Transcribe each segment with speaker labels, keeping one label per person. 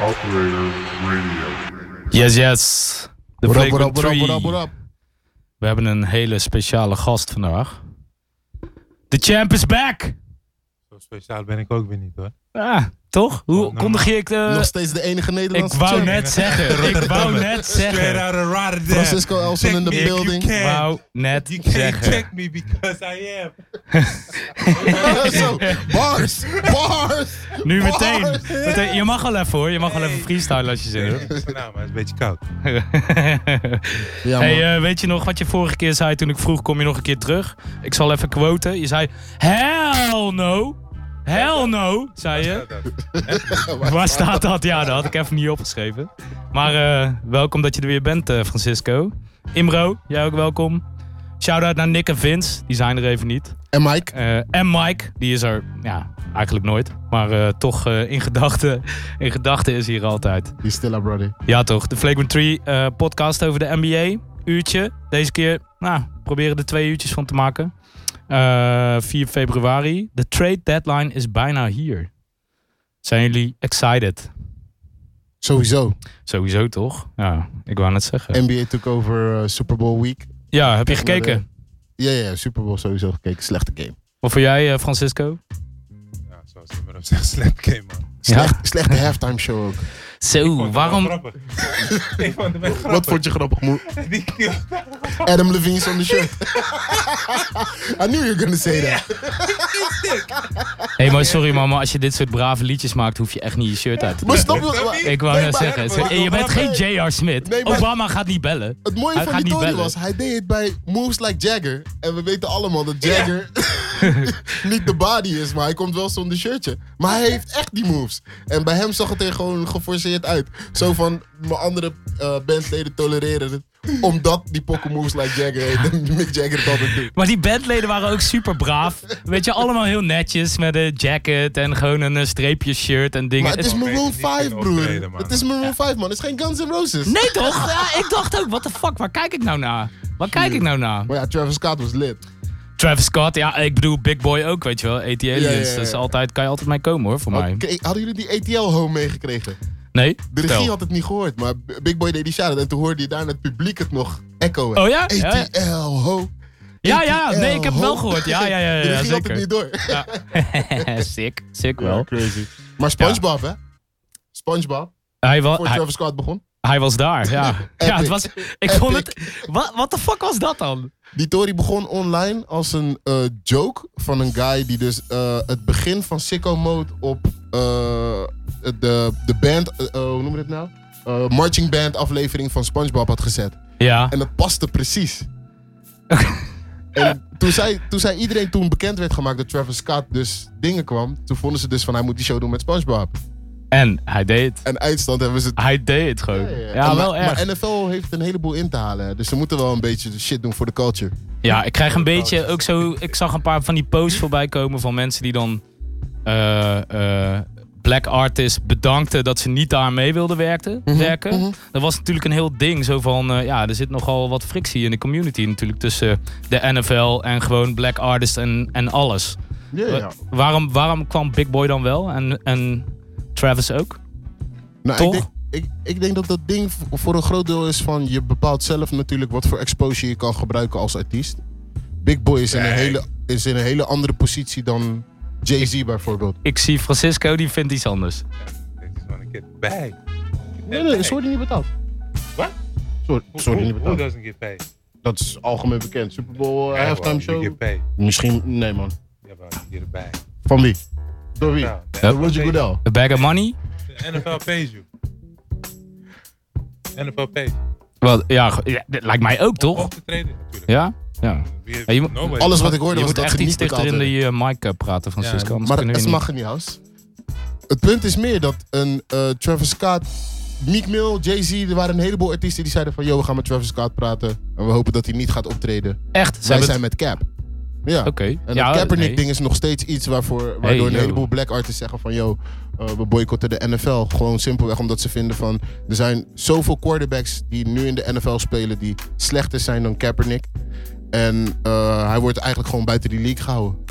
Speaker 1: Oh,
Speaker 2: Accelerator Radio.
Speaker 3: Yes, yes. De
Speaker 4: What up,
Speaker 3: Flagrant
Speaker 4: what up, what up, what up,
Speaker 3: Three.
Speaker 4: what up?
Speaker 3: We hebben een hele speciale gast vandaag. The champ is back!
Speaker 5: Zo speciaal ben ik ook weer niet hoor.
Speaker 3: Ah, toch? Hoe
Speaker 5: Oh, nou,
Speaker 3: kondig je ik... eh,
Speaker 4: Nog steeds de enige
Speaker 3: ik
Speaker 4: Nederlandse
Speaker 3: wou
Speaker 4: champ.
Speaker 3: net zeggen. ik wou net
Speaker 5: Straight
Speaker 3: zeggen.
Speaker 5: out of Rotterdam.
Speaker 4: Francisco Elson in
Speaker 5: Check
Speaker 4: the
Speaker 5: me if you
Speaker 4: building.
Speaker 5: can.
Speaker 3: Wou net
Speaker 5: You can't
Speaker 3: zeggen.
Speaker 5: check me because I am.
Speaker 4: Zo, bars, bars.
Speaker 3: Nu
Speaker 4: Bars.
Speaker 3: meteen. meteen. Je mag al even hoor. Je mag al
Speaker 5: Hey.
Speaker 3: even freestyle als je zin hebt.
Speaker 5: Nou, maar het is een beetje koud.
Speaker 4: Ja, man.
Speaker 3: hey, eh, weet je nog wat je vorige keer zei toen ik vroeg, kom je nog een keer terug? Ik zal even quoten. Je zei, hell no. Hell no, zei je. Waar staat dat? Ja, dat had ik even niet opgeschreven. Maar eh, welkom dat je er weer bent, eh, Francisco. Imro, jij ook welkom. Shout-out naar Nick en Vince, die zijn er even niet.
Speaker 4: En Mike,
Speaker 3: Eh, en Mike, die is er ja, eigenlijk nooit. Maar eh, toch eh, in gedachten in gedachten is hij hier altijd.
Speaker 4: die still our brother.
Speaker 3: Ja toch, de Flagrant 3 eh, podcast over de NBA. Uurtje. Deze keer nou, proberen er twee uurtjes van te maken. Eh, 4 februari. De trade deadline is bijna hier. Zijn jullie excited?
Speaker 4: Sowieso.
Speaker 3: Sowieso toch? Ja, ik wou net zeggen.
Speaker 4: NBA took over eh, Super Bowl week.
Speaker 3: ja, heb je
Speaker 4: Kijk naar
Speaker 3: gekeken?
Speaker 4: Ja, ja, Super Bowl sowieso gekeken. Slechte game.
Speaker 3: Wat voor jij, eh, Francisco?
Speaker 5: Ja, zoals ik maar op zeg, slap game man.
Speaker 4: Slecht, Slechte halftime show ook.
Speaker 3: Zo,
Speaker 5: Vond
Speaker 3: waarom?
Speaker 5: het wel grappig. ik vond het wel grappig.
Speaker 4: Wat vond je grappig, moe?
Speaker 5: Die
Speaker 4: Adam Levine's on the shirt. I knew you were gonna say that.
Speaker 3: Hé, maar sorry mama, als je dit soort brave liedjes maakt, hoef je echt niet je shirt uit te
Speaker 4: Maar
Speaker 3: doen.
Speaker 4: snap je
Speaker 5: Snap
Speaker 4: wat?
Speaker 5: je?
Speaker 3: Ik wou
Speaker 4: Nee,
Speaker 3: net
Speaker 4: maar-
Speaker 3: zeggen,
Speaker 4: maar-
Speaker 3: je bent geen J.R. Smith.
Speaker 4: Nee, maar-
Speaker 3: Obama gaat niet bellen.
Speaker 4: Het mooie
Speaker 3: Hij
Speaker 4: van
Speaker 3: gaat
Speaker 4: die
Speaker 3: niet
Speaker 4: Tony
Speaker 3: bellen.
Speaker 4: was, hij deed het bij moves like Jagger. En we weten allemaal dat Jagger niet de body is, maar hij komt wel zonder shirtje. Maar hij heeft echt die moves. En bij hem zag het er gewoon geforceerd uit. Zo van, mijn andere eh, bandleden tolereren het. Omdat die pokken moves like Jagger heet en Mick Jagger het altijd doet.
Speaker 3: Maar die bandleden waren ook super braaf. Weet je, allemaal heel netjes met een jacket en gewoon een eh, streepje shirt en dingen.
Speaker 4: Maar het is
Speaker 3: Het-
Speaker 5: wel
Speaker 4: Maroon
Speaker 5: beter niet
Speaker 4: 5,
Speaker 5: kunnen optreden,
Speaker 4: broer.
Speaker 5: man.
Speaker 4: Het is Maroon 5, man. Het is geen Guns N' Roses.
Speaker 3: Nee toch? Ja, ik dacht ook, what the fuck, waar kijk ik nou naar? Waar kijk ik nou naar?
Speaker 4: Maar ja, Travis Scott was lit.
Speaker 3: Travis Scott, ja, ik bedoel Big Boy ook, weet je wel. AT Aliens,
Speaker 4: Ja, ja, ja, Oh, ja.
Speaker 3: dat is altijd, kan je altijd mee komen hoor, voor mij.
Speaker 4: Oké, Hadden jullie die ATL-home meegekregen?
Speaker 3: Nee?
Speaker 4: De regie
Speaker 3: Vertel.
Speaker 4: had het niet gehoord, maar B- Big Boy deed die shout En toen hoorde je daarna het publiek het nog echoen.
Speaker 3: Oh ja?
Speaker 4: ATL,
Speaker 3: Ja, ja.
Speaker 4: ho.
Speaker 3: Ja, ja,
Speaker 4: ATL,
Speaker 3: nee, ik Oh. heb
Speaker 4: ho.
Speaker 3: het wel gehoord. Ja, ja, ja, ja,
Speaker 4: de regie had
Speaker 3: zeker.
Speaker 4: het niet door.
Speaker 3: Ja. sick, sick
Speaker 4: Ja,
Speaker 3: wel.
Speaker 4: crazy. Maar Spongebob, hè? Spongebob,
Speaker 3: Hij, wa-
Speaker 4: voor
Speaker 3: Oh, hij,
Speaker 4: Travis Scott begon.
Speaker 3: hij was daar, ja. ja het
Speaker 4: Epic.
Speaker 3: was, ik vond het... Wat what the fuck was dat dan?
Speaker 4: Die Tory begon online als een eh, joke van een guy die dus eh, het begin van Sicko Mode op eh, de, de band, eh, eh, hoe noem je het nou? Eh, marching band aflevering van Spongebob had gezet.
Speaker 3: Ja,
Speaker 4: En dat paste precies. en toen, zij, toen zij iedereen toen bekend werd gemaakt dat Travis Scott dus dingen kwam, toen vonden ze dus van hij moet die show doen met SpongeBob.
Speaker 3: en hij deed het.
Speaker 4: En uitstand hebben ze het.
Speaker 3: Hij deed het gewoon. Ja,
Speaker 4: En
Speaker 3: wel
Speaker 4: maar,
Speaker 3: erg.
Speaker 4: maar NFL heeft een heleboel in te halen. hè. Dus ze moeten wel een beetje de shit doen voor de culture.
Speaker 3: Ja, ik krijg een beetje ook zo. Ik zag een paar van die posts voorbij komen van mensen die dan eh, eh, black artists bedankten dat ze niet daar mee wilden werken. werken. Dat was natuurlijk een heel ding. Zo van eh, ja, er zit nogal wat frictie in de community natuurlijk tussen de NFL en gewoon black artists en, en alles.
Speaker 4: Ja,
Speaker 3: Wa- Waarom, waarom kwam Big Boy dan wel en, en Travis ook?
Speaker 4: Nou,
Speaker 3: Toch?
Speaker 4: Ik denk, ik, ik denk dat dat ding v- voor een groot deel is van je bepaalt zelf natuurlijk wat voor exposure je kan gebruiken als artiest. Big Boy is in, een,
Speaker 5: Nee.
Speaker 4: hele, is in een hele andere positie dan Jay-Z bijvoorbeeld.
Speaker 3: Ik zie Francisco, die vindt iets anders.
Speaker 5: Dit is gewoon een keer bij.
Speaker 4: Nee, nee, sorry niet betaald.
Speaker 5: Wat?
Speaker 4: Sorry, sorry niet
Speaker 5: Who
Speaker 4: betaald.
Speaker 5: doesn't get paid?
Speaker 4: Dat is algemeen bekend. Super Bowl eh,
Speaker 5: Yeah,
Speaker 4: halftime
Speaker 5: well,
Speaker 4: show.
Speaker 5: You get paid.
Speaker 4: Misschien, nee man.
Speaker 5: Jawel, je get it back.
Speaker 4: Van wie? Door wie?
Speaker 5: Nou, de
Speaker 3: Ja.
Speaker 5: NFL
Speaker 4: Roger
Speaker 5: pays-
Speaker 4: Goodell.
Speaker 3: A bag of money?
Speaker 5: De NFL pays you. NFL pays.
Speaker 3: Wel, ja, ge- ja, dit lijkt mij ook
Speaker 5: Om
Speaker 3: toch?
Speaker 5: op te treden natuurlijk.
Speaker 3: Ja? Ja.
Speaker 5: Wie heeft-
Speaker 3: Ja, je moet-
Speaker 5: nobody.
Speaker 4: Alles wat ik hoorde
Speaker 3: Je
Speaker 4: was
Speaker 3: moet
Speaker 4: dat
Speaker 3: echt
Speaker 4: ze
Speaker 3: iets
Speaker 4: niet
Speaker 3: dichter
Speaker 4: betaald
Speaker 3: in de
Speaker 4: werden.
Speaker 3: eh, mic eh, praten, Francisco.
Speaker 5: Ja,
Speaker 3: anders
Speaker 4: Maar
Speaker 3: kunnen we
Speaker 4: dat
Speaker 3: niet.
Speaker 4: mag niet als. Het punt is meer dat een eh, Travis Scott, Meek Mill, Jay-Z, er waren een heleboel artiesten die zeiden van yo, we gaan met Travis Scott praten. En we hopen dat hij niet gaat optreden.
Speaker 3: Echt, ze
Speaker 4: Zij
Speaker 3: hebben
Speaker 4: zijn
Speaker 3: het-
Speaker 4: met Cap. Ja.
Speaker 3: Oké.
Speaker 4: En
Speaker 3: Ja,
Speaker 4: dat Kaepernick
Speaker 3: nee.
Speaker 4: ding is nog steeds iets waarvoor, waardoor een
Speaker 3: yo.
Speaker 4: heleboel black artists zeggen van... ...yo, eh, we boycotten de NFL. Gewoon simpelweg omdat ze vinden van... ...er zijn zoveel quarterbacks die nu in de NFL spelen... ...die slechter zijn dan Kaepernick. En eh, hij wordt eigenlijk gewoon buiten die league gehouden.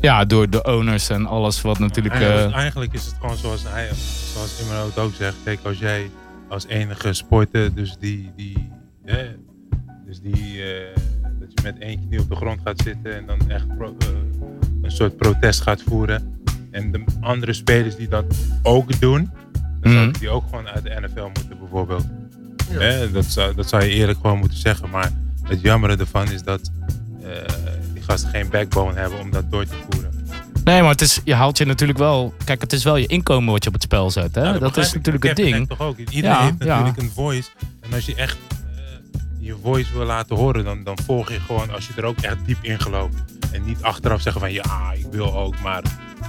Speaker 3: Ja, door de owners en alles wat natuurlijk...
Speaker 5: Eigenlijk,
Speaker 3: eh,
Speaker 5: eigenlijk is het gewoon zoals, hij- zoals Imran het ook zegt. Kijk, als jij als enige sporter, dus die, die, hè, dus die eh, dat je met één knie op de grond gaat zitten en dan echt pro- eh, een soort protest gaat voeren. En de andere spelers die dat ook doen, dan
Speaker 3: Mhm.
Speaker 5: zouden die ook gewoon uit de NFL moeten bijvoorbeeld.
Speaker 4: Ja.
Speaker 5: Hè, dat, zou, dat zou je eerlijk gewoon moeten zeggen. Maar het jammere ervan is dat eh, die gasten geen backbone hebben om dat door te voeren.
Speaker 3: nee, maar het is, je haalt je natuurlijk wel... Kijk, het is wel je inkomen wat je op het spel zet. Hè?
Speaker 5: Ja,
Speaker 3: dat
Speaker 5: Nou, begrijp
Speaker 3: is
Speaker 5: ik.
Speaker 3: natuurlijk het
Speaker 5: Kevin
Speaker 3: ding.
Speaker 5: heeft Toch ook. Iedereen
Speaker 3: Ja,
Speaker 5: heeft
Speaker 3: ja.
Speaker 5: natuurlijk een voice. En als je echt eh, je voice wil laten horen, dan, dan volg je gewoon als je er ook echt diep in gelooft. En niet achteraf zeggen van ja, ik wil ook, maar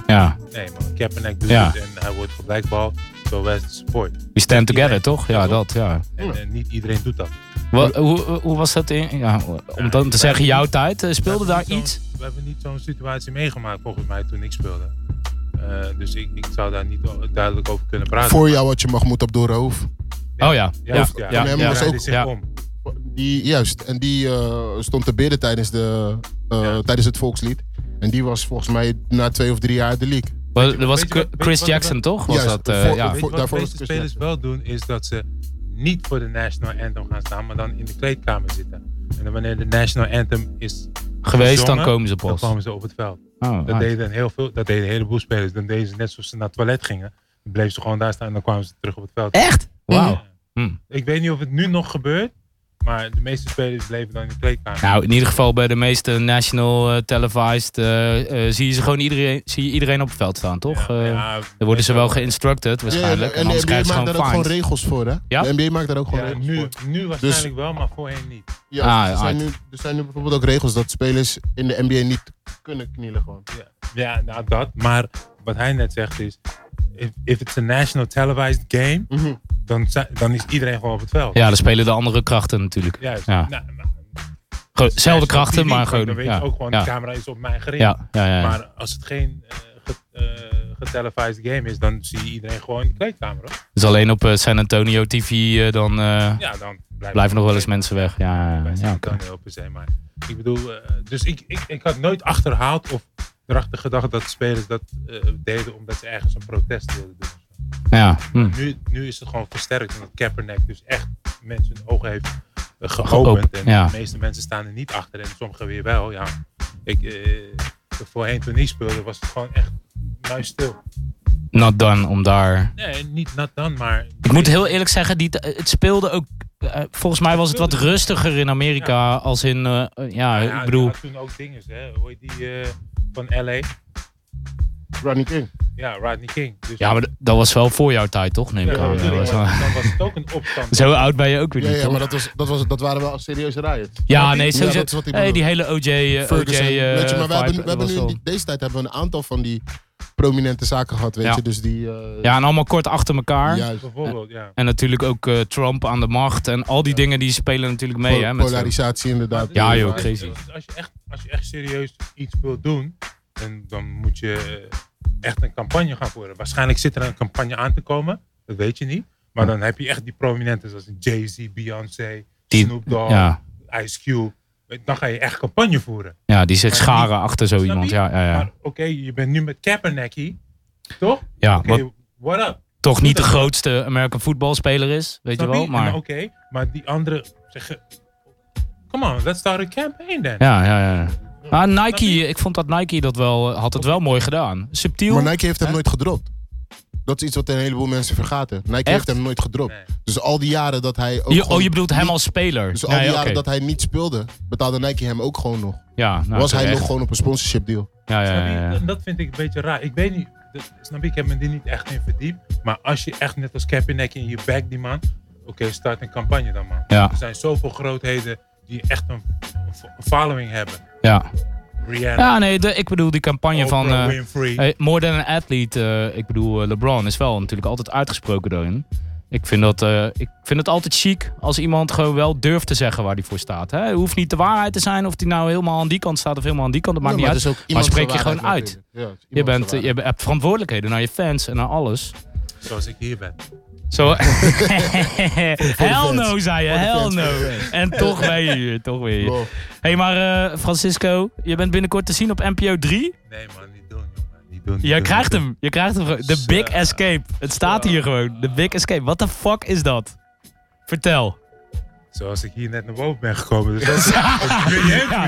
Speaker 3: Ja,
Speaker 5: nee man, Kaepernick doet
Speaker 3: Ja.
Speaker 5: het en hij wordt geblijkbal. Zo wijst de support.
Speaker 3: we stand together,
Speaker 5: Iedereen.
Speaker 3: toch? Ja,
Speaker 5: Ja,
Speaker 3: dat, ja.
Speaker 5: En,
Speaker 4: Ja.
Speaker 5: eh, niet iedereen doet dat.
Speaker 3: Wa- hoe, hoe- hoe was dat in... Ja, om dan te
Speaker 5: wij-
Speaker 3: zeggen, jouw tijd, eh, speelde
Speaker 5: We
Speaker 3: daar
Speaker 5: hebben niet
Speaker 3: iets?
Speaker 5: zo'n- We hebben niet zo'n situatie meegemaakt volgens mij toen ik speelde. Eh, dus ik, ik zou daar niet o- duidelijk over kunnen praten.
Speaker 4: Voor jou had je Mahmoud Abdurraouf.
Speaker 3: Oh ja, ja, ja,
Speaker 4: ja, ja.
Speaker 5: Hij
Speaker 4: ook-
Speaker 5: zich
Speaker 3: ja.
Speaker 5: om.
Speaker 4: Die, juist, en die eh, stond te bidden tijdens, de, eh,
Speaker 5: Ja.
Speaker 4: tijdens het volkslied. En die was volgens mij na twee of drie jaar uit de league.
Speaker 3: Wa- Dat was
Speaker 5: weet je wat- weet
Speaker 3: Chris-
Speaker 5: je
Speaker 3: Chris
Speaker 5: wat er-
Speaker 3: Jackson, toch? Was
Speaker 4: Juist,
Speaker 3: dat, eh,
Speaker 4: voor-
Speaker 3: ja.
Speaker 5: Weet je
Speaker 4: Voor-
Speaker 5: wat
Speaker 4: daarvoor dus
Speaker 5: deze
Speaker 4: is het
Speaker 5: spelers wel doen, is dat ze niet voor de National Anthem gaan staan, maar dan in de kleedkamer zitten. En dan wanneer de National Anthem is
Speaker 3: geweest, dan
Speaker 5: gezongen,
Speaker 3: komen ze
Speaker 5: dan
Speaker 3: pas.
Speaker 5: kwamen ze op het veld.
Speaker 3: Oh,
Speaker 5: Dat
Speaker 3: ah.
Speaker 5: deden, heel veel, dat deden een heleboel spelers. Dan deden ze net zoals ze naar het toilet gingen. Dan bleven ze gewoon daar staan en dan kwamen ze terug op het veld.
Speaker 4: Eh?
Speaker 3: Echt?
Speaker 4: Mm.
Speaker 3: Wauw. Hm.
Speaker 5: Ik weet niet of het nu nog gebeurt, maar de meeste spelers bleven dan in de kleedkamer.
Speaker 3: Nou, in ieder geval bij de meeste national eh, televised eh, eh, zie je ze gewoon iedereen, zie je iedereen op het veld staan, toch?
Speaker 5: Ja,
Speaker 3: Eh,
Speaker 5: ja,
Speaker 3: dan worden ze wel geïnstructed waarschijnlijk.
Speaker 4: Ja,
Speaker 3: en
Speaker 4: en de
Speaker 3: anders
Speaker 4: NBA
Speaker 3: krijgen ze
Speaker 4: maakt daar ook
Speaker 3: gewoon
Speaker 4: gewoon
Speaker 3: fines.
Speaker 4: regels voor, hè?
Speaker 3: Ja?
Speaker 4: De NBA maakt daar ook gewoon
Speaker 5: ja,
Speaker 4: regels
Speaker 5: nu,
Speaker 4: voor.
Speaker 3: Dus-
Speaker 5: nu waarschijnlijk wel, maar voorheen niet.
Speaker 4: Ja,
Speaker 3: Ah,
Speaker 4: er, zijn
Speaker 3: uit.
Speaker 4: nu, er zijn nu bijvoorbeeld ook regels dat spelers in de NBA niet kunnen knielen gewoon.
Speaker 5: Ja, nou dat. Maar wat hij net zegt is, if, if it's a national televised game,
Speaker 4: Mhm.
Speaker 5: dan, zijn- dan is iedereen gewoon op het veld.
Speaker 3: Ja, dan spelen de andere krachten natuurlijk.
Speaker 5: Juist.
Speaker 3: Ja.
Speaker 5: Nou, maar-
Speaker 3: Gewoon, zelfde
Speaker 5: als je op
Speaker 3: krachten,
Speaker 5: TV
Speaker 3: maar
Speaker 5: kijkt,
Speaker 3: gewoon.
Speaker 5: Dan weet
Speaker 3: ja,
Speaker 5: je ook gewoon,
Speaker 3: ja,
Speaker 5: de camera is op mij gericht.
Speaker 3: ja, ja, ja, ja.
Speaker 5: Maar als het geen eh ge- eh, getelevised game is, dan zie je iedereen gewoon in de kleedkamer. hoor.
Speaker 3: Dus alleen op eh, San Antonio TV eh, dan eh,
Speaker 5: Ja, dan blijven,
Speaker 3: blijven nog wel eens mensen weg. Ja, ja,
Speaker 5: Wij
Speaker 3: ja,
Speaker 5: zijn
Speaker 3: oké.
Speaker 5: dan heel per se, maar ik bedoel, eh, dus ik, ik, ik had nooit achterhaald of erachter gedacht dat spelers dat eh, deden omdat ze ergens een protest wilden doen.
Speaker 3: ja. hm.
Speaker 5: Nu, nu is het gewoon versterkt omdat Kaepernick dus echt mensen hun ogen heeft eh,
Speaker 3: Geopend,
Speaker 5: geopend. En
Speaker 3: ja.
Speaker 5: de meeste mensen staan er niet achter en sommigen weer wel. Ja. Ik, eh, voorheen toen ik speelde was het gewoon echt muisstil.
Speaker 3: Not done om daar...
Speaker 5: Nee, niet nat dan, maar...
Speaker 3: Ik moet heel eerlijk zeggen, die, het speelde ook... eh, volgens mij was het wat rustiger in Amerika als in... eh, eh, ja,
Speaker 5: Ja,
Speaker 3: ik bedoel...
Speaker 5: die had toen ook dingen, hè. Hoe heet die eh, van LA?
Speaker 4: Rodney King.
Speaker 5: Ja, Rodney King. Dus
Speaker 3: Ja, maar d- dat was wel voor jouw tijd, toch? Neem ik
Speaker 5: Ja,
Speaker 3: aan.
Speaker 5: natuurlijk,
Speaker 3: Dat was
Speaker 5: maar
Speaker 3: wel-
Speaker 5: dan was het ook een opstand.
Speaker 3: Zo oud ben je ook weer
Speaker 4: Ja,
Speaker 3: niet,
Speaker 4: ja,
Speaker 3: toch?
Speaker 4: maar dat, was, dat, was, dat waren wel serieuze riots.
Speaker 3: Ja,
Speaker 5: die-
Speaker 3: nee,
Speaker 5: ja,
Speaker 3: sowieso.
Speaker 4: dat is wat ik
Speaker 3: hey, die
Speaker 4: bedoel.
Speaker 3: hele OJ... eh, OJ
Speaker 4: Ferguson,
Speaker 3: eh,
Speaker 4: weet je, maar
Speaker 3: vibe,
Speaker 4: we hebben, we
Speaker 3: dat
Speaker 4: hebben
Speaker 3: was
Speaker 4: nu in
Speaker 3: wel-
Speaker 4: die- deze tijd hebben we een aantal van die prominente zaken gehad, weet
Speaker 3: Ja.
Speaker 4: je. Dus die... eh,
Speaker 3: Ja, en allemaal kort achter elkaar.
Speaker 4: Juist.
Speaker 5: Bijvoorbeeld, ja.
Speaker 3: En natuurlijk ook eh, Trump aan de macht. En al die dingen die spelen natuurlijk mee.
Speaker 4: Pol-
Speaker 3: hè, met zo'n-
Speaker 4: polarisatie inderdaad.
Speaker 3: Ja, joh,
Speaker 5: Als-
Speaker 3: crazy.
Speaker 5: Als, als je echt, als je echt serieus iets wilt doen, dan, dan moet je eh, echt een campagne gaan voeren. Waarschijnlijk zit er een campagne aan te komen, dat weet je niet. Maar dan heb je echt die prominenten zoals Jay-Z, Beyoncé,
Speaker 3: Die-
Speaker 5: Snoop Dogg,
Speaker 3: ja,
Speaker 5: Ice Cube. Dan ga je echt campagne voeren.
Speaker 3: ja, die zich
Speaker 5: Maar die-
Speaker 3: scharen achter zo
Speaker 5: Snap
Speaker 3: iemand.
Speaker 5: je?
Speaker 3: Ja, ja,
Speaker 5: Maar
Speaker 3: ja.
Speaker 5: oké, je bent nu met Kaepernick hier, toch? Oké,
Speaker 3: ja wat
Speaker 5: what up?
Speaker 3: toch niet de
Speaker 5: dat-
Speaker 3: grootste American voetbalspeler is. Weet je
Speaker 5: Snap
Speaker 3: wel?
Speaker 5: En
Speaker 3: Maar,
Speaker 5: Oké, maar die andere zeggen, come on, let's start a campaign then.
Speaker 3: ja, ja, ja. ja. Maar Nike,
Speaker 5: je?
Speaker 3: ik vond dat Nike dat wel... eh, Had het wel mooi gedaan. Subtiel.
Speaker 4: Maar Nike heeft hem nooit gedropt. Dat is iets wat een heleboel mensen vergaten. Nike
Speaker 3: Echt?
Speaker 4: heeft hem nooit gedropt.
Speaker 5: Nee.
Speaker 4: Dus al die jaren dat hij ook
Speaker 3: Je-
Speaker 4: gewoon
Speaker 3: oh, je bedoelt hem
Speaker 4: niet-
Speaker 3: als speler?
Speaker 4: Dus al die
Speaker 3: Nee,
Speaker 4: jaren
Speaker 3: oké.
Speaker 4: dat hij niet speelde, betaalde Nike hem ook gewoon nog.
Speaker 3: ja, nou,
Speaker 4: was hij
Speaker 3: terecht.
Speaker 4: nog gewoon op een sponsorship deal.
Speaker 3: Ja, ja,
Speaker 5: Snap je?
Speaker 3: ja, ja.
Speaker 5: En Dat vind ik een beetje raar. Ik weet niet, dat- snap je, ik heb me die niet echt in verdiept. Maar als je echt net als Kaepernick in je back die man, oké, start een campagne dan man.
Speaker 3: Ja,
Speaker 5: Er zijn zoveel grootheden die echt een, een fo- een following hebben.
Speaker 3: ja.
Speaker 5: Rihanna,
Speaker 3: ja nee, de, ik bedoel die campagne
Speaker 5: Oprah
Speaker 3: van... eh,
Speaker 5: Winfrey.
Speaker 3: hey, more than an athlete, eh, ik bedoel eh, LeBron is wel natuurlijk altijd uitgesproken daarin. Ik vind, dat, eh, ik vind het altijd chic als iemand gewoon wel durft te zeggen waar hij voor staat. Hè? Het hoeft niet de waarheid te zijn of die nou helemaal aan die kant staat of helemaal aan die kant. Dat maakt
Speaker 4: Ja,
Speaker 3: niet
Speaker 4: maar
Speaker 3: uit.
Speaker 4: het is ook
Speaker 3: Maar
Speaker 4: iemand
Speaker 3: spreek je
Speaker 4: zijn
Speaker 3: gewoon
Speaker 4: waarheid
Speaker 3: uit.
Speaker 4: natuurlijk. Ja, het is
Speaker 3: Je,
Speaker 4: iemand
Speaker 3: bent,
Speaker 4: zijn
Speaker 3: je hebt verantwoordelijkheden naar je fans en naar alles.
Speaker 5: zoals ik hier ben.
Speaker 3: Zo. hell no, zei je.
Speaker 4: Voor de
Speaker 3: Hell
Speaker 4: fans, voor
Speaker 3: no.
Speaker 4: de fans.
Speaker 3: En toch ben je hier. Toch weer hier.
Speaker 4: Wow.
Speaker 3: hey, maar eh, Francisco, je bent binnenkort te zien op NPO 3.
Speaker 5: Nee man, niet doen jongen. Niet doen. niet
Speaker 3: Je
Speaker 5: doen,
Speaker 3: krijgt
Speaker 5: niet
Speaker 3: hem. Je krijgt hem. gewoon. The Big
Speaker 5: Zo.
Speaker 3: Escape. Het staat hier gewoon. The Big Escape. What the fuck is dat? Vertel.
Speaker 5: doen. Zoals ik hier net naar boven ben gekomen. Dus dat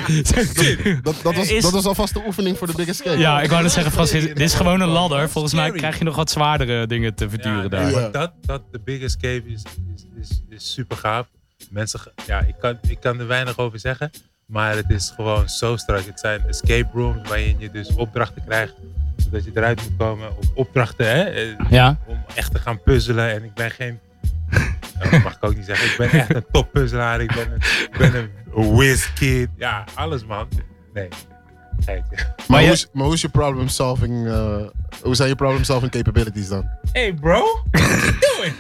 Speaker 5: is dat is weer
Speaker 3: Ja,
Speaker 4: Dat, dat, was,
Speaker 3: Is-
Speaker 4: dat was alvast de oefening voor de Big Escape.
Speaker 3: ja ik wou net zeggen, Francis, dit is gewoon een ladder. Volgens mij krijg je nog wat zwaardere dingen te verduren
Speaker 5: Ja, nee,
Speaker 3: daar.
Speaker 4: Ja.
Speaker 5: maar Dat, dat, de Big Escape is, is, is, is super gaaf. Mensen, ge- ja, ik kan, ik kan er weinig over zeggen. Maar het is gewoon zo strak. Het zijn escape rooms waarin je dus opdrachten krijgt. Zodat je eruit moet komen. Of opdrachten, hè. eh,
Speaker 3: Ja.
Speaker 5: Om echt te gaan puzzelen. En ik ben geen... Nou, dat mag ik ook niet zeggen. Ik ben echt een toppuzzelaar. Ik ben een, ik ben een whiz kid. Ja, alles man. Nee. Geitje.
Speaker 4: Maar,
Speaker 3: je-
Speaker 4: hoe is, maar hoe is je problem solving... eh, hoe zijn je problem solving capabilities dan?
Speaker 5: Hey bro, what you doing?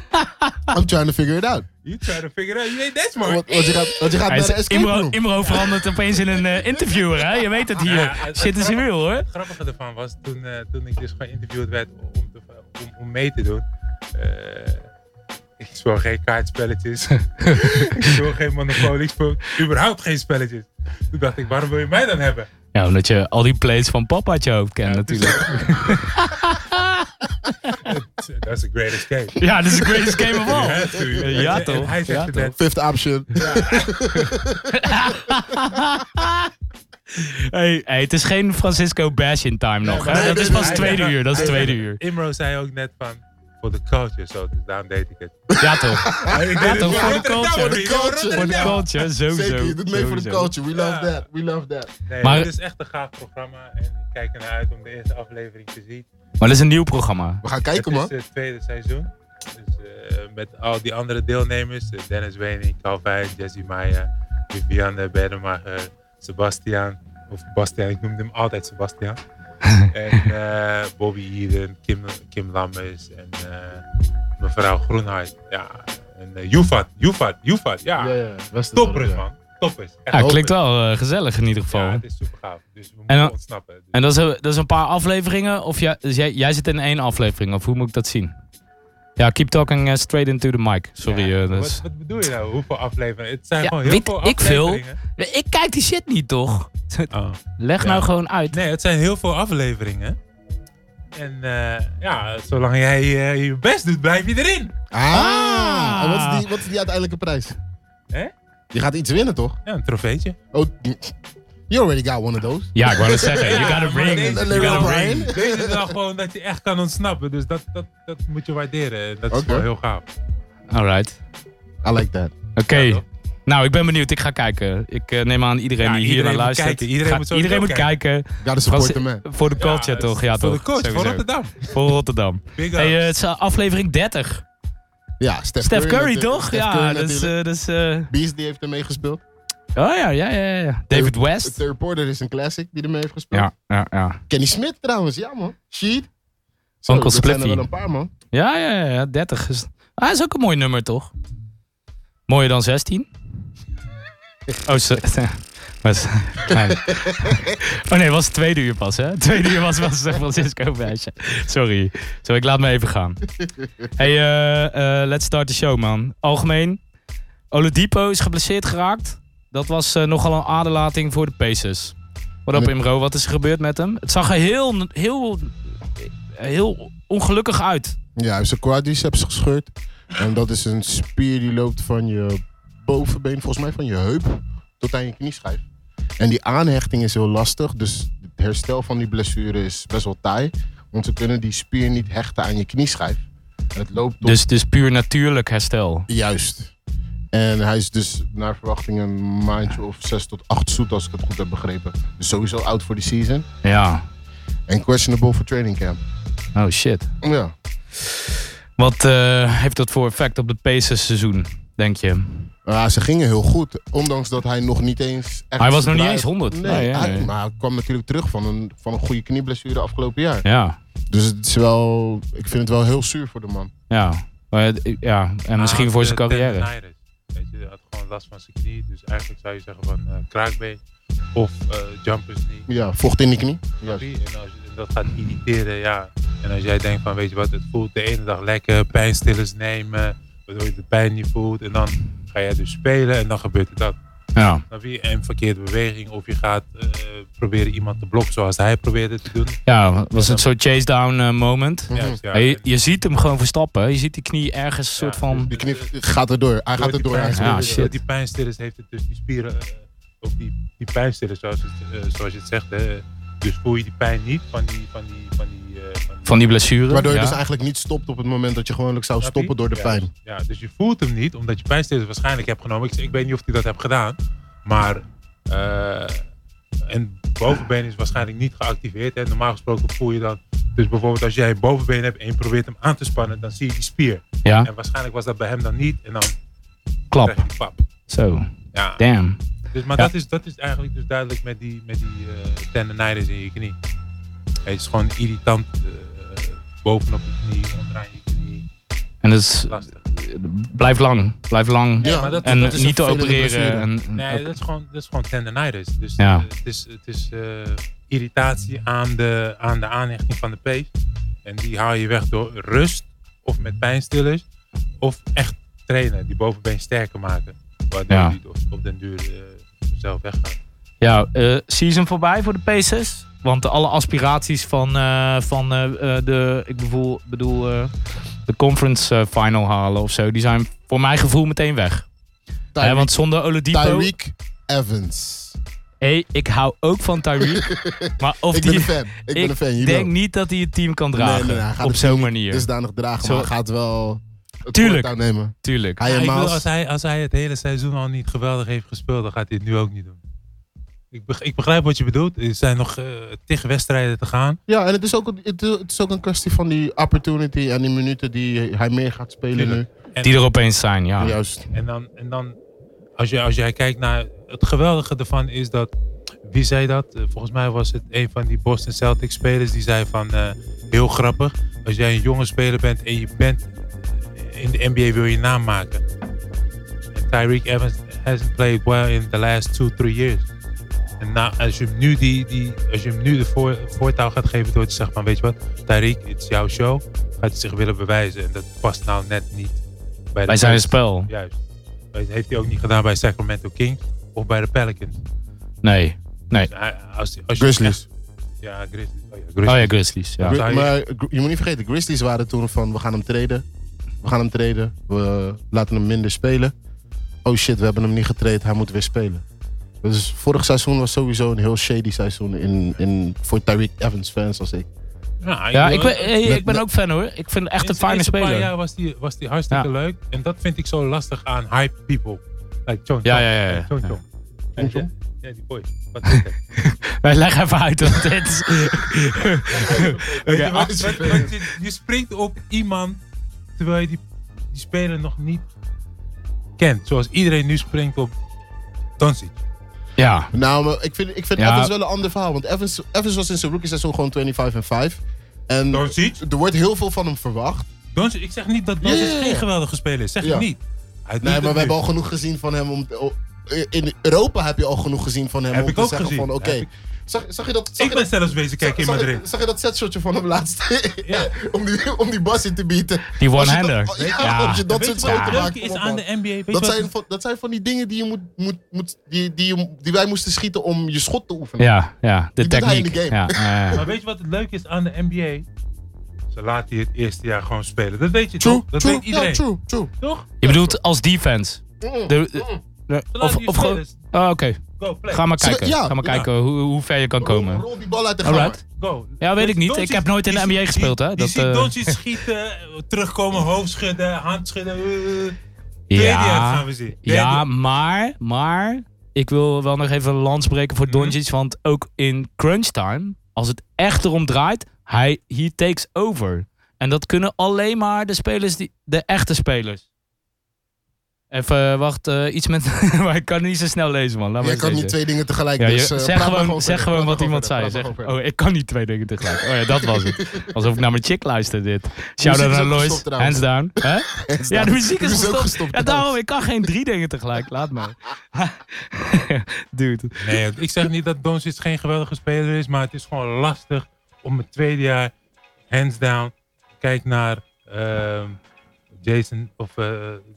Speaker 4: I'm trying to figure it out.
Speaker 5: You trying to figure it out. You ain't that smart.
Speaker 4: Want, want je gaat, want je gaat
Speaker 3: Hij
Speaker 4: naar de
Speaker 3: is,
Speaker 4: escape
Speaker 3: Imro,
Speaker 4: room.
Speaker 3: Imro verandert opeens in een eh, interviewer, hè? Je weet het
Speaker 5: Ja,
Speaker 3: hier.
Speaker 5: het-
Speaker 3: Shit is
Speaker 5: het-
Speaker 3: real, hoor.
Speaker 5: Het grappige ervan was, toen, eh, toen ik dus geïnterviewd werd om, te, om, om mee te doen. eh, ik speel geen kaartspelletjes. ik speel geen Monopoly. Ik speel überhaupt geen spelletjes. Toen dacht ik, waarom wil je mij dan hebben?
Speaker 3: Ja, omdat je al die plays van papa uit je hoofd kent, natuurlijk.
Speaker 5: That's a great escape.
Speaker 3: Ja, dit is the greatest game of all.
Speaker 5: Ja,
Speaker 3: Ja,
Speaker 5: en- en
Speaker 3: toch?
Speaker 5: Hij
Speaker 3: Ja,
Speaker 5: zegt net,
Speaker 4: Fifth option.
Speaker 3: Hey, hey, het is geen Francisco Bash in time nog, hè?
Speaker 4: nee,
Speaker 3: Dat
Speaker 4: nee,
Speaker 3: is
Speaker 4: nee,
Speaker 3: pas
Speaker 4: nee,
Speaker 3: tweede
Speaker 5: nee,
Speaker 3: uur, dat is
Speaker 5: Hij
Speaker 3: tweede
Speaker 5: zei-
Speaker 3: uur.
Speaker 5: Imro zei ook net van, voor de culture. Zo, dus daarom deed ik het.
Speaker 3: Ja, toch?
Speaker 5: Ik
Speaker 3: Ja,
Speaker 5: deed het
Speaker 3: toch, voor de
Speaker 5: Rotterdam,
Speaker 3: culture.
Speaker 5: hoor. Ik
Speaker 4: Voor de
Speaker 5: wil
Speaker 4: culture.
Speaker 3: Voor de
Speaker 5: Rotterdam.
Speaker 3: culture, sowieso.
Speaker 4: Zeker, je doet mee voor de
Speaker 3: Sowieso.
Speaker 4: culture. We love
Speaker 5: Ja.
Speaker 4: that. We love that.
Speaker 5: Nee,
Speaker 3: Maar-
Speaker 5: het is echt een gaaf programma. En ik kijk ernaar uit om de eerste aflevering te zien.
Speaker 3: Maar dat is een nieuw programma.
Speaker 4: We gaan kijken, man.
Speaker 5: Het is het tweede seizoen. Dus, eh, met al die andere deelnemers. eh, Dennis Wening, Calvin, Jesse Maya, Viviane Bedemacher, Sebastian. Of Bastian, ik noemde hem altijd Sebastian. en eh, Bobby Eden, Kim, Kim Lammers en eh, mevrouw Groenheid. Ja, en eh Jufat, Jufat, Jufat. Ja,
Speaker 4: best
Speaker 5: toppers man. Toppers. Echt
Speaker 3: Ja,
Speaker 5: toppers.
Speaker 3: klinkt wel eh, gezellig in ieder
Speaker 5: Ja,
Speaker 3: geval.
Speaker 5: het is super gaaf. Dus we
Speaker 3: dan-
Speaker 5: moeten ontsnappen. Dus-
Speaker 3: En dat is, een- dat is een paar afleveringen? Of jij, dus jij, jij zit in één aflevering, of hoe moet ik dat zien? Ja, keep talking eh, straight into the mic. Sorry.
Speaker 5: Ja,
Speaker 3: eh, dat
Speaker 5: wat,
Speaker 3: is-
Speaker 5: wat bedoel je nou? Hoeveel afleveringen? Het zijn
Speaker 3: Ja,
Speaker 5: gewoon heel
Speaker 3: weet
Speaker 5: veel
Speaker 3: ik veel.
Speaker 5: afleveringen.
Speaker 3: Ik kijk die shit niet, toch? Leg
Speaker 5: Ja.
Speaker 3: nou gewoon uit.
Speaker 5: Nee, het zijn heel veel afleveringen. En eh, ja, zolang jij eh, je best doet, blijf je erin.
Speaker 4: Ah! En wat is, die, wat is die uiteindelijke prijs?
Speaker 5: Hè?
Speaker 4: Je gaat iets winnen, toch?
Speaker 5: Ja, een trofeetje.
Speaker 4: Oh, you already got one of those.
Speaker 3: Ja, ik wou het zeggen. You got a
Speaker 5: maar
Speaker 3: ring.
Speaker 5: Deze,
Speaker 4: Een
Speaker 5: you
Speaker 4: Larry
Speaker 5: got a
Speaker 4: O'Brien.
Speaker 5: ring. Deze is dan gewoon dat je echt kan ontsnappen. Dus dat, dat, dat moet je waarderen. Dat is
Speaker 4: Oké.
Speaker 5: wel heel gaaf.
Speaker 3: Alright.
Speaker 4: I like that.
Speaker 3: Oké.
Speaker 5: Ja, toch?
Speaker 3: nou, ik ben benieuwd. Ik ga kijken. Ik eh, neem aan iedereen
Speaker 5: Ja,
Speaker 3: die hier
Speaker 5: iedereen
Speaker 3: naar
Speaker 5: moet
Speaker 3: luistert.
Speaker 5: kijken. Iedereen
Speaker 3: gaat-
Speaker 5: moet sowieso
Speaker 3: iedereen moet kijken.
Speaker 4: Gotta support the man.
Speaker 3: Voor de culture,
Speaker 5: het-
Speaker 3: toch? Ja,
Speaker 5: voor
Speaker 3: toch?
Speaker 5: de coach, voor
Speaker 3: Sowieso.
Speaker 5: Rotterdam.
Speaker 3: Voor Rotterdam.
Speaker 5: Big
Speaker 3: Hey, eh,
Speaker 5: ups.
Speaker 3: het is aflevering 30.
Speaker 4: Ja, Steph,
Speaker 3: Steph Curry,
Speaker 4: natuurlijk.
Speaker 3: toch?
Speaker 4: Steph
Speaker 3: ja,
Speaker 4: Curry
Speaker 3: dat is...
Speaker 4: natuurlijk.
Speaker 3: eh, dat is, eh,
Speaker 4: Beast die heeft ermee gespeeld.
Speaker 3: oh ja, ja, ja, ja. David West.
Speaker 4: The Reporter is een classic die ermee heeft gespeeld.
Speaker 3: Ja, ja, ja.
Speaker 4: Kenny Smith trouwens, ja man. Sheet.
Speaker 3: Uncle
Speaker 4: dat zijn er
Speaker 3: Spliffy.
Speaker 4: wel een paar man.
Speaker 3: Ja, ja, ja, ja. 30 is... Ah, is ook een mooi nummer, toch? Mooier dan 16? Oh, zo- was, klein. oh nee, was het tweede uur pas, hè? Tweede uur was wel San Francisco Bash. Sorry. Zo, ik laat me even gaan. Hey, eh, eh, let's start the show, man. Algemeen. Oladipo is geblesseerd geraakt. Dat was eh, nogal een aderlating voor de Pacers. Wat op
Speaker 4: Nee.
Speaker 3: Imro, wat is er gebeurd met hem? Het zag er heel, heel, heel ongelukkig uit.
Speaker 4: Ja, hij heeft zijn quadriceps gescheurd. En dat is een spier die loopt van je bovenbeen, volgens mij van je heup, tot aan je knieschijf. En die aanhechting is heel lastig, dus het herstel van die blessure is best wel taai. Want ze kunnen die spier niet hechten aan je knieschijf. Het loopt tot
Speaker 3: Dus, dus puur natuurlijk herstel.
Speaker 4: Juist. En hij is dus naar verwachting een maandje of zes tot acht zoet, als ik het goed heb begrepen. Dus sowieso out voor de season.
Speaker 3: Ja.
Speaker 4: En questionable voor training camp.
Speaker 3: Oh shit.
Speaker 4: Ja.
Speaker 3: Wat eh, heeft dat voor effect op het Pacers seizoen, denk je?
Speaker 4: Ja, ze gingen heel goed. Ondanks dat hij nog niet eens... Echt
Speaker 3: Hij was nog niet
Speaker 4: draai-
Speaker 3: eens 100.
Speaker 4: Nee,
Speaker 3: Nee,
Speaker 4: hij,
Speaker 3: nee.
Speaker 4: maar hij kwam natuurlijk terug van een, van een goede knieblessure afgelopen jaar.
Speaker 3: Ja.
Speaker 4: Dus het is wel... Ik vind het wel heel zuur voor de man.
Speaker 3: Ja. Maar het- ja. En misschien
Speaker 5: Hij
Speaker 3: voor
Speaker 5: had,
Speaker 3: zijn
Speaker 5: eh,
Speaker 3: carrière.
Speaker 5: tendinitis. Weet je, hij had gewoon last van zijn knie. Dus eigenlijk zou je zeggen van eh, kraakbeen of eh jumpers knee.
Speaker 4: Ja, vocht in die knie.
Speaker 5: Snap je? En als je dat gaat irriteren, ja, En als jij denkt van, weet je wat, het voelt de ene dag lekker, pijnstillers nemen, waardoor je de pijn niet voelt. En dan ga jij dus spelen en dan gebeurt er dat.
Speaker 3: Ja.
Speaker 5: Dan heb je een verkeerde beweging of je gaat eh, proberen iemand te blokken zoals hij probeerde te doen.
Speaker 4: Mhm.
Speaker 3: ja, was het zo'n chase-down eh, moment.
Speaker 5: Juist, ja.
Speaker 3: Ja, je, je ziet hem gewoon verstappen. Je ziet die knie ergens een soort
Speaker 5: Ja, dus, eh,
Speaker 3: van...
Speaker 4: Die knie gaat erdoor. Hij gaat
Speaker 5: die
Speaker 4: erdoor. Hij
Speaker 5: pijn-
Speaker 4: gaat
Speaker 3: Ja,
Speaker 4: erdoor.
Speaker 3: shit.
Speaker 5: door Die pijnstillers heeft het dus die spieren, eh, of die, die pijnstillers zoals, het, eh, zoals je het zegt, hè. dus voel je die pijn niet van die... Van die, van die, eh, van die
Speaker 3: Van die blessure.
Speaker 4: Waardoor je
Speaker 3: ja.
Speaker 4: dus eigenlijk niet stopt op het moment dat je gewoonlijk zou
Speaker 5: Snap je?
Speaker 4: stoppen door
Speaker 5: Ja,
Speaker 4: de pijn.
Speaker 5: dus- Ja, dus je voelt hem niet, omdat je pijnstillers waarschijnlijk hebt genomen. Ik, ik weet niet of hij dat heeft gedaan, maar... eh, en bovenbeen is waarschijnlijk niet geactiveerd. Hè. Normaal gesproken voel je dan... Dus bijvoorbeeld als jij een bovenbeen hebt en je probeert hem aan te spannen, dan zie je die spier.
Speaker 3: Ja,
Speaker 5: En waarschijnlijk was dat bij hem dan niet en dan
Speaker 3: klap.
Speaker 5: krijg je die pap.
Speaker 3: Zo,
Speaker 5: Ja.
Speaker 3: damn.
Speaker 5: Dus, maar
Speaker 3: Ja.
Speaker 5: dat, is, dat is eigenlijk dus duidelijk met die, met die eh, tendinitis in je knie. Het is gewoon irritant eh, bovenop je knie, onderaan je knie.
Speaker 3: En het is,
Speaker 5: Lastig.
Speaker 3: blijf lang. Blijf lang.
Speaker 4: Ja,
Speaker 5: Ja, maar dat,
Speaker 3: en
Speaker 5: dat is
Speaker 3: niet te
Speaker 4: vervelende
Speaker 3: opereren.
Speaker 4: blessure.
Speaker 3: En,
Speaker 5: Nee, dat, is gewoon, dat is gewoon tendinitis. Dus
Speaker 3: Ja.
Speaker 5: eh, het is, het is eh, irritatie aan de, aan de aanhechting van de pees. En die haal je weg door rust of met pijnstillers. Of echt trainen, die bovenbeen sterker maken. Waardoor
Speaker 3: Ja.
Speaker 5: die op, op den duur eh, zelf weggaat.
Speaker 3: Ja, eh, season voorbij voor de Pacers. Want alle aspiraties van, eh, van eh, eh, de, ik bedoel, bedoel eh, de conference eh, final halen of zo, die zijn voor mijn gevoel meteen weg. Hè,
Speaker 4: Tyreek-
Speaker 3: want zonder Oladipo,
Speaker 4: Tyreek Evans.
Speaker 3: hey, ik hou ook van Tyreek, maar of
Speaker 4: Ik
Speaker 3: die,
Speaker 4: ben een fan. Ik ben
Speaker 3: ik
Speaker 4: een fan. You
Speaker 3: denk
Speaker 4: know.
Speaker 3: niet dat hij het team kan
Speaker 4: Nee, nee,
Speaker 3: dragen
Speaker 4: nee, hij gaat
Speaker 3: op
Speaker 4: het Dus-
Speaker 3: zo'n
Speaker 4: team
Speaker 3: manier.
Speaker 4: Dusdanig dragen, maar
Speaker 3: Zo-
Speaker 4: hij gaat wel het
Speaker 3: Tuurlijk.
Speaker 4: voortouw nemen.
Speaker 3: Tuurlijk.
Speaker 4: Hij en
Speaker 5: Ja, ik bedoel,
Speaker 4: Miles.
Speaker 5: als, hij, als hij het hele seizoen al niet geweldig heeft gespeeld, dan gaat hij het nu ook niet doen. Ik, beg- ik begrijp wat je bedoelt. Er zijn nog eh tig wedstrijden te gaan.
Speaker 4: Ja, en het is, ook, een- het, het is ook een kwestie van die opportunity en die minuten die hij meer gaat spelen
Speaker 5: Tuurlijk. En,
Speaker 3: Die er opeens zijn, ja.
Speaker 4: nu. Juist.
Speaker 5: en dan, en dan als, je, als jij kijkt naar het geweldige ervan is dat, wie zei dat? Eh, Volgens mij was het een van die Boston Celtics spelers die zei van, eh, heel grappig, als jij een jonge speler bent en je bent eh, in de NBA wil je naam maken. En Tyreek Evans hasn't played well in the last two, three years. En na, als je hem nu, die, die, als je hem nu de voor, voortouw gaat geven door te zeggen van, weet je wat, Tyreek, het is jouw show, gaat hij zich willen bewijzen. En dat past nou net niet bij, de
Speaker 3: Bij zijn
Speaker 5: Celtics.
Speaker 3: spel.
Speaker 5: Juist. Dat heeft hij ook niet gedaan bij Sacramento Kings of bij de Pelicans.
Speaker 3: Nee. Nee.
Speaker 5: Dus hij- als, als je
Speaker 4: Grizzlies.
Speaker 5: echt- ja, Grizzlies. Oh ja,
Speaker 3: Oh
Speaker 5: Grizzlies.
Speaker 3: ja, Grizzlies. Ja.
Speaker 4: Gri-
Speaker 5: Zou je-
Speaker 4: Maar gr- je moet niet vergeten, Grizzlies waren toen van we gaan hem treden. We gaan hem treden. We laten hem minder spelen. Oh shit, we hebben hem niet getraind. Hij moet weer spelen. Dus vorig seizoen was sowieso een heel shady seizoen in, in, voor Tyreek Evans fans als ik.
Speaker 5: Nou,
Speaker 3: Ja,
Speaker 5: bedoel,
Speaker 3: ik ben, hey,
Speaker 4: Met-
Speaker 3: ik ben
Speaker 4: met-
Speaker 3: ook fan hoor. Ik vind het echt
Speaker 5: in
Speaker 3: een
Speaker 5: zijn
Speaker 3: fijne
Speaker 5: eerste paar
Speaker 3: speler.
Speaker 5: jaar was die, was die hartstikke
Speaker 3: Ja.
Speaker 5: leuk. En dat vind ik zo lastig aan hype people. Like John
Speaker 3: Ja,
Speaker 5: Chong.
Speaker 3: ja, ja, ja.
Speaker 5: John
Speaker 3: Ja.
Speaker 5: Chong.
Speaker 4: John
Speaker 5: Weet je? Ja, die boy. Wat is dat?
Speaker 3: Wij leggen even uit wat dit is.
Speaker 5: Weet je
Speaker 3: Oké, ah.
Speaker 5: wat- wat- wat je- Je springt op iemand terwijl je die, die speler nog niet kent. Zoals iedereen nu springt op Doncic.
Speaker 3: Ja,
Speaker 4: Nou, maar ik vind, ik vind
Speaker 3: Ja.
Speaker 4: Evans wel een ander verhaal. Want Evans, Evans was in zijn rookie seizoen gewoon 25 en 5. En
Speaker 5: Doncic?
Speaker 4: er wordt heel veel van hem verwacht.
Speaker 5: Doncic, ik zeg niet dat Doncic
Speaker 4: Ja, ja, ja.
Speaker 5: geen geweldige speler is. Zeg
Speaker 4: Ja.
Speaker 5: ik niet. Hij doet
Speaker 4: Nee,
Speaker 5: het
Speaker 4: maar we
Speaker 5: nu.
Speaker 4: hebben al genoeg gezien van hem. Om, o- in Europa heb je al genoeg gezien van hem
Speaker 5: Heb
Speaker 4: om
Speaker 5: ik
Speaker 4: te
Speaker 5: ook
Speaker 4: zeggen
Speaker 5: gezien.
Speaker 4: van oké.
Speaker 5: Heb ik-
Speaker 4: Zag, zag je dat? Zag
Speaker 5: Ik
Speaker 4: je
Speaker 5: ben
Speaker 4: dat-
Speaker 5: zelfs wezen kijken in
Speaker 4: zag je-
Speaker 5: Madrid.
Speaker 4: Zag je dat setshotje van hem laatst?
Speaker 5: Ja.
Speaker 4: om die, om die bas in te bieden.
Speaker 3: die
Speaker 4: Als je dat- oh,
Speaker 3: one-hander.
Speaker 4: Ja, als je dat
Speaker 5: Weet
Speaker 4: soort
Speaker 5: je wat
Speaker 4: schoten
Speaker 5: het
Speaker 4: maakt.
Speaker 5: leuke is
Speaker 4: kom op,
Speaker 5: aan
Speaker 4: man.
Speaker 5: de NBA? Weet je
Speaker 4: Dat
Speaker 5: wat-
Speaker 4: zijn, van, dat zijn van die dingen die, je moet, moet, moet, die, die, je- die wij moesten schieten om je schot te oefenen.
Speaker 3: Ja, ja, de
Speaker 4: Die doet hij in
Speaker 3: techniek.
Speaker 4: de
Speaker 3: Ja,
Speaker 4: game.
Speaker 3: ja, ja.
Speaker 5: Maar weet je wat het leuke is aan de NBA? Ze laten je het eerste jaar gewoon spelen. Dat weet je
Speaker 4: True,
Speaker 5: toch? Dat
Speaker 4: true,
Speaker 5: weet iedereen.
Speaker 4: ja, true, true.
Speaker 5: Toch?
Speaker 3: Je bedoelt als defense.
Speaker 4: Mm.
Speaker 3: De- de- de-
Speaker 5: Ze
Speaker 3: of
Speaker 5: laten je
Speaker 3: of gewoon.
Speaker 5: spelers-
Speaker 3: Oh, Oké,
Speaker 5: Go, play.
Speaker 3: ga maar
Speaker 4: Ze-
Speaker 3: kijken.
Speaker 4: ja,
Speaker 3: Ga maar
Speaker 5: ja.
Speaker 3: kijken hoe, hoe ver je kan komen.
Speaker 4: Rol die bal uit de gang.
Speaker 3: Alright.
Speaker 5: Go.
Speaker 3: Ja, weet ik niet.
Speaker 5: Doncic-
Speaker 3: Ik heb nooit in de
Speaker 5: die
Speaker 3: NBA
Speaker 5: ziet-
Speaker 3: gespeeld, hè.
Speaker 5: Die,
Speaker 3: Dat,
Speaker 5: die ziet
Speaker 3: eh,
Speaker 5: Doncic schieten, terugkomen, hoofd schudden, hand schudden. eh, Tweede jaar gaan
Speaker 3: Ja,
Speaker 5: we zien. Derde
Speaker 3: ja maar, maar. Ik wil wel nog even een lans breken voor Doncic. Want ook in crunch time, als het echt erom draait, hij he takes over. En dat kunnen alleen maar de spelers, die, de echte spelers. Even, wacht, eh, iets met... maar ik kan niet zo snel lezen, man. Laat maar
Speaker 4: Jij
Speaker 3: eens
Speaker 4: kan niet
Speaker 3: lezen.
Speaker 4: twee dingen tegelijk.
Speaker 3: Ja, je-
Speaker 4: dus, eh,
Speaker 3: zeg
Speaker 4: praat maar
Speaker 3: gewoon, zeg
Speaker 4: verder,
Speaker 3: gewoon
Speaker 4: praat
Speaker 3: wat
Speaker 4: maar
Speaker 3: iemand
Speaker 4: verder,
Speaker 3: zei.
Speaker 4: praat maar
Speaker 3: Zeg,
Speaker 4: gewoon
Speaker 3: oh, ik kan niet twee dingen tegelijk. Oh ja, dat was het. Alsof ik naar mijn chick luister dit. Shout out
Speaker 4: muziek is
Speaker 3: naar
Speaker 4: ook
Speaker 3: Lois.
Speaker 4: gestopt trouwens.
Speaker 3: Hands down. Hè? Oh. Ja, de muziek is
Speaker 4: Die is ook
Speaker 3: gestopt.
Speaker 4: gestopt
Speaker 3: ja,
Speaker 4: trouwens.
Speaker 3: daarom, ik kan geen drie dingen tegelijk. Laat maar. Dude.
Speaker 5: Nee, ik zeg niet dat Doncic geen geweldige speler is, maar het is gewoon lastig om het tweede jaar hands down. Kijk naar ehm, Jason of eh,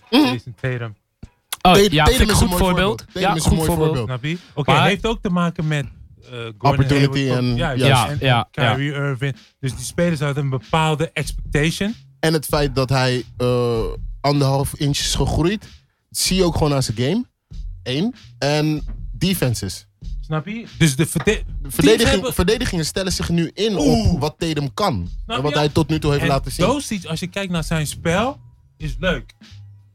Speaker 5: Jason Tatum.
Speaker 3: Oh,
Speaker 4: Tatum-
Speaker 3: ja,
Speaker 4: Tatum
Speaker 3: vind ik
Speaker 4: is
Speaker 3: een
Speaker 4: een
Speaker 3: goed
Speaker 4: mooi
Speaker 3: voorbeeld.
Speaker 4: voorbeeld.
Speaker 3: Ja,
Speaker 4: Tatum is een
Speaker 3: goed
Speaker 4: mooi
Speaker 3: voorbeeld.
Speaker 4: voorbeeld.
Speaker 5: Snap je? Oké,
Speaker 3: Maar-
Speaker 5: heeft ook te maken met eh Gordon
Speaker 4: Opportunity
Speaker 5: Hayward,
Speaker 4: en-
Speaker 5: ja,
Speaker 3: juist.
Speaker 5: en-
Speaker 3: Ja,
Speaker 5: en
Speaker 3: ja,
Speaker 5: Kyrie Irving. Dus die spelers hadden een bepaalde expectation.
Speaker 4: En het feit dat hij eh, anderhalf inch is gegroeid, zie je ook gewoon aan zijn game. Eén. En defenses.
Speaker 5: Snap je? Dus de verde- teams
Speaker 4: Verdediging,
Speaker 5: hebben-
Speaker 4: Verdedigingen stellen zich nu in
Speaker 5: Oeh.
Speaker 4: op wat Tatum kan.
Speaker 5: Snap
Speaker 4: en wat
Speaker 5: je?
Speaker 4: hij tot nu toe heeft
Speaker 5: En
Speaker 4: laten zien.
Speaker 5: Doncic, als je kijkt naar zijn spel, is leuk.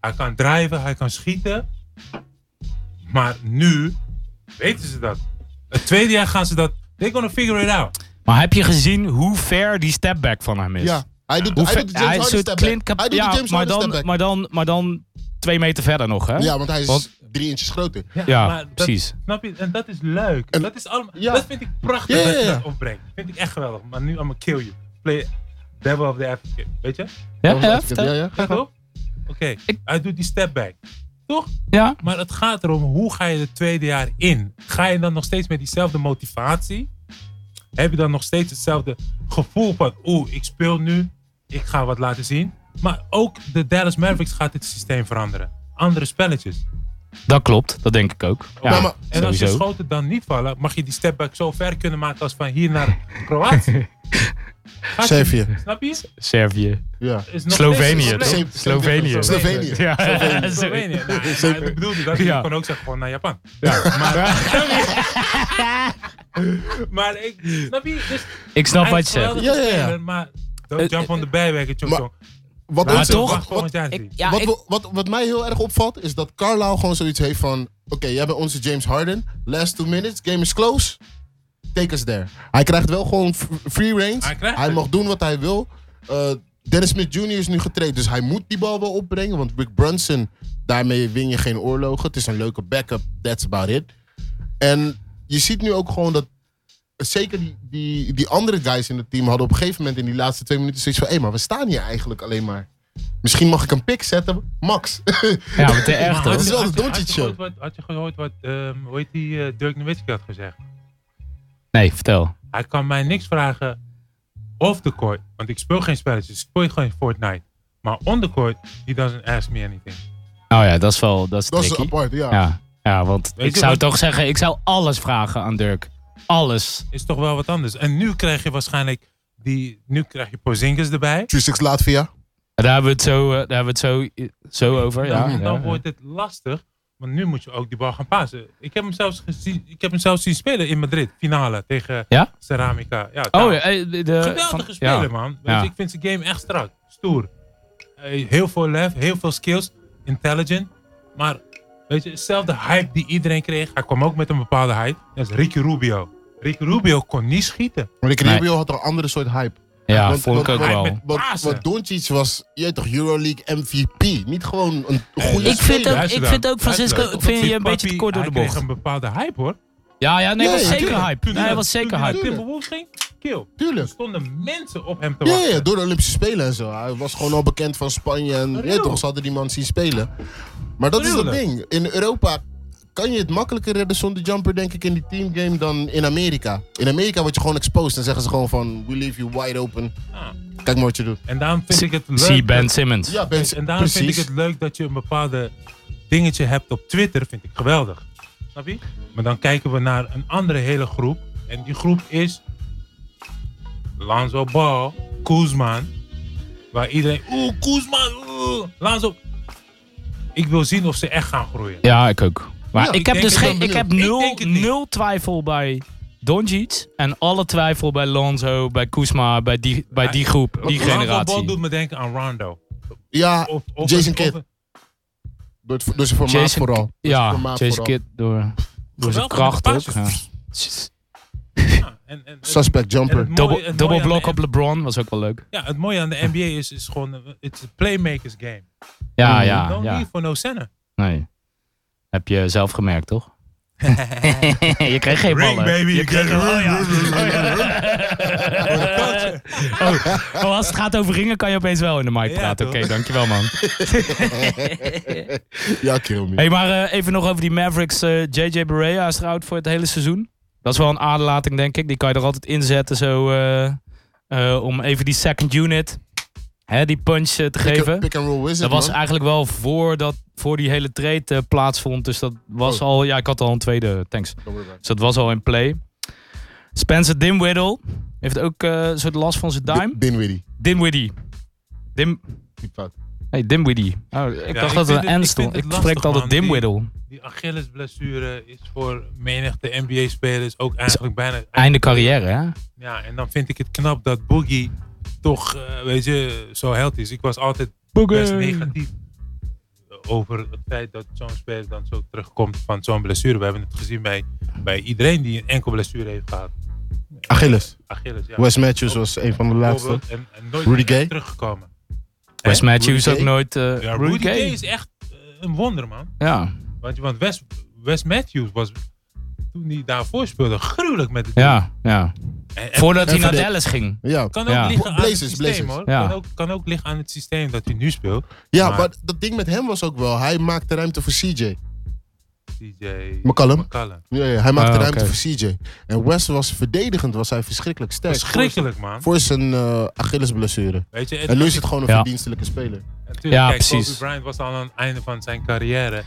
Speaker 5: Hij kan drijven, hij kan schieten. Maar nu weten ze dat. Het tweede jaar gaan ze dat. They're gonna figure it out.
Speaker 3: Maar heb je gezien hoe ver die stepback van hem is?
Speaker 4: Ja, hij doet,
Speaker 3: Hoe
Speaker 4: hij
Speaker 3: ver-
Speaker 4: doet de James
Speaker 3: hij is
Speaker 4: Harden
Speaker 3: een soort
Speaker 4: step back.
Speaker 3: Clint Cap-
Speaker 4: Hij doet
Speaker 3: ja,
Speaker 4: de James
Speaker 3: maar
Speaker 4: Harden
Speaker 3: dan,
Speaker 4: step back.
Speaker 3: maar, dan, maar dan twee meter verder nog, hè?
Speaker 4: Ja, want hij is
Speaker 3: Want-
Speaker 4: drie inches groter.
Speaker 3: Ja,
Speaker 5: maar dat-
Speaker 3: precies.
Speaker 5: Snap je? En dat is leuk.
Speaker 4: En-
Speaker 5: dat, is allemaal,
Speaker 4: ja.
Speaker 5: dat vind ik prachtig
Speaker 4: Ja, ja,
Speaker 5: dat je
Speaker 4: ja.
Speaker 5: dat opbrengt. Vind ik echt geweldig. Maar nu, I'm gonna kill you. Play devil of the advocate. Weet je?
Speaker 3: Ja,
Speaker 4: Oh,
Speaker 3: ja,
Speaker 4: ja,
Speaker 3: vertel.
Speaker 4: ja.
Speaker 5: Gaat op? Oké,
Speaker 3: Ik-
Speaker 5: hij doet die step back. Toch?
Speaker 3: ja.
Speaker 5: Maar het gaat erom, hoe ga je het tweede jaar in? Ga je dan nog steeds met diezelfde motivatie? Heb je dan nog steeds hetzelfde gevoel van, oeh, ik speel nu, ik ga wat laten zien? Maar ook de Dallas Mavericks gaat dit systeem veranderen. Andere spelletjes.
Speaker 3: Dat klopt, dat denk ik ook. Ja,
Speaker 4: Ja, maar-
Speaker 5: En als je
Speaker 3: sowieso.
Speaker 5: schoten dan niet vallen, mag je die stepback zo ver kunnen maken als van hier naar Kroatië. Gaat je-
Speaker 4: Servië.
Speaker 5: Snap je?
Speaker 3: Servië.
Speaker 4: Ja.
Speaker 5: Is nog steeds
Speaker 3: Slovenië,
Speaker 5: een
Speaker 3: toch?
Speaker 5: probleem.
Speaker 4: Slovenië.
Speaker 3: Slovenië.
Speaker 4: Slovenië.
Speaker 3: Ja,
Speaker 5: Slovenië. Nou, nou,
Speaker 4: Zeker.
Speaker 5: dat bedoelde ik. Dat
Speaker 3: Ja.
Speaker 5: Ik kon ook zeggen gewoon naar Japan. Maar, maar ik, snap je? Dus
Speaker 3: Ik snap
Speaker 5: hij
Speaker 3: wat
Speaker 5: is
Speaker 3: je zegt.
Speaker 5: geweldig
Speaker 4: Ja, ja, ja.
Speaker 5: speler, Maar don't jump on the bandwagon,
Speaker 4: Maar-
Speaker 5: Chokchong.
Speaker 4: Wat,
Speaker 3: Maar
Speaker 4: ook zo-
Speaker 3: Ah, toch-
Speaker 4: wat- wat-
Speaker 5: volgend jaar
Speaker 6: Ik,
Speaker 5: zien.
Speaker 6: ja,
Speaker 4: wat,
Speaker 6: ik,
Speaker 4: we- wat, wat mij heel erg opvalt, is dat Carlisle gewoon zoiets heeft van... Oké, jij bent onze James Harden. Last two minutes, game is close. Take us there. Hij krijgt wel gewoon f- free range.
Speaker 5: Hij krijgt het.
Speaker 4: mag doen wat hij wil. Eh, Dennis Smith Jr. is nu getraind, dus hij moet die bal wel opbrengen. Want Rick Brunson, daarmee win je geen oorlogen. Het is een leuke backup, that's about it. En je ziet nu ook gewoon dat... eh, Zeker die, die, die andere guys in het team hadden op een gegeven moment in die laatste twee minuten zoiets van... Hé, maar we staan hier eigenlijk alleen maar. Misschien mag ik een pick zetten. Max.
Speaker 3: Ja, maar te
Speaker 5: Maar
Speaker 3: erg
Speaker 4: Het
Speaker 3: toch?
Speaker 4: is wel
Speaker 5: had je-
Speaker 4: de
Speaker 5: had je
Speaker 4: Doncic
Speaker 5: gehoord wat- Had je gehoord wat, ehm, hoe heet die, eh, Dirk Nowitzki had gezegd?
Speaker 3: Nee, vertel.
Speaker 5: Hij kan mij niks vragen off the court, want ik speel geen spelletjes. Ik speel gewoon Fortnite. Maar on the court, he doesn't ask me anything.
Speaker 3: Nou ja, dat is wel dat is
Speaker 4: Dat is
Speaker 3: tricky.
Speaker 4: apart, ja.
Speaker 3: Ja, ja want
Speaker 5: Weet
Speaker 3: ik
Speaker 5: je
Speaker 3: zou
Speaker 5: wat-
Speaker 3: toch zeggen, ik zou alles vragen aan Dirk. Alles.
Speaker 5: Is toch wel wat anders. En nu krijg je waarschijnlijk die, nu krijg je Porzingis erbij.
Speaker 4: Tussex Latvia.
Speaker 3: Daar hebben we het zo, eh, daar hebben we het zo, zo over. Ja,
Speaker 5: dan, dan
Speaker 3: ja.
Speaker 5: wordt het lastig. Want nu moet je ook die bal gaan pasen. Ik heb hem zelfs, gezien, ik heb hem zelfs zien spelen in Madrid. Finale tegen
Speaker 3: Ja?
Speaker 5: Ceramica. Ja,
Speaker 3: Oh,
Speaker 5: daar.
Speaker 3: ja, eh, de, de-
Speaker 5: nou, Geweldige
Speaker 3: van-
Speaker 5: speler,
Speaker 3: ja.
Speaker 5: man. Weet
Speaker 3: Ja.
Speaker 5: je, ik vind zijn game echt strak. Stoer. Eh, heel veel lef, heel veel skills. Intelligent. Maar weet je, dezelfde hype die iedereen kreeg. Hij kwam ook met een bepaalde hype. Dat is Ricky Rubio. Ricky Rubio kon niet schieten.
Speaker 4: Ricky
Speaker 3: Nee.
Speaker 4: Rubio had er een andere soort hype.
Speaker 3: Ja,
Speaker 4: Want-
Speaker 3: vond ik
Speaker 4: want-
Speaker 3: ook
Speaker 5: want-
Speaker 3: wel.
Speaker 5: met-
Speaker 4: Want,
Speaker 5: Pasen.
Speaker 4: want Doncic was, je weet toch, Euroleague MVP. Niet gewoon een goede
Speaker 6: ik vind
Speaker 4: speler.
Speaker 6: ook,
Speaker 5: Luister
Speaker 6: ik
Speaker 5: dan.
Speaker 6: vind ook Francisco,
Speaker 5: Luister.
Speaker 6: ik vind je een
Speaker 5: Papi,
Speaker 6: beetje te kort door de
Speaker 5: Hij kreeg
Speaker 6: bocht.
Speaker 5: een bepaalde hype, hoor.
Speaker 3: Ja, ja, nee,
Speaker 4: Ja,
Speaker 3: was
Speaker 4: ja,
Speaker 3: zeker
Speaker 4: tuurlijk.
Speaker 3: hype. Nee,
Speaker 5: hij
Speaker 3: was zeker
Speaker 5: Toen
Speaker 3: hype.
Speaker 5: hij naar Timberwolves ging, kill. Er
Speaker 4: Tuurlijk.
Speaker 5: stonden mensen op hem te
Speaker 4: Ja,
Speaker 5: wachten.
Speaker 4: ja, door de Olympische Spelen en zo. Hij was gewoon al bekend van Spanje. En je weet toch, ze hadden die man zien spelen. Maar dat is het
Speaker 5: Tuurlijk.
Speaker 4: ding. In Europa kan je het makkelijker redden zonder jumper, denk ik, in die teamgame dan in Amerika. In Amerika word je gewoon exposed en zeggen ze gewoon van, we leave you wide open.
Speaker 5: Ah.
Speaker 4: Kijk maar wat je doet.
Speaker 5: En daarom vind ik het leuk.
Speaker 3: Zie Ben
Speaker 5: dat-
Speaker 3: Simmons.
Speaker 4: Ja, ben,
Speaker 5: en daarom
Speaker 4: precies.
Speaker 5: vind ik het leuk dat je een bepaalde dingetje hebt op Twitter. Vind ik geweldig. Snap je? Maar dan kijken we naar een andere hele groep. En die groep is Lanzo Ball, Koesman. Waar iedereen, oeh, Koesman, oeh, Lanzo. Ik wil zien of ze echt gaan groeien.
Speaker 3: Ja, ik ook. Maar
Speaker 4: Ja,
Speaker 3: ik,
Speaker 4: ik
Speaker 3: heb
Speaker 5: denk
Speaker 3: dus
Speaker 5: het
Speaker 3: geen,
Speaker 4: wel
Speaker 3: ik heb
Speaker 5: benieuwd. Ik
Speaker 3: nul,
Speaker 5: denk het niet.
Speaker 3: nul twijfel bij Doncic en alle twijfel bij Lonzo, bij Kuzma, bij die, bij die groep, die
Speaker 5: Lanzo Ball doet
Speaker 3: generatie.
Speaker 5: me denken aan Rondo.
Speaker 4: Ja,
Speaker 5: Of, of
Speaker 4: Jason
Speaker 5: of-
Speaker 4: Kidd. door, het, door zijn formaat
Speaker 3: Jason-
Speaker 4: vooral. Door zijn
Speaker 3: Ja,
Speaker 4: formaat
Speaker 3: Jason
Speaker 4: vooral.
Speaker 3: Kidd door, door zijn
Speaker 5: Geweldige
Speaker 3: kracht ook.
Speaker 5: passes.
Speaker 3: Ja.
Speaker 5: Ja, en- en-
Speaker 4: Suspect
Speaker 5: en het
Speaker 4: jumper.
Speaker 5: mooie- het
Speaker 3: Double,
Speaker 5: mooie
Speaker 3: double
Speaker 5: aan de
Speaker 3: block op LeBron was ook wel leuk.
Speaker 5: Ja, het mooie aan de NBA is, is gewoon, eh, it's a playmakers game.
Speaker 3: Ja,
Speaker 4: Mhm.
Speaker 3: ja,
Speaker 5: no
Speaker 3: ja.
Speaker 5: need for no center.
Speaker 3: Nee. Heb je zelf gemerkt, toch? je kreeg geen ballen. je kreeg
Speaker 5: get
Speaker 3: oh, ja.
Speaker 5: ring.
Speaker 3: oh, oh, als het gaat over ringen, kan je opeens wel in de mic
Speaker 5: Ja,
Speaker 3: praten.
Speaker 5: toch?
Speaker 3: Oké, dankjewel man.
Speaker 4: Ja, kill me.
Speaker 3: hey, maar eh, even nog over die Mavericks. eh, JJ Barea is eruit voor het hele seizoen. Dat is wel een aderlating, denk ik. Die kan je er altijd inzetten zo. eh, eh, om even die second unit, hè, die punch eh, te
Speaker 4: Pick,
Speaker 3: geven.
Speaker 4: and- pick and roll wizard,
Speaker 3: Dat was
Speaker 4: man.
Speaker 3: eigenlijk wel voordat voor die hele trade eh, plaatsvond. Dus dat was
Speaker 4: Oh.
Speaker 3: al. Ja, ik had al een tweede. Thanks. Dus dat was al in play. Spencer Dinwiddie heeft ook eh, een soort last van zijn duim.
Speaker 4: Din- Dinwiddie.
Speaker 3: Dinwiddie. Dim,
Speaker 4: Diep fout.
Speaker 3: nee, Dimwiddie. Oh, ik dacht
Speaker 5: vind
Speaker 3: dat het
Speaker 5: het-
Speaker 3: een N
Speaker 5: ik
Speaker 3: stond.
Speaker 5: vind het
Speaker 3: Ik spreek
Speaker 5: lastig,
Speaker 3: altijd
Speaker 5: man, die-
Speaker 3: Dimwiddle.
Speaker 5: Die Achillesblessure is voor menigte NBA-spelers ook eigenlijk bijna...
Speaker 3: Einde carrière, hè?
Speaker 5: Ja, en dan vind ik het knap dat Boogie toch, eh, weet je, zo healthy is. Ik was altijd best negatief over het feit dat zo'n speler dan zo terugkomt van zo'n blessure. We hebben het gezien bij, bij iedereen die een enkel blessure heeft gehad.
Speaker 6: Achilles.
Speaker 5: Achilles, ja.
Speaker 6: Wes Matthews was een van de laatste.
Speaker 5: Bijvoorbeeld, En, en nooit
Speaker 6: Rudy
Speaker 5: meer
Speaker 6: Gay.
Speaker 5: teruggekomen.
Speaker 3: West
Speaker 5: Hè?
Speaker 3: Matthews ook
Speaker 4: Gay?
Speaker 3: nooit. eh,
Speaker 5: Ja,
Speaker 3: Rudy Gay.
Speaker 5: is echt eh, een wonder, man.
Speaker 3: Ja,
Speaker 5: Want, want Wes, Wes Matthews was, toen hij daarvoor speelde, gruwelijk met het
Speaker 3: ja, ja.
Speaker 5: En- en
Speaker 3: Voordat hij
Speaker 4: en
Speaker 3: naar
Speaker 4: verdeed-
Speaker 3: Dallas ging.
Speaker 4: Ja,
Speaker 5: kan ook
Speaker 3: Ja.
Speaker 5: liggen aan
Speaker 4: Blazers,
Speaker 5: het systeem,
Speaker 4: Blazers.
Speaker 5: hoor.
Speaker 3: Ja.
Speaker 5: Kan, ook, kan ook liggen aan het systeem dat hij nu speelt.
Speaker 4: ja
Speaker 5: Maar-
Speaker 4: maar dat ding met hem was ook wel. Hij maakte ruimte voor CJ.
Speaker 5: DJ
Speaker 4: McCallum.
Speaker 5: McCallum.
Speaker 4: Ja, ja, hij maakte
Speaker 3: Ah,
Speaker 4: ruimte
Speaker 3: oké.
Speaker 4: voor CJ. En West was verdedigend, was hij verschrikkelijk sterk.
Speaker 5: Verschrikkelijk, man.
Speaker 4: Voor zijn eh, Achillesblessure.
Speaker 5: Weet je, het,
Speaker 4: En nu is het gewoon een
Speaker 3: Ja.
Speaker 4: verdienstelijke speler.
Speaker 5: natuurlijk,
Speaker 3: Ja,
Speaker 5: kijk,
Speaker 3: precies.
Speaker 5: Kobe Bryant was al aan het einde van zijn carrière.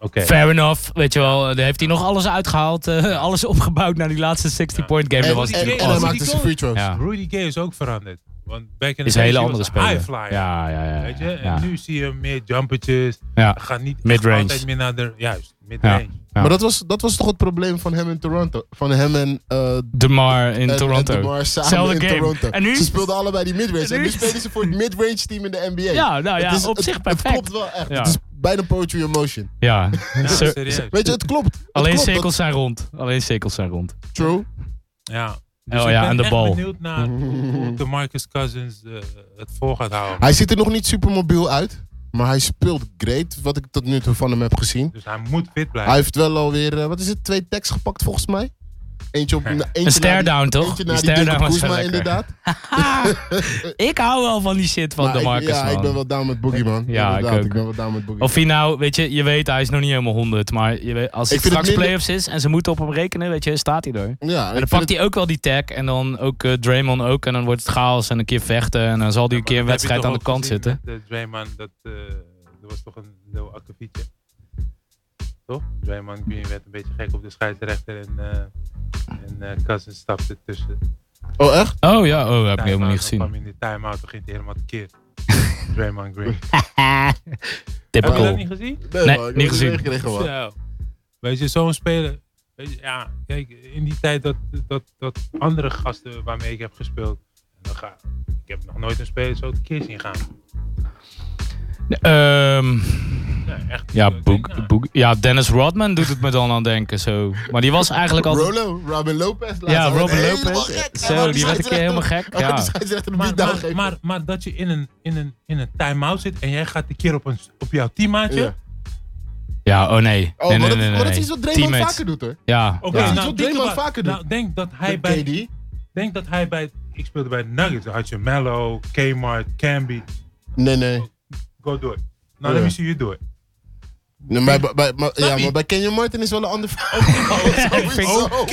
Speaker 5: Oké.
Speaker 3: Fair enough, weet je wel. Eh, Daar heeft hij nog alles uitgehaald. eh, alles opgebouwd naar die laatste 60-point game.
Speaker 4: En,
Speaker 3: Dat was
Speaker 4: en, en
Speaker 3: natuurlijk
Speaker 5: en
Speaker 4: hij
Speaker 3: awesome.
Speaker 4: maakte zijn free throws.
Speaker 3: Ja.
Speaker 5: Rudy Gay is ook veranderd. Want back in the
Speaker 3: Is een
Speaker 5: days,
Speaker 3: hele
Speaker 5: he
Speaker 3: andere
Speaker 5: was
Speaker 3: speler.
Speaker 5: High flyer.
Speaker 3: Ja, ja, ja.
Speaker 5: Weet je? En
Speaker 3: ja.
Speaker 5: nu zie je meer jumpertjes.
Speaker 3: Ja.
Speaker 5: Gaat niet echt
Speaker 3: Midrange.
Speaker 5: altijd meer naar de... Juist, midrange.
Speaker 3: Ja.
Speaker 4: Maar dat was, dat was toch het probleem van hem in Toronto. Van hem en, eh
Speaker 3: DeMar in
Speaker 4: en-
Speaker 3: Toronto.
Speaker 4: en DeMar samen
Speaker 3: Zelfde
Speaker 4: in
Speaker 3: game.
Speaker 4: Toronto.
Speaker 3: En nu?
Speaker 4: Ze speelden allebei die midrange.
Speaker 3: En
Speaker 4: En
Speaker 3: nu?
Speaker 4: nu spelen ze voor het midrange team in de NBA.
Speaker 3: ja, nou ja,
Speaker 4: Het is-
Speaker 3: op
Speaker 4: het-
Speaker 3: zich
Speaker 4: Het
Speaker 3: perfect.
Speaker 4: klopt wel echt.
Speaker 3: Ja.
Speaker 4: Het is bijna poetry in motion.
Speaker 3: Ja,
Speaker 5: Ja,
Speaker 3: Zo-
Speaker 5: serieus.
Speaker 4: Weet je, het klopt. Het
Speaker 3: alleen
Speaker 4: klopt,
Speaker 3: cirkels zijn rond. Alleen cirkels zijn rond.
Speaker 4: dat- True.
Speaker 5: Ja. Dus
Speaker 3: Oh
Speaker 5: ik
Speaker 3: ja,
Speaker 5: ben
Speaker 3: en de
Speaker 5: echt
Speaker 3: bal.
Speaker 5: benieuwd naar hoe de Marcus Cousins eh, het vol gaat houden.
Speaker 4: Hij ziet er nog niet super mobiel uit. Maar hij speelt great, wat ik tot nu toe van hem heb gezien.
Speaker 5: Dus hij moet fit blijven.
Speaker 4: Hij heeft wel alweer, eh, wat is het, twee tags gepakt volgens mij. Eentje op eentje
Speaker 3: Een
Speaker 4: naar die-
Speaker 3: stare-down, toch?
Speaker 4: Eentje
Speaker 3: Die
Speaker 4: naar die
Speaker 3: stare-down
Speaker 4: Duncan
Speaker 3: was wel
Speaker 4: Kuzma
Speaker 3: lekker.
Speaker 4: inderdaad.
Speaker 3: Ik hou wel van die shit van
Speaker 4: Maar ik-
Speaker 3: DeMarcus,
Speaker 4: ja, ik
Speaker 3: man.
Speaker 4: ben wel down met Boogie, man.
Speaker 3: Ja, ik
Speaker 4: Inderdaad,
Speaker 3: ook.
Speaker 4: ik ben wel down met Boogie.
Speaker 3: Of hij nou, weet je, je weet, hij is nog niet helemaal 100. Maar je weet, als
Speaker 4: Ik
Speaker 3: het
Speaker 4: vind het
Speaker 3: straks
Speaker 4: minder-
Speaker 3: playoffs is en ze moeten op hem rekenen, weet je, staat hij er.
Speaker 4: ja,
Speaker 3: En dan pakt hij ook wel die tag en dan ook eh, Draymond ook. En dan wordt het chaos en een keer vechten. En dan zal
Speaker 5: Ja,
Speaker 3: hij een
Speaker 5: maar
Speaker 3: keer een
Speaker 5: dat heb je
Speaker 3: wedstrijd
Speaker 5: toch
Speaker 3: aan de
Speaker 5: ook
Speaker 3: kant
Speaker 5: gezien
Speaker 3: zitten.
Speaker 5: Met, eh, Draymond, dat eh, er was toch een heel akkefietje. Toch? Draymond Green werd een beetje gek op de scheidsrechter en, eh en eh Cousins stapte tussen.
Speaker 4: Oh, echt?
Speaker 3: Oh ja, oh, dat heb ik helemaal niet
Speaker 5: Dan
Speaker 3: gezien.
Speaker 5: kwam in de time-out, toen ging hij helemaal tekeer. Draymond Green.
Speaker 3: Ah.
Speaker 5: Heb je dat
Speaker 3: Typical.
Speaker 5: niet gezien?
Speaker 3: Nee,
Speaker 4: ik heb
Speaker 3: niet
Speaker 4: het
Speaker 3: gezien.
Speaker 4: meegekregen, man.
Speaker 5: Zo. Weet Nou, je, zo'n speler. Weet je, ja, kijk, in die tijd dat, dat, dat andere gasten waarmee ik heb gespeeld. Dan ga, ik heb nog nooit een speler zo tekeer zien gaan.
Speaker 3: Ehm,
Speaker 5: Nee, echt.
Speaker 3: ja,
Speaker 5: Ik denk, nou,
Speaker 3: boek, boek, ja, Dennis Rodman doet het me dan aan denken. Zo. Maar die was eigenlijk altijd...
Speaker 4: Rolo, Robin Lopez. laatst.
Speaker 3: Ja,
Speaker 4: Hij werd
Speaker 3: Robin
Speaker 4: helemaal
Speaker 3: Lopez.
Speaker 4: gek. Hij wou
Speaker 3: Zo, die werd een keer helemaal gek.
Speaker 4: scheidsrechter- Oh, dus hij
Speaker 3: Ja.
Speaker 4: wou die scheidsrechter een
Speaker 5: Maar,
Speaker 4: beatdown
Speaker 5: maar,
Speaker 4: geven.
Speaker 5: maar, maar dat je in een, in een, in een time-out zit en jij gaat een keer op, een, op jouw teammaatje.
Speaker 4: Ja.
Speaker 3: Ja, oh nee.
Speaker 4: Oh,
Speaker 3: nee,
Speaker 4: maar,
Speaker 3: nee,
Speaker 4: dat,
Speaker 3: nee,
Speaker 4: maar dat is
Speaker 3: nee.
Speaker 4: iets wat Draymond
Speaker 3: Teammates.
Speaker 4: vaker doet, hoor.
Speaker 3: Ja,
Speaker 5: Oké,
Speaker 3: ja.
Speaker 4: is iets
Speaker 5: nou,
Speaker 4: wat
Speaker 5: denk,
Speaker 4: Draymond
Speaker 5: dat-
Speaker 4: vaker
Speaker 5: nou,
Speaker 4: doet.
Speaker 5: denk dat hij
Speaker 4: Met
Speaker 5: bij.
Speaker 4: KD.
Speaker 5: Denk dat hij bij. Ik speelde bij Nuggets. Dan had je Mello, Kmart, Camby.
Speaker 4: Nee, nee.
Speaker 5: Go door. Nou,
Speaker 4: Ja.
Speaker 5: let me see you do it.
Speaker 4: Nee, maar, bij- bij- maar- ja,
Speaker 5: Snap je?
Speaker 4: maar bij Kenyon Martin is wel een ander verhaal. Sowieso, man.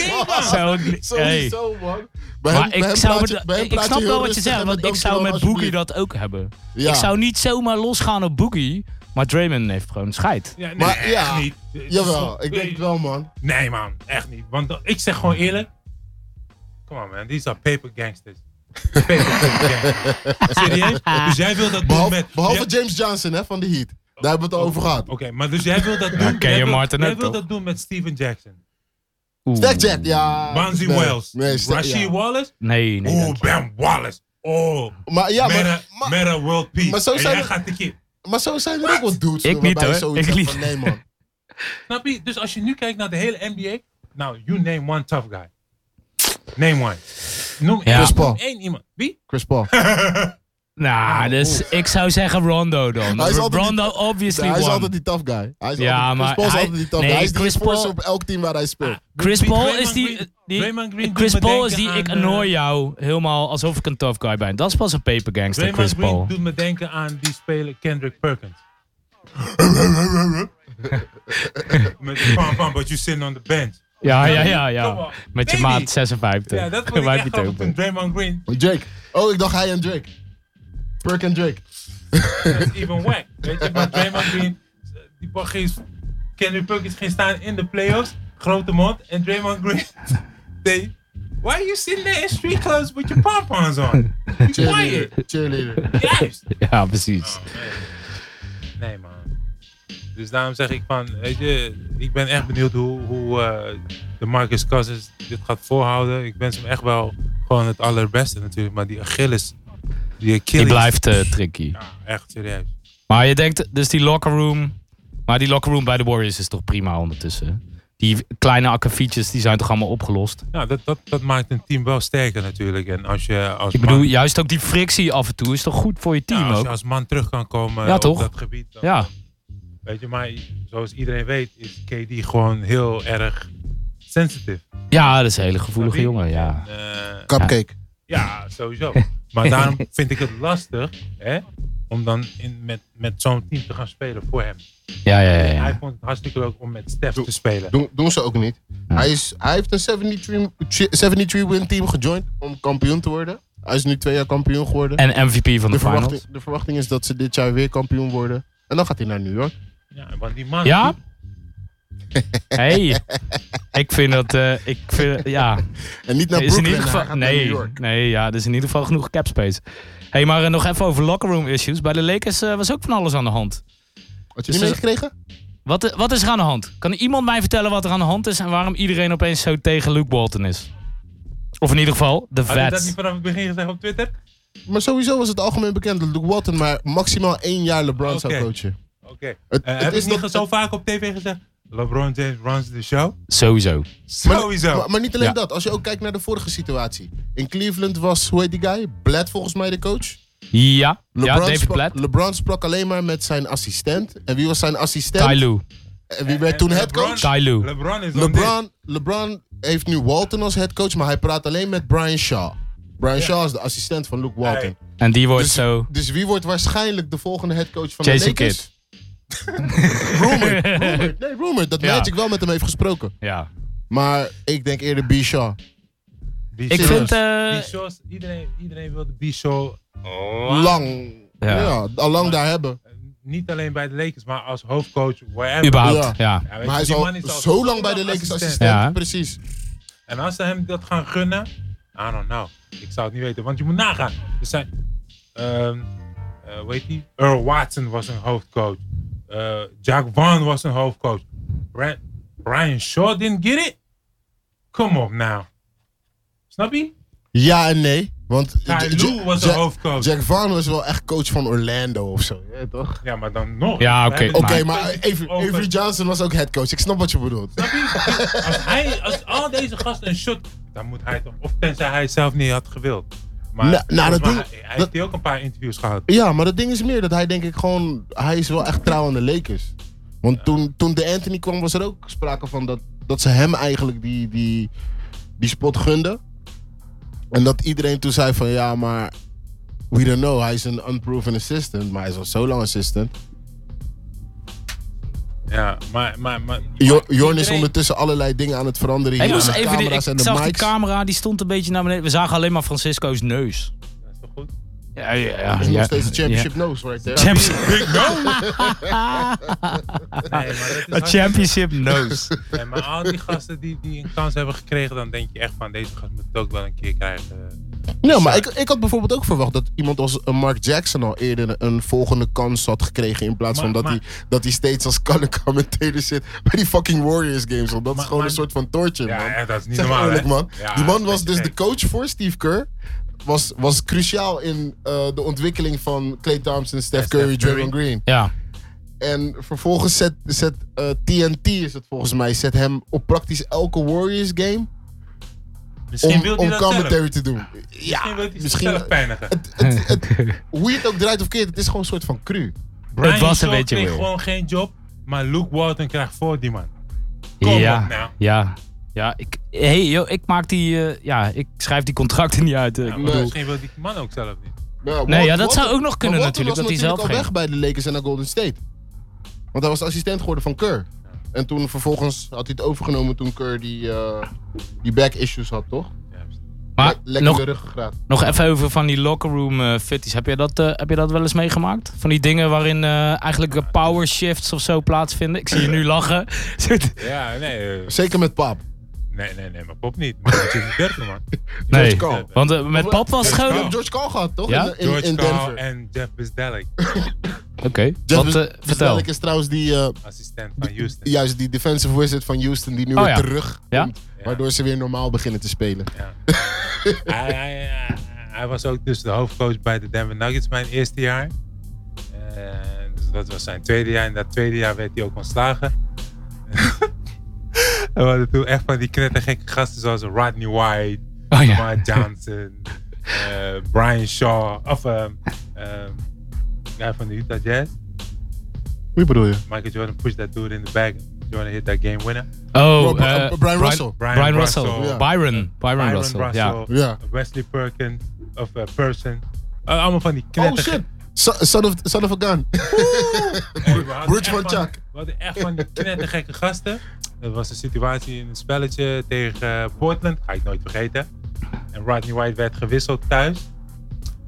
Speaker 3: Zo, hey.
Speaker 4: Sowieso, man.
Speaker 3: Maar ik, zou me da- ik snap wel wat je zegt, want ik zou met Boogie
Speaker 4: Boekie
Speaker 3: dat ook hebben. Ik zou niet zomaar losgaan op Boogie, maar Draymond heeft gewoon scheid.
Speaker 5: Ja, nee,
Speaker 4: Maar
Speaker 5: echt
Speaker 4: ja,
Speaker 5: niet. Het is toch-
Speaker 4: Jawel, ik denk het wel, man.
Speaker 5: Nee, man, echt niet. Want dat- ik zeg gewoon eerlijk. Come on, man, these are paper gangsters. Paper gangsters. Serieus? Dus jij wil dat doen
Speaker 4: Behalve,
Speaker 5: met.
Speaker 4: behalve
Speaker 5: Ja,
Speaker 4: James Johnson hè, van de Heat. Daar hebben
Speaker 3: Oh,
Speaker 4: we het over gehad.
Speaker 5: Oké, maar dus jij wil dat doen.
Speaker 3: ken
Speaker 5: jij
Speaker 3: je
Speaker 5: wil-
Speaker 3: Martin
Speaker 5: jij
Speaker 3: ook,
Speaker 5: wil
Speaker 3: toch?
Speaker 5: dat doen met Steven Jackson.
Speaker 4: Stack Jack, ja.
Speaker 5: Bonzi
Speaker 4: Nee,
Speaker 5: Wells.
Speaker 4: Nee, Stack-
Speaker 5: Rasheed
Speaker 4: ja.
Speaker 5: Wallace.
Speaker 3: Nee, nee.
Speaker 5: oh,
Speaker 3: dank je.
Speaker 5: Ben Wallace. Oh,
Speaker 4: Maar ja,
Speaker 5: meta,
Speaker 4: maar, maar,
Speaker 5: meta World Peace.
Speaker 4: maar zo
Speaker 5: en
Speaker 4: zijn
Speaker 5: jij
Speaker 4: er-
Speaker 5: gaat de keer.
Speaker 4: maar zo zijn er ook wel dudes.
Speaker 3: Ik niet,
Speaker 4: waarbij je
Speaker 3: hoor.
Speaker 4: zoiets
Speaker 3: Ik
Speaker 4: hebt
Speaker 3: niet.
Speaker 4: van, Nee, man.
Speaker 5: Snap je? Dus als je nu kijkt naar de hele NBA. Nou, you name one tough guy. Name one. Noem
Speaker 3: Ja.
Speaker 5: één-
Speaker 4: Chris Paul.
Speaker 5: noem één iemand. Wie?
Speaker 4: Chris Paul.
Speaker 3: Nou, dus ik zou zeggen Rondo dan.
Speaker 4: Hij is altijd
Speaker 3: Rondo,
Speaker 4: die-
Speaker 3: obviously
Speaker 4: Nee, hij is
Speaker 3: won.
Speaker 4: altijd die tough guy. Hij is
Speaker 3: Ja,
Speaker 4: altijd,
Speaker 3: maar
Speaker 4: Chris Paul is
Speaker 3: hij-
Speaker 4: altijd die tough
Speaker 3: nee,
Speaker 4: guy. Hij is die
Speaker 3: Chris
Speaker 4: enforcer
Speaker 3: Paul-
Speaker 4: op elk team waar hij speelt.
Speaker 3: Chris
Speaker 5: Wie-
Speaker 3: Paul
Speaker 5: Draymond
Speaker 3: is die... eh,
Speaker 5: Green-
Speaker 3: die
Speaker 5: Draymond Green doet
Speaker 3: Chris
Speaker 5: me
Speaker 3: Paul
Speaker 5: denken
Speaker 3: is die,
Speaker 5: aan,
Speaker 3: ik
Speaker 5: eh,
Speaker 3: annoy jou helemaal alsof ik een tough guy ben. Dat is pas een paper gangster,
Speaker 5: Draymond
Speaker 3: Chris
Speaker 5: Green
Speaker 3: Paul.
Speaker 5: doet me denken aan die speler Kendrick Perkins. Met van van, but you sitting on the bench.
Speaker 3: Ja, ja, ja, ja.
Speaker 5: Kom op.
Speaker 3: Met je
Speaker 5: Baby.
Speaker 3: maat 56.
Speaker 5: Ja, dat vond ik
Speaker 3: Wij
Speaker 5: echt
Speaker 3: niet
Speaker 5: grappig
Speaker 3: open.
Speaker 5: toen Draymond Green.
Speaker 4: Drake. Oh, ik dacht hij en Drake. Perk en Drake.
Speaker 5: Dat is even whack. Weet je, maar Draymond Green, die bal geen, Kenny Perkins ging staan in de playoffs. Grote mond. En Draymond Green, they, why are you sitting there in street clothes with your pom-poms on? Be quiet.
Speaker 4: Cheerleader. Cheerleader.
Speaker 5: Juist.
Speaker 3: Ja, precies.
Speaker 5: Oh, nee. nee, man. Dus daarom zeg ik van, weet je, ik ben echt benieuwd hoe, hoe eh, de Marcus Cousins dit gaat volhouden. Ik wens hem echt wel gewoon het allerbeste natuurlijk. Maar die Achilles, die Achilles.
Speaker 3: Die blijft eh, tricky.
Speaker 5: Ja, echt serieus.
Speaker 3: Maar je denkt, dus die locker room. Maar die locker room bij de Warriors is toch prima ondertussen. Die kleine akkefietjes, die zijn toch allemaal opgelost.
Speaker 5: Nou, dat, dat, dat maakt een team wel sterker natuurlijk. En als je als
Speaker 3: Ik bedoel,
Speaker 5: man,
Speaker 3: juist ook die frictie af en toe is toch goed voor je
Speaker 5: ja,
Speaker 3: team
Speaker 5: als je
Speaker 3: ook?
Speaker 5: als man terug kan komen
Speaker 3: Ja,
Speaker 5: op
Speaker 3: toch?
Speaker 5: dat gebied. dan-
Speaker 3: Ja,
Speaker 5: Weet je, maar zoals iedereen weet is KD gewoon heel erg sensitive.
Speaker 3: ja dat is een hele gevoelige
Speaker 5: Snap je?
Speaker 3: jongen, ja.
Speaker 5: En, eh,
Speaker 4: Cupcake.
Speaker 5: Ja, sowieso. Maar daarom vind ik het lastig hè, om dan in, met, met zo'n team te gaan spelen voor hem.
Speaker 3: Ja, ja, ja.
Speaker 5: Hij
Speaker 3: ja.
Speaker 5: vond het hartstikke leuk om met Stef
Speaker 4: Doe-
Speaker 5: te spelen.
Speaker 4: Doen, doen ze ook niet.
Speaker 3: Ja.
Speaker 4: Hij, is, hij heeft een 73 73 win team gejoind om kampioen te worden. Hij is nu twee jaar kampioen geworden.
Speaker 3: En MVP van de, finals.
Speaker 4: de, verwachting, de verwachting is dat ze dit jaar weer kampioen worden. En dan gaat hij naar New York.
Speaker 5: Ja, want die man.
Speaker 3: Ja? Hey, ik vind dat, eh, ik vind, ja.
Speaker 4: En niet naar
Speaker 3: is in
Speaker 4: Brooklyn,
Speaker 3: ieder
Speaker 4: hij
Speaker 3: geval,
Speaker 4: gaat naar New
Speaker 3: nee,
Speaker 4: York.
Speaker 3: nee, ja, er is in ieder geval genoeg cap space. hey, maar eh, nog even over locker room issues. Bij de Lakers eh, was ook van alles aan de hand.
Speaker 4: Had je
Speaker 3: Dus
Speaker 4: niet
Speaker 3: ze-
Speaker 4: meegekregen?
Speaker 3: Wat, eh, wat is er aan de hand? Kan iemand mij vertellen wat er aan de hand is en waarom iedereen opeens zo tegen Luke Walton is? Of in ieder geval, de
Speaker 5: Had je dat
Speaker 3: vets.
Speaker 5: niet vanaf het begin gezegd op Twitter?
Speaker 4: Maar sowieso was het algemeen bekend dat Luke Walton maar maximaal één jaar LeBron zou
Speaker 5: Oké.
Speaker 4: coachen.
Speaker 5: Oké.
Speaker 4: Het,
Speaker 5: Eh,
Speaker 4: het
Speaker 5: heb ik niet
Speaker 4: nog-
Speaker 5: zo vaak op tv gezegd? LeBron James runs the show?
Speaker 3: Sowieso.
Speaker 4: Maar-
Speaker 5: Sowieso.
Speaker 4: Maar, maar niet alleen
Speaker 3: Ja.
Speaker 4: dat. Als je ook kijkt naar de vorige situatie. In Cleveland was, hoe heet die guy? Bled volgens mij de coach.
Speaker 3: Ja, ja David
Speaker 4: sprak,
Speaker 3: Platt.
Speaker 4: LeBron sprak alleen maar met zijn assistent. En wie was zijn assistent?
Speaker 3: Ty Lue.
Speaker 4: En wie werd
Speaker 5: En
Speaker 4: toen
Speaker 5: LeBron-
Speaker 4: headcoach?
Speaker 3: Ty Lue.
Speaker 5: LeBron is on this.
Speaker 4: LeBron, LeBron heeft nu Walton als headcoach, maar hij praat alleen met Brian Shaw. Brian Shaw is de assistent van Luke Walton.
Speaker 5: Hey.
Speaker 3: En die wordt
Speaker 4: Dus,
Speaker 3: zo...
Speaker 4: dus wie wordt waarschijnlijk de volgende headcoach van de
Speaker 3: Jason
Speaker 4: Lakers?
Speaker 3: Kidd.
Speaker 4: Rumor, rumor, nee, rumor dat
Speaker 3: Ja.
Speaker 4: Magic wel met hem heeft gesproken.
Speaker 3: Ja.
Speaker 4: Maar ik denk eerder B. Shaw.
Speaker 5: Die
Speaker 3: Ik
Speaker 5: shows-
Speaker 3: vind... eh,
Speaker 5: die shows- iedereen, iedereen wil de B-show
Speaker 4: Oh. Lang.
Speaker 3: Ja.
Speaker 4: Ja, al lang daar hebben.
Speaker 5: Eh, niet alleen bij de Lakers, maar als hoofdcoach, wherever.
Speaker 3: überhaupt, ja.
Speaker 5: Ja, weet je,
Speaker 4: Maar hij is
Speaker 5: die
Speaker 4: al
Speaker 5: man is al
Speaker 4: zo lang bij de Lakers assistent.
Speaker 3: Ja.
Speaker 4: Precies.
Speaker 5: En als ze hem dat gaan gunnen, I don't know. Ik zou het niet weten, want je moet nagaan. Er zijn, ehm eh, hoe heet die? Earl Watson was een hoofdcoach. Eh, Jack Vaughn was een hoofdcoach. Bra- Brian Shaw didn't get it? Come on now. Snap je?
Speaker 4: Ja en nee. Want
Speaker 5: Ty
Speaker 4: Ja-
Speaker 5: Lue was de
Speaker 4: Ja-
Speaker 5: hoofdcoach.
Speaker 4: Jack Vaughn was wel echt coach van Orlando of zo. Ja, toch?
Speaker 5: ja, maar dan nog.
Speaker 3: Ja,
Speaker 5: We
Speaker 3: oké.
Speaker 5: hebben
Speaker 4: Oké,
Speaker 5: het
Speaker 3: Maar-
Speaker 4: maar
Speaker 5: over-
Speaker 4: Avery, Avery Johnson was ook headcoach. Ik snap wat je bedoelt.
Speaker 5: Snap je? Als, hij, als al deze gasten een shot. Dan moet hij toch. Of tenzij hij het zelf niet had gewild. Maar,
Speaker 4: Nou, nou, dat
Speaker 5: maar
Speaker 4: doen-
Speaker 5: hij, hij
Speaker 4: dat-
Speaker 5: heeft hier ook een paar interviews gehad.
Speaker 4: Ja, maar het ding is meer dat hij denk ik gewoon... Hij is wel echt trouw aan de Lakers. Want toen, toen de Anthony kwam was er ook sprake van dat, dat ze hem eigenlijk die, die, die spot gunden. En dat iedereen toen zei van ja, maar... We don't know, hij is een unproven assistant. Maar hij is al zo lang assistant.
Speaker 5: Ja, maar. maar, maar
Speaker 4: Jo- Jorn is
Speaker 5: Iedereen-
Speaker 4: ondertussen allerlei dingen aan het veranderen.
Speaker 3: Hey,
Speaker 4: hier
Speaker 3: moest
Speaker 4: aan de
Speaker 3: even de- ik
Speaker 4: camera's en de
Speaker 3: zag die
Speaker 4: mics.
Speaker 3: camera, die stond een beetje naar beneden. We zagen alleen maar Francisco's neus.
Speaker 5: Dat is toch goed?
Speaker 3: Ja, ja, ja.
Speaker 4: is nog steeds een championship nose right there.
Speaker 3: Championship,
Speaker 5: Nee, maar, dat is
Speaker 3: een
Speaker 5: hartstikke-
Speaker 3: championship nose.
Speaker 5: nee, maar al die gasten die, die een kans hebben gekregen, dan denk je echt van deze gast moet het ook wel een keer krijgen.
Speaker 4: Nou, maar ik, ik had bijvoorbeeld ook verwacht dat iemand als eh, Mark Jackson al eerder een, een volgende kans had gekregen. In plaats
Speaker 5: Maar-
Speaker 4: van dat,
Speaker 5: maar-
Speaker 4: hij, dat hij steeds als kalme commentator zit bij die fucking Warriors games. Want dat
Speaker 5: Maar-
Speaker 4: is gewoon
Speaker 5: maar-
Speaker 4: een soort van torture,
Speaker 5: Ja,
Speaker 4: man.
Speaker 5: echt, dat is niet
Speaker 4: Zeg
Speaker 5: normaal.
Speaker 4: eerlijk,
Speaker 5: hè?
Speaker 4: man.
Speaker 5: Ja,
Speaker 4: die man
Speaker 5: dat
Speaker 4: was
Speaker 5: is
Speaker 4: dus de
Speaker 5: gek.
Speaker 4: coach voor Steve Kerr. Was, was cruciaal in eh, de ontwikkeling van Clay Thompson, Steph
Speaker 5: En Steph
Speaker 4: Curry,
Speaker 5: Curry.
Speaker 4: Draymond Green.
Speaker 3: Ja,
Speaker 4: En vervolgens zet, zet eh, TNT, is het volgens mij, zet hem op praktisch elke Warriors game
Speaker 5: Misschien
Speaker 4: om,
Speaker 5: wil hij
Speaker 4: om
Speaker 5: dat zelf.
Speaker 4: commentary te doen.
Speaker 5: Misschien wil hij
Speaker 4: misschien-
Speaker 5: zichzelf pijnigen.
Speaker 4: Hoe je het ook draait of keert, het is gewoon een soort van cru.
Speaker 3: het was een
Speaker 5: Shaw
Speaker 3: beetje
Speaker 5: kreeg
Speaker 3: weird.
Speaker 5: gewoon geen job, maar Luke Walton krijgt voor die man. Kom op
Speaker 3: ja,
Speaker 5: nou.
Speaker 3: ja. Ja, ik, hey, yo, ik maak die, eh, ja, ik schrijf die contracten niet uit. eh,
Speaker 5: Ja,
Speaker 3: ik
Speaker 5: Nou, maar
Speaker 3: bedoel,
Speaker 4: nee.
Speaker 5: misschien wil die man ook zelf niet.
Speaker 4: Nou,
Speaker 3: Nee,
Speaker 4: Walt-
Speaker 3: ja, dat zou
Speaker 4: Walton-
Speaker 3: ook nog kunnen
Speaker 4: maar Walton
Speaker 3: natuurlijk,
Speaker 4: was
Speaker 3: dat hij
Speaker 4: natuurlijk
Speaker 3: zelf
Speaker 4: al weg bij de Lakers en naar Golden State. Want hij was assistent geworden van Kerr. En toen vervolgens had hij het overgenomen toen Kerr die, eh, die back issues had, toch?
Speaker 5: Juist.
Speaker 3: Maar
Speaker 4: Le- lekker
Speaker 3: nog,
Speaker 4: de ruggengraat.
Speaker 3: nog even over van die locker room eh, fitties. Heb je, dat, eh, heb je dat wel eens meegemaakt? Van die dingen waarin eh, eigenlijk eh, power shifts of zo plaatsvinden. Ik zie je nu lachen.
Speaker 5: Ja, nee, eh,
Speaker 4: Zeker met Paap.
Speaker 5: nee, nee, nee, maar pop niet. Maar dat is niet werken, man.
Speaker 3: nee,
Speaker 4: Carl.
Speaker 3: want eh, met pap was het
Speaker 4: We
Speaker 3: gewoon...
Speaker 4: hebben George Carl gehad, toch?
Speaker 3: Ja?
Speaker 4: In- In, in,
Speaker 5: George Carl
Speaker 4: Denver.
Speaker 5: en Jeff Bisdelic,
Speaker 3: Oké,
Speaker 4: Jeff
Speaker 3: wat, eh,
Speaker 4: Vis-
Speaker 3: vertel.
Speaker 4: Visdelic is trouwens die, eh,
Speaker 5: assistent van Houston.
Speaker 4: juist die defensive wizard van Houston die nu
Speaker 3: Oh,
Speaker 4: weer
Speaker 3: ja.
Speaker 4: terug
Speaker 3: Ja?
Speaker 4: komt.
Speaker 5: Ja.
Speaker 4: Waardoor ze weer normaal beginnen te spelen.
Speaker 5: Ja. hij, hij- hij was ook dus de hoofdcoach bij de Denver Nuggets mijn eerste jaar. Eh, dus dat was zijn tweede jaar. En dat tweede jaar werd hij ook ontslagen. en we hadden toen echt van die knettergekke gasten zoals Rodney White,
Speaker 3: Oh ja,
Speaker 5: Lamar Johnson, eh, Brian Shaw. Of ehm ehm, guy van de Utah Jazz.
Speaker 6: Wie bedoel je?
Speaker 5: Michael Jordan pushed that dude in the back. Jordan hit that game winner.
Speaker 3: oh,
Speaker 4: Bro, Bri-
Speaker 3: eh,
Speaker 4: Brian
Speaker 3: Brian
Speaker 4: Russell.
Speaker 3: Brian, Russell. Byron.
Speaker 4: Ja.
Speaker 3: Byron,
Speaker 5: Byron
Speaker 3: Russell.
Speaker 5: Russell,
Speaker 3: Ja.
Speaker 4: Ja.
Speaker 5: Wesley Perkins of eh, Person. Eh, allemaal van die knetterge-
Speaker 4: So- Oh, son, of, son of a gun.
Speaker 5: Hey, we hadden
Speaker 4: Bridge
Speaker 5: echt
Speaker 4: van Chuck.
Speaker 5: We hadden echt van die knettergekke gasten. Dat was een situatie in een spelletje tegen eh, Portland. Ga ik nooit vergeten. En Rodney White werd gewisseld thuis.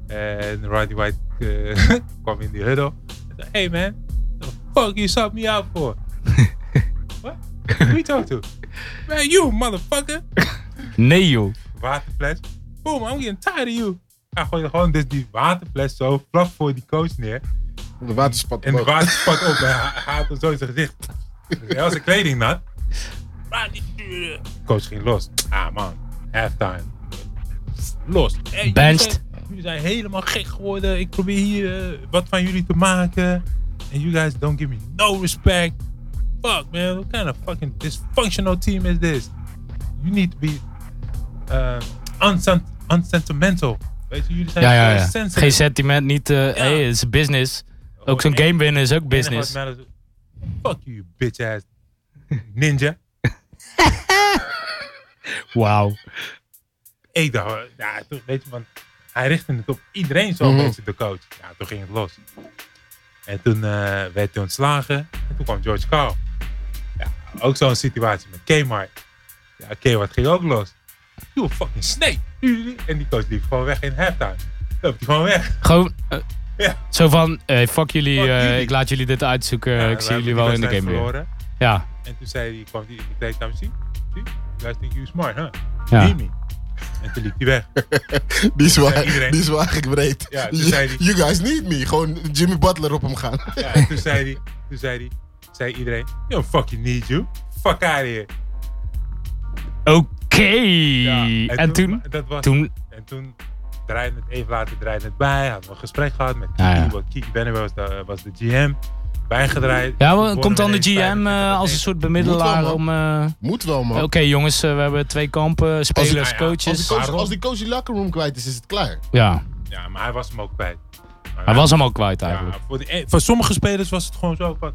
Speaker 5: En Rodney White eh, kwam in die huddle. Hij zei, hey man, the fuck you sub me out for? What? Who you talk to? Man, you motherfucker.
Speaker 3: Nee joh.
Speaker 5: waterfles. Boom, I'm getting tired of you. Hij gooide gewoon dus die waterfles zo vlak voor die coach neer.
Speaker 4: De waterspat.
Speaker 5: En de
Speaker 4: omhoog.
Speaker 5: water spat op en hij hij had hem zo in zijn gezicht. Dus Hij was zijn kleding nat. Maar die duurde. Coach ging los. Ah man, halftime. Los. Hey, jullie
Speaker 3: Benched.
Speaker 5: zijn- Jullie zijn helemaal gek geworden. Ik probeer hier eh, wat van jullie te maken. And you guys don't give me no respect. Fuck man, what kind of fucking dysfunctional team is this? You need to be uh, unsent- unsentimental. Weet je, jullie zijn
Speaker 3: Ja, ja,
Speaker 5: heel
Speaker 3: ja.
Speaker 5: sensitive.
Speaker 3: Geen sentiment, niet... eh hey, het is business. Ook zo'n
Speaker 5: Eén-
Speaker 3: game winnen is ook
Speaker 5: enige
Speaker 3: business.
Speaker 5: wat matters- Fuck you, bitch ass ninja.
Speaker 3: Wauw.
Speaker 5: Ik dacht, eh, ja, toen, weet je, want hij richtte het op iedereen zo,
Speaker 4: Mhm.
Speaker 5: mensen, de coach. Ja, toen ging het los. En toen eh, werd hij ontslagen. En toen kwam George Carl. Ja, ook zo'n situatie met Kmart. Ja, Kmart ging ook los. You a fucking snake. En die coach liep gewoon weg in halftime. Loopt hij gewoon weg.
Speaker 3: Gewoon... eh,
Speaker 5: Ja.
Speaker 3: Zo van, hey, fuck jullie,
Speaker 5: Fuck
Speaker 3: eh,
Speaker 5: jullie.
Speaker 3: ik laat jullie dit uitzoeken,
Speaker 5: Ja,
Speaker 3: ik
Speaker 5: we
Speaker 3: zie jullie
Speaker 5: hebben die
Speaker 3: wel in de
Speaker 5: wedstrijd
Speaker 3: game weer.
Speaker 5: verloren.
Speaker 3: Ja,
Speaker 5: En toen zei hij, kwam die, ik deed hem zien. Zie, you guys think you smart, huh?
Speaker 3: Ja.
Speaker 5: Believe me. En toen liep hij weg.
Speaker 4: Die is waar,
Speaker 5: Ja, iedereen.
Speaker 4: die is waar ik breed.
Speaker 5: Ja, toen
Speaker 4: you,
Speaker 5: zei die-
Speaker 4: you guys need me. Gewoon Jimmy Butler op hem gaan.
Speaker 5: Ja, en toen zei hij, toen zei hij, zei iedereen, yo fucking need you. Fuck out of here.
Speaker 3: oké.
Speaker 5: Ja,
Speaker 3: En, toen?
Speaker 5: maar Dat was,
Speaker 3: Toen,
Speaker 5: En toen draaide het even later draaide het bij. Hadden we een gesprek gehad met Kiki.
Speaker 3: Ja, ja.
Speaker 5: want Kiki Bennewer was de, was de GM. Bijgedraaid.
Speaker 3: ja, maar
Speaker 5: Wonnen
Speaker 3: komt dan de
Speaker 5: we ineens
Speaker 3: GM
Speaker 5: 25.
Speaker 3: eh, als een soort
Speaker 4: Moet
Speaker 3: bemiddelaar
Speaker 4: wel,
Speaker 3: om... eh,
Speaker 4: Moet wel, man.
Speaker 3: Oké jongens, eh, we hebben twee kampen, spelers,
Speaker 5: ja, ja.
Speaker 4: Als, die
Speaker 3: coaches.
Speaker 4: coach,
Speaker 5: Waarom?
Speaker 4: als die coach die locker room kwijt is, is het klaar.
Speaker 3: Ja,
Speaker 5: Ja, maar hij was hem ook kwijt. Maar
Speaker 3: hij was hem al kwijt
Speaker 5: ja,
Speaker 3: eigenlijk.
Speaker 5: voor, die- eh, voor sommige spelers was het gewoon zo van...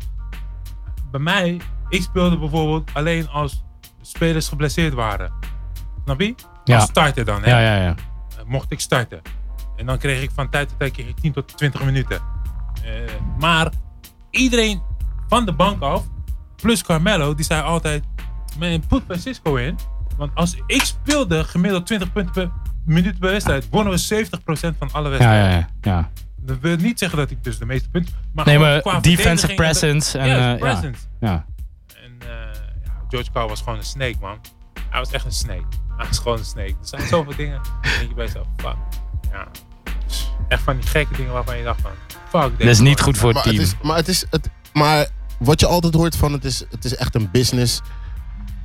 Speaker 5: Bij mij, ik speelde bijvoorbeeld alleen als spelers geblesseerd waren. Snap je?
Speaker 3: Ja.
Speaker 5: Als starter dan, hè? Eh,
Speaker 3: Ja, ja, ja.
Speaker 5: mocht ik starten. En dan kreeg ik van tijd tot tijd kreeg ik 10 tot 20 minuten. Eh, maar iedereen van de bank af, plus Carmelo, die zei altijd: Man, put Francisco in. Want als ik speelde gemiddeld 20 punten per minuut per wedstrijd, wonnen we 70% van alle
Speaker 3: Ja,
Speaker 5: wedstrijden.
Speaker 3: ja, ja, ja.
Speaker 5: Dat wil niet zeggen dat ik dus de meeste punten. Maar
Speaker 3: Nee,
Speaker 5: gewoon
Speaker 3: maar
Speaker 5: qua
Speaker 3: defensive
Speaker 5: verdediging en de-
Speaker 3: presence en...
Speaker 5: Yes,
Speaker 3: eh, ja,
Speaker 5: presence.
Speaker 3: ja.
Speaker 5: En eh, ja, George Carl was gewoon een snake, man. Hij was echt een snake. Hij was gewoon een snake. Er zijn zoveel dingen. Dan denk je bij jezelf, fuck. Ja. Echt van die gekke dingen waarvan je dacht van, fuck.
Speaker 3: Dat is niet goed voor het
Speaker 4: Maar het,
Speaker 3: team.
Speaker 4: is, maar, het is, het, maar wat je altijd hoort van het is, het is echt een business.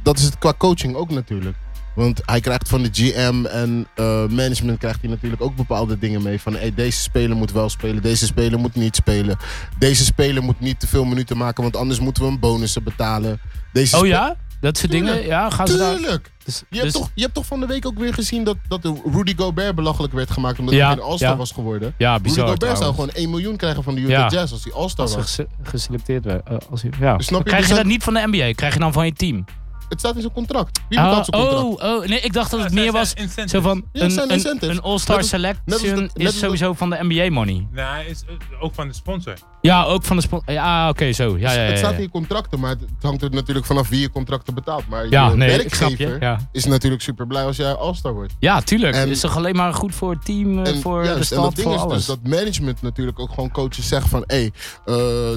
Speaker 4: Dat is het qua coaching ook natuurlijk. Want hij krijgt van de GM en eh, management krijgt hij natuurlijk ook bepaalde dingen mee. Van hey, deze speler moet wel spelen, deze speler moet niet spelen. Deze speler moet niet te veel minuten maken, want anders moeten we hem bonussen betalen. Deze
Speaker 3: Oh
Speaker 4: spe-
Speaker 3: ja? Dat soort dingen? Ja, gaan ze daar...
Speaker 4: Tuurlijk!
Speaker 3: Dus,
Speaker 4: Je hebt,
Speaker 3: dus-
Speaker 4: toch, je hebt toch van de week ook weer gezien dat, dat de Rudy Gobert belachelijk werd gemaakt omdat
Speaker 3: Ja,
Speaker 4: hij een All-Star
Speaker 3: ja.
Speaker 4: was geworden.
Speaker 3: Ja,
Speaker 4: Rudy
Speaker 3: bizar
Speaker 4: Gobert zou
Speaker 3: trouwens.
Speaker 4: gewoon 1 miljoen krijgen van de Utah
Speaker 3: Ja.
Speaker 4: Jazz als hij All-Star
Speaker 3: Als ze
Speaker 4: was.
Speaker 3: gese- geselecteerd werden. eh, als je, ja.
Speaker 4: Snap
Speaker 3: Krijg
Speaker 4: je? Dus
Speaker 3: je dat
Speaker 4: dat-
Speaker 3: niet van de NBA? Krijg je dan van je team?
Speaker 4: het staat in zijn contract. Wie bepaalt zijn contract?
Speaker 3: oh, oh, nee, ik dacht dat het meer was zo van
Speaker 4: Ja, het zijn
Speaker 3: een, een,
Speaker 4: incentives.
Speaker 3: een all-star
Speaker 4: Net als- net als
Speaker 3: selection
Speaker 4: dat- net als
Speaker 3: is
Speaker 4: dat-
Speaker 3: sowieso van de NBA money.
Speaker 5: Nou, is eh, ook van de sponsor.
Speaker 3: Ja, ook van de sponsor. Ja, oké, zo. Ja, ja, ja,
Speaker 4: Het staat
Speaker 3: ja.
Speaker 4: in je contracten, maar het hangt er natuurlijk vanaf wie je contracten betaalt. Maar
Speaker 3: Ja,
Speaker 4: je
Speaker 3: nee, ik snap
Speaker 4: werkgever
Speaker 3: je. Ja,
Speaker 4: is natuurlijk super blij als jij All-Star wordt.
Speaker 3: ja tuurlijk.
Speaker 4: En-
Speaker 3: is toch alleen maar goed voor het team, eh, voor de
Speaker 4: juist, en dat
Speaker 3: stad,
Speaker 4: ding
Speaker 3: voor
Speaker 4: is
Speaker 3: alles.
Speaker 4: dus dat management natuurlijk ook gewoon coaches zegt van... hé,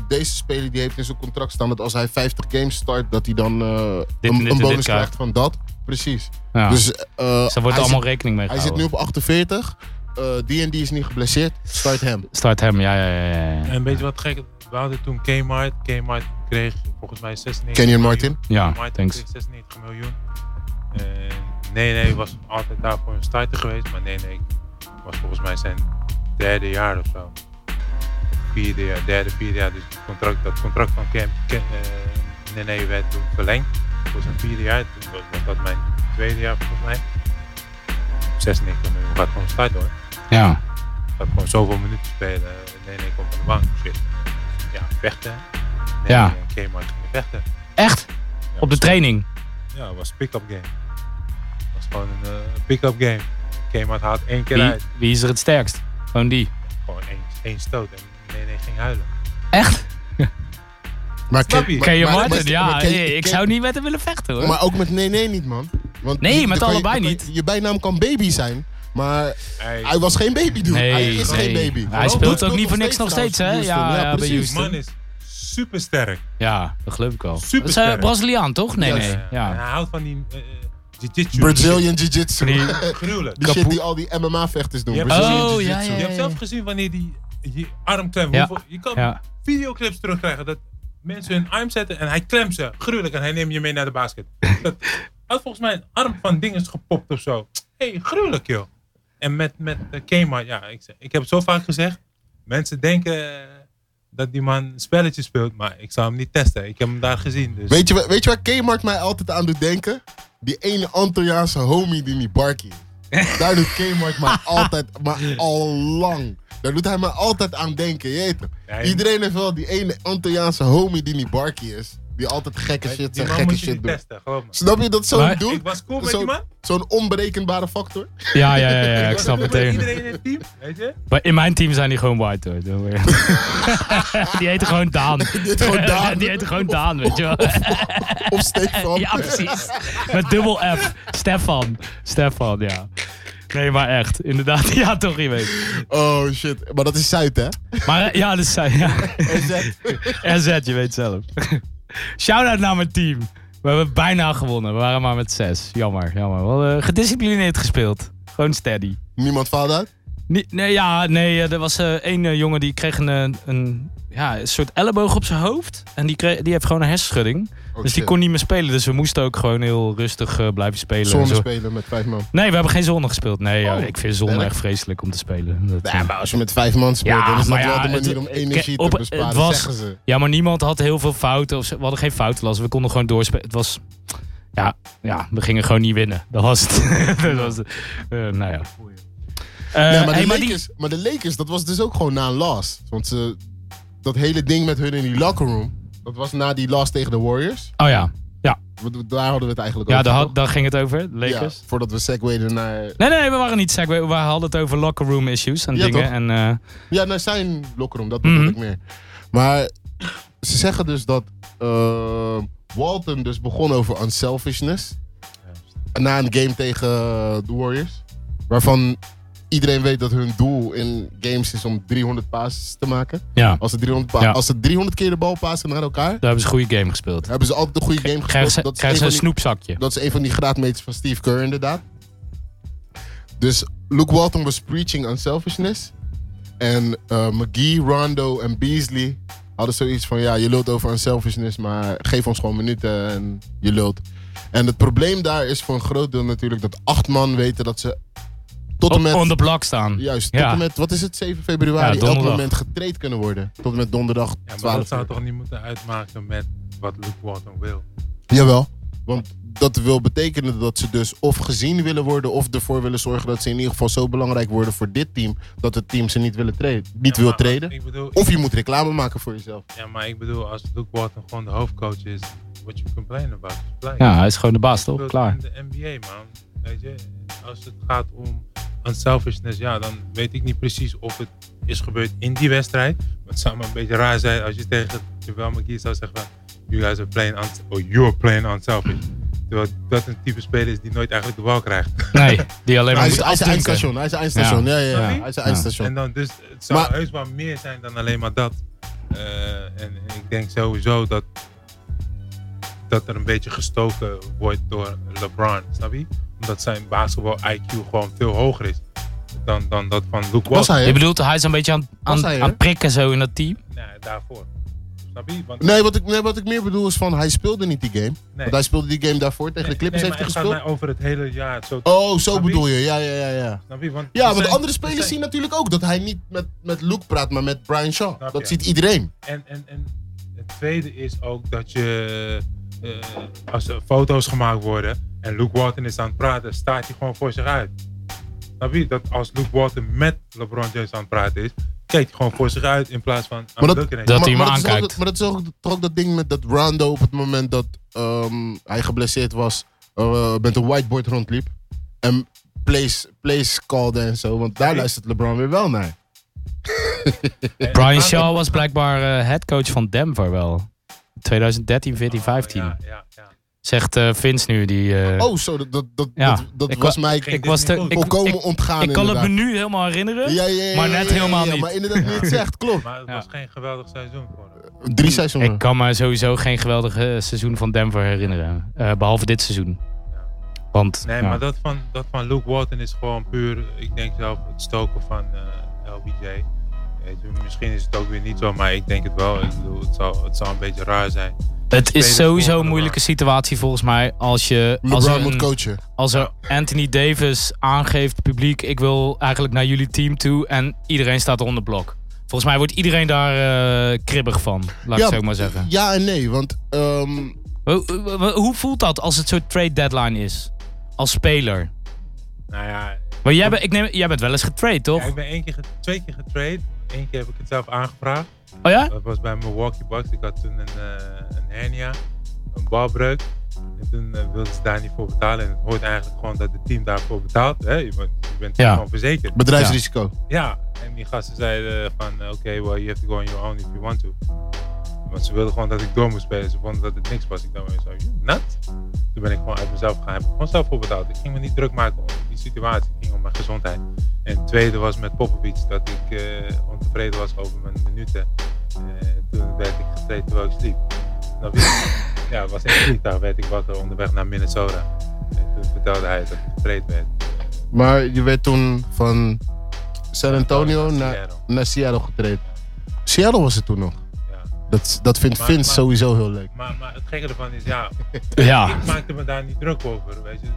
Speaker 4: deze speler die heeft in zijn contract staan dat als hij 50 games start... dat hij dan eh,
Speaker 3: dit en
Speaker 4: een,
Speaker 3: dit
Speaker 4: een bonus
Speaker 3: krijgt.
Speaker 4: krijgt van dat. Precies.
Speaker 3: ja. dus,
Speaker 4: Dus, eh,
Speaker 3: daar wordt
Speaker 4: hij
Speaker 3: allemaal
Speaker 4: zit-
Speaker 3: rekening mee
Speaker 4: Hij zit nu
Speaker 3: gehouden.
Speaker 4: op 48. eh, Die en die is niet geblesseerd. Start hem.
Speaker 3: Start hem, ja, ja, ja. ja, ja.
Speaker 5: En weet je wat gek? We hadden toen Kmart. Kmart kreeg volgens mij 96
Speaker 4: Kenyon
Speaker 5: miljoen.
Speaker 4: Martin.
Speaker 3: Ja,
Speaker 5: Kmart
Speaker 3: Ah, thanks.
Speaker 5: kreeg 96 miljoen. Eh, nee, nee, was altijd daar voor een starter geweest. Maar nee, nee, was volgens mij zijn derde jaar of zo. Vierde jaar, derde, vierde jaar. Dus het contract, dat contract van Ken, Ken, eh, nee, nee, werd toen verlengd voor zijn vierde jaar. Toen was, was dat mijn tweede jaar volgens mij. 96 miljoen gaat gewoon starten hoor
Speaker 3: Ja.
Speaker 5: dat gewoon zoveel minuten spelen. Nee, nee, kom van de bank. Shit. Ja, vechten. Nee,
Speaker 3: Ja.
Speaker 5: nee, Kmart ging vechten.
Speaker 3: Echt?
Speaker 5: Ja,
Speaker 3: Op de
Speaker 5: was-
Speaker 3: training?
Speaker 5: Ja, het was een pick-up game. Het was gewoon een eh, pick-up game. Kmart haalt één keer
Speaker 3: Wie,
Speaker 5: uit.
Speaker 3: wie is er het sterkst? Gewoon die.
Speaker 5: Gewoon één, één stoot en nee, nee, ging huilen.
Speaker 3: Echt?
Speaker 4: Maar
Speaker 5: Snap je?
Speaker 3: Ken je
Speaker 4: maar-
Speaker 3: Martin?
Speaker 4: maar-
Speaker 3: Ja,
Speaker 4: maar ken-
Speaker 3: nee, ik
Speaker 4: ken-
Speaker 3: zou niet met hem willen vechten hoor.
Speaker 4: Maar ook met nee, nee niet, man. Want
Speaker 3: Nee,
Speaker 4: je-
Speaker 3: met
Speaker 4: dan kan je-
Speaker 3: allebei
Speaker 4: dan kan
Speaker 3: niet.
Speaker 4: je- Je bijnaam kan baby zijn, maar
Speaker 5: Hey,
Speaker 4: hij was geen baby, dude.
Speaker 3: Nee,
Speaker 4: hij is
Speaker 3: nee.
Speaker 4: geen baby.
Speaker 3: Hij
Speaker 5: speelt
Speaker 3: ook niet voor niks nog
Speaker 4: trouwens,
Speaker 3: steeds, hè?
Speaker 4: Houston.
Speaker 3: Ja, ja, bij
Speaker 5: die
Speaker 3: Houston.
Speaker 5: man is supersterk.
Speaker 3: Ja, dat geloof ik wel. Dat is eh,
Speaker 5: Supersterk.
Speaker 3: Braziliaan, toch? Nee,
Speaker 4: Juist.
Speaker 3: nee.
Speaker 5: En
Speaker 3: Ja.
Speaker 5: hij houdt van die eh, eh, jiu-jitsu.
Speaker 4: Brazilian Jiu-Jitsu.
Speaker 3: Die-
Speaker 5: Gruwelijk.
Speaker 4: Die shit die al die MMA-vechters doen.
Speaker 5: Je hebt-
Speaker 4: Brazilian
Speaker 3: Oh,
Speaker 4: Jiu-Jitsu.
Speaker 3: ja, ja,
Speaker 5: Je
Speaker 3: ja.
Speaker 5: hebt zelf gezien wanneer die je arm klemt.
Speaker 3: Ja.
Speaker 5: Hoeveel- Je kan
Speaker 3: ja.
Speaker 5: videoclips terugkrijgen. Dat mensen hun arm zetten en hij klemt ze. Gruwelijk. En hij neemt je mee naar de basket. Dat had volgens mij een arm van dinges gepopt of zo. hey, gruwelijk joh. En met, met eh, Kmart, ja, ik, zeg- ik heb het zo vaak gezegd. Mensen denken eh, dat die man spelletjes speelt, maar ik zou hem niet testen. Ik heb hem daar gezien. Dus.
Speaker 4: Weet je, wa- weet je waar Kmart mij altijd aan doet denken? Die ene Antilliaanse homie die niet barkie. Daar doet Kmart mij altijd, maar al lang. Daar doet hij mij altijd aan denken, je weet het.
Speaker 5: Ja, je-
Speaker 4: Iedereen heeft wel die ene Antilliaanse homie die niet barkie is. Die altijd gekke
Speaker 5: die
Speaker 4: shit zegt,
Speaker 5: man moet je
Speaker 4: gekke
Speaker 5: niet
Speaker 4: shit doet.
Speaker 5: testen, geloof me.
Speaker 4: Snap je dat zo'n
Speaker 3: Maar-
Speaker 4: dude,
Speaker 5: Ik was cool met
Speaker 4: Zo-
Speaker 5: die man.
Speaker 4: zo'n onberekenbare factor?
Speaker 3: Ja, ja, ja, ja, ik
Speaker 5: was
Speaker 3: snap
Speaker 5: cool met
Speaker 3: meteen.
Speaker 5: Iedereen in het team, weet je?
Speaker 3: Maar in mijn team zijn die gewoon white hoor. Don't worry. Die heten gewoon Daan. Die
Speaker 4: heten gewoon Daan.
Speaker 3: Die heten gewoon Daan, weet je wel.
Speaker 4: Of Stefan?
Speaker 3: Ja, precies. Met dubbel F. Stefan. Stefan, ja. Nee, maar echt. Inderdaad, ja, toch, je weet.
Speaker 4: Oh shit, maar dat is Zuid hè?
Speaker 3: Maar eh, ja, dat zijn. Ja.
Speaker 4: RZ.
Speaker 3: RZ, je weet zelf. Shout-out naar mijn team. We hebben bijna gewonnen. We waren maar met zes. Jammer, jammer. Wel eh, gedisciplineerd gespeeld. Gewoon steady.
Speaker 4: Niemand faalt uit?
Speaker 3: Nee, nee, ja, nee, eh, er was eh, één eh, jongen die kreeg een, eh, een, ja, een soort elleboog op zijn hoofd. En die, kreeg, die heeft gewoon een hersenschudding.
Speaker 4: Oh,
Speaker 3: dus die
Speaker 4: shit.
Speaker 3: kon niet meer spelen. Dus we moesten ook gewoon heel rustig eh, blijven spelen. en
Speaker 4: Zonder
Speaker 3: zo.
Speaker 4: spelen met vijf man.
Speaker 3: Nee, we hebben geen zonne gespeeld. Nee,
Speaker 4: Oh.
Speaker 3: ja, ik vind zonne
Speaker 4: lekker.
Speaker 3: echt vreselijk om te spelen. Dat, eh,
Speaker 4: Ja, maar als je met vijf man speelt,
Speaker 3: Ja,
Speaker 4: dan is dat
Speaker 3: maar
Speaker 4: wel
Speaker 3: ja,
Speaker 4: de manier
Speaker 3: het-
Speaker 4: om
Speaker 3: het-
Speaker 4: energie
Speaker 3: op-
Speaker 4: te
Speaker 3: het
Speaker 4: besparen,
Speaker 3: was-
Speaker 4: zeggen ze.
Speaker 3: Ja, maar niemand had heel veel fouten. Of ze, we hadden geen fouten last. We konden gewoon doorspelen. Het was... Ja, ja, we gingen gewoon niet winnen. Dat was het. dat was het. Eh, nou ja. Eh,
Speaker 4: ja, maar, de
Speaker 3: hey, maar die-
Speaker 4: Lakers, maar de Lakers, dat was dus ook gewoon na een loss. Want ze, dat hele ding met hun in die locker room, dat was na die loss tegen de Warriors.
Speaker 3: Oh ja,
Speaker 4: Want we- daar hadden we het eigenlijk
Speaker 3: ja daar,
Speaker 4: over. toch?
Speaker 3: had- daar ging het over. de
Speaker 4: Ja,
Speaker 3: Lakers.
Speaker 4: voordat we segwayden naar,
Speaker 3: Nee, nee, we waren niet sec. We we hadden het over locker room issues en
Speaker 4: Ja,
Speaker 3: dingen.
Speaker 4: toch?
Speaker 3: En, eh,
Speaker 4: ja, naar zijn locker room, dat bedoel
Speaker 3: Mhm.
Speaker 4: ik meer. Maar ze zeggen dus dat eh, Walton dus begon over unselfishness. na een game tegen eh, de Warriors. Waarvan iedereen weet dat hun doel in games is om 300 passes te maken.
Speaker 3: ja,
Speaker 4: Als ze 300, pa-
Speaker 3: Ja.
Speaker 4: als ze 300 keer de bal passen naar elkaar,
Speaker 3: daar hebben ze een goede game gespeeld.
Speaker 4: hebben ze altijd een goede game
Speaker 3: Krijgen ze,
Speaker 4: gespeeld. Dat is,
Speaker 3: krijgen ze
Speaker 4: een
Speaker 3: een
Speaker 4: van die,
Speaker 3: snoepzakje.
Speaker 4: dat is een van die graadmeters van Steve Kerr inderdaad. Dus Luke Walton was preaching unselfishness. En eh, McGee, Rondo en Beasley hadden zoiets van... ja, je lult over unselfishness, maar geef ons gewoon minuten en je lult. En het probleem daar is voor een groot deel natuurlijk... dat acht man weten dat ze tot en
Speaker 3: Op,
Speaker 4: met...
Speaker 3: on the block staan.
Speaker 4: Juist,
Speaker 3: Ja.
Speaker 4: tot en met, wat is het, 7 februari,
Speaker 3: Ja,
Speaker 4: elk
Speaker 3: donderdag.
Speaker 4: moment getraind kunnen worden. Tot en met donderdag
Speaker 5: Ja, maar
Speaker 4: 12
Speaker 5: dat zou
Speaker 4: uur.
Speaker 5: toch niet moeten uitmaken met wat Luke Walton wil.
Speaker 4: Jawel, want dat wil betekenen dat ze dus of gezien willen worden... of ervoor willen zorgen dat ze in ieder geval zo belangrijk worden voor dit team... dat het team ze niet, willen treden, niet wil treden.
Speaker 5: Ik bedoel,
Speaker 4: Of je moet reclame maken voor jezelf.
Speaker 5: ja, maar ik bedoel, als Luke Walton gewoon de hoofdcoach is, wat je complain about. is blij.
Speaker 3: Ja, hij is gewoon de baas,
Speaker 5: speelt
Speaker 3: toch? Klaar.
Speaker 5: in de NBA, man. Weet je, als het gaat om unselfishness, ja, dan weet ik niet precies of het is gebeurd in die wedstrijd. Maar het zou me een beetje raar zijn als je tegen Javel McGee zou zeggen van, you guys are playing un oh, you're playing unselfish. Terwijl dat een type speler is die nooit eigenlijk de bal krijgt.
Speaker 3: Nee, die alleen maar
Speaker 4: Hij is,
Speaker 3: moet
Speaker 4: hij is een
Speaker 3: afdunken.
Speaker 4: eindstation, hij is een eindstation. Ja, ja, ja.
Speaker 5: Sorry?
Speaker 4: Hij is een eindstation.
Speaker 5: En dan dus, het zou
Speaker 4: Maar-
Speaker 5: heus wel meer zijn dan alleen maar dat. Eh, en ik denk sowieso dat, dat er een beetje gestoken wordt door LeBron, snap je? Omdat zijn basketbal IQ gewoon veel hoger is dan, dan dat van Luke
Speaker 4: Was
Speaker 5: Walton.
Speaker 4: hij
Speaker 3: Je
Speaker 4: er?
Speaker 3: bedoelt, hij is een beetje aan, aan,
Speaker 4: Was hij er?
Speaker 3: aan het prikken zo in dat team.
Speaker 5: Nee, daarvoor. Snap je? Want,
Speaker 4: Nee wat, ik, nee, wat ik meer bedoel is van hij speelde niet die game.
Speaker 5: nee.
Speaker 4: Want hij speelde die game daarvoor tegen de Clippers
Speaker 5: Nee,
Speaker 4: heeft
Speaker 5: maar
Speaker 4: hij
Speaker 5: het
Speaker 4: gespeeld.
Speaker 5: gaat mij over het hele jaar. Zo,
Speaker 4: Oh, zo
Speaker 5: Snap je?
Speaker 4: bedoel je. Ja, ja, ja, ja.
Speaker 5: snap je? Want er
Speaker 4: Ja, want
Speaker 5: zijn-
Speaker 4: andere
Speaker 5: er
Speaker 4: spelers
Speaker 5: zijn-
Speaker 4: zien natuurlijk ook dat hij niet met, met Luke praat, maar met Brian Shaw.
Speaker 5: Snap
Speaker 4: dat
Speaker 5: je?
Speaker 4: ziet iedereen.
Speaker 5: En, en, en het tweede is ook dat je, eh, als er foto's gemaakt worden en Luke Walton is aan het praten, staat hij gewoon voor zich uit. Snap je? Dat als Luke Walton met LeBron James aan het praten is, kijkt hij gewoon voor zich uit in plaats van aan
Speaker 4: Maar
Speaker 5: het
Speaker 4: dat-
Speaker 5: looking at
Speaker 3: Dat
Speaker 5: you.
Speaker 3: hij hem
Speaker 4: is ook
Speaker 3: aankijkt.
Speaker 4: dat- maar dat is ook, toch ook dat ding met dat Rondo op het moment dat ehm, hij geblesseerd was, eh, met een whiteboard rondliep. En plays, plays called en zo, want daar
Speaker 5: Nee.
Speaker 4: luistert LeBron weer wel naar.
Speaker 5: En- en-
Speaker 3: Brian Shaw was blijkbaar eh, headcoach van Denver wel. 2013, 14,
Speaker 5: Oh,
Speaker 3: 15.
Speaker 5: ja, ja, ja.
Speaker 3: Zegt eh, Vince nu. Die, eh,
Speaker 4: Oh, zo, dat, dat, dat,
Speaker 3: Ja.
Speaker 4: dat, dat
Speaker 3: Ik
Speaker 4: was
Speaker 3: wa-
Speaker 4: mij
Speaker 5: ging
Speaker 3: ik
Speaker 5: dit
Speaker 3: was
Speaker 5: niet
Speaker 3: te,
Speaker 5: goed.
Speaker 3: ik,
Speaker 4: volkomen
Speaker 3: ik,
Speaker 4: ontgaan.
Speaker 3: ik kan het me
Speaker 4: inderdaad.
Speaker 3: nu helemaal herinneren.
Speaker 4: Ja, ja, ja,
Speaker 3: maar
Speaker 4: ja,
Speaker 3: net
Speaker 4: ja, ja,
Speaker 3: helemaal
Speaker 4: ja,
Speaker 3: niet.
Speaker 4: Maar inderdaad, niet zegt, klopt.
Speaker 5: Maar het was geen geweldig seizoen voor hem.
Speaker 4: Drie seizoenen.
Speaker 3: Ik kan me sowieso geen geweldig eh, seizoen van Denver herinneren. Eh, behalve dit seizoen. Want
Speaker 5: Nee,
Speaker 3: ja,
Speaker 5: maar dat van, dat van Luke Walton is gewoon puur, ik denk zelf, het stoken van eh, LBJ. Weet je, misschien is het ook weer niet zo, maar ik denk het wel. Ik bedoel, het zal, het zal een beetje raar zijn.
Speaker 3: het is
Speaker 5: spelers volgen
Speaker 3: sowieso een
Speaker 5: elkaar.
Speaker 3: moeilijke situatie volgens mij. Als je. Als
Speaker 4: LeBron
Speaker 3: er
Speaker 4: moet
Speaker 3: een-
Speaker 4: coachen.
Speaker 3: als er Anthony Davis aangeeft, publiek, ik wil eigenlijk naar jullie team toe. En iedereen staat onder blok. Volgens mij wordt iedereen daar eh, kribbig van, laat ik het zo maar zeggen.
Speaker 4: Ja en nee, want ehm,
Speaker 3: Hoe, hoe- hoe voelt dat als het zo'n trade deadline is? Als speler.
Speaker 5: Nou ja,
Speaker 3: Maar jij, bent- ik neem, jij bent wel eens getrade, toch?
Speaker 5: ja, ik ben één keer, get- twee keer getrade. Eén keer heb ik het zelf aangevraagd.
Speaker 3: Oh ja?
Speaker 5: Dat was bij Milwaukee Bucks. Ik had toen een, eh, een hernia, een balbreuk. En toen eh, wilden ze daar niet voor betalen. En het hoort eigenlijk gewoon dat het team daarvoor betaalt. Hè? Je, bent- je bent
Speaker 3: Ja.
Speaker 5: gewoon verzekerd.
Speaker 4: bedrijfsrisico.
Speaker 5: Ja, en die gasten zeiden van eh, oké, well you have to go on your own if you want to. Want ze wilden gewoon dat ik door moest spelen. Ze vonden dat het niks was. Ik dacht zo, you nut? Toen ben ik gewoon uit mezelf gegaan. Heb ik gewoon zelf voor betaald. Ik ging me niet druk maken om die situatie. Het ging om mijn gezondheid. En het tweede was met Popovic dat ik eh, ontevreden was over mijn minuten. Eh, toen werd ik getraind terwijl ik sliep. Snap je? ja, het was in het vliegtuig. Werd ik wakker onderweg naar Minnesota. En toen vertelde hij dat ik getraind werd.
Speaker 4: Maar je werd toen van San Antonio naar,
Speaker 5: Seattle.
Speaker 4: naar Seattle getraind. Seattle was het toen nog.
Speaker 5: Ja.
Speaker 4: Dat, dat vindt
Speaker 5: Maar-
Speaker 4: Vince
Speaker 5: maar-
Speaker 4: sowieso heel leuk.
Speaker 5: Maar, maar het gekke ervan is, ja,
Speaker 3: Ja.
Speaker 5: ik maakte me daar niet druk over. Weet je.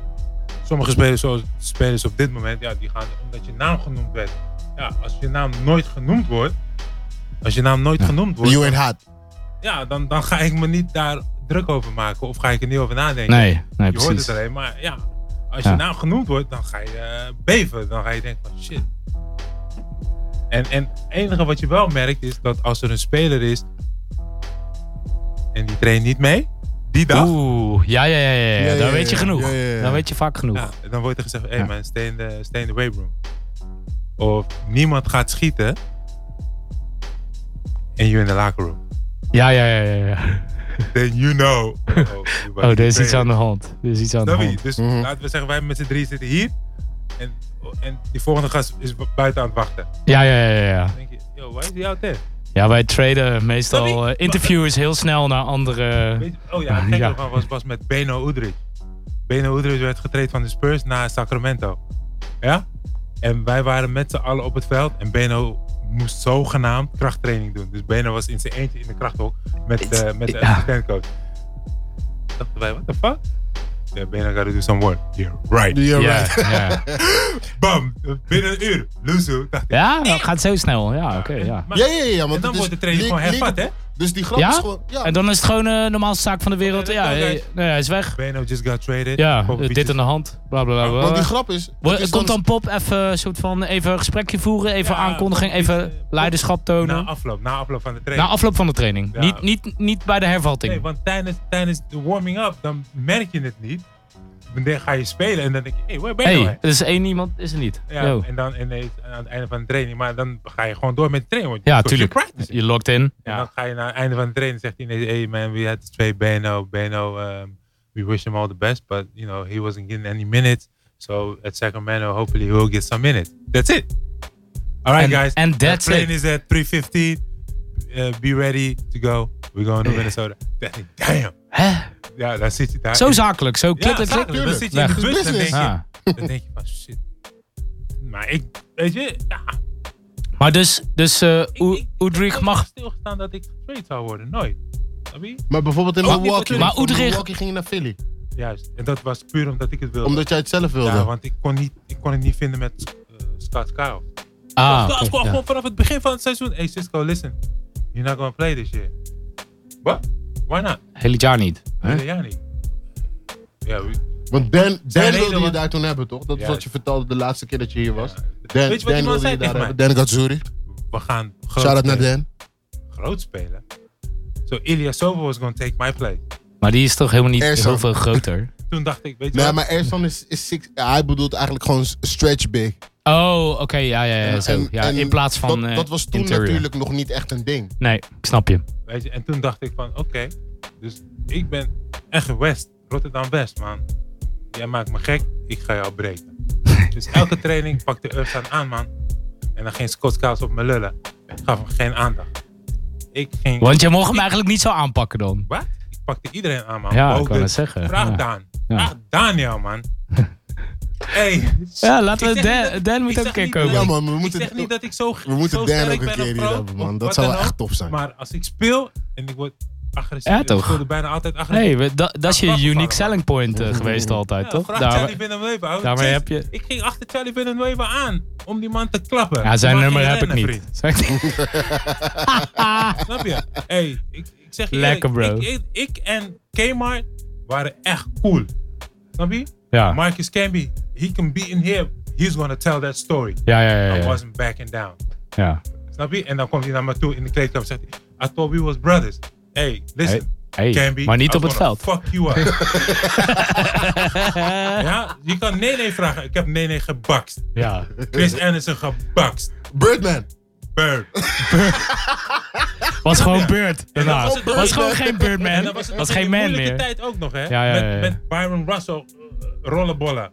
Speaker 5: Sommige spelers, zoals spelers op dit moment, ja, die gaan omdat je naam genoemd werd. Ja, als je naam nooit genoemd wordt, als je naam nooit genoemd wordt,
Speaker 4: You ain't hot.
Speaker 5: ja, dan, dan ga ik me niet daar druk over maken of ga ik er niet over nadenken.
Speaker 3: Nee, nee,
Speaker 5: je hoort het
Speaker 3: precies.
Speaker 5: alleen, maar ja, als
Speaker 3: Ja.
Speaker 5: je naam genoemd wordt, dan ga je eh, beven. Dan ga je denken van shit. En, en het enige wat je wel merkt is dat als er een speler is en die traint niet mee, die dag,
Speaker 3: Oeh, ja, ja, ja, ja.
Speaker 4: Ja,
Speaker 3: ja.
Speaker 4: ja,
Speaker 3: Dan
Speaker 4: ja,
Speaker 3: weet je
Speaker 4: ja.
Speaker 3: genoeg.
Speaker 4: Ja, ja, ja.
Speaker 3: Dan weet je vaak genoeg.
Speaker 5: Ja, dan wordt er gezegd, hé
Speaker 3: Ja.
Speaker 5: man, stay in, de, stay in the weight room. Of niemand gaat schieten en you in the locker room.
Speaker 3: Ja, ja, ja, ja. ja.
Speaker 5: Then you know. Oh, you
Speaker 3: Oh, er is
Speaker 5: better
Speaker 3: iets aan de hand. Er is iets aan de
Speaker 5: Snap je?
Speaker 3: hand.
Speaker 5: Dus
Speaker 4: Mhm.
Speaker 5: laten we zeggen, wij met z'n drie zitten hier en, en die volgende gast is bu- buiten aan het wachten. Dan
Speaker 3: Ja, ja, ja, ja, ja.
Speaker 5: denk je, yo, why is he out there?
Speaker 3: Ja, wij traden
Speaker 5: Snap
Speaker 3: meestal
Speaker 5: je?
Speaker 3: eh, interviewers heel snel naar andere.
Speaker 5: Weet je- oh ja, het gekke
Speaker 3: Ja.
Speaker 5: ervan was, was met Beno Udrich. Beno Udrich werd getraind van de Spurs naar Sacramento. Ja? En wij waren met z'n allen op het veld. En Beno moest zogenaamd krachttraining doen. Dus Beno was in zijn eentje in de krachthok met,
Speaker 3: It's-
Speaker 5: eh, met de
Speaker 3: ja.
Speaker 5: assistentcoach. Dachten wij, what the fuck? Yeah, Beno gotta do some work. Yeah, right.
Speaker 4: You're
Speaker 3: Ja,
Speaker 4: right.
Speaker 3: ja.
Speaker 5: Bam! Binnen een uur. Luzu. Dacht ik.
Speaker 3: ja, dat gaat zo snel. Ja, oké, ja.
Speaker 5: Maar-
Speaker 4: Ja, ja, ja. Want
Speaker 5: en dan
Speaker 4: het is
Speaker 5: wordt de training
Speaker 4: league-
Speaker 5: gewoon hervat, hè?
Speaker 4: league- Dus die grap
Speaker 3: Ja?
Speaker 4: is gewoon... Ja,
Speaker 3: En dan is het gewoon de normaalste zaak van de wereld.
Speaker 5: Oké,
Speaker 3: Ja,
Speaker 5: nou,
Speaker 3: hey,
Speaker 5: guys.
Speaker 3: nee, hij is weg.
Speaker 5: Beno just got traded.
Speaker 3: Ja, eh,
Speaker 5: Popovic
Speaker 3: dit
Speaker 5: is-
Speaker 3: aan de hand. Bla bla bla.
Speaker 4: want die
Speaker 3: bla.
Speaker 4: grap is... het
Speaker 3: Wo-
Speaker 4: is
Speaker 3: Komt dan Pop even een soort van even een gesprekje voeren, even
Speaker 5: Ja,
Speaker 3: aankondiging,
Speaker 5: Pop is,
Speaker 3: even
Speaker 5: eh,
Speaker 3: leiderschap tonen.
Speaker 5: Na afloop, na afloop van de
Speaker 3: Na
Speaker 5: training.
Speaker 3: afloop van de training.
Speaker 5: Ja.
Speaker 3: Niet, niet, niet bij de hervatting.
Speaker 5: nee, want tijdens, tijdens de warming-up, dan merk je het niet. Dan ga je spelen en dan denk je, hé, hey, waar ben je
Speaker 3: Hé,
Speaker 5: nou,
Speaker 3: hey, er is één iemand, is er niet.
Speaker 5: hè? Ja,
Speaker 3: Yo.
Speaker 5: en dan en, eh, aan het einde van de training, maar dan ga je gewoon door met de training. want
Speaker 3: Ja,
Speaker 5: because you're
Speaker 3: tuurlijk.
Speaker 5: practicing.
Speaker 3: Je logt in.
Speaker 5: En dan
Speaker 3: Ja.
Speaker 5: ga je naar het einde van de training zegt hij ineens, hey man, we had twee Beno. Beno, um, we wish him all the best, but you know, he wasn't getting any minutes. So at Sacramento, hopefully he will get some minutes. That's it. All right,
Speaker 3: And-
Speaker 5: guys.
Speaker 3: and
Speaker 5: The
Speaker 3: that's
Speaker 5: plane
Speaker 3: it.
Speaker 5: is at 3.15. Uh, be ready to go. We're going to Minnesota. That- Damn.
Speaker 3: Hè?
Speaker 5: Ja, daar zit je daar.
Speaker 3: Zo zakelijk, zo klik,
Speaker 5: Ja,
Speaker 3: klik, klik.
Speaker 5: zakelijk. Dan
Speaker 4: Tuurlijk.
Speaker 5: zit je in de
Speaker 3: Weg.
Speaker 5: bus en denk
Speaker 4: Business.
Speaker 5: je,
Speaker 3: Ja.
Speaker 5: dan denk je van shit. Maar ik, weet je, ja,
Speaker 3: Maar dus, dus eh,
Speaker 5: ik-
Speaker 3: Oe-
Speaker 5: ik- ik
Speaker 3: Oedrich
Speaker 5: heb
Speaker 3: mag...
Speaker 5: nooit stilgestaan dat ik getraind zou worden. Nooit. Snap je?
Speaker 6: Maar bijvoorbeeld in
Speaker 4: Van
Speaker 6: Milwaukee.
Speaker 4: Milwaukee.
Speaker 3: Maar
Speaker 4: Van
Speaker 3: Utrecht-
Speaker 4: Milwaukee ging je naar Philly.
Speaker 5: Juist. En dat was puur omdat ik het wilde.
Speaker 6: Omdat jij het zelf wilde.
Speaker 5: ja, want ik kon, niet, ik kon het niet vinden met eh, Scott Kyle.
Speaker 3: Ah,
Speaker 5: Scott
Speaker 3: oké,
Speaker 5: Kyle
Speaker 3: ja.
Speaker 5: gewoon vanaf het begin van het seizoen. Hey Cisco, listen. You're not gonna play this year. What? Why not?
Speaker 3: hele jaar niet.
Speaker 5: Huh? Ja, niet. Ja, we-
Speaker 6: Want Dan,
Speaker 5: nee,
Speaker 6: Dan wilde je
Speaker 5: want-
Speaker 6: daar toen hebben, toch? Dat is
Speaker 5: Ja.
Speaker 6: wat je vertelde de laatste keer dat je hier was.
Speaker 5: ja.
Speaker 6: Dan,
Speaker 5: Weet je wat
Speaker 6: Dan
Speaker 5: die man
Speaker 6: wilde
Speaker 5: zei
Speaker 6: je daar
Speaker 5: tegen mij?
Speaker 6: hebben. Dan Gatsuri.
Speaker 5: We gaan groot
Speaker 6: Shout out naar
Speaker 5: spelen.
Speaker 6: Dan.
Speaker 5: Groot spelen. So Ilya Sova was gonna take my place.
Speaker 3: Maar die is toch helemaal niet
Speaker 4: Er zo.
Speaker 3: heel veel groter?
Speaker 5: Toen dacht ik, weet je
Speaker 4: Nee,
Speaker 5: wat?
Speaker 4: maar Erson is, is six, ja, hij bedoelt eigenlijk gewoon s- stretch big.
Speaker 3: Oh, oké, ja, ja, ja,
Speaker 4: En-
Speaker 3: zo.
Speaker 4: en-
Speaker 3: Ja,
Speaker 4: en
Speaker 3: in plaats van
Speaker 4: dat,
Speaker 3: eh,
Speaker 4: dat was toen
Speaker 3: interior.
Speaker 4: natuurlijk nog niet echt een ding.
Speaker 3: Nee, ik snap je.
Speaker 5: Weet je, en toen dacht ik van, oké, dus ik ben echt West, Rotterdam West, man. Jij maakt me gek, ik ga jou breken. dus elke training pakte Ursan aan, man. En dan ging Scott Kaas op me lullen. Ik gaf hem geen aandacht. Ik ging...
Speaker 3: Want je mocht hem eigenlijk niet zo aanpakken dan.
Speaker 5: Wat? Ik pakte iedereen aan, man.
Speaker 3: Ja,
Speaker 5: Ook
Speaker 3: ik kan
Speaker 5: de-
Speaker 3: het zeggen.
Speaker 5: Oh, Vraag
Speaker 3: Ja.
Speaker 5: Daan.
Speaker 3: Ja.
Speaker 5: Vraag Daniel, man. hey.
Speaker 3: Ja, laten we...
Speaker 5: Ik zeg niet
Speaker 3: Dan,
Speaker 5: dat-
Speaker 3: Dan moet
Speaker 5: ik
Speaker 3: ook een
Speaker 5: zeg
Speaker 3: keer
Speaker 5: niet dat-
Speaker 3: komen.
Speaker 4: Ja, man, we
Speaker 5: Ik
Speaker 4: moeten,
Speaker 5: zeg niet dat ik zo
Speaker 4: we moeten
Speaker 5: zo
Speaker 4: Dan
Speaker 5: sterk
Speaker 4: ook een
Speaker 5: ben of
Speaker 4: keer hier
Speaker 5: groot
Speaker 4: hebben,
Speaker 5: of
Speaker 4: man. Dat
Speaker 5: wat
Speaker 4: zou
Speaker 5: dan
Speaker 4: wel
Speaker 5: ook.
Speaker 4: echt tof zijn.
Speaker 5: Maar als ik speel en ik word agressief,
Speaker 3: Ja,
Speaker 5: ik
Speaker 3: toch?
Speaker 5: speelde bijna altijd agressief.
Speaker 3: Nee, we- da- dat is je
Speaker 5: Ja,
Speaker 3: unique
Speaker 5: wacht,
Speaker 3: selling point eh, geweest altijd,
Speaker 5: Ja,
Speaker 3: toch? Nou,
Speaker 5: Vraag
Speaker 3: Daar-
Speaker 5: Charlie Villanueva. Oh,
Speaker 3: daarmee
Speaker 5: jeez,
Speaker 3: heb je-
Speaker 5: Ik ging achter Charlie Villanueva aan om die man te klappen.
Speaker 3: ja, zijn
Speaker 5: Maar
Speaker 3: nummer
Speaker 5: ging
Speaker 3: heb ik
Speaker 5: rennen,
Speaker 3: niet.
Speaker 5: vriend.
Speaker 3: Ah,
Speaker 5: Snap je? Hey, ik, ik zeg je
Speaker 3: Lekker,
Speaker 5: eerlijk,
Speaker 3: bro.
Speaker 5: Ik, ik, ik en Kmart waren echt cool. Snap je?
Speaker 3: ja.
Speaker 5: Marcus Camby, he can be in here. He's gonna tell that story.
Speaker 3: Ja, ja, ja,
Speaker 5: I
Speaker 3: ja,
Speaker 5: wasn't backing down.
Speaker 3: ja.
Speaker 5: Snap je? En dan komt hij naar me toe in de kleedkamer en zegt hij, I thought we was brothers. Hey, listen.
Speaker 3: Hey,
Speaker 5: Camby,
Speaker 3: maar niet
Speaker 5: I'm
Speaker 3: op het
Speaker 5: gonna
Speaker 3: veld.
Speaker 5: Fuck you up. ja, je kan nee nee vragen. Ik heb nee nee gebakst.
Speaker 3: Ja.
Speaker 5: Chris Anderson gebakst.
Speaker 4: Birdman.
Speaker 5: Bird.
Speaker 3: Was gewoon beurt daarna.
Speaker 5: was het
Speaker 3: Was
Speaker 5: beurt,
Speaker 3: gewoon
Speaker 5: hè?
Speaker 3: geen
Speaker 5: En
Speaker 3: beurtman.
Speaker 5: dan was het
Speaker 3: Was
Speaker 5: nog in
Speaker 3: geen
Speaker 5: die
Speaker 3: man
Speaker 5: moeilijke
Speaker 3: meer.
Speaker 5: tijd ook nog, hè?
Speaker 3: Ja, ja, ja, ja.
Speaker 5: Met, met Byron Russell, eh, rollenbollen.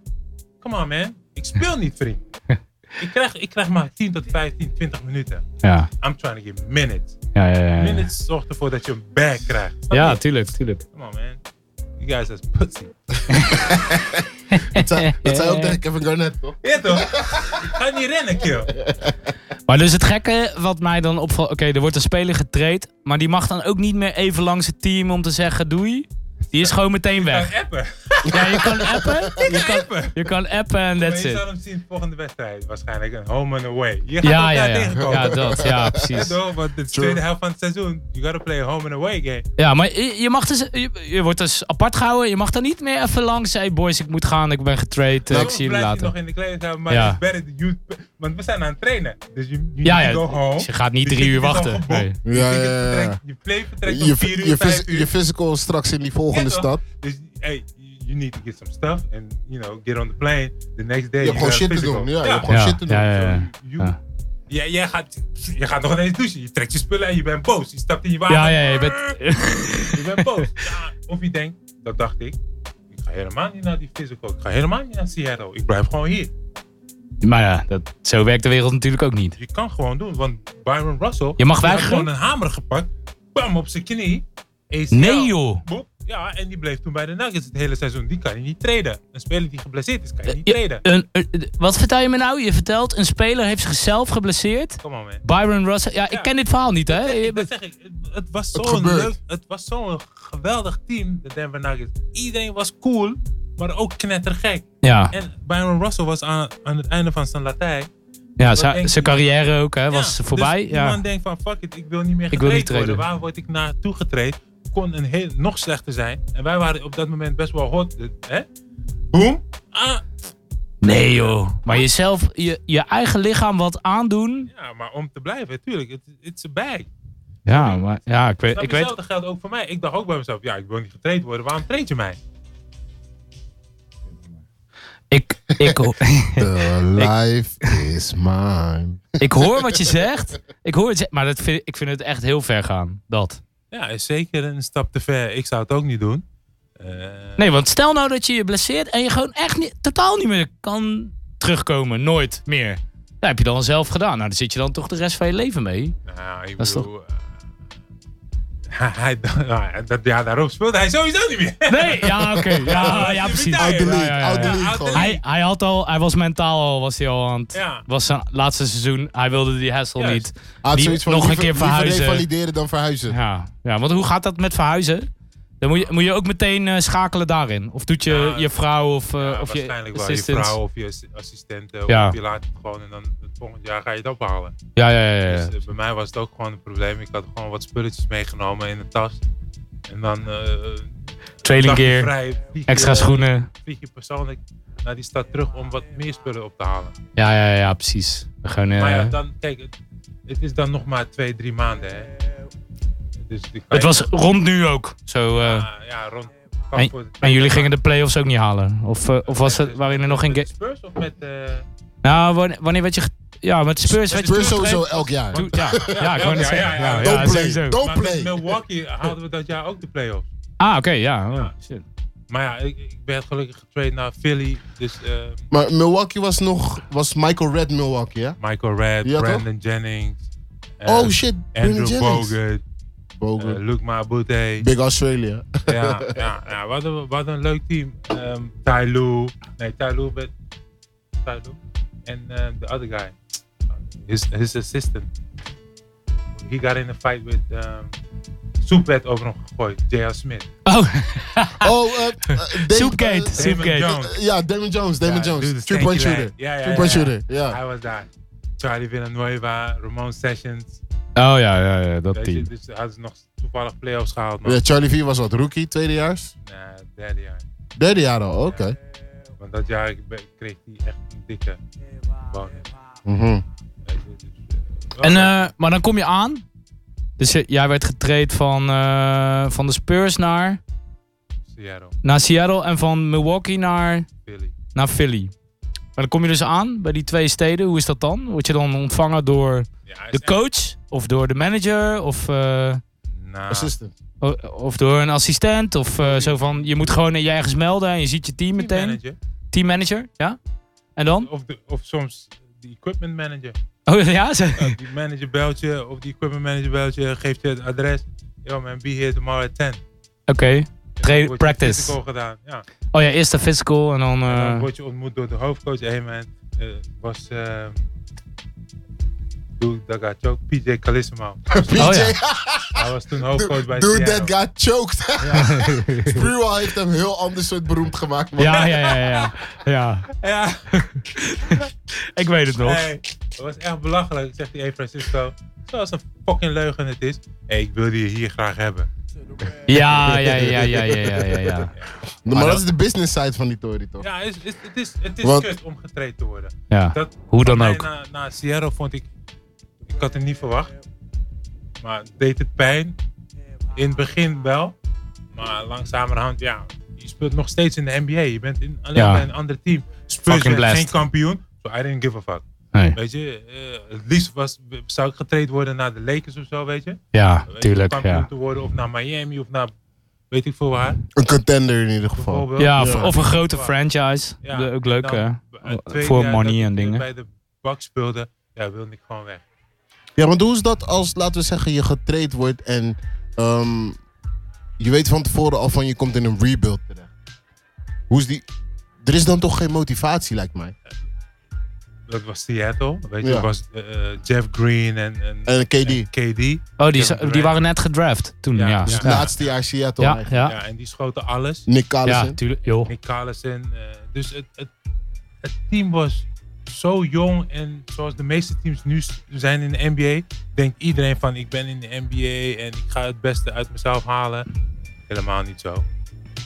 Speaker 5: Come on, man. Ik speel niet, vriend. ik, krijg, ik krijg maar 10 tot 15, 20 minuten.
Speaker 3: Ja,
Speaker 5: I'm trying to get minutes.
Speaker 3: ja, ja, ja. Ja,
Speaker 5: Minutes zorgt ervoor dat je een bag krijgt. Snap
Speaker 3: ja
Speaker 5: je?
Speaker 3: tuurlijk, tuurlijk.
Speaker 5: Come on, man. You guys are pussy.
Speaker 4: Dat zei, dat zei ook tegen Kevin Garnett, toch?
Speaker 5: Ja, toch? ik ga niet rennen, kill.
Speaker 3: Maar dus het gekke wat mij dan opvalt... Oké, er wordt een speler getraind, maar die mag dan ook niet meer even langs het team om te zeggen doei. Die is gewoon
Speaker 5: Ga
Speaker 3: meteen weg.
Speaker 5: appen.
Speaker 3: Ja, je kan appen. Je
Speaker 5: Ga
Speaker 3: kan,
Speaker 5: appen.
Speaker 3: je kan appen en that's
Speaker 5: maar je
Speaker 3: it.
Speaker 5: zal hem zien volgende wedstrijd. Waarschijnlijk een home and away. Je gaat
Speaker 3: Ja,
Speaker 5: elkaar
Speaker 3: ja, ja.
Speaker 5: tegenkomen.
Speaker 3: Ja, dat. Ja,
Speaker 5: Ja,
Speaker 3: precies.
Speaker 5: toch? Want de tweede helft van het seizoen, you gotta play a home and away game.
Speaker 3: Ja, maar je, je mag dus, je, je wordt dus apart gehouden. Je mag dan niet meer even langs. Hey boys, ik moet gaan. Ik ben getraind. eh, ik
Speaker 5: Soms
Speaker 3: zie jullie
Speaker 5: blijft hij
Speaker 3: later.
Speaker 5: nog in de kleedkamer, maar
Speaker 3: Ja.
Speaker 5: it's better to use- want we zijn aan het trainen. Dus je you
Speaker 3: Ja,
Speaker 5: need
Speaker 3: ja.
Speaker 5: to go home.
Speaker 3: Dus je gaat niet
Speaker 5: Die
Speaker 3: drie uur
Speaker 5: ticket is al
Speaker 3: wachten.
Speaker 5: geboekt.
Speaker 3: Nee.
Speaker 5: Je
Speaker 4: Ja,
Speaker 5: ticket
Speaker 4: ja, ja, ja.
Speaker 5: vertrekt- Je play vertrekt
Speaker 4: Je,
Speaker 5: om vier uur,
Speaker 4: je,
Speaker 5: vijf
Speaker 4: phys-
Speaker 5: uur.
Speaker 4: je physical is straks in die volgende
Speaker 5: Ja, toch?
Speaker 4: stad.
Speaker 5: Dus hey, you need to get some stuff and you know, get on the plane. The next day
Speaker 4: Je hebt gewoon
Speaker 5: you
Speaker 4: shit
Speaker 5: got
Speaker 4: te
Speaker 5: physical.
Speaker 4: doen. Ja, je
Speaker 5: Ja.
Speaker 4: hebt gewoon
Speaker 3: Ja,
Speaker 4: shit te doen.
Speaker 3: ja, ja,
Speaker 5: So
Speaker 3: ja.
Speaker 5: you- Ja, jij gaat, je gaat nog ineens douchen. Je trekt je spullen en je bent boos. Je stapt in je water.
Speaker 3: Ja, ja, je bent...
Speaker 5: Je bent boos. Ja, of je denkt, dat dacht ik. Ik ga helemaal niet naar die physical. Ik ga helemaal niet naar Seattle. Ik blijf gewoon hier.
Speaker 3: Maar ja, dat, zo werkt de wereld natuurlijk ook niet.
Speaker 5: Dus Je kan gewoon doen. Want Byron Russell.
Speaker 3: Je mag
Speaker 5: die had
Speaker 3: weigeren?
Speaker 5: gewoon een hamer gepakt. Bam op zijn knie. ACL.
Speaker 3: Nee joh.
Speaker 5: Boep. Ja, en die bleef toen bij de Nuggets het hele seizoen. Die kan je niet traden. Een speler die geblesseerd is, kan je niet
Speaker 3: Je-
Speaker 5: traden.
Speaker 3: een, een- wat vertel je me nou? Je vertelt, een speler heeft zichzelf geblesseerd.
Speaker 5: Kom on, man.
Speaker 3: Byron Russell. Ja, ik
Speaker 5: Ja.
Speaker 3: ken dit verhaal niet, hè? Je
Speaker 5: Dat
Speaker 3: bent-
Speaker 5: zeg ik. Het- Het was
Speaker 4: Het
Speaker 5: zo'n
Speaker 4: gebeurt.
Speaker 5: leuk, het was zo'n geweldig team, de Denver Nuggets. Iedereen was cool, maar ook knettergek.
Speaker 3: Ja,
Speaker 5: En Byron Russell was aan, aan het einde van zijn Latijn.
Speaker 3: Ja,
Speaker 5: Wat
Speaker 3: zijn
Speaker 5: denk
Speaker 3: zijn
Speaker 5: je?
Speaker 3: carrière ook, hè, was
Speaker 5: dus
Speaker 3: voorbij.
Speaker 5: die
Speaker 3: ja.
Speaker 5: man denkt van fuck it, ik wil niet meer
Speaker 3: Ik wil
Speaker 5: getraind
Speaker 3: niet
Speaker 5: worden.
Speaker 3: traden.
Speaker 5: Waar word ik naartoe getraind? Kon een heel, nog slechter zijn. En wij waren op dat moment best wel hot. eh, Hè? Boom. Ah,
Speaker 3: Nee joh. Maar jezelf, je, je eigen lichaam wat aandoen.
Speaker 5: ja, maar om te blijven, tuurlijk. Het it's a bag.
Speaker 3: Ja, maar ja, ik weet,
Speaker 5: Snap
Speaker 3: ik
Speaker 5: je,
Speaker 3: weet
Speaker 5: Hetzelfde geldt ook voor mij. Ik dacht ook bij mezelf, ja, ik wil niet getraind worden. Waarom traint je mij?
Speaker 3: Ik, ik, ho-
Speaker 4: The life is mine.
Speaker 3: ik hoor wat je zegt. Ik hoor het, ze- maar dat vind, ik vind het echt heel ver gaan. Dat.
Speaker 5: Ja, is zeker een stap te ver. Ik zou het ook niet doen. Eh,
Speaker 3: Nee, want stel nou dat je je blesseert en je gewoon echt niet, totaal niet meer kan terugkomen. Nooit meer. Dat heb je dan zelf gedaan. Nou, daar zit je dan toch de rest van je leven mee.
Speaker 5: nou, ik
Speaker 3: Dat is
Speaker 5: bedoel, eh, hij- hij- nou, dat, ja, daarop speelde hij sowieso niet meer.
Speaker 3: Nee, ja, oké. Ja, ja,
Speaker 5: Die
Speaker 3: precies.
Speaker 5: meteen.
Speaker 4: Out the league, out the
Speaker 5: ja.
Speaker 4: league
Speaker 5: Out the
Speaker 4: gewoon.
Speaker 3: Hij, hij, had al, hij was mentaal al, was hij al aan het...
Speaker 5: Ja.
Speaker 3: Was zijn laatste seizoen, hij wilde die hassle
Speaker 5: Juist.
Speaker 3: niet.
Speaker 4: Hij had
Speaker 3: Die-
Speaker 4: zoiets van
Speaker 3: nog een
Speaker 4: liever-
Speaker 3: keer
Speaker 4: liever
Speaker 3: verhuizen.
Speaker 4: revalideren dan verhuizen.
Speaker 3: Ja. ja, want hoe gaat dat met verhuizen? Dan moet je, moet je ook meteen eh, schakelen daarin. Of doet je,
Speaker 5: Ja,
Speaker 3: je vrouw of, eh,
Speaker 5: Ja,
Speaker 3: of je
Speaker 5: waarschijnlijk wel je
Speaker 3: assistants?
Speaker 5: vrouw of je ass- assistent. eh,
Speaker 3: Ja.
Speaker 5: Of je laat het gewoon en dan het volgend jaar ga je het ophalen.
Speaker 3: Ja, ja, ja. ja.
Speaker 5: Dus eh, bij mij was het ook gewoon een probleem. Ik had gewoon wat spulletjes meegenomen in de tas. En dan eh,
Speaker 3: Trailing
Speaker 5: dagje
Speaker 3: gear,
Speaker 5: vrij, vlieg je-
Speaker 3: extra schoenen.
Speaker 5: Vlieg je persoonlijk naar die stad terug om wat meer spullen op te halen.
Speaker 3: Ja, ja, ja, precies. Gewoon, eh,
Speaker 5: Maar ja, dan, kijk, het, het is dan nog maar twee, drie maanden. Hè. Dus die kan
Speaker 3: het
Speaker 5: je-
Speaker 3: was rond nu ook. Zo, eh,
Speaker 5: Ah, ja, rond.
Speaker 3: en jullie gingen de play-offs ook niet halen? Of, eh, of was het, waarin er nog geen...
Speaker 5: Met
Speaker 3: ge-
Speaker 5: de Spurs of met... eh,
Speaker 3: Nou, wanneer, wanneer werd je... ge- Ja, met Spurs werd je...
Speaker 4: Spurs
Speaker 3: toen
Speaker 4: sowieso
Speaker 3: getraind.
Speaker 4: elk jaar.
Speaker 3: Toen- Ja, ja, ik wou net
Speaker 5: Ja, ja,
Speaker 3: zeggen.
Speaker 5: ja,
Speaker 3: Ja,
Speaker 5: ja.
Speaker 3: ja,
Speaker 4: Don't
Speaker 3: sowieso.
Speaker 4: play, don't
Speaker 5: maar met
Speaker 4: play.
Speaker 5: Milwaukee haalden we dat jaar ook de play-offs.
Speaker 3: Ah, oké, ja. oh,
Speaker 5: Ja.
Speaker 3: shit.
Speaker 5: Maar ja, ik, ik ben gelukkig getraind naar Philly. Dus eh,
Speaker 4: Maar Milwaukee was nog, was Michael Red Milwaukee, hè?
Speaker 5: Michael Red,
Speaker 4: Ja, toch?
Speaker 5: Brandon Jennings. eh,
Speaker 4: Oh shit, Brandon
Speaker 5: Andrew
Speaker 4: Jennings.
Speaker 5: Bogut, eh,
Speaker 4: Bogut.
Speaker 5: Luke Mabute.
Speaker 4: Big Australia.
Speaker 5: ja, ja, ja wat, een, wat een leuk team. Ehm Ty Lue. Nee, Ty Lue. But, Ty Lue. En ehm, the other guy. His, his assistant. He got in a fight with... ehm Soepwet over hem gegooid. J.R. Smith.
Speaker 3: Oh,
Speaker 4: Oh, eh, eh, Dave-
Speaker 3: Soepgate.
Speaker 4: eh,
Speaker 5: Damon
Speaker 3: Soepgate.
Speaker 5: Jones.
Speaker 4: Ja, Damon Jones, Damon
Speaker 5: Ja, dude
Speaker 4: Jones.
Speaker 5: is
Speaker 4: Three-point
Speaker 5: tanky,
Speaker 4: shooter.
Speaker 5: man. Ja, ja,
Speaker 4: Three-point
Speaker 5: ja, ja.
Speaker 4: shooter, ja.
Speaker 5: Hij was daar. Charlie Villanueva, Ramon Sessions.
Speaker 3: Oh ja, ja, ja dat
Speaker 5: Weet je,
Speaker 3: team.
Speaker 5: dus hij had nog toevallig play-offs gehaald. Maar
Speaker 4: Ja, Charlie V was wat rookie, tweedejaars.
Speaker 5: nee, derde jaar.
Speaker 4: Derde jaar al, oké.
Speaker 5: Want dat jaar be- kreeg hij echt een dikke bonus.
Speaker 4: Mhm.
Speaker 5: Weet je, dus, eh, wel
Speaker 3: En,
Speaker 5: leuk.
Speaker 3: eh, maar dan kom je aan. Dus je- jij werd getraind van, eh, van de Spurs naar,
Speaker 5: Seattle,
Speaker 3: naar Seattle en van Milwaukee naar,
Speaker 5: Philly.
Speaker 3: naar Philly. Maar dan kom je dus aan bij die twee steden. Hoe is dat dan? Word je dan ontvangen door
Speaker 5: Ja, hij is
Speaker 3: de coach of door de manager of, eh,
Speaker 5: echt- Nou,
Speaker 4: Assistant.
Speaker 3: o- of door een assistent? Of eh, zo van je moet gewoon je ergens melden en je ziet je team
Speaker 5: team
Speaker 3: meteen.
Speaker 5: manager.
Speaker 3: Team manager, ja? En dan?
Speaker 5: Of, de, of soms de equipment manager.
Speaker 3: Oh ja, ze-
Speaker 5: Ja, die manager belt je, of die equipment manager belt je, geeft je het adres. Yo man, be here tomorrow at 10. En
Speaker 3: Oké.
Speaker 5: dan
Speaker 3: Train-
Speaker 5: wordt je
Speaker 3: practice.
Speaker 5: physical gedaan, ja.
Speaker 3: Oh ja, eerst de physical en dan.
Speaker 5: En dan
Speaker 3: eh,
Speaker 5: word je ontmoet door de hoofdcoach. Hey man, eh, was... eh dude, dat gaat ook PJ Calissimo.
Speaker 4: PJ,
Speaker 3: Oh ja.
Speaker 5: Hij was toen hoofdcoach bij
Speaker 4: dude,
Speaker 5: Seattle.
Speaker 4: that guy choked. Spruwal heeft hem heel ander soort beroemd gemaakt. man.
Speaker 3: Ja, ja, ja, ja, ja. ja.
Speaker 5: Ja,
Speaker 3: Ik weet het nog.
Speaker 5: hey, dat was echt belachelijk, zegt hij, hey Francisco. Zoals een fucking leugen het is. Hey, ik wilde je hier graag hebben.
Speaker 3: Ja, ja, ja, ja, ja, ja, ja, ja.
Speaker 4: Maar dat is de business side van die Tory, toch?
Speaker 5: Ah, Ja, het is, het is, het is
Speaker 4: Wat-
Speaker 5: kut om getraind te worden.
Speaker 3: ja.
Speaker 5: Dat,
Speaker 3: Hoe dan
Speaker 5: nee,
Speaker 3: ook.
Speaker 5: Na, na Sierra vond ik, ik had het niet verwacht. Maar het deed het pijn. In het begin wel. Maar langzamerhand, ja, je speelt nog steeds in de NBA. Je bent in, alleen
Speaker 3: Ja.
Speaker 5: bij een ander team. Spurs
Speaker 3: Fucking
Speaker 5: werd
Speaker 3: blast.
Speaker 5: geen kampioen. So I didn't give a fuck.
Speaker 3: Nee.
Speaker 5: Weet je, eh, het liefst was, zou ik getraind worden naar de Lakers of zo, weet je.
Speaker 3: Ja,
Speaker 5: Weet je,
Speaker 3: tuurlijk.
Speaker 5: kampioen
Speaker 3: Ja,
Speaker 5: te worden of naar Miami of naar weet ik veel waar.
Speaker 4: Een contender in ieder geval.
Speaker 5: bijvoorbeeld.
Speaker 3: ja
Speaker 4: Ja.
Speaker 3: of, of een grote franchise.
Speaker 5: Ja,
Speaker 3: De- ook leuk,
Speaker 5: dan,
Speaker 3: hè?
Speaker 5: eh, het tweede
Speaker 3: Voor
Speaker 5: jaar dat
Speaker 3: money
Speaker 5: ik
Speaker 3: en dingen.
Speaker 5: bij de bak speelde, ja, wilde ik gewoon weg.
Speaker 4: Ja, want hoe is dat als, laten we zeggen, je getraind wordt en ehm, je weet van tevoren al van je komt in een rebuild terecht? Hoe is die. Er is dan toch geen motivatie, lijkt mij.
Speaker 5: Dat was Seattle, weet je.
Speaker 4: Ja.
Speaker 5: Dat was eh, eh, Jeff Green en, en,
Speaker 4: En KD,
Speaker 5: en KD.
Speaker 3: Oh, die,
Speaker 5: Kevin
Speaker 3: za- die waren net gedraft toen. Ja,
Speaker 5: Ja,
Speaker 3: ja.
Speaker 5: dus
Speaker 4: het
Speaker 3: ja.
Speaker 4: laatste jaar Seattle.
Speaker 3: Ja,
Speaker 4: eigenlijk.
Speaker 3: ja.
Speaker 5: Ja, en die schoten alles.
Speaker 4: Nick
Speaker 3: Ja,
Speaker 4: Collison.
Speaker 3: tuurlijk. Joh.
Speaker 5: Nick Carlson. eh, dus het, het, het team was zo jong en zoals de meeste teams nu s- zijn in de NBA, denkt iedereen van ik ben in de NBA en ik ga het beste uit mezelf halen. Helemaal niet zo.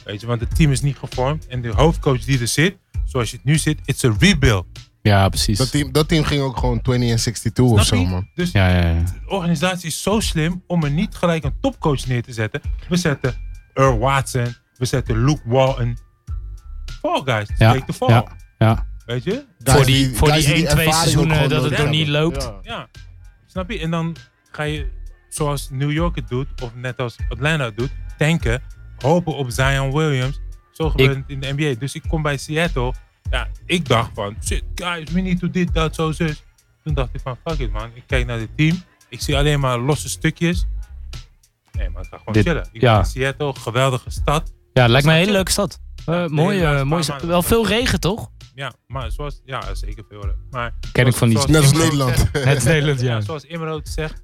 Speaker 5: Weet je, want het team is niet gevormd en de hoofdcoach die er zit, zoals je het nu zit, it's a rebuild.
Speaker 3: Ja, precies.
Speaker 4: Dat team, dat team ging ook gewoon 20 en 62 of
Speaker 5: Snap
Speaker 4: zo,
Speaker 5: je?
Speaker 4: man.
Speaker 5: Dus
Speaker 3: Ja, ja, ja.
Speaker 5: de organisatie is zo slim om er niet gelijk een topcoach neer te zetten. We zetten Earl Watson, we zetten Luke Walton. Fall guys,
Speaker 3: Ja,
Speaker 5: take the fall.
Speaker 3: ja, ja.
Speaker 5: Weet je?
Speaker 4: Guys
Speaker 3: voor die,
Speaker 4: die-
Speaker 3: voor
Speaker 4: guys
Speaker 3: die
Speaker 4: die
Speaker 3: 1,
Speaker 4: die
Speaker 3: 2
Speaker 4: ervaring ook
Speaker 3: seizoenen
Speaker 4: gewoon eh,
Speaker 3: dat het
Speaker 4: nodig
Speaker 3: nog niet
Speaker 4: hebben.
Speaker 3: loopt.
Speaker 5: Ja, snap je? En dan ga je, zoals New York het doet, of net als Atlanta het doet, tanken, hopen op Zion Williams. Zo gebeurt
Speaker 3: Ik-
Speaker 5: het in de NBA. Dus ik kom bij Seattle. Ja, ik dacht van, shit, guys, we need to dit, dat, zo, zus. Toen dacht ik van, fuck it, man. Ik kijk naar dit team. Ik zie alleen maar losse stukjes. Nee, maar ik ga gewoon
Speaker 3: Dit-
Speaker 5: chillen. Ik
Speaker 3: ja.
Speaker 5: ben in Seattle, geweldige stad.
Speaker 3: Ja, lijkt me een hele
Speaker 5: Snap je?
Speaker 3: leuke stad. Eh,
Speaker 5: nee,
Speaker 3: mooi,
Speaker 5: laatste
Speaker 3: eh,
Speaker 5: paar
Speaker 3: mooi. stad.
Speaker 5: maanden.
Speaker 3: Wel veel regen, toch?
Speaker 5: Ja, maar zoals, ja, zeker veel. hè. Maar
Speaker 3: Ken ik van die...
Speaker 5: Zoals-
Speaker 4: Net als
Speaker 5: Ik-
Speaker 4: Nederland.
Speaker 3: Het Nederland,
Speaker 5: Ja,
Speaker 3: ja.
Speaker 5: zoals Imrood zegt,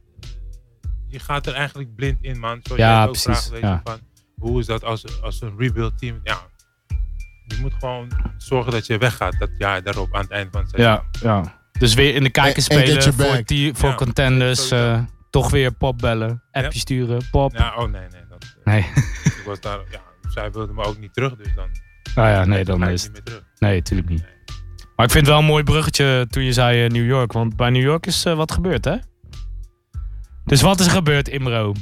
Speaker 5: je gaat er eigenlijk blind in, man. Zoals
Speaker 3: Ja,
Speaker 5: jij het ook
Speaker 3: precies,
Speaker 5: vraagt, weet je,
Speaker 3: ja.
Speaker 5: van, hoe is dat als, als een rebuild team? Ja, je moet gewoon zorgen dat je weggaat dat jaar daarop aan het eind van het seizoen.
Speaker 3: Ja, ja. Dus weer in de
Speaker 4: En-
Speaker 3: kijker
Speaker 4: en get
Speaker 3: spelen
Speaker 4: your
Speaker 3: voor,
Speaker 4: bag.
Speaker 3: die, voor
Speaker 5: Ja,
Speaker 3: contenders.
Speaker 5: sowieso.
Speaker 3: eh, toch weer pop bellen. Appje sturen. Pop.
Speaker 5: Ja, oh nee, nee. Dat, eh,
Speaker 3: Nee.
Speaker 5: ik was daar, ja, zij wilde me ook niet terug, dus dan
Speaker 3: Nou ja, nee, dan
Speaker 5: ga ik
Speaker 3: is
Speaker 5: niet
Speaker 3: het. Hm.
Speaker 5: meer terug.
Speaker 3: Nee, tuurlijk niet. Maar ik vind het wel een mooi bruggetje toen je zei eh, New York. Want bij New York is eh, wat gebeurd, hè? Dus wat is er gebeurd, Imro? De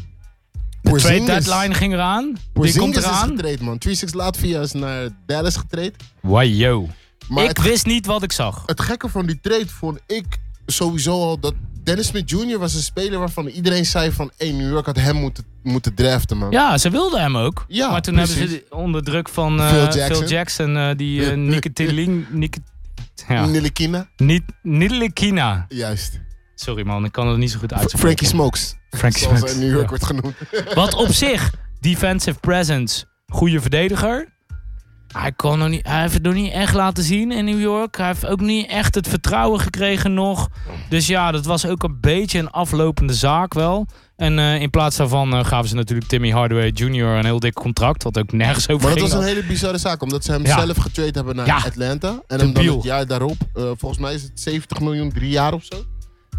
Speaker 3: trade
Speaker 4: Porzingis-
Speaker 3: deadline ging eraan. Die komt
Speaker 4: Porzingis is
Speaker 3: eraan.
Speaker 4: getraind, man. 3-6 Latvia is naar Dallas getraind.
Speaker 3: Wajo.
Speaker 4: Maar
Speaker 3: Ik
Speaker 4: het,
Speaker 3: wist niet wat ik zag.
Speaker 4: het gekke van die trade vond ik sowieso al dat Dennis Smith Jr. was een speler waarvan iedereen zei van... Hey, New York had hem moeten, moeten draften, man.
Speaker 3: Ja, ze wilden hem ook.
Speaker 4: Ja,
Speaker 3: maar toen hebben ze
Speaker 4: precies.
Speaker 3: die- onder druk van eh,
Speaker 4: Phil
Speaker 3: Phil Jackson,
Speaker 4: Jackson.
Speaker 3: eh, die eh Nicotilin... Nic- ja,
Speaker 4: Nilikina,
Speaker 3: niet, Nidelekina.
Speaker 4: juist.
Speaker 3: Sorry man, ik kan het niet zo goed uitspreken.
Speaker 4: Frankie Smokes,
Speaker 3: Frankie
Speaker 4: zoals hij
Speaker 3: Smith,
Speaker 4: in New York
Speaker 3: ja.
Speaker 4: wordt genoemd.
Speaker 3: Wat op zich, defensive presence, goede verdediger. Hij, kon nog niet, hij heeft het nog niet echt laten zien in New York. Hij heeft ook niet echt het vertrouwen gekregen nog. Dus ja, dat was ook een beetje een aflopende zaak wel. En eh, in plaats daarvan eh, gaven ze natuurlijk Timmy Hardaway Jr. een heel dik contract. Wat ook nergens over
Speaker 4: Maar dat
Speaker 3: ging.
Speaker 4: was een hele bizarre zaak, omdat ze hem
Speaker 3: Ja.
Speaker 4: zelf getraind hebben naar
Speaker 3: Ja.
Speaker 4: Atlanta. En hem dan
Speaker 3: Debiel.
Speaker 4: het jaar daarop, eh, volgens mij is het 70 miljoen drie jaar of zo.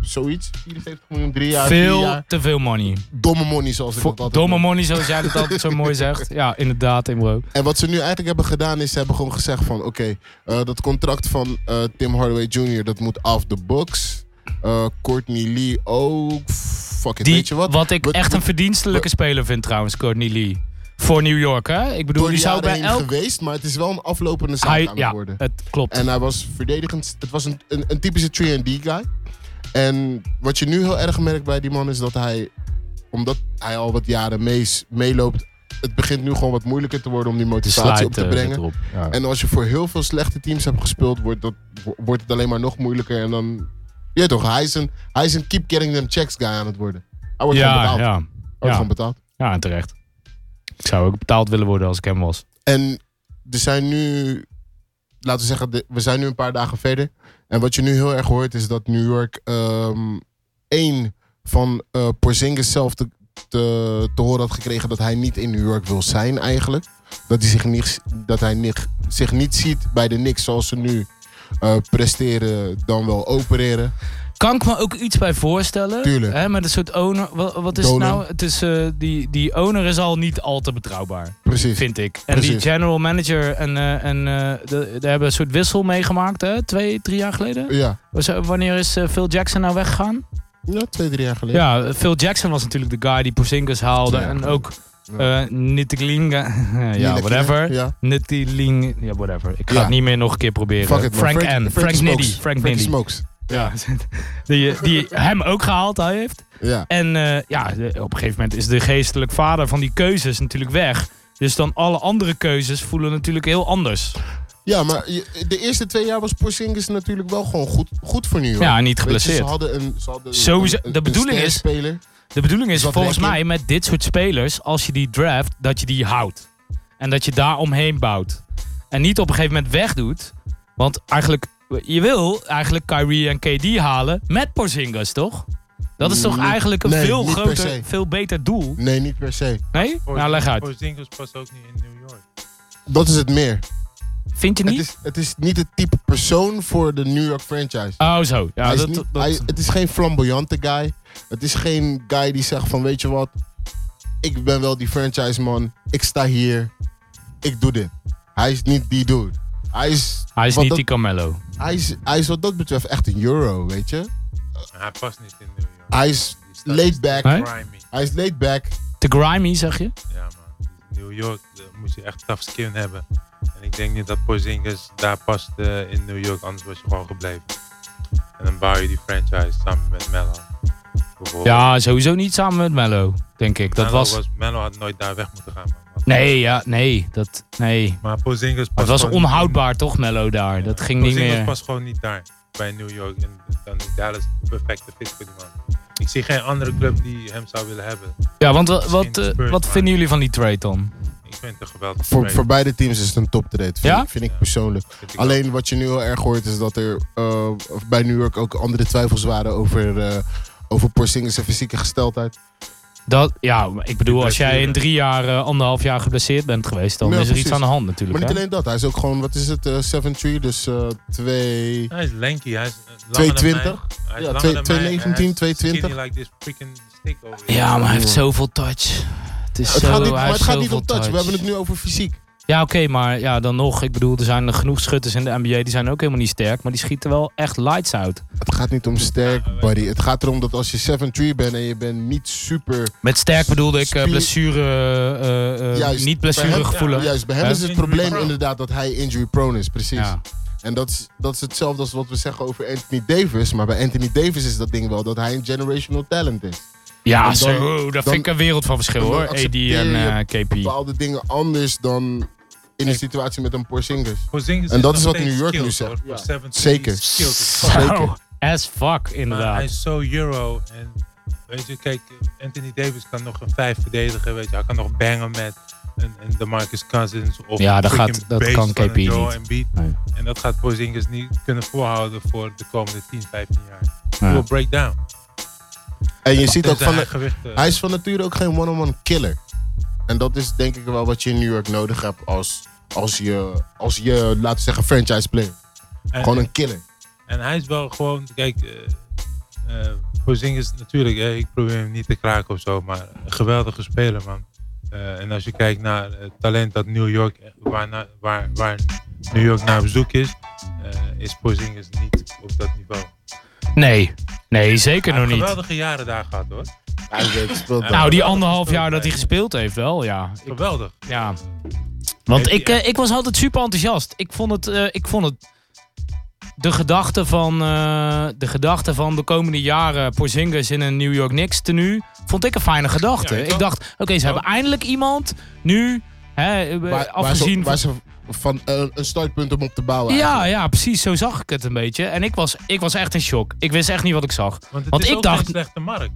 Speaker 4: Zoiets, 74 miljoen drie jaar, vier
Speaker 3: Veel
Speaker 4: jaar.
Speaker 3: te veel money.
Speaker 4: Domme money, zoals ik
Speaker 3: Voor-
Speaker 4: dat altijd
Speaker 3: Domme
Speaker 4: noem.
Speaker 3: money, zoals jij dat altijd zo mooi zegt. Ja, inderdaad, Imro.
Speaker 4: En wat ze nu eigenlijk hebben gedaan is, ze hebben gewoon gezegd van... Oké, eh, dat contract van eh, Tim Hardaway Jr., dat moet af de box. Eh, Courtney Lee ook. Fuck it,
Speaker 3: Die,
Speaker 4: weet je wat?
Speaker 3: ik
Speaker 4: We-
Speaker 3: echt
Speaker 4: we-
Speaker 3: een verdienstelijke speler vind trouwens, Courtney Lee. Voor New York, hè? Ik bedoel,
Speaker 4: Door
Speaker 3: die
Speaker 4: de
Speaker 3: zou
Speaker 4: jaren
Speaker 3: bij
Speaker 4: heen
Speaker 3: elk...
Speaker 4: geweest, maar het is wel een aflopende zaak
Speaker 3: Hij,
Speaker 4: aan het
Speaker 3: ja,
Speaker 4: worden.
Speaker 3: het klopt.
Speaker 4: En hij was verdedigend. Het was een, een, een typische 3D guy. En wat je nu heel erg merkt bij die man is dat hij, omdat hij al wat jaren mees- meeloopt, het begint nu gewoon wat moeilijker te worden om die
Speaker 3: de
Speaker 4: motivatie
Speaker 3: slide
Speaker 4: op te
Speaker 3: eh, zit
Speaker 4: brengen.
Speaker 3: erop. Ja.
Speaker 4: En als je voor heel veel slechte teams hebt gespeeld, wordt, dat, wo- wordt het alleen maar nog moeilijker. En dan, ja toch, hij is een, hij is een keep getting them checks guy aan het worden. Hij wordt gewoon
Speaker 3: Ja,
Speaker 4: betaald. Hij
Speaker 3: ja,
Speaker 4: wordt
Speaker 3: ja.
Speaker 4: gewoon betaald.
Speaker 3: ja, en terecht. Ik zou ook betaald willen worden als ik hem was.
Speaker 4: En er zijn nu, laten we zeggen, de- we zijn nu een paar dagen verder. En wat je nu heel erg hoort is dat New York ehm, één van eh Porzingis zelf te, te, te horen had gekregen dat hij niet in New York wil zijn eigenlijk. Dat hij zich niet, dat hij niet, zich niet ziet bij de Knicks zoals ze nu eh, presteren, dan wel opereren.
Speaker 3: Kan ik me ook iets bij voorstellen?
Speaker 4: Tuurlijk.
Speaker 3: Hè, met een soort owner. wa- Wat, is het
Speaker 4: Donor.
Speaker 3: nou? Het is, eh, die, die owner is al niet al te betrouwbaar.
Speaker 4: Precies.
Speaker 3: vind ik. En die
Speaker 4: Precies.
Speaker 3: general manager en, eh, en eh, de- daar hebben een soort wissel meegemaakt, hè? Twee, drie jaar geleden.
Speaker 4: Ja.
Speaker 3: Was- Wanneer is eh, Phil Jackson nou weggegaan?
Speaker 4: ja, twee, drie jaar geleden.
Speaker 3: Ja, eh, Phil Jackson was natuurlijk de guy die Porzingis haalde
Speaker 4: Ja.
Speaker 3: en ook
Speaker 4: Ja.
Speaker 3: eh Nittlinga, ja
Speaker 4: Nina
Speaker 3: whatever.
Speaker 4: Kina, Ja.
Speaker 3: Nitteling, ja whatever. Ik ga
Speaker 4: Ja.
Speaker 3: het niet meer nog een keer proberen.
Speaker 4: Fuck it, man.
Speaker 3: Frank, N. Frank
Speaker 4: Smokes.
Speaker 3: Niddy. Frank
Speaker 4: Frankie
Speaker 3: Niddy.
Speaker 4: Smokes.
Speaker 3: Ja. Die, eh, die hem ook gehaald hij heeft.
Speaker 4: Ja.
Speaker 3: En eh, ja, de- op een gegeven moment is de geestelijk vader van die keuzes natuurlijk weg. Dus dan alle andere keuzes voelen natuurlijk heel anders.
Speaker 4: Ja, maar je- de eerste twee jaar was Porzingis natuurlijk wel gewoon goed, goed voor New York.
Speaker 3: Ja, en niet
Speaker 4: Weet je, Ze
Speaker 3: geblesseerd.
Speaker 4: hadden een, ze hadden
Speaker 3: Sowieso- de bedoeling is-
Speaker 4: speler.
Speaker 3: De bedoeling is
Speaker 4: Dat
Speaker 3: volgens
Speaker 4: denk ik.
Speaker 3: mij met dit soort spelers, als je die draft, dat je die houdt. En dat je daar omheen bouwt. En niet op een gegeven moment wegdoet. Want eigenlijk, je wil eigenlijk Kyrie en KD halen met Porzingis, toch? Dat is toch
Speaker 4: Nee,
Speaker 3: eigenlijk een
Speaker 4: Mm, nee,
Speaker 3: veel
Speaker 4: niet per
Speaker 3: groter,
Speaker 4: se.
Speaker 3: veel beter doel?
Speaker 4: Nee, niet per se.
Speaker 3: Nee? Nou, leg uit.
Speaker 5: Porzingis past ook niet in New York.
Speaker 4: Dat is het meer.
Speaker 3: Vind je
Speaker 4: Het
Speaker 3: niet?
Speaker 4: is, het is niet het type persoon voor de New York franchise.
Speaker 3: Oh, zo. Ja,
Speaker 4: hij is
Speaker 3: dat,
Speaker 4: niet,
Speaker 3: dat-
Speaker 4: hij- het is geen flamboyante guy. Het is geen guy die zegt van, weet je wat? Ik ben wel die franchise man. Ik sta hier. Ik doe dit. Hij is niet die dude. Hij is,
Speaker 3: hij is
Speaker 4: wat
Speaker 3: niet
Speaker 4: dat-
Speaker 3: die Carmelo.
Speaker 4: hij, is, hij is wat dat betreft echt een euro, weet je?
Speaker 5: Hij past niet in New York.
Speaker 4: Hij is
Speaker 5: Die stad is
Speaker 4: laid back.
Speaker 3: Hè?
Speaker 5: grimy.
Speaker 4: Hij is laid back.
Speaker 3: Te grimy, zeg je?
Speaker 5: Ja, man. New York daar moet je echt tough skin hebben. En ik denk niet dat Porzingis daar past eh, in New York, anders was je gewoon gebleven. En dan bouw je die franchise samen met Mello. Bijvoorbeeld.
Speaker 3: Ja, sowieso niet samen met Mello, denk ik. Dat
Speaker 5: Melo
Speaker 3: was...
Speaker 5: Melo had nooit daar weg moeten gaan, man.
Speaker 3: Nee, ja, nee. Dat, nee.
Speaker 5: Maar Porzingis
Speaker 3: Maar
Speaker 5: past
Speaker 3: het was
Speaker 5: gewoon niet
Speaker 3: onhoudbaar toch, Mello, daar.
Speaker 5: in.
Speaker 3: Dat ging niet
Speaker 5: Porzingis
Speaker 3: meer.
Speaker 5: past gewoon niet daar, bij New York. En dan is Dallas de perfecte fit voor die man. Ik zie geen andere club die hem zou willen hebben.
Speaker 3: Ja, want wa- wat,
Speaker 5: Misschien
Speaker 3: eh,
Speaker 5: Spurs,
Speaker 3: wat
Speaker 5: maar-
Speaker 3: vinden jullie van die trade dan?
Speaker 5: Ik vind het een geweldig
Speaker 4: Voor, voor beide teams is het een top trade. Vind,
Speaker 3: Ja?
Speaker 4: ik- vind ik
Speaker 5: Ja.
Speaker 4: persoonlijk. Alleen wat je nu heel erg hoort is dat er eh, bij New York ook andere twijfels waren over, eh over Porzingis' fysieke gesteldheid.
Speaker 3: Dat, ja, maar ik bedoel,
Speaker 5: Die
Speaker 3: als jij in
Speaker 5: blessure.
Speaker 3: drie jaar, eh, anderhalf jaar geblesseerd bent geweest, dan
Speaker 4: Ja,
Speaker 3: is er iets
Speaker 4: precies.
Speaker 3: aan de hand natuurlijk.
Speaker 4: Maar niet
Speaker 3: hè?
Speaker 4: alleen dat, hij is ook gewoon, wat is het, eh, 7-3, dus eh, twee...
Speaker 5: Hij is lanky, hij is eh, langer
Speaker 4: 220?
Speaker 5: dan mij. Hij is
Speaker 4: Ja,
Speaker 5: langer
Speaker 4: twee-
Speaker 5: dan
Speaker 4: 219,
Speaker 5: mij en hij is
Speaker 4: 220.
Speaker 5: skinny like this freaking stick over here.
Speaker 3: Ja, maar hij heeft zoveel touch. Het, is
Speaker 4: Het
Speaker 3: zo,
Speaker 4: gaat niet,
Speaker 3: hij
Speaker 4: maar
Speaker 3: heeft
Speaker 4: het gaat niet
Speaker 3: zoveel
Speaker 4: om touch, we hebben het nu over fysiek.
Speaker 3: Ja, oké, maar ja, dan nog. Ik bedoel, er zijn er genoeg schutters in de NBA. Die zijn ook helemaal niet sterk, maar die schieten wel echt lights out.
Speaker 4: Het gaat niet om sterk, buddy. Het gaat erom dat als je 7-3 bent en je bent niet super...
Speaker 3: Met sterk bedoelde ik eh,
Speaker 4: Spier-
Speaker 3: blessure... eh, eh, eh,
Speaker 4: Juist,
Speaker 3: niet
Speaker 4: bij
Speaker 3: blessure
Speaker 4: hem-
Speaker 3: gevoelen.
Speaker 5: ja,
Speaker 4: Juist, bij hem
Speaker 3: Hè?
Speaker 4: is het
Speaker 5: Injury
Speaker 4: probleem
Speaker 5: prone.
Speaker 4: inderdaad dat hij injury prone is, precies.
Speaker 3: Ja.
Speaker 4: En dat is, dat is hetzelfde als wat we zeggen over Anthony Davis. Maar bij Anthony Davis is dat ding wel dat hij een generational talent is.
Speaker 3: Ja,
Speaker 4: En dan-
Speaker 3: zo, oh, daar
Speaker 4: dan-
Speaker 3: vind ik een wereld van verschil
Speaker 4: dan
Speaker 3: hoor. AD en
Speaker 4: accepteer
Speaker 3: eh,
Speaker 4: je
Speaker 3: KP.
Speaker 4: Bepaalde dingen anders dan in een situatie met een Porzingis.
Speaker 5: Porzingis
Speaker 4: En dat
Speaker 5: nog
Speaker 4: is wat
Speaker 5: steeds
Speaker 4: New York nu
Speaker 5: skilled,
Speaker 4: zegt.
Speaker 5: hoor. Voor 17
Speaker 4: Zeker.
Speaker 5: is skilled as fuck.
Speaker 4: Zeker.
Speaker 3: Zo, as fuck
Speaker 5: Maar hij
Speaker 3: inderdaad.
Speaker 5: is zo euro. En weet je, kijk, Anthony Davis kan nog een vijf verdedigen. Weet je. Hij kan nog bangen met een, een DeMarcus Cousins. Of
Speaker 3: Ja, dat
Speaker 5: freaking
Speaker 3: gaat- dat
Speaker 5: beest
Speaker 3: kan
Speaker 5: van
Speaker 4: E
Speaker 5: een
Speaker 3: KP
Speaker 5: Joel
Speaker 3: niet.
Speaker 5: Embiid.
Speaker 3: Nee.
Speaker 5: En dat gaat Porzingis niet kunnen voorhouden voor de komende 10, 15 jaar.
Speaker 3: Ja.
Speaker 5: Hij will break down.
Speaker 4: En je ziet ook
Speaker 5: Tenzij
Speaker 4: van...
Speaker 5: hij
Speaker 4: de-
Speaker 5: gewicht, eh,
Speaker 4: Hij is van nature ook geen one-on-one killer. En dat is denk ik wel wat je in New York nodig hebt als, als, je, als je, laten we zeggen, franchise player.
Speaker 5: en-
Speaker 4: Gewoon een killer.
Speaker 5: En hij is wel gewoon, kijk, eh eh, Porzingis natuurlijk, hè, ik probeer hem niet te kraken of zo, maar een geweldige speler, man. Eh, en als je kijkt naar het talent dat New York, eh, waar, na- waar, waar New York naar op zoek is, eh, is Porzingis niet op dat niveau.
Speaker 3: Nee, nee, zeker
Speaker 5: Hij
Speaker 3: nog
Speaker 5: heeft
Speaker 3: niet.
Speaker 5: geweldige jaren daar gehad, hoor.
Speaker 4: Hij weet, speelt wel.
Speaker 3: Nou, die
Speaker 5: geweldig
Speaker 3: anderhalf
Speaker 5: gespeeld,
Speaker 3: jaar dat hij
Speaker 5: nee.
Speaker 3: gespeeld heeft wel, ja.
Speaker 5: Geweldig.
Speaker 3: Ja. Want
Speaker 5: Heeft
Speaker 3: ik,
Speaker 5: hij
Speaker 3: eh, ik was altijd super enthousiast. Ik vond het. eh, ik vond het de gedachte van eh, de gedachte van de komende jaren Porzingis in een New York Knicks tenue vond ik een fijne gedachte.
Speaker 5: Ja, ik
Speaker 3: ik
Speaker 5: ook.
Speaker 3: dacht, oké, ze hebben eindelijk iemand nu, hè, eh,
Speaker 4: Waar- waar ze-
Speaker 3: afgezien
Speaker 4: Waar ze van eh, een startpunt om op te bouwen.
Speaker 3: Ja,
Speaker 4: eigenlijk.
Speaker 3: ja, precies. Zo zag ik het een beetje. En ik was, ik was echt in shock. Ik wist echt niet wat ik zag.
Speaker 5: Want het
Speaker 3: Want
Speaker 5: is
Speaker 3: ik
Speaker 5: ook
Speaker 3: dacht-
Speaker 5: geen slechte markt.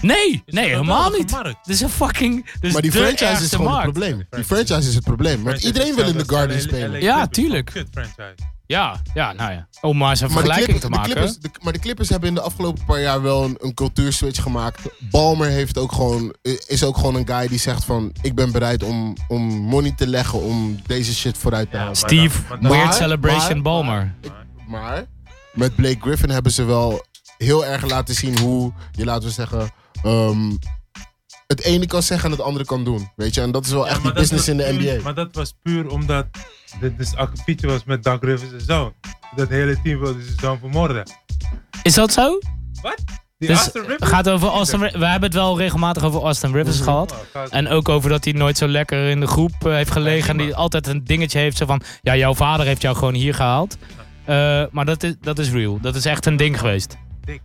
Speaker 3: Nee, nee,
Speaker 5: een
Speaker 3: helemaal
Speaker 5: geweldige
Speaker 3: niet.
Speaker 5: markt.
Speaker 3: Dit is een fucking. Dit is
Speaker 4: Maar die
Speaker 3: de
Speaker 4: franchise is
Speaker 3: ergste
Speaker 4: gewoon
Speaker 3: markt.
Speaker 4: het probleem. Die franchise is het probleem. Want iedereen wil in de Garden spelen.
Speaker 3: Ja, tuurlijk.
Speaker 5: Kut franchise.
Speaker 3: Ja, ja, nou ja. Om maar eens een
Speaker 4: Maar de,
Speaker 3: vergelijking
Speaker 4: Clippers-
Speaker 3: te
Speaker 4: de
Speaker 3: maken.
Speaker 4: Clippers, de- maar de Clippers hebben in de afgelopen paar jaar wel een, een cultuurswitch gemaakt. Balmer heeft ook gewoon, is ook gewoon een guy die zegt van... ik ben bereid om, om money te leggen om deze shit vooruit te
Speaker 5: Ja,
Speaker 4: halen.
Speaker 3: Steve,
Speaker 5: Maar dan-
Speaker 3: Weird
Speaker 4: maar-
Speaker 3: Celebration
Speaker 4: maar-
Speaker 3: Balmer.
Speaker 4: Maar met Blake Griffin hebben ze wel heel erg laten zien hoe je, laten we zeggen, ehm, het ene kan zeggen en het andere kan doen. Weet je, en dat is wel
Speaker 5: Ja,
Speaker 4: echt die
Speaker 5: maar dat
Speaker 4: business in
Speaker 5: was
Speaker 4: de
Speaker 5: puur-
Speaker 4: NBA.
Speaker 5: Maar dat was puur omdat dit dus akkefietje was met Doug Rivers en zoon. Dat hele team wilde zijn zoon vermoorden.
Speaker 3: Is dat zo?
Speaker 5: Wat? Die
Speaker 3: Dus
Speaker 5: Austin
Speaker 3: het
Speaker 5: Rivers? Oh,
Speaker 3: gaat over Austin Ri- We hebben het wel regelmatig over Austin Rivers gehad. En ook over dat hij nooit zo lekker in de groep eh, heeft gelegen. En die altijd een dingetje heeft zo van... Ja, jouw vader heeft jou gewoon hier gehaald. Eh, maar dat is, dat is real. Dat is echt een ding geweest.
Speaker 5: Dik.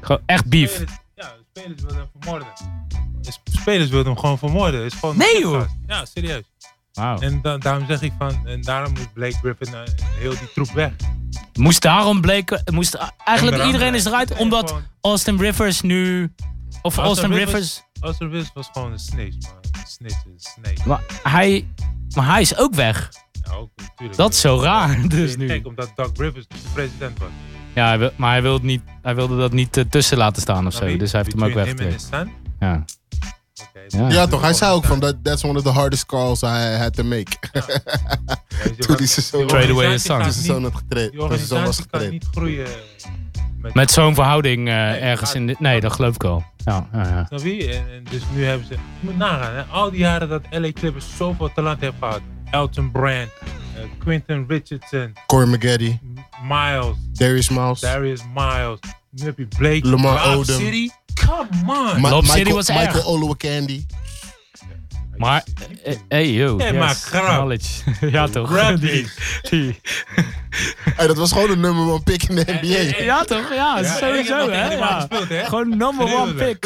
Speaker 3: Gewoon echt beef.
Speaker 5: Spelers- Ja, spelers wilden hem vermoorden. Sp- Spelers wilden hem gewoon vermoorden. Is gewoon
Speaker 3: Nee,
Speaker 5: een
Speaker 3: joh.
Speaker 5: gast. Ja, serieus.
Speaker 3: Wauw.
Speaker 5: En da- daarom zeg ik van, en daarom moet Blake Griffin eh, heel die troep weg.
Speaker 3: Moest daarom bleken. Moest, eigenlijk
Speaker 5: Onder
Speaker 3: iedereen
Speaker 5: andere.
Speaker 3: is eruit
Speaker 5: Nee,
Speaker 3: omdat
Speaker 5: gewoon-
Speaker 3: Austin Rivers nu. Of Austin, Rivers.
Speaker 5: Austin Rivers was gewoon een snitch, man. Een snitch, een snake.
Speaker 3: Maar hij, maar hij is ook weg.
Speaker 5: Ja, ook, natuurlijk.
Speaker 3: Dat is zo raar. Dus nu.
Speaker 5: Kijk, omdat Doug Rivers de president was.
Speaker 3: Ja, hij wil- maar hij wilde, niet, hij wilde dat niet eh, tussen laten staan of zo. Dus hij heeft hem ook
Speaker 5: Between him and
Speaker 3: weggetreden.
Speaker 5: his son?
Speaker 3: Ja.
Speaker 5: Oké.
Speaker 6: Ja.
Speaker 4: Ja, toch? Hij zei ook van, that, that's one of the hardest calls I had to make.
Speaker 5: Weet je
Speaker 4: Toen
Speaker 5: wat-
Speaker 4: hij ze zo,
Speaker 3: Trade
Speaker 4: toen
Speaker 3: away
Speaker 5: organisatie
Speaker 3: his son.
Speaker 5: gaat
Speaker 4: ze
Speaker 5: niet-
Speaker 4: zo had getraind.
Speaker 5: Die
Speaker 4: Toen ze zo was
Speaker 5: organisatie kan
Speaker 4: getraind.
Speaker 5: niet groeien. Met,
Speaker 3: Met zo'n verhouding eh, ergens
Speaker 5: gaat-
Speaker 3: in dit. Nee, dat geloof ik al. Ja, ja, ja.
Speaker 5: Snap je? En, en dus nu hebben ze. Je moet nagaan, hè? al die jaren dat LA Clippers zoveel talent heeft gehad. Elton Brand, eh, Quinton Richardson,
Speaker 4: Cormageddon,
Speaker 5: M- Miles,
Speaker 4: Darius Miles.
Speaker 5: Darius Miles, nu heb je Blake,
Speaker 4: Lamar
Speaker 5: Rob
Speaker 4: Odom.
Speaker 5: City. Come on!
Speaker 4: Ma-
Speaker 3: Lob City
Speaker 4: Michael,
Speaker 3: was
Speaker 4: Michael
Speaker 3: erg.
Speaker 4: Olowokandi.
Speaker 3: Maar, eh, hey yo.
Speaker 5: Hey, maar grap.
Speaker 3: Knowledge. ja, toch?
Speaker 5: Grab
Speaker 3: Die, die.
Speaker 4: Hey, dat was gewoon een number one pick in de
Speaker 5: Eh,
Speaker 4: NBA.
Speaker 3: Ja, toch? Ja,
Speaker 5: Ja, ik heb nog
Speaker 3: sowieso,
Speaker 5: tegen
Speaker 3: hè?
Speaker 5: die man
Speaker 3: Ja.
Speaker 5: gespeeld, hè?
Speaker 3: Gewoon number one
Speaker 5: Gruwelijk.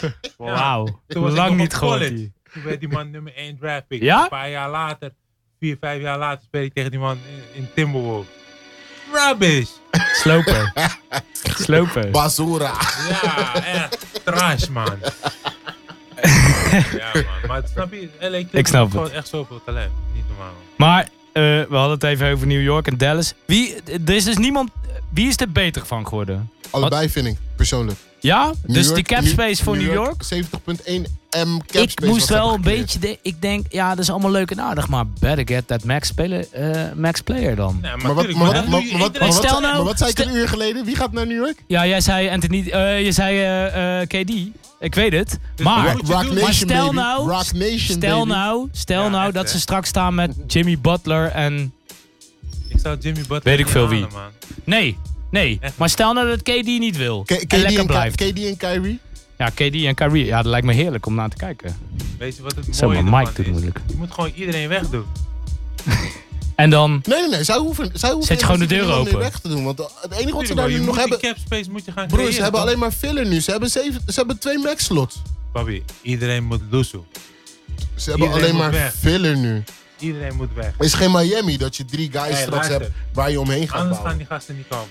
Speaker 3: pick. Wauw.
Speaker 5: Toen was ik
Speaker 3: Lang
Speaker 5: nog
Speaker 3: niet
Speaker 5: op
Speaker 3: gehoord.
Speaker 5: college.
Speaker 3: die.
Speaker 5: Toen werd die man nummer 1 draft pick.
Speaker 3: Ja?
Speaker 5: Een paar jaar later, vier, vijf jaar later, speel ik tegen die man in, in Timberwolves. Rubbish!
Speaker 3: Slopen. Slopen.
Speaker 4: Basura.
Speaker 5: Ja, echt. Trash, man. ja, man. Maar snap je, LA Clippers
Speaker 3: Ik snap
Speaker 5: heeft gewoon echt zoveel talent. Niet normaal.
Speaker 3: Maar eh, we hadden het even over New York en Dallas. Wie, er is dus niemand. Wie is er beter van geworden?
Speaker 4: Allebei vind ik, persoonlijk.
Speaker 3: Ja?
Speaker 4: New
Speaker 3: dus
Speaker 4: York-
Speaker 3: die cap
Speaker 4: New-
Speaker 3: space voor New York?
Speaker 4: 70.1 M cap
Speaker 3: ik
Speaker 4: space
Speaker 3: moest
Speaker 4: was
Speaker 3: wel
Speaker 4: dat
Speaker 3: een
Speaker 4: gecreëerd.
Speaker 3: beetje. de- ik denk, ja, dat is allemaal leuk en aardig. Maar better get that max, speler, eh, max player dan.
Speaker 5: Nee, maar,
Speaker 4: Maar wat,
Speaker 5: tuurlijk, dat
Speaker 4: maar, wat,
Speaker 5: doe
Speaker 4: maar,
Speaker 5: je-
Speaker 4: maar wat, maar
Speaker 5: iedereen-
Speaker 4: wat,
Speaker 3: Stel
Speaker 4: zei-
Speaker 3: nou-
Speaker 4: maar wat zei ik
Speaker 3: stel-
Speaker 4: een uur geleden? Wie gaat naar New York?
Speaker 3: Ja, jij zei Anthony. eh, je zei eh, eh, KD. Ik weet het.
Speaker 5: Maar
Speaker 3: Maar.
Speaker 5: moet
Speaker 4: Rock
Speaker 5: je
Speaker 4: Rock
Speaker 5: doen.
Speaker 4: Nation,
Speaker 3: Maar stel
Speaker 4: baby.
Speaker 3: nou-
Speaker 4: Rock Nation,
Speaker 3: Stel
Speaker 4: baby.
Speaker 3: nou, stel
Speaker 5: Ja,
Speaker 3: nou
Speaker 5: echt,
Speaker 3: dat
Speaker 5: hè?
Speaker 3: ze straks staan met Jimmy Butler en.
Speaker 5: Ik zou Jimmy Butler
Speaker 3: Weet ik
Speaker 5: niet
Speaker 3: veel wie.
Speaker 5: halen, man.
Speaker 3: Nee, nee.
Speaker 5: Echt?
Speaker 3: Maar stel nou dat KD niet wil.
Speaker 4: K-
Speaker 3: en
Speaker 4: KD,
Speaker 3: lekker
Speaker 4: en Ky-
Speaker 3: blijft.
Speaker 4: KD en Kyrie?
Speaker 3: Ja, KD en Kyrie. Ja, dat lijkt me heerlijk om naar te kijken.
Speaker 5: Weet je wat het
Speaker 3: Zo,
Speaker 5: mooie
Speaker 3: maar
Speaker 5: ervan
Speaker 3: Mike doet
Speaker 5: is?
Speaker 3: moeilijk.
Speaker 5: Je moet gewoon iedereen wegdoen.
Speaker 3: En dan.
Speaker 4: Nee, nee, nee. Zij hoeven, zij hoeven
Speaker 3: Zet gewoon de
Speaker 4: in principe
Speaker 3: deur
Speaker 4: niemand meer
Speaker 3: open.
Speaker 4: weg te doen. Want het enige wat ze
Speaker 5: Tuurlijk,
Speaker 4: daar
Speaker 5: maar
Speaker 4: nu
Speaker 5: je
Speaker 4: nog
Speaker 5: moet
Speaker 4: hebben...
Speaker 5: die cap space moet je gaan
Speaker 4: Broer, ze
Speaker 5: creëren,
Speaker 4: hebben
Speaker 5: toch?
Speaker 4: alleen maar filler nu. Ze hebben, zeven, ze hebben twee max slots.
Speaker 5: Papi, iedereen moet loesoe.
Speaker 4: Ze hebben
Speaker 5: Iedereen
Speaker 4: alleen maar
Speaker 5: moet weg.
Speaker 4: filler nu.
Speaker 5: Iedereen moet weg.
Speaker 4: Het is geen Miami dat je drie guys
Speaker 5: Hey,
Speaker 4: straks
Speaker 5: luister.
Speaker 4: hebt waar je omheen gaat
Speaker 5: Anders
Speaker 4: bouwen.
Speaker 5: gaan die gasten niet komen.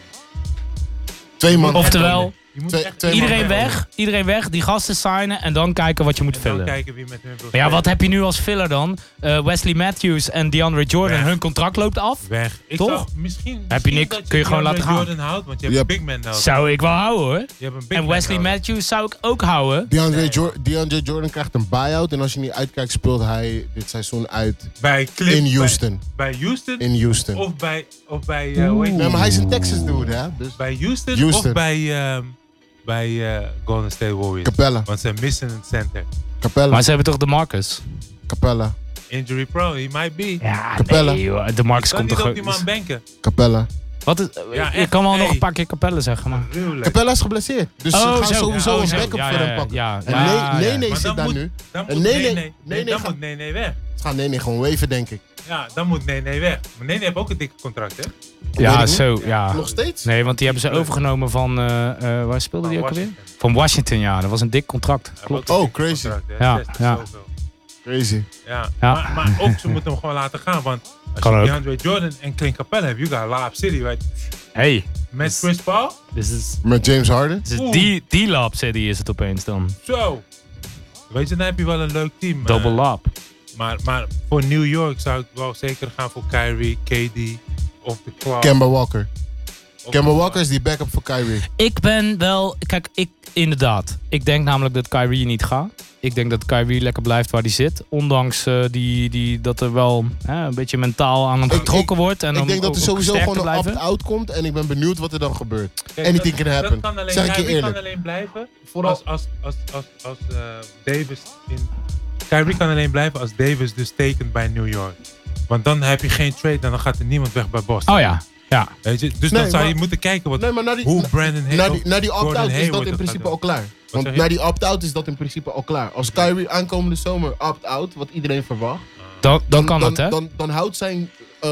Speaker 4: Twee man.
Speaker 3: Oftewel,
Speaker 5: Je moet
Speaker 4: Twee-
Speaker 5: echt
Speaker 4: twee
Speaker 3: iedereen
Speaker 5: man
Speaker 3: weg. Iedereen weg. Die gasten signen. En dan kijken wat je moet
Speaker 5: En dan
Speaker 3: vullen.
Speaker 5: kijken wie met hun wil
Speaker 3: Maar ja,
Speaker 5: spelen.
Speaker 3: wat heb je nu als filler dan? Eh, Wesley Matthews en DeAndre Jordan,
Speaker 5: Weg.
Speaker 3: hun contract loopt af.
Speaker 5: Weg. Ik
Speaker 3: Toch?
Speaker 5: zou- misschien,
Speaker 3: Heb je
Speaker 5: misschien
Speaker 3: niks,
Speaker 5: dat
Speaker 3: kun je gewoon
Speaker 5: DeAndre
Speaker 3: laten gaan.
Speaker 5: Jordan houdt, want je hebt
Speaker 4: Ja.
Speaker 5: een big man nodig.
Speaker 3: Zou ik wel houden hoor.
Speaker 5: Je hebt een big
Speaker 3: En
Speaker 5: man
Speaker 3: Wesley
Speaker 5: nodig.
Speaker 3: Matthews zou ik ook houden.
Speaker 4: DeAndre, Jor- DeAndre Jordan krijgt een buy-out. En als je niet uitkijkt, speelt hij dit seizoen uit
Speaker 5: Bij Clip,
Speaker 4: in
Speaker 5: bij-
Speaker 4: Houston.
Speaker 5: Bij, Houston.
Speaker 4: In Houston.
Speaker 5: Of bij, of bij, eh, hoe heet
Speaker 4: Nee,
Speaker 5: het?
Speaker 4: maar hij is een Texas dude, hè? Dus
Speaker 5: bij Houston,
Speaker 4: Houston.
Speaker 5: Of bij, ehm, bij eh, Golden State Warriors.
Speaker 4: Capella.
Speaker 5: Want ze missen een center.
Speaker 4: Capella.
Speaker 3: Maar ze hebben toch de Marcus?
Speaker 4: Capella.
Speaker 5: Injury prone, he might be.
Speaker 3: Ja,
Speaker 4: Capella.
Speaker 3: nee joh. De Marcus
Speaker 5: kan
Speaker 3: komt
Speaker 5: niet
Speaker 3: toch
Speaker 5: op
Speaker 3: ook...
Speaker 5: die man banken.
Speaker 4: Capella.
Speaker 3: Wat is,
Speaker 5: Ja,
Speaker 3: je
Speaker 5: echt,
Speaker 3: kan wel nog
Speaker 5: hey.
Speaker 3: een paar keer Capelle zeggen, maar...
Speaker 5: Gruwelijk.
Speaker 4: Capella is geblesseerd. Dus ze gaan sowieso
Speaker 5: Ja, oh,
Speaker 4: een
Speaker 5: zo.
Speaker 4: backup
Speaker 3: Ja,
Speaker 4: voor
Speaker 3: ja,
Speaker 4: hem pakken.
Speaker 3: Ja,
Speaker 4: En
Speaker 3: ja, ja.
Speaker 4: nee, nee, nee
Speaker 5: Maar
Speaker 4: zit
Speaker 5: dan
Speaker 4: daar
Speaker 5: moet-
Speaker 4: nu.
Speaker 5: Dan
Speaker 4: Eh,
Speaker 5: moet
Speaker 4: nee,
Speaker 5: nee,
Speaker 4: nee,
Speaker 5: nee,
Speaker 4: nee, nee,
Speaker 5: dan
Speaker 4: ga-
Speaker 5: moet nee, nee weg.
Speaker 4: Ze gaan nee, nee, gewoon weven, denk ik.
Speaker 5: Ja, dan moet nee, nee weg. Maar nee, nee heeft ook een dikke contract, hè?
Speaker 4: Weet
Speaker 3: Ja,
Speaker 4: ik
Speaker 3: zo, ja.
Speaker 4: Nog steeds?
Speaker 3: Nee, want die hebben ze overgenomen van... eh, eh, waar speelde die ook alweer?
Speaker 5: Washington.
Speaker 3: Van Washington, ja. Dat was een dik contract.
Speaker 5: Oh, Hij heeft
Speaker 3: Klopt.
Speaker 5: ook een
Speaker 4: Oh,
Speaker 5: dikke
Speaker 4: crazy.
Speaker 5: contract, hè?
Speaker 3: Ja,
Speaker 5: 60
Speaker 3: ja.
Speaker 5: zoveel.
Speaker 4: Crazy.
Speaker 5: Ja,
Speaker 3: Ja.
Speaker 5: Maar, maar ook ze moeten hem gewoon laten gaan. Want als
Speaker 3: Kan
Speaker 5: je
Speaker 3: ook.
Speaker 5: DeAndre Jordan en Clint Capella hebt, you got Lab City, right?
Speaker 3: Hey,
Speaker 5: Met Chris Paul,
Speaker 3: dit is...
Speaker 4: Met James Harden?
Speaker 3: dit is
Speaker 5: Oeh.
Speaker 3: Die, die lab city is het opeens dan.
Speaker 5: zo. Weet je, dan heb je wel een leuk team. eh.
Speaker 3: Double lab.
Speaker 5: Maar, maar voor New York zou ik wel zeker gaan voor Kyrie, KD of de Clark.
Speaker 4: Kemba Walker.
Speaker 5: of-
Speaker 4: Kemba Walker is die backup voor Kyrie.
Speaker 3: Ik ben wel... Kijk, ik... Inderdaad. Ik denk namelijk dat Kyrie niet gaat. Ik denk dat Kyrie lekker blijft waar hij zit. Ondanks eh, die, die, dat er wel hè, een beetje mentaal aan hem
Speaker 4: Ik-
Speaker 3: getrokken wordt. En
Speaker 4: ik
Speaker 3: om
Speaker 4: denk dat er
Speaker 3: ook
Speaker 4: sowieso
Speaker 3: sterk te
Speaker 4: gewoon een
Speaker 3: blijven.
Speaker 4: opt-out komt en ik ben benieuwd wat er dan gebeurt.
Speaker 5: Kijk,
Speaker 4: Anything
Speaker 5: dat-
Speaker 4: can happen.
Speaker 5: Dat kan alleen,
Speaker 4: Zeg ik je
Speaker 5: Kyrie
Speaker 4: eerlijk.
Speaker 5: kan alleen blijven
Speaker 6: Vooral-
Speaker 5: als, als, als, als, als eh, Davis in... Kyrie kan alleen blijven als Davis dus tekent bij New York. Want dan heb je geen trade en dan gaat er niemand weg bij Boston.
Speaker 3: Oh ja, ja.
Speaker 5: Weet je? Dus
Speaker 4: Nee,
Speaker 5: dan zou je
Speaker 4: maar-
Speaker 5: moeten kijken wat,
Speaker 4: Nee, maar na die,
Speaker 5: hoe Brandon Hay-
Speaker 4: na die, na die
Speaker 5: Gordon
Speaker 4: opt-out is
Speaker 5: Hayward
Speaker 4: dat in
Speaker 5: gaat
Speaker 4: principe
Speaker 5: doen.
Speaker 4: al klaar.
Speaker 5: zeg
Speaker 4: Want
Speaker 5: je?
Speaker 4: na die opt-out is dat in principe al klaar. Als Kyrie aankomende zomer opt-out, wat iedereen verwacht,
Speaker 3: Dan, dan kan
Speaker 4: dan,
Speaker 3: het, hè?
Speaker 4: dan, dan houdt zijn eh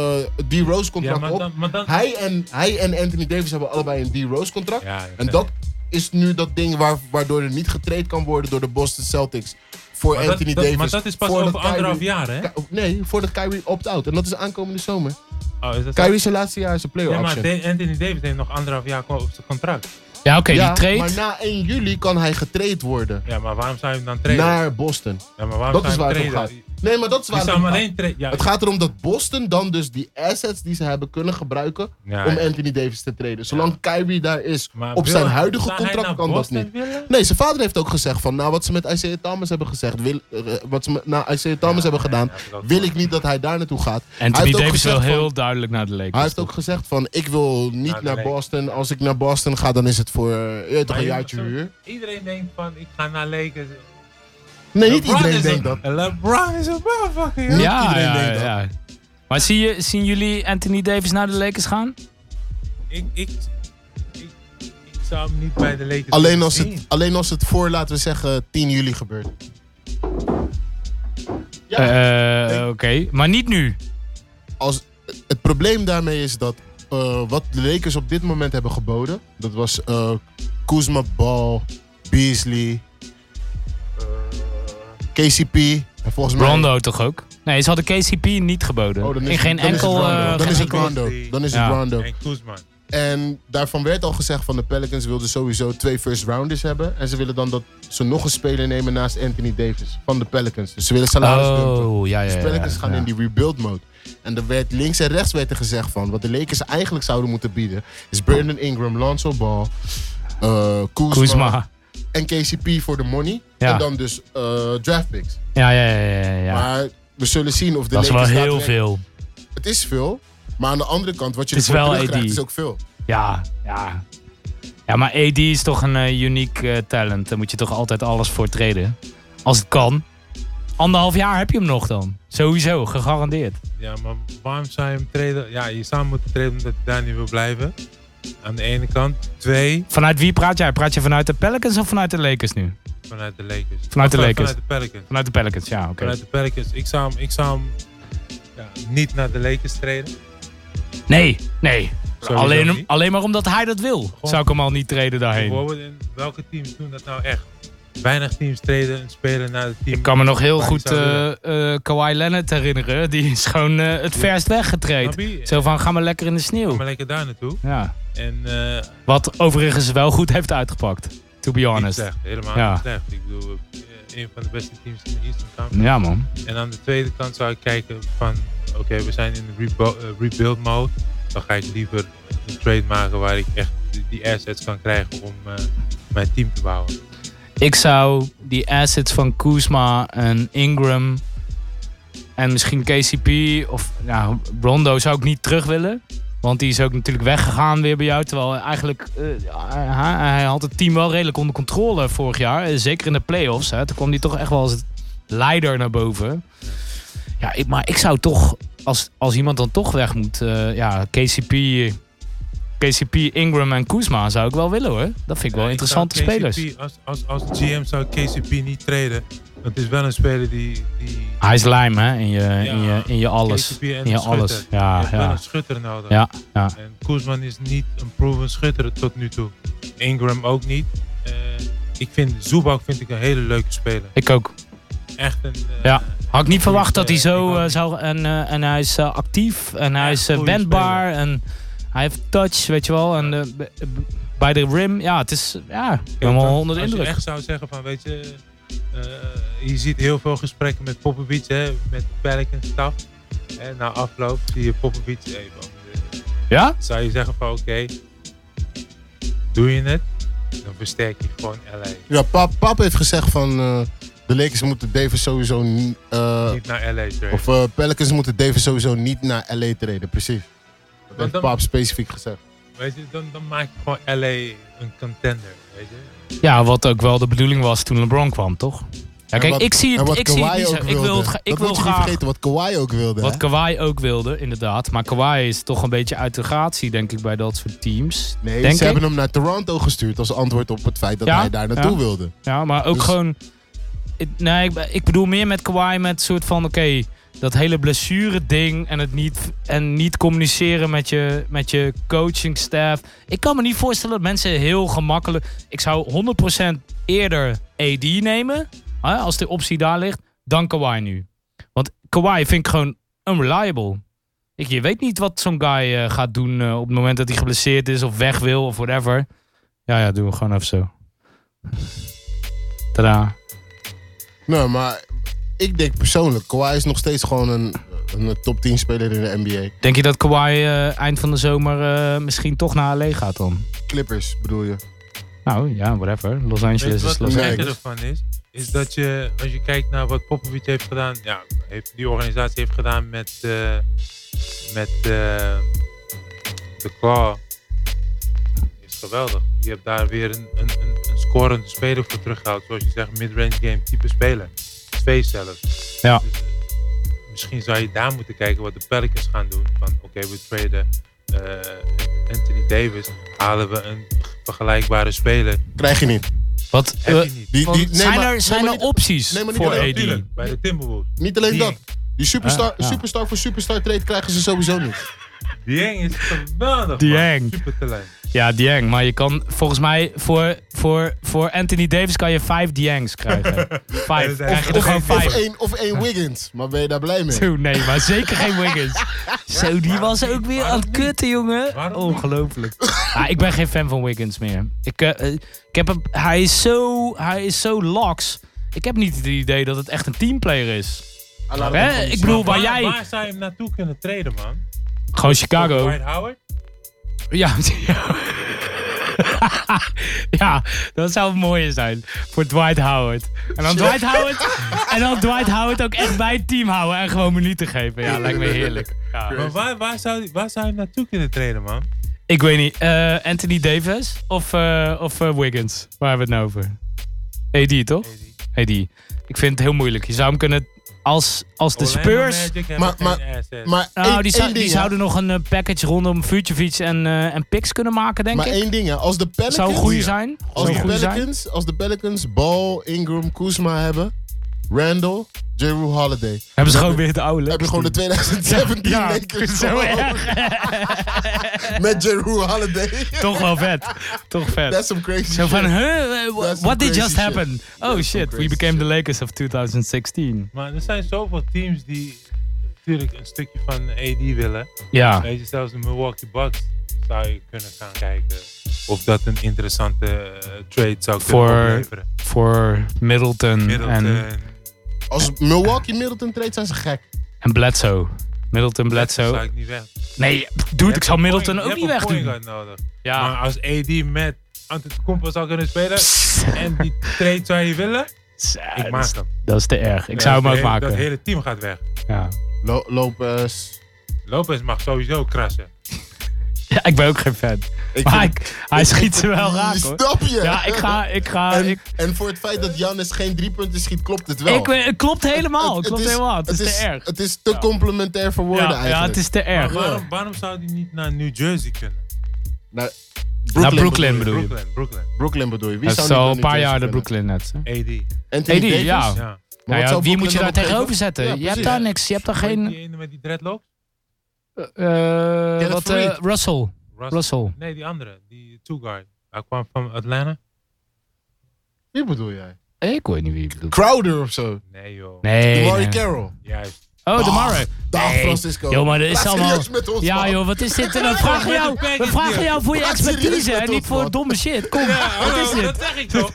Speaker 4: D-Rose
Speaker 5: Ja,
Speaker 4: contract
Speaker 5: maar
Speaker 4: op.
Speaker 5: dan... Maar dan
Speaker 4: Hij, en, hij en Anthony Davis hebben allebei een D-Rose contract.
Speaker 5: ja,
Speaker 4: En dat is nu dat ding waar, waardoor er niet getraind kan worden door de Boston Celtics voor
Speaker 5: maar dat-
Speaker 4: Anthony
Speaker 5: dat-
Speaker 4: Davis.
Speaker 5: Maar dat is pas
Speaker 4: voordat
Speaker 5: over anderhalf
Speaker 4: Kyrie-
Speaker 5: jaar, hè?
Speaker 4: Ka- Nee, voordat Kyrie opt-out. En dat is aankomende zomer.
Speaker 5: Oh, is dat zo?
Speaker 4: Kyrie zijn laatste jaar is een player
Speaker 5: Ja, maar
Speaker 4: option.
Speaker 5: Da- Anthony Davis heeft nog anderhalf jaar op zijn contract.
Speaker 3: Ja, oké,
Speaker 4: Ja,
Speaker 3: die trade.
Speaker 4: maar na 1 juli kan hij getraind worden
Speaker 5: Ja, maar waarom zou je hem dan traden?
Speaker 4: naar Boston.
Speaker 5: ja, maar waarom zou
Speaker 4: dat is
Speaker 5: je hem
Speaker 4: waar het om
Speaker 5: traden?
Speaker 4: Nee, maar dat is
Speaker 5: Die
Speaker 4: waar.
Speaker 5: staan maar één tra- Ja,
Speaker 4: Het gaat erom dat Boston dan dus die assets die ze hebben kunnen gebruiken
Speaker 5: ja,
Speaker 4: om
Speaker 5: ja.
Speaker 4: Anthony Davis te treden. Zolang Kyrie daar is
Speaker 5: Maar
Speaker 4: op
Speaker 5: wil-
Speaker 4: zijn huidige
Speaker 5: zou hij
Speaker 4: contract
Speaker 5: naar
Speaker 4: kan dat
Speaker 5: Boston
Speaker 4: niet.
Speaker 5: willen?
Speaker 4: Nee, zijn vader heeft ook gezegd van, nou wat ze met Isaiah Thomas hebben gezegd, wil, eh, wat ze met- naar Isaiah Thomas hebben gedaan,
Speaker 5: ja, dat-
Speaker 4: wil ik niet dat hij daar naartoe gaat.
Speaker 3: Anthony
Speaker 4: heeft ook
Speaker 3: Davis wil
Speaker 4: gezegd van-
Speaker 3: heel duidelijk naar de Lakers.
Speaker 4: Hij heeft ook gezegd van, ik wil niet
Speaker 5: Naar de
Speaker 4: naar
Speaker 5: Lakers.
Speaker 4: Boston. Als ik naar Boston ga, dan is het voor eh, je weet toch
Speaker 5: Maar
Speaker 4: een
Speaker 5: je-
Speaker 4: jaartje
Speaker 5: zo-
Speaker 4: huur.
Speaker 5: Iedereen denkt van, ik ga naar Lakers.
Speaker 4: Nee, niet
Speaker 5: LeBron
Speaker 4: iedereen
Speaker 5: is
Speaker 4: denkt
Speaker 5: een-
Speaker 4: dat.
Speaker 5: LeBron is een motherfucker.
Speaker 3: Ja,
Speaker 5: joh.
Speaker 3: ja,
Speaker 4: iedereen
Speaker 3: ja,
Speaker 4: denkt dat.
Speaker 3: ja. Maar zie je, zien jullie Anthony Davis naar de Lakers gaan?
Speaker 5: Ik, ik, ik, ik zou hem niet bij de Lakers
Speaker 4: Alleen
Speaker 5: willen
Speaker 4: als, het,
Speaker 5: zien.
Speaker 4: alleen als het voor, laten we zeggen, 10 juli gebeurt. Ja.
Speaker 3: Eh, Oké, maar niet nu.
Speaker 4: als, het probleem daarmee is dat eh, wat de Lakers op dit moment hebben geboden, dat was eh, Kuzma Ball, Beasley, eh, KCP en volgens mij.
Speaker 3: Rondo toch ook? Nee, ze hadden KCP niet geboden.
Speaker 4: Oh, dan is
Speaker 3: In
Speaker 4: het-
Speaker 3: geen
Speaker 4: dan is het
Speaker 3: enkel...
Speaker 4: Rondo.
Speaker 3: eh,
Speaker 4: Dan
Speaker 3: geen
Speaker 4: is het
Speaker 3: enkel-
Speaker 4: Rondo. Dan is het
Speaker 3: Ja.
Speaker 4: Rondo.
Speaker 5: En Koesman.
Speaker 4: En daarvan werd al gezegd van de Pelicans wilden sowieso twee first rounders hebben. En ze willen dan dat ze nog een speler nemen naast Anthony Davis van de Pelicans. Dus ze willen salaris dumpen.
Speaker 3: Oh, ja, ja, ja.
Speaker 4: Dus Pelicans
Speaker 3: ja,
Speaker 4: gaan
Speaker 3: ja.
Speaker 4: in die rebuild mode. En er werd links en rechts werd er gezegd van wat de Lakers eigenlijk zouden moeten bieden is Brandon Ingram, Lonzo Ball, eh Kuzma,
Speaker 3: Kuzma.
Speaker 4: en KCP voor de money
Speaker 3: Ja.
Speaker 4: en dan dus eh draft picks.
Speaker 3: Ja, ja, ja, ja, ja. ja.
Speaker 4: Maar we zullen zien of de
Speaker 3: Dat is wel
Speaker 4: Lakers
Speaker 3: heel veel.
Speaker 4: daadwerkelijk- Het is veel, maar aan de andere kant wat je
Speaker 3: Het is
Speaker 4: ervoor
Speaker 3: wel
Speaker 4: terugkrijgt
Speaker 3: AD.
Speaker 4: is ook veel.
Speaker 3: Ja, ja. Ja, maar AD is toch een eh, uniek eh, talent. Daar moet je toch altijd alles voor treden. Als het kan. Anderhalf jaar heb je hem nog dan. Sowieso, gegarandeerd.
Speaker 5: Ja, maar waarom zou je hem treden? Ja, je zou hem moeten treden omdat hij daar niet wil blijven. Aan de ene kant. Twee,
Speaker 3: Vanuit wie praat jij? Praat je vanuit de Pelicans of vanuit de Lakers nu?
Speaker 5: vanuit de Lakers.
Speaker 3: Vanuit de
Speaker 5: Of, eh,
Speaker 3: Lakers.
Speaker 5: Vanuit de Pelicans.
Speaker 3: Vanuit de Pelicans, ja, oké.
Speaker 5: Vanuit de Pelicans. Ik zou hem, ik zou hem ja, niet naar de Lakers treden.
Speaker 3: Nee, nee.
Speaker 5: Sowieso
Speaker 3: Alleen,
Speaker 5: niet.
Speaker 3: alleen maar omdat hij dat wil. Zou ik hem al niet treden daarheen.
Speaker 5: Bijvoorbeeld, in welke teams doen dat nou echt? Weinig teams treden en spelen naar het team.
Speaker 3: Ik kan me nog heel
Speaker 5: Maar
Speaker 3: goed
Speaker 5: die zouden-
Speaker 3: eh, eh, Kawhi Leonard herinneren. Die is gewoon eh, het verst
Speaker 5: Snap
Speaker 3: weggetreden.
Speaker 5: je?
Speaker 3: Zo van, ga maar lekker in de
Speaker 5: Kom
Speaker 3: sneeuw.
Speaker 5: maar lekker daar naartoe.
Speaker 3: Ja.
Speaker 5: En eh,
Speaker 3: Wat overigens wel goed heeft uitgepakt. To be
Speaker 5: niet
Speaker 3: honest.
Speaker 5: slecht, helemaal
Speaker 3: Ja.
Speaker 5: niet slecht. Ik bedoel, eh, een van de beste teams in de Eastern Conference.
Speaker 3: Ja, man.
Speaker 5: En aan de tweede kant zou ik kijken van, oké, we zijn in de rebo- eh, rebuild mode. Dan ga ik liever een trade maken waar ik echt die- die assets kan krijgen om eh, mijn team te bouwen.
Speaker 3: Ik zou die assets van Kuzma en Ingram en misschien KCP of ja, Rondo zou ik niet terug willen. Want die is ook natuurlijk weggegaan weer bij jou. Terwijl eigenlijk, eh, hij, hij had het team wel redelijk onder controle vorig jaar. Eh, Zeker in de playoffs. Hè. Toen kwam hij toch echt wel als leider naar boven. Ja, ik, maar ik zou toch, als, als iemand dan toch weg moet, eh, ja, KCP, KCP, Ingram en Kuzma zou ik wel willen hoor. Dat vind ik wel
Speaker 5: Eh, ik zou
Speaker 3: interessante spelers.
Speaker 5: KCP Als, als, als GM zou ik KCP niet traden. Want het is wel een speler die... die
Speaker 3: Hij is lijm, hè? In je, in je, in je alles.
Speaker 5: KCP en
Speaker 3: In
Speaker 5: een
Speaker 3: je
Speaker 5: schutter.
Speaker 3: alles.
Speaker 5: Je
Speaker 3: Ja,
Speaker 5: hebt wel
Speaker 3: ja.
Speaker 5: een schutter nodig.
Speaker 3: Ja, ja.
Speaker 5: En Koesman is niet een proven schutter tot nu toe. Ingram ook niet. Eh, ik vind Zubak vind ik een hele leuke speler.
Speaker 3: Ik ook.
Speaker 5: Echt een... eh,
Speaker 3: Ja. Had ik niet
Speaker 5: een
Speaker 3: verwacht
Speaker 5: goede-
Speaker 3: dat hij
Speaker 5: ik
Speaker 3: zo
Speaker 5: ook
Speaker 3: eh,
Speaker 5: niet.
Speaker 3: zou... En, eh, en hij is eh, actief. En hij
Speaker 5: Echt
Speaker 3: is eh,
Speaker 5: goeie
Speaker 3: wendbaar. En hij heeft touch, weet je wel. En eh, b- b- bij de rim, ja, het is... Ja, ik ben wel onder de
Speaker 5: als
Speaker 3: indruk.
Speaker 5: je echt zou zeggen van, weet je, eh, je ziet heel veel gesprekken met Popovic, hè, met Pelicans staf. En na afloop zie je Popovic even.
Speaker 3: Ja?
Speaker 5: Zou je zeggen van, oké, doe je het, dan versterk je gewoon LA.
Speaker 4: Ja, pap, pap heeft gezegd van eh, de Lakers moeten Davis sowieso niet, eh,
Speaker 5: Niet naar LA terug.
Speaker 4: of eh, Pelicans moeten Davis sowieso niet naar LA treden, precies. Dat heeft
Speaker 5: dan-
Speaker 4: pap specifiek gezegd.
Speaker 5: Weet je, dan, dan maak je gewoon LA een contender, weet je.
Speaker 3: Ja, wat ook wel de bedoeling was toen LeBron kwam, toch? Ja,
Speaker 4: En
Speaker 3: kijk,
Speaker 4: wat-
Speaker 3: ik zie
Speaker 4: en
Speaker 3: het,
Speaker 4: wat
Speaker 3: ik zie het
Speaker 4: Kawhi
Speaker 3: niet zo.
Speaker 4: ook
Speaker 3: Ik wil,
Speaker 4: wilde.
Speaker 3: het, gra- ik
Speaker 4: dat
Speaker 3: wil
Speaker 4: moet je niet
Speaker 3: graag...
Speaker 4: vergeten wat Kawhi ook wilde.
Speaker 3: Wat
Speaker 4: hè?
Speaker 3: Kawhi ook wilde, inderdaad. Maar Kawhi is toch een beetje uit de gratie, denk ik, bij dat soort teams.
Speaker 4: Nee,
Speaker 3: Denk
Speaker 4: ze
Speaker 3: ik.
Speaker 4: hebben hem naar Toronto gestuurd als antwoord op het feit dat
Speaker 3: Ja,
Speaker 4: hij daar naartoe
Speaker 3: ja.
Speaker 4: wilde.
Speaker 3: Ja, maar ook
Speaker 4: Dus-
Speaker 3: gewoon... Ik- Nee, ik, ik bedoel meer met Kawhi met soort van... Oké, dat hele blessure ding en het niet, en niet communiceren met je, met je coaching staff. Ik kan me niet voorstellen dat mensen heel gemakkelijk... Ik zou 100% eerder AD nemen, hè, als de optie daar ligt, dan Kawhi nu. Want Kawhi vind ik gewoon unreliable. Ik, je weet niet wat zo'n guy eh, gaat doen eh, op het moment dat hij geblesseerd is of weg wil of whatever. Ja, ja, doen we gewoon even zo. Tadaa.
Speaker 4: Nou, maar ik denk persoonlijk, Kawhi is nog steeds gewoon een, een top 10 speler in de NBA.
Speaker 3: Denk je dat Kawhi eh, eind van de zomer eh, misschien toch naar LA gaat dan?
Speaker 4: Clippers bedoel je.
Speaker 3: Nou ja, whatever. Los
Speaker 5: Weet
Speaker 3: Angeles
Speaker 5: je
Speaker 3: is
Speaker 5: wat
Speaker 3: Los
Speaker 5: het
Speaker 4: leuk.
Speaker 5: gekke ervan is? Is dat je, als je kijkt naar wat Popovic heeft gedaan, ja, heeft, die organisatie heeft gedaan met, eh, met eh, de Claw, is geweldig. Je hebt daar weer een, een, een, een scorende speler voor teruggehaald. Zoals je zegt, midrange game type speler. Twee zelfs.
Speaker 3: Ja.
Speaker 5: Dus, eh, misschien zou je daar moeten kijken wat de Pelicans gaan doen. Van oké, we traden eh, Anthony Davis, halen we een vergelijkbare speler.
Speaker 4: Krijg je niet.
Speaker 3: Wat, eh,
Speaker 5: Heb je niet.
Speaker 4: Die,
Speaker 3: van-
Speaker 4: die, nee,
Speaker 3: zijn
Speaker 4: maar-
Speaker 3: er, zijn
Speaker 4: nee, maar
Speaker 3: er opties
Speaker 4: nee, maar niet
Speaker 3: voor
Speaker 4: alleen-
Speaker 3: AD?
Speaker 5: Tuurlijk, bij de Timberwolves.
Speaker 4: niet, niet alleen
Speaker 5: die-
Speaker 4: dat. Die superstar,
Speaker 3: Ja, ja.
Speaker 4: superstar voor superstar trade krijgen ze sowieso niet.
Speaker 5: Dieng is geweldig.
Speaker 3: Dieng.
Speaker 5: man. Super talent.
Speaker 3: Ja, Dieng. Maar je kan volgens mij voor, voor, voor Anthony Davis kan je vijf Diengs krijgen. Vijf.
Speaker 5: zijn
Speaker 3: Krijg je er
Speaker 5: er
Speaker 3: gewoon
Speaker 5: geen-
Speaker 4: Of
Speaker 3: vijf.
Speaker 4: één, of één Wiggins. Maar ben je daar blij mee?
Speaker 3: Zo, nee, maar zeker geen Wiggins. Zo, die was ook weer aan het kutten, jongen.
Speaker 5: Waarom niet?
Speaker 3: Ongelooflijk. Ah, ik ben geen fan van Wiggins meer. Ik, eh, eh, ik heb hem, hij, is zo, hij is zo lax. Ik heb niet het idee dat het echt een teamplayer is. Hè? Ik bedoel, waar jij...
Speaker 5: Waar zou je hem naartoe kunnen treden, man?
Speaker 3: Gewoon Chicago.
Speaker 5: Dwight Howard?
Speaker 3: Ja, ja. ja, dat zou mooi zijn voor Dwight Howard. En dan Dwight Howard, en dan Dwight Howard ook echt bij het team houden en gewoon minuten geven. Ja, lijkt me heerlijk. Ja.
Speaker 5: Maar waar, waar, zou, waar zou je hem naartoe kunnen treden, man?
Speaker 3: Ik weet niet, eh, Anthony Davis of, eh, of eh, Wiggins? Waar hebben we het nou over? AD, toch? AD. Ik vind het heel moeilijk. Je zou hem kunnen als, als de Spurs...
Speaker 4: Maar-
Speaker 5: Maar,
Speaker 4: maar- Maar
Speaker 3: Nou,
Speaker 4: één-
Speaker 3: die, zou,
Speaker 4: één
Speaker 3: die
Speaker 4: ding, hè.
Speaker 3: zouden nog een eh, package rondom Vuurtjefiets en, eh, en picks kunnen maken, denk
Speaker 4: Maar
Speaker 3: ik.
Speaker 4: één ding, hè. als de Pelicans...
Speaker 3: Zou een goeie zijn.
Speaker 4: Als
Speaker 3: Zou een
Speaker 4: de,
Speaker 3: goeie zijn.
Speaker 4: Pelicans, als de Pelicans Ball, Ingram, Kuzma hebben, Randall, Jeru Holiday.
Speaker 3: Hebben ze gewoon weer de oude
Speaker 4: Heb je gewoon de 2017 Lakers
Speaker 3: zo
Speaker 4: gewoon
Speaker 3: erg.
Speaker 4: met Jeru Holiday.
Speaker 3: Toch wel vet. Toch vet.
Speaker 4: That's some crazy
Speaker 3: Zo van,
Speaker 4: shit.
Speaker 3: huh, uh,
Speaker 4: That's
Speaker 3: what
Speaker 4: some
Speaker 3: did
Speaker 4: crazy
Speaker 3: just
Speaker 4: shit.
Speaker 3: happen? Oh
Speaker 4: some
Speaker 3: shit, we
Speaker 4: crazy
Speaker 3: became the
Speaker 4: shit.
Speaker 3: Lakers of 2016.
Speaker 5: maar er zijn zoveel teams die natuurlijk een stukje van AD willen.
Speaker 3: Ja,
Speaker 5: Weet je, zelfs de Milwaukee Bucks zou je kunnen gaan kijken of dat een interessante eh, trade zou kunnen
Speaker 3: Voor-
Speaker 5: opleveren.
Speaker 3: voor Middleton,
Speaker 5: Middleton,
Speaker 3: En,
Speaker 4: Als Milwaukee Middleton trade zijn ze gek.
Speaker 3: en Bledsoe.
Speaker 5: zou
Speaker 3: Middleton, Bledsoe.
Speaker 5: ik niet weg.
Speaker 3: Nee, dude, ik
Speaker 5: hebt
Speaker 3: zal
Speaker 5: een
Speaker 3: Middleton
Speaker 5: point-
Speaker 3: ook
Speaker 5: je
Speaker 3: niet
Speaker 5: hebt een point
Speaker 3: wegdoen.
Speaker 5: guard nodig. Maar
Speaker 3: Ja.
Speaker 5: als AD met Antetokounmpo zou kunnen spelen
Speaker 3: Psst.
Speaker 5: en die trade zou je willen, ik
Speaker 3: Dat
Speaker 5: maak
Speaker 3: is-
Speaker 5: hem.
Speaker 3: Dat is te erg. Ik
Speaker 5: Nee,
Speaker 3: zou
Speaker 5: dat
Speaker 3: hem ook
Speaker 5: hele- Dat
Speaker 3: maken.
Speaker 5: hele team gaat weg.
Speaker 3: Ja.
Speaker 6: Lo- Lopez.
Speaker 5: Lopez mag sowieso krassen.
Speaker 3: Ja, ik ben ook geen fan.
Speaker 4: Ik
Speaker 3: Maar
Speaker 4: vind-
Speaker 3: ik- hij schiet ze wel raak hoor.
Speaker 4: Snap je?
Speaker 3: Ja, ik ga, ik ga,
Speaker 4: En,
Speaker 3: ik,
Speaker 4: en voor het feit dat Janis geen drie punten schiet, klopt het wel.
Speaker 3: Ik, weet- het klopt helemaal. Het, klopt
Speaker 4: is-
Speaker 3: helemaal. Het, is, te erg.
Speaker 4: Het is te complementair voor woorden
Speaker 3: ja,
Speaker 4: eigenlijk.
Speaker 3: ja, het is te erg.
Speaker 5: Maar waarom, waarom zou die niet naar New Jersey kunnen?
Speaker 4: Naar
Speaker 3: Naar Brooklyn
Speaker 4: bedoel
Speaker 3: bedoel je.
Speaker 5: Brooklyn, Brooklyn.
Speaker 4: je. Brooklyn bedoel je. Wie
Speaker 3: Het
Speaker 4: zou
Speaker 3: is
Speaker 4: niet
Speaker 3: al
Speaker 4: naar
Speaker 3: een paar
Speaker 4: New
Speaker 3: jaar
Speaker 4: Jersey
Speaker 3: de
Speaker 4: willen?
Speaker 3: Brooklyn Nets. hè?
Speaker 5: AD.
Speaker 4: Anthony
Speaker 3: AD,
Speaker 4: Davis?
Speaker 3: ja.
Speaker 4: Maar
Speaker 5: Ja.
Speaker 3: Nou
Speaker 4: wat
Speaker 3: ja,
Speaker 4: zou
Speaker 3: wie moet je daar
Speaker 4: Brooklyn dan opgeven?
Speaker 3: tegenover zetten?
Speaker 4: Ja,
Speaker 3: je hebt
Speaker 4: precies.
Speaker 3: daar niks. Je hebt daar
Speaker 5: Geen...
Speaker 3: geen...
Speaker 5: Die ene met die dreadlocks?
Speaker 3: eh,
Speaker 4: Kenneth
Speaker 3: wat, eh,
Speaker 4: Farid.
Speaker 3: Russell.
Speaker 5: Russell.
Speaker 3: Russell.
Speaker 5: Nee, die andere. Die two guard. Hij kwam van Atlanta?
Speaker 6: Wie bedoel jij?
Speaker 3: Ik weet niet wie je bedoelt.
Speaker 4: Crowder of zo.
Speaker 5: Nee joh.
Speaker 3: Nee.
Speaker 4: Murray
Speaker 3: nee.
Speaker 4: Carroll.
Speaker 5: Juist.
Speaker 3: Oh, de Murray.
Speaker 4: Dag
Speaker 3: Nee.
Speaker 4: Francisco.
Speaker 3: Joh, maar dat is
Speaker 4: Oh, Praat
Speaker 3: allemaal-
Speaker 4: serieus met ons,
Speaker 3: Ja
Speaker 4: man.
Speaker 3: joh, wat is dit? We vragen jou, we vragen jou voor je
Speaker 4: Praat serieus
Speaker 3: expertise
Speaker 4: met
Speaker 3: en
Speaker 4: ons,
Speaker 3: niet voor
Speaker 4: man.
Speaker 3: domme shit. Kom, wat is
Speaker 5: dat
Speaker 3: dit?
Speaker 5: zeg ik toch.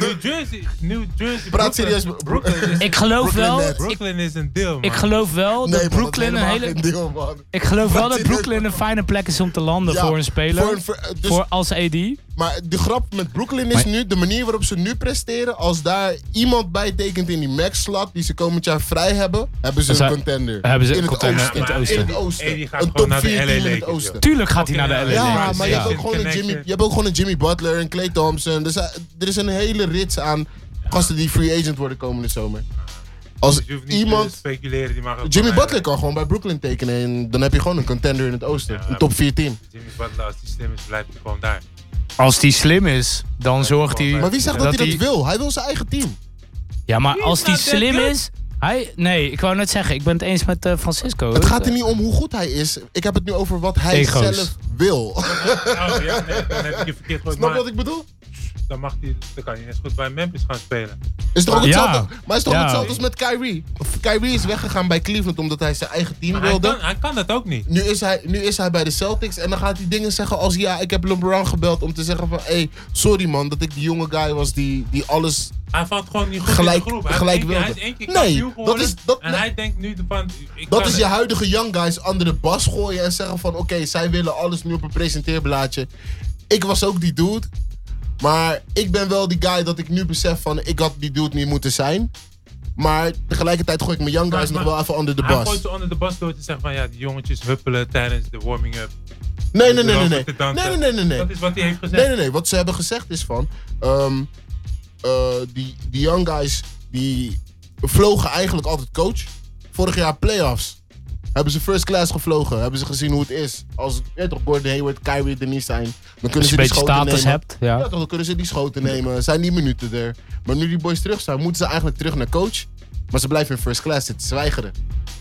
Speaker 5: New Jersey. New Jersey.
Speaker 4: Praat
Speaker 5: Brooklyn.
Speaker 4: serieus met-
Speaker 5: Brooklyn is,
Speaker 3: Ik geloof
Speaker 4: Brooklyn
Speaker 3: wel...
Speaker 4: Nets.
Speaker 3: Ik,
Speaker 5: Brooklyn is een deal, man.
Speaker 3: ik geloof wel dat
Speaker 4: Nee, man, dat is
Speaker 3: Brooklyn een
Speaker 4: helemaal
Speaker 3: hele...
Speaker 4: geen deal, man.
Speaker 3: Ik geloof wel
Speaker 4: Wat
Speaker 3: dat
Speaker 4: zit er-
Speaker 3: Brooklyn een fijne plek is om te landen
Speaker 4: Ja,
Speaker 3: voor een speler.
Speaker 4: voor
Speaker 3: Voor,
Speaker 4: een ver- dus-
Speaker 3: als AD.
Speaker 4: Maar de grap met Brooklyn is
Speaker 3: Maar-
Speaker 4: nu, de manier waarop ze nu presteren, als daar iemand bij tekent in die max-slot die ze komend jaar vrij hebben, hebben ze
Speaker 3: Dan
Speaker 4: een
Speaker 3: zijn-
Speaker 4: contender.
Speaker 3: hebben ze
Speaker 4: in
Speaker 3: een
Speaker 4: het
Speaker 3: contender
Speaker 4: oosten.
Speaker 3: in het oosten.
Speaker 4: In het oosten.
Speaker 5: Hey, die gaat
Speaker 4: een
Speaker 5: gewoon
Speaker 4: top
Speaker 5: naar de
Speaker 4: 4 team in
Speaker 5: LA
Speaker 4: het
Speaker 5: Lakers,
Speaker 4: oosten.
Speaker 3: Tuurlijk gaat hij
Speaker 5: Oké,
Speaker 3: naar de
Speaker 5: ja,
Speaker 3: LA.
Speaker 4: Ja,
Speaker 3: Lakers,
Speaker 4: maar je
Speaker 3: ja.
Speaker 4: hebt, ook gewoon een
Speaker 5: Connection.
Speaker 4: Jimmy, je hebt ook gewoon een Jimmy Butler en Clay Thompson. Er zijn- er is een hele rits aan gasten die free agent worden komende zomer. Als
Speaker 5: Dus je hoeft niet te
Speaker 4: iemand...
Speaker 5: speculeren. Die mag ook
Speaker 4: Jimmy
Speaker 5: gewoon
Speaker 4: Butler
Speaker 5: naar-
Speaker 4: kan gewoon bij Brooklyn tekenen en dan heb je gewoon een contender in het oosten.
Speaker 5: Ja,
Speaker 4: een top 4 team.
Speaker 5: Jimmy Butler, als die slim is, blijft hij gewoon daar.
Speaker 3: Als die slim is, dan zorgt hij.
Speaker 4: Maar wie zegt dat, hij dat
Speaker 3: die-
Speaker 4: wil? Hij wil zijn eigen team.
Speaker 3: Ja, maar als die
Speaker 4: nou
Speaker 5: not that
Speaker 3: slim
Speaker 5: good.
Speaker 3: is. Hij, nee, ik wou net zeggen, ik ben het eens met eh, Francisco.
Speaker 4: Het gaat er niet om hoe goed hij is. Ik heb het nu over wat hij
Speaker 3: Ego's.
Speaker 4: zelf wil.
Speaker 5: Oh ja, nee, dan heb ik je verkeerd gehoord.
Speaker 4: Snap
Speaker 5: Maar
Speaker 4: je wat ik bedoel?
Speaker 5: dan, mag die, dan kan je eens goed bij Memphis gaan spelen.
Speaker 4: Is toch ook
Speaker 3: Ja.
Speaker 4: hetzelfde? Maar is toch ook
Speaker 3: Ja.
Speaker 4: hetzelfde als met Kyrie? Of Kyrie is weggegaan bij Cleveland omdat hij zijn eigen team
Speaker 5: Maar hij, kan,
Speaker 4: wilde.
Speaker 5: hij kan dat ook niet.
Speaker 4: Nu is, hij, nu is hij bij de Celtics en dan gaat hij dingen zeggen als ja, ik heb LeBron gebeld om te zeggen van hé, hey, sorry man dat ik die jonge guy was die, die alles...
Speaker 5: Hij valt gewoon niet goed
Speaker 4: Gelijk-
Speaker 5: in de groep. Hij,
Speaker 4: gelijk
Speaker 5: heeft één keer- hij
Speaker 4: wilde.
Speaker 5: is één keer
Speaker 4: Nee,
Speaker 5: kampioen
Speaker 4: dat
Speaker 5: geworden
Speaker 4: is- dat-
Speaker 5: en hij denkt nu van... Ik
Speaker 4: Dat
Speaker 5: kan
Speaker 4: is
Speaker 5: het.
Speaker 4: je huidige young guys onder de bas gooien en zeggen van oké, zij willen alles nu op een presenteerblaadje. Ik was ook die dude, maar ik ben wel die guy dat ik nu besef van ik had die dude niet moeten zijn. Maar tegelijkertijd gooi ik mijn young
Speaker 5: Maar-
Speaker 4: guys nog
Speaker 5: maar-
Speaker 4: wel even onder de
Speaker 5: Hij
Speaker 4: bas.
Speaker 5: gooit ze onder de bas door te zeggen van ja, die jongetjes huppelen tijdens de warming-up.
Speaker 4: Nee, nee, nee, nee,
Speaker 5: erover
Speaker 4: nee.
Speaker 5: te
Speaker 4: Nee,
Speaker 5: dansen.
Speaker 4: nee, nee, nee, nee.
Speaker 5: Dat is wat hij heeft gezegd.
Speaker 4: Nee, nee, nee. Wat ze hebben gezegd is van. ehm, eh, die, die young guys die vlogen eigenlijk altijd coach. Vorig jaar playoffs. Hebben ze first class gevlogen. Hebben ze gezien hoe het is. Als weet toch, Gordon Hayward, Kyrie er niet zijn. Dan
Speaker 3: Als
Speaker 4: kunnen
Speaker 3: je
Speaker 4: ze
Speaker 3: een
Speaker 4: die
Speaker 3: beetje
Speaker 4: schoten
Speaker 3: status
Speaker 4: nemen.
Speaker 3: hebt. Ja.
Speaker 4: Ja, toch, dan kunnen ze die schoten nemen. Zijn die minuten er. Maar nu die boys terug zijn, moeten ze eigenlijk terug naar coach. Maar ze blijven in first class zitten zwijgeren.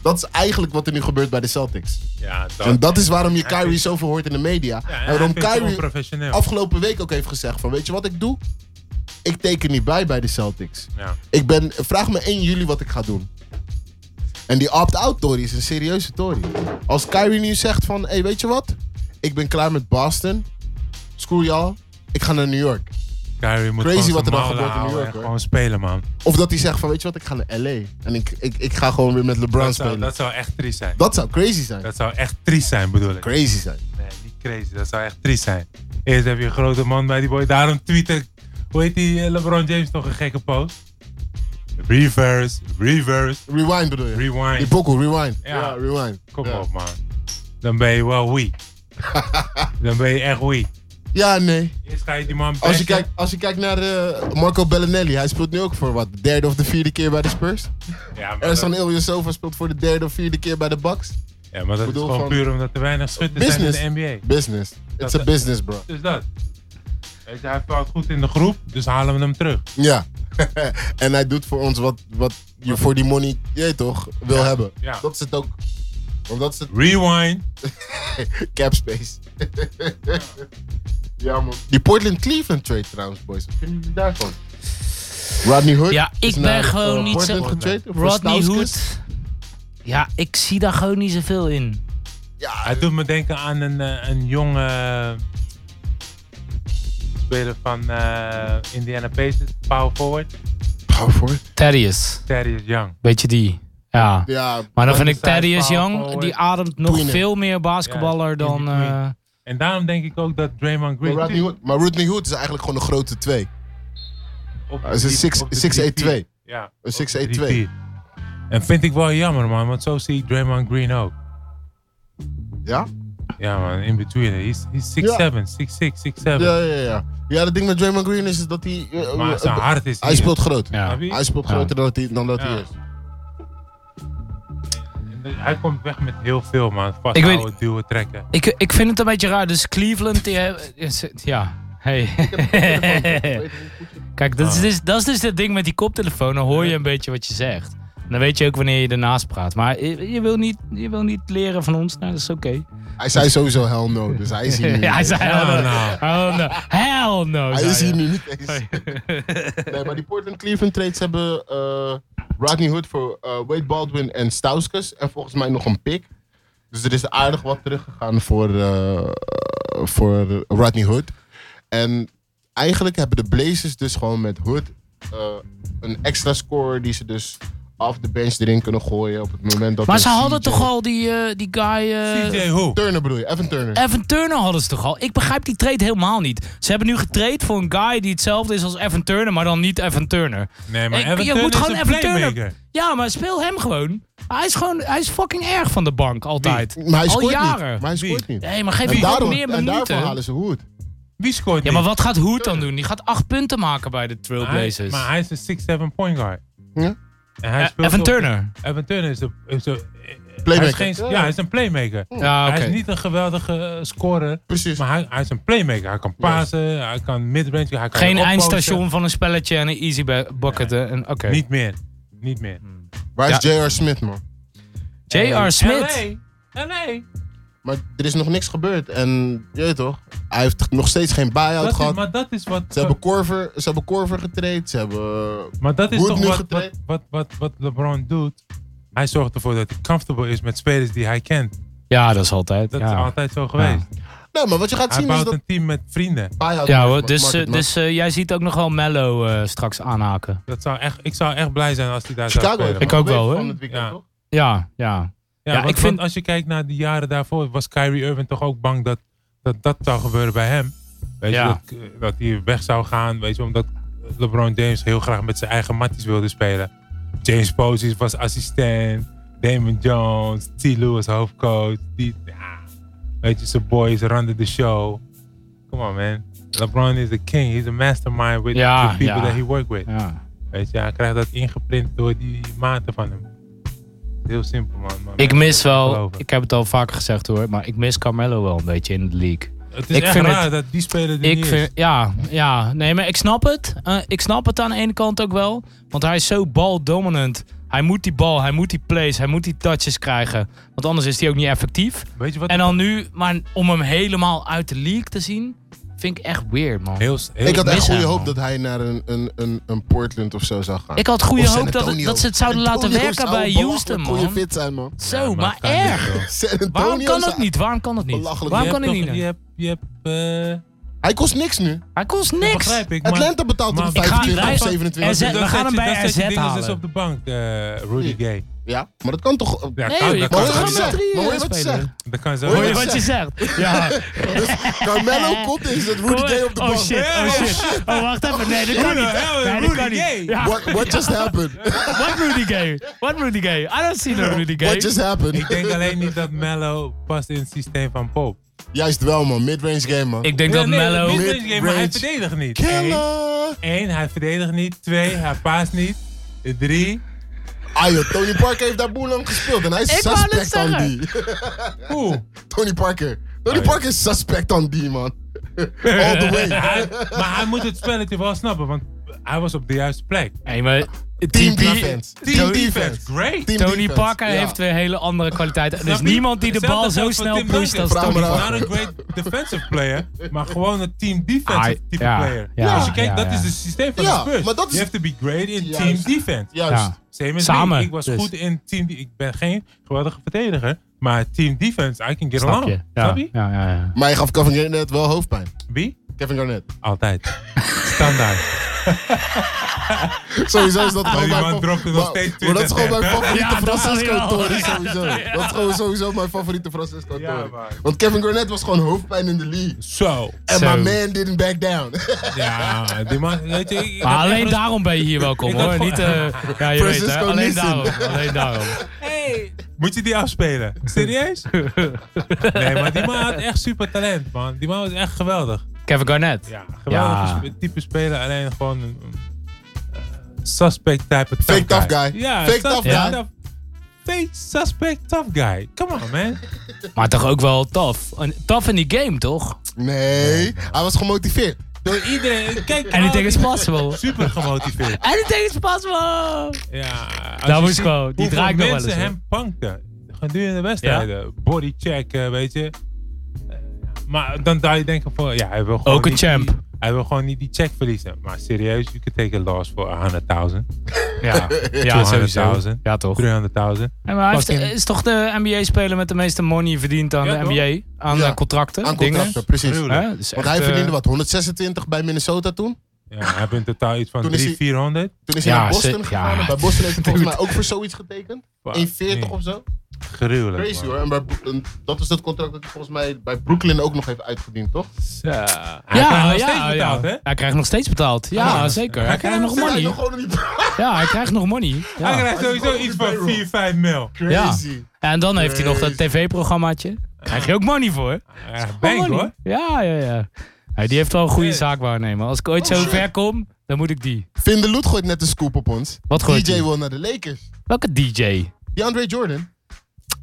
Speaker 4: Dat is eigenlijk wat er nu gebeurt bij de Celtics.
Speaker 5: Ja, dat,
Speaker 4: En dat is waarom je
Speaker 5: Hij vindt-
Speaker 4: Kyrie zoveel hoort in de media.
Speaker 5: ja, en
Speaker 4: en
Speaker 5: hij
Speaker 4: waarom
Speaker 5: vindt het
Speaker 4: Kyrie
Speaker 5: onprofessioneel.
Speaker 4: afgelopen week ook heeft gezegd van weet je wat ik doe? Ik teken niet bij bij de Celtics.
Speaker 5: Ja.
Speaker 4: Ik ben, vraag me 1 juli wat ik ga doen. En die opt-out tory is een serieuze tory. Als Kyrie nu zegt van, hey, weet je wat? Ik ben klaar met Boston. Screw y'all. Ik ga naar New York.
Speaker 5: Kyrie moet
Speaker 4: Crazy
Speaker 5: gewoon
Speaker 4: wat er dan
Speaker 5: zijn mouwen
Speaker 4: gebeurt in New
Speaker 5: houden
Speaker 4: York,
Speaker 5: en
Speaker 4: hoor.
Speaker 5: Gewoon spelen, man.
Speaker 4: Of dat hij zegt van, weet je wat? Ik ga naar LA. En ik, ik, ik ga gewoon weer met LeBron
Speaker 5: Dat zou,
Speaker 4: spelen.
Speaker 5: dat zou echt triest zijn.
Speaker 4: dat zou crazy zijn.
Speaker 5: Dat zou echt triest zijn, bedoel ik.
Speaker 4: Crazy zijn.
Speaker 5: Nee, niet crazy. Dat zou echt triest zijn. Eerst heb je een grote man bij die boy. Daarom tweeten. Hoe heet die eh, LeBron James nog een gekke post? Reverse, reverse,
Speaker 4: Rewind bedoel je? Die
Speaker 5: rewind.
Speaker 4: pokoe, rewind.
Speaker 5: Ja.
Speaker 4: Ja, rewind.
Speaker 5: Kom
Speaker 4: ja.
Speaker 5: op, man. Dan ben je wel wie. Dan ben je echt wie.
Speaker 4: Ja, nee.
Speaker 5: Eerst ga je die man
Speaker 4: Als je,
Speaker 5: bashen.
Speaker 4: kijkt, als je kijkt naar eh, Marco Bellinelli, hij speelt nu ook voor wat? De derde of de vierde keer bij de Spurs?
Speaker 5: Ja, maar dat,
Speaker 4: Ersan Ilyasova speelt voor de derde of vierde keer bij de Bucks?
Speaker 5: ja, maar dat is
Speaker 4: bedoel
Speaker 5: gewoon
Speaker 4: van-
Speaker 5: puur omdat er weinig schutters zijn in
Speaker 4: Business.
Speaker 5: de NBA.
Speaker 4: Business. It's a business, bro.
Speaker 5: Dus dat. Weet je, hij valt goed in de groep, dus halen we hem terug.
Speaker 4: Ja. en hij doet voor ons wat, wat je voor die money, je weet toch, wil hebben.
Speaker 5: ja.
Speaker 4: Dat is het ook. Want dat is het
Speaker 5: Rewind.
Speaker 4: cap space. ja, man. Die Portland Cleveland trade trouwens, boys. Wat vinden jullie daarvan? Rodney Hood?
Speaker 3: Ja, ik
Speaker 4: is
Speaker 3: ben
Speaker 4: naar, eh,
Speaker 3: gewoon niet zo-
Speaker 4: Portland getradet voor
Speaker 3: Rodney
Speaker 4: Stauskas.
Speaker 3: Hood. Ja, ik zie daar gewoon niet zoveel in.
Speaker 4: Ja,
Speaker 5: Hij doet me denken aan een, eh, een jonge speler van eh, Indiana Pacers, power forward,
Speaker 4: hou voor. het.
Speaker 3: Thaddeus,
Speaker 5: Thaddeus Young.
Speaker 3: beetje die. Ja.
Speaker 4: Ja,
Speaker 3: Maar dan vind ik
Speaker 5: Anderzijds
Speaker 3: Thaddeus
Speaker 5: power
Speaker 3: Young,
Speaker 5: forward.
Speaker 3: die ademt nog
Speaker 4: Tweener.
Speaker 3: veel meer basketballer
Speaker 5: Ja,
Speaker 3: dan...
Speaker 5: in between.
Speaker 3: eh,
Speaker 5: En daarom denk ik ook dat Draymond
Speaker 4: Maar
Speaker 5: Green...
Speaker 4: Rodney Hood, maar Rodney Hood is eigenlijk gewoon een grote twee.
Speaker 5: Op de
Speaker 4: Hij Ah, is een
Speaker 5: drie-
Speaker 4: six-
Speaker 5: op de
Speaker 4: 6'8",
Speaker 5: 3-4. Ja. op de
Speaker 4: 6'8",
Speaker 5: 3-4. En vind ik wel jammer, man, want zo zie ik Draymond Green ook.
Speaker 4: Ja?
Speaker 5: Ja, man, in between. He's, he's 6'7", 6'6", 6'7".
Speaker 4: Ja, ja, ja. Ja, het ding met Draymond Green is dat hij... eh, eh,
Speaker 5: Maar zijn
Speaker 4: eh,
Speaker 5: hart is
Speaker 4: hij
Speaker 5: niet-
Speaker 4: speelt groot.
Speaker 3: ja.
Speaker 5: Snap je?
Speaker 4: Hij speelt
Speaker 3: Ja.
Speaker 4: groter dan dat hij, dan dat
Speaker 5: Ja.
Speaker 4: hij is.
Speaker 5: Hij komt weg met heel veel, man.
Speaker 3: Ik weet-
Speaker 5: Vasthouden, duwen, trekken.
Speaker 3: Ik, ik vind het een beetje raar. Dus Cleveland, die hebben- is- Ja, hey. Kijk, dat
Speaker 4: Oh.
Speaker 3: is, dus, dat is dus het ding met die koptelefoon. Dan hoor je een beetje wat je zegt. En dan weet je ook wanneer je ernaast praat. Maar je, je wil, niet, je wil niet leren van ons. Nou, dat is oké.
Speaker 4: Hij zei sowieso hell no, dus hij is hier nu.
Speaker 3: Ja, hij
Speaker 4: niet.
Speaker 3: zei hell
Speaker 5: Nou, nou.
Speaker 3: no. Hell no. Hell no,
Speaker 4: Hij
Speaker 3: zei
Speaker 4: is hier
Speaker 3: hij.
Speaker 4: nu niet eens. Nee, maar die Portland Cleveland trades hebben eh, Rodney Hood voor eh, Wade Baldwin en Stauskas. En volgens mij nog een pick. Dus er is aardig wat teruggegaan voor, eh, voor Rodney Hood. En eigenlijk hebben de Blazers dus gewoon met Hood eh, een extra score die ze dus af de bench erin kunnen gooien op het moment dat...
Speaker 3: Maar
Speaker 4: een
Speaker 3: ze hadden
Speaker 4: CJ
Speaker 3: toch al die, eh, die guy... eh,
Speaker 5: CJ hoe?
Speaker 4: Turner bedoel je, Evan Turner.
Speaker 3: Evan Turner hadden ze toch al? Ik begrijp die trade helemaal niet. Ze hebben nu getraind voor een guy die hetzelfde is als Evan Turner, maar dan niet Evan Turner.
Speaker 5: Nee, maar
Speaker 3: Ik-
Speaker 5: Evan
Speaker 3: je
Speaker 5: Turner
Speaker 3: moet
Speaker 5: is
Speaker 3: gewoon
Speaker 5: een
Speaker 3: Evan Turner-
Speaker 5: playmaker.
Speaker 3: Ja, maar speel hem gewoon. Hij is gewoon, hij is fucking erg van de bank altijd.
Speaker 4: Maar hij
Speaker 3: al
Speaker 4: scoort
Speaker 3: jaren.
Speaker 4: niet. Maar hij scoort niet.
Speaker 3: Nee, maar geef
Speaker 4: En
Speaker 3: hem ook
Speaker 4: daarom,
Speaker 3: meer
Speaker 4: en daarvoor
Speaker 3: minuten.
Speaker 4: halen ze Hood.
Speaker 5: Wie scoort
Speaker 3: Ja, maar wat gaat Hoed dan doen? Die gaat acht punten maken bij de
Speaker 5: Maar hij,
Speaker 3: Trailblazers.
Speaker 5: maar hij is een 6-7 point guard.
Speaker 4: Ja.
Speaker 5: En hij
Speaker 3: Eh,
Speaker 5: speelt
Speaker 3: Evan
Speaker 5: op-
Speaker 3: Turner.
Speaker 5: Evan Turner is een... Is een hij is
Speaker 4: Playmaker.
Speaker 5: geen, ja, hij is een playmaker.
Speaker 3: Ja, Ah, oké.
Speaker 5: Hij is niet een geweldige eh, scorer,
Speaker 4: Precies.
Speaker 5: maar hij, hij is een playmaker. Hij kan pasen, hij kan midrange, hij kan
Speaker 3: Geen
Speaker 5: opposten.
Speaker 3: eindstation van een spelletje en een easy ba- bucket. eh, en- Oké.
Speaker 5: Niet meer. Niet meer.
Speaker 4: Waar is J.R. Smith, man?
Speaker 3: J.R. Smith.
Speaker 5: LA. LA.
Speaker 4: Maar er is nog niks gebeurd. En je weet toch, hij heeft nog steeds geen buy-out
Speaker 7: Dat is,
Speaker 4: gehad.
Speaker 7: maar dat is wat.
Speaker 4: Ze hebben Corver, ze hebben Corver getraind. Ze hebben...
Speaker 5: Maar dat
Speaker 4: Wordt
Speaker 5: is toch
Speaker 4: nu
Speaker 5: wat, wat,
Speaker 4: getraind?
Speaker 5: wat, wat, wat LeBron doet. Hij zorgt ervoor dat hij comfortable is met spelers die hij kent.
Speaker 3: Ja, dat is altijd.
Speaker 5: Dat
Speaker 3: ja.
Speaker 5: is altijd zo geweest.
Speaker 4: Nee, Nou, maar wat je gaat
Speaker 5: Hij
Speaker 4: zien is
Speaker 5: bouwt
Speaker 4: dat
Speaker 5: een team met vrienden.
Speaker 4: buy-out...
Speaker 3: Ja hoor,
Speaker 4: market-
Speaker 3: dus,
Speaker 4: market-
Speaker 3: eh, dus eh, jij ziet ook nog wel Mello eh, straks aanhaken.
Speaker 5: Dat zou echt, ik zou echt blij zijn als hij daar
Speaker 4: Chicago
Speaker 5: zou
Speaker 4: heeft
Speaker 5: spelen.
Speaker 3: Ik ook wel,
Speaker 4: Van
Speaker 3: hoor.
Speaker 4: het weekend,
Speaker 5: Ja.
Speaker 4: toch?
Speaker 3: Ja, ja.
Speaker 5: Ja,
Speaker 3: Ja,
Speaker 5: want,
Speaker 3: ik vind-
Speaker 5: want als je kijkt naar de jaren daarvoor, was Kyrie Irving toch ook bang dat dat, dat zou gebeuren bij hem. Weet
Speaker 3: Ja.
Speaker 5: je, dat, eh, dat hij weg zou gaan, weet je, omdat LeBron James heel graag met zijn eigen matties wilde spelen. James Posey was assistent, Damon Jones, T. Lou was hoofdcoach. Die, ja, weet je, zijn boys randen de show. Come on man, LeBron is the king, he's a mastermind with
Speaker 3: Ja,
Speaker 5: the people
Speaker 3: ja.
Speaker 5: that he worked with.
Speaker 3: ja.
Speaker 5: Weet je, hij krijgt dat ingeprint door die maten van hem. Heel simpel man. maar
Speaker 3: Ik
Speaker 5: mensen kunnen het
Speaker 3: mis
Speaker 5: niet
Speaker 3: wel,
Speaker 5: geloven.
Speaker 3: ik heb het al vaker gezegd hoor, maar ik mis Carmelo wel een beetje in de league.
Speaker 5: Het is
Speaker 3: Ik
Speaker 5: echt
Speaker 3: vind
Speaker 5: raar
Speaker 3: het-
Speaker 5: dat die speler er
Speaker 3: Ik
Speaker 5: Eh, niet
Speaker 3: vind, ja, ja, nee, maar ik snap het. Eh, ik snap het aan de ene kant ook wel, want hij is zo baldominant. Hij moet die bal, hij moet die plays, hij moet die touches krijgen, want anders is hij ook niet effectief.
Speaker 5: is. Weet je wat?
Speaker 3: En dan nu, maar om hem helemaal uit de league te zien, vind ik echt weird man.
Speaker 5: heel, heel,
Speaker 4: Ik had echt
Speaker 3: mis
Speaker 4: goede
Speaker 3: hem,
Speaker 4: hoop
Speaker 3: man.
Speaker 4: dat hij naar een, een, een, een Portland of zo zou gaan.
Speaker 3: Ik had goede
Speaker 4: Of San
Speaker 3: hoop dat, het-
Speaker 4: Antonio.
Speaker 3: dat ze het zouden
Speaker 4: San
Speaker 3: laten
Speaker 4: Antonio
Speaker 3: werken
Speaker 4: zou
Speaker 3: bij
Speaker 4: belachelijk
Speaker 3: Houston
Speaker 4: goede
Speaker 3: man.
Speaker 4: fit zijn, man.
Speaker 5: Ja,
Speaker 3: Zo,
Speaker 5: maar
Speaker 3: maar
Speaker 5: het kan niet,
Speaker 3: erg.
Speaker 5: joh.
Speaker 4: San Antonio
Speaker 3: Waarom kan
Speaker 4: zou-
Speaker 3: het niet? Waarom kan het niet?
Speaker 4: Belachelijk.
Speaker 3: Waarom
Speaker 5: Je
Speaker 3: kan
Speaker 5: hebt
Speaker 3: het
Speaker 5: toch-
Speaker 3: niet?
Speaker 5: Je hebt, je hebt, eh,
Speaker 4: Hij kost niks nu.
Speaker 3: Hij kost niks.
Speaker 5: begrijp ik, maar...
Speaker 4: Atlanta betaalt hem
Speaker 5: maar- Ik
Speaker 3: ga-
Speaker 4: 25
Speaker 3: hij-
Speaker 4: of 27.
Speaker 3: RZ we
Speaker 5: Dan
Speaker 3: gaan
Speaker 5: zet
Speaker 3: hem
Speaker 5: je-
Speaker 3: bij
Speaker 5: dan zet je
Speaker 3: RZ
Speaker 5: dinges
Speaker 3: halen.
Speaker 5: dus op de bank, eh, Rudy Gay.
Speaker 4: Ja, maar dat kan toch...
Speaker 5: Ja,
Speaker 3: Nee,
Speaker 5: kan-
Speaker 3: joh, je
Speaker 5: dat
Speaker 3: kan
Speaker 5: kan
Speaker 4: toch
Speaker 3: gewoon
Speaker 4: niet
Speaker 5: zo.
Speaker 4: zeggen?
Speaker 3: drie
Speaker 4: Maar hoor je
Speaker 3: spelen.
Speaker 4: wat ze zeggen?
Speaker 5: Dat kan zo.
Speaker 4: Hoor
Speaker 3: Hoor je
Speaker 4: wat
Speaker 3: wat je zegt? Ja.
Speaker 4: Carmelo komt is dat Rudy Gay op de
Speaker 3: oh
Speaker 4: bank.
Speaker 3: shit, oh shit. Oh wacht even, nee dat kan niet. Nee, dat kan niet. Ja.
Speaker 4: What, what just happened?
Speaker 3: What Rudy Gay? What Rudy Gay? I don't see no Rudy Gay.
Speaker 4: What just happened?
Speaker 5: Ik denk alleen niet dat Mello past in het systeem van Pop.
Speaker 4: Juist wel, man. Midrange game, man.
Speaker 3: Ik denk dat
Speaker 5: Nee, nee,
Speaker 3: Mello...
Speaker 5: niet deze game, Maar hij
Speaker 4: Mid-range.
Speaker 5: verdedigt niet. Eén-
Speaker 4: Killer!
Speaker 5: Eén, hij verdedigt niet. Twee, hij paast niet. Drie,
Speaker 4: Ah, joh, Tony Parker heeft daar boel aan gespeeld en hij is
Speaker 3: Ik wou net
Speaker 4: suspect aan
Speaker 3: zeggen.
Speaker 4: die.
Speaker 5: oeh.
Speaker 4: Tony Parker. Tony
Speaker 5: Ah, ja.
Speaker 4: Parker is suspect aan die, man. All the way.
Speaker 5: Hij- maar hij moet het spelletje wel snappen, want hij was op de juiste plek.
Speaker 3: Hey, maar
Speaker 4: Team
Speaker 3: TP
Speaker 4: defense. Team defense.
Speaker 5: great.
Speaker 4: Team
Speaker 3: Tony
Speaker 4: defense.
Speaker 3: Parker
Speaker 4: Ja.
Speaker 3: heeft weer hele andere kwaliteiten. Er is
Speaker 5: Snap je?
Speaker 3: Dus niemand die de
Speaker 5: Hetzelfde
Speaker 3: bal zo
Speaker 5: geldt voor
Speaker 3: snel
Speaker 5: Tim
Speaker 3: pusht
Speaker 5: Duncan.
Speaker 3: als
Speaker 4: Vraag
Speaker 3: Tony
Speaker 4: maar
Speaker 3: Parker.
Speaker 4: aan.
Speaker 5: Not a great defensive player, maar gewoon een team defensive
Speaker 3: Ah,
Speaker 5: type
Speaker 3: ja,
Speaker 5: player.
Speaker 3: ja,
Speaker 5: Als je kijkt,
Speaker 3: ja,
Speaker 5: dat
Speaker 3: ja.
Speaker 5: is het systeem van
Speaker 4: Ja,
Speaker 5: de Spurs.
Speaker 4: maar dat is-
Speaker 5: You have to be great in
Speaker 4: Juist.
Speaker 5: team defense.
Speaker 4: Juist.
Speaker 3: Ja.
Speaker 5: Same as
Speaker 3: Samen,
Speaker 5: me. Ik was
Speaker 3: dus.
Speaker 5: goed in team. de- Ik ben geen geweldige verdediger, maar team defense, I can get
Speaker 3: Snap
Speaker 5: along.
Speaker 3: je?
Speaker 5: Snap
Speaker 3: Ja,
Speaker 5: je?
Speaker 3: ja, ja, ja.
Speaker 4: Maar hij gaf Kevin Garnett wel hoofdpijn.
Speaker 5: Wie?
Speaker 4: Kevin Garnett.
Speaker 5: Altijd. Standaard.
Speaker 4: Sowieso is dat
Speaker 5: Maar
Speaker 4: gewoon
Speaker 5: die
Speaker 4: mijn...
Speaker 5: man
Speaker 4: fa-
Speaker 5: dropte nog
Speaker 4: maar-
Speaker 5: steeds
Speaker 4: Maar dat is gewoon
Speaker 5: 20.
Speaker 4: mijn favoriete
Speaker 3: Ja, dat zal hij
Speaker 4: Francisco
Speaker 3: wel.
Speaker 4: Tory,
Speaker 3: Ja,
Speaker 4: sowieso.
Speaker 3: ja, ja.
Speaker 4: Dat is gewoon sowieso mijn favoriete Francisco
Speaker 5: Ja,
Speaker 4: Tory.
Speaker 5: man.
Speaker 4: Want Kevin Garnett was gewoon hoofdpijn in de league.
Speaker 5: Zo.
Speaker 4: En
Speaker 3: Zo.
Speaker 4: my man didn't back down.
Speaker 5: Ja, die man. Weet je, ik- ik
Speaker 3: Maar
Speaker 5: had
Speaker 3: alleen
Speaker 5: echt
Speaker 3: daarom ben je hier welkom
Speaker 5: Ik had
Speaker 3: hoor.
Speaker 5: gewoon-
Speaker 3: Niet, eh, ja, je weet, hè.
Speaker 4: Francisco
Speaker 3: alleen
Speaker 4: Nissen.
Speaker 3: daarom. Alleen daarom.
Speaker 5: Moet je die afspelen? Serieus? nee, maar die man had echt super talent, man. Die man was echt geweldig.
Speaker 3: Kevin Garnett.
Speaker 5: Ja, geweldig
Speaker 3: Ja.
Speaker 5: sp- type speler, alleen gewoon een een, eh, suspect type tough
Speaker 4: Fake tough guy.
Speaker 5: Ja,
Speaker 4: Fake
Speaker 5: suspect
Speaker 4: tough guy.
Speaker 5: Fake suspect tough guy. Come on, man.
Speaker 3: Maar toch ook wel tof. Een- Tof in die game toch?
Speaker 4: Nee, hij was gemotiveerd.
Speaker 5: Door iedereen. Kijk,
Speaker 3: Anything is
Speaker 5: is
Speaker 3: possible.
Speaker 5: Super gemotiveerd.
Speaker 3: Anything is possible!
Speaker 5: Ja, als
Speaker 3: Dat
Speaker 5: je
Speaker 3: was
Speaker 5: ziet
Speaker 3: gewoon- die
Speaker 5: hoeveel
Speaker 3: draait nog wel
Speaker 5: mensen
Speaker 3: eens, hoor.
Speaker 5: hem punkten. Gedurende de wedstrijden. Bodychecken, weet je. Eh, Maar dan zou je denken van, ja, hij wil gewoon
Speaker 3: Ook een
Speaker 5: niet
Speaker 3: champ.
Speaker 5: die- hij wil gewoon niet die check verliezen. Maar serieus, you can take a loss for 100.000,
Speaker 3: Ja, ja
Speaker 5: 200.000.
Speaker 3: Ja toch.
Speaker 5: 300.000.
Speaker 3: En maar hij heeft-
Speaker 4: Fucking-
Speaker 3: is toch de NBA-speler met de meeste money verdiend aan
Speaker 5: Ja,
Speaker 3: de
Speaker 5: toch?
Speaker 3: NBA? Aan
Speaker 4: Ja.
Speaker 3: eh, contracten?
Speaker 4: Aan
Speaker 3: dingen.
Speaker 4: contracten, precies.
Speaker 5: Gruwelijk.
Speaker 3: Hè? Dus
Speaker 4: Want
Speaker 3: echt,
Speaker 4: hij
Speaker 3: eh,
Speaker 4: verdiende wat, 126 bij Minnesota toen?
Speaker 5: Ja, hij heeft in totaal iets van
Speaker 4: Toen is
Speaker 5: 300,
Speaker 4: hij-
Speaker 5: 400.
Speaker 4: Toen is hij
Speaker 3: Ja,
Speaker 4: naar Boston
Speaker 3: ze-
Speaker 4: gegaan.
Speaker 3: ja.
Speaker 4: En bij Boston heeft hij volgens mij ook voor zoiets getekend. 1,40 of zo.
Speaker 5: Gruwelijk.
Speaker 4: Crazy
Speaker 5: man.
Speaker 4: hoor. En, bij, en dat is dat contract dat hij volgens mij bij Brooklyn ook nog heeft uitgediend, toch?
Speaker 5: Zo. Hij krijgt
Speaker 3: Ja,
Speaker 5: nog
Speaker 3: ja,
Speaker 5: steeds betaald,
Speaker 3: ja.
Speaker 5: hè?
Speaker 3: Hij krijgt nog steeds betaald. Ja,
Speaker 5: Ah,
Speaker 3: zeker. Hij
Speaker 5: hij
Speaker 3: krijgt nog
Speaker 4: Zit hij
Speaker 3: money.
Speaker 4: nog gewoon in die...
Speaker 3: Ja, hij krijgt nog money.
Speaker 5: Hij
Speaker 3: Ja.
Speaker 5: krijgt sowieso iets van 4, 5 mil.
Speaker 4: Crazy.
Speaker 3: En dan heeft hij nog dat tv-programmaatje. Krijg je ook money voor?
Speaker 5: Ja, bank
Speaker 3: Gewoon
Speaker 5: hoor.
Speaker 3: money. Ja, ja, ja. Hey, die heeft wel een goede
Speaker 5: Yes.
Speaker 3: zaak waarnemen. Als ik ooit
Speaker 5: Oh,
Speaker 3: zo ver kom, dan moet ik die.
Speaker 4: Vindeloet gooit net een scoop op ons.
Speaker 3: Wat gooit
Speaker 4: DJ
Speaker 3: die?
Speaker 4: wil naar de Lakers.
Speaker 3: Welke DJ?
Speaker 4: Die Andre Jordan.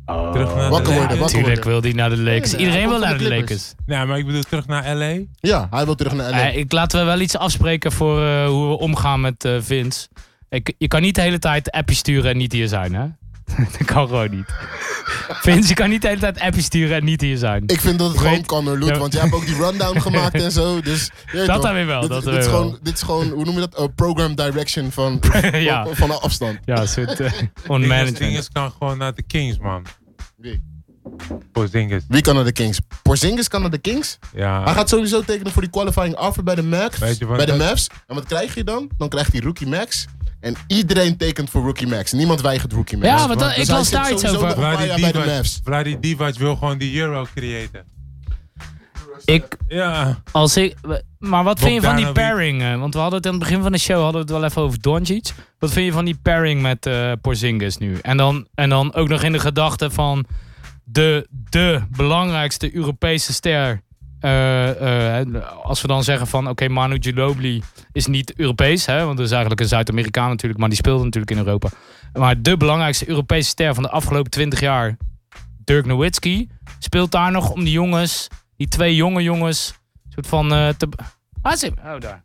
Speaker 5: Terug naar de
Speaker 4: Wakker worden,
Speaker 5: Lakers.
Speaker 4: wakker
Speaker 3: Natuurlijk wil die naar de Lakers.
Speaker 4: Nee,
Speaker 3: Iedereen
Speaker 4: hij
Speaker 3: wil
Speaker 4: komt
Speaker 3: naar
Speaker 4: van
Speaker 3: de
Speaker 4: de
Speaker 3: Lakers.
Speaker 4: Clippers.
Speaker 5: Ja, maar ik bedoel terug naar LA.
Speaker 4: Ja, hij wil terug naar LA.
Speaker 3: Eh, ik, laten we wel iets afspreken voor eh, hoe we omgaan met eh, Vince. Ik, je kan niet de hele tijd appjes sturen en niet hier zijn, hè? dat kan gewoon niet. Vince, je kan niet de hele tijd appjes sturen en niet hier zijn.
Speaker 4: Ik vind dat het
Speaker 3: Ik
Speaker 4: gewoon
Speaker 3: weet-
Speaker 4: kan hoor, Loet.
Speaker 3: Ja.
Speaker 4: Want jij hebt ook die rundown gemaakt en zo. Dus, je weet
Speaker 3: Dat
Speaker 4: toch,
Speaker 3: dan weer wel,
Speaker 4: Dit,
Speaker 3: dat
Speaker 4: dit
Speaker 3: dan
Speaker 4: is
Speaker 3: weer
Speaker 4: gewoon, dit is gewoon, hoe noem je dat? Eh, program direction van, van,
Speaker 3: Ja.
Speaker 4: van een afstand.
Speaker 3: Ja, een soort eh, on management.
Speaker 5: Dinges kan gewoon naar de Kings, man.
Speaker 4: Wie?
Speaker 5: Porzingis.
Speaker 4: Wie kan naar de Kings? Porzingis kan naar de Kings. Hij
Speaker 5: Ja.
Speaker 4: gaat sowieso tekenen voor die qualifying offer bij de Mavs.
Speaker 5: Weet je wat
Speaker 4: Bij de
Speaker 5: dat-
Speaker 4: Mavs. En wat krijg je dan? Dan krijgt hij Rookie Max. En iedereen tekent voor Rookie Max. Niemand weigert Rookie Max. Dus
Speaker 3: Ja, want dat- ik
Speaker 4: hij
Speaker 3: las
Speaker 4: zit
Speaker 3: daar iets
Speaker 4: sowieso
Speaker 3: over.
Speaker 4: nog een paar jaar bij de Mavs.
Speaker 5: Vladi Divac wil gewoon die Euro creëren.
Speaker 3: Ik,
Speaker 5: Ja.
Speaker 3: als ik, maar wat vind je van die
Speaker 5: Bogdanovic.
Speaker 3: pairing? eh, want we hadden het aan het begin van de show hadden we het wel even over Doncic. Wat vind je van die pairing met eh, Porzingis nu? En dan, en dan ook nog in de gedachte van de, de belangrijkste Europese ster. Eh, eh, als we dan zeggen van oké, Manu Ginobili is niet Europees, hè, want dat is eigenlijk een Zuid-Amerikaan natuurlijk, maar die speelde natuurlijk in Europa. Maar de belangrijkste Europese ster van de afgelopen 20 jaar, Dirk Nowitzki, speelt daar nog om die jongens, die twee jonge jongens, een soort van eh, te. Ah, ze- oh, daar.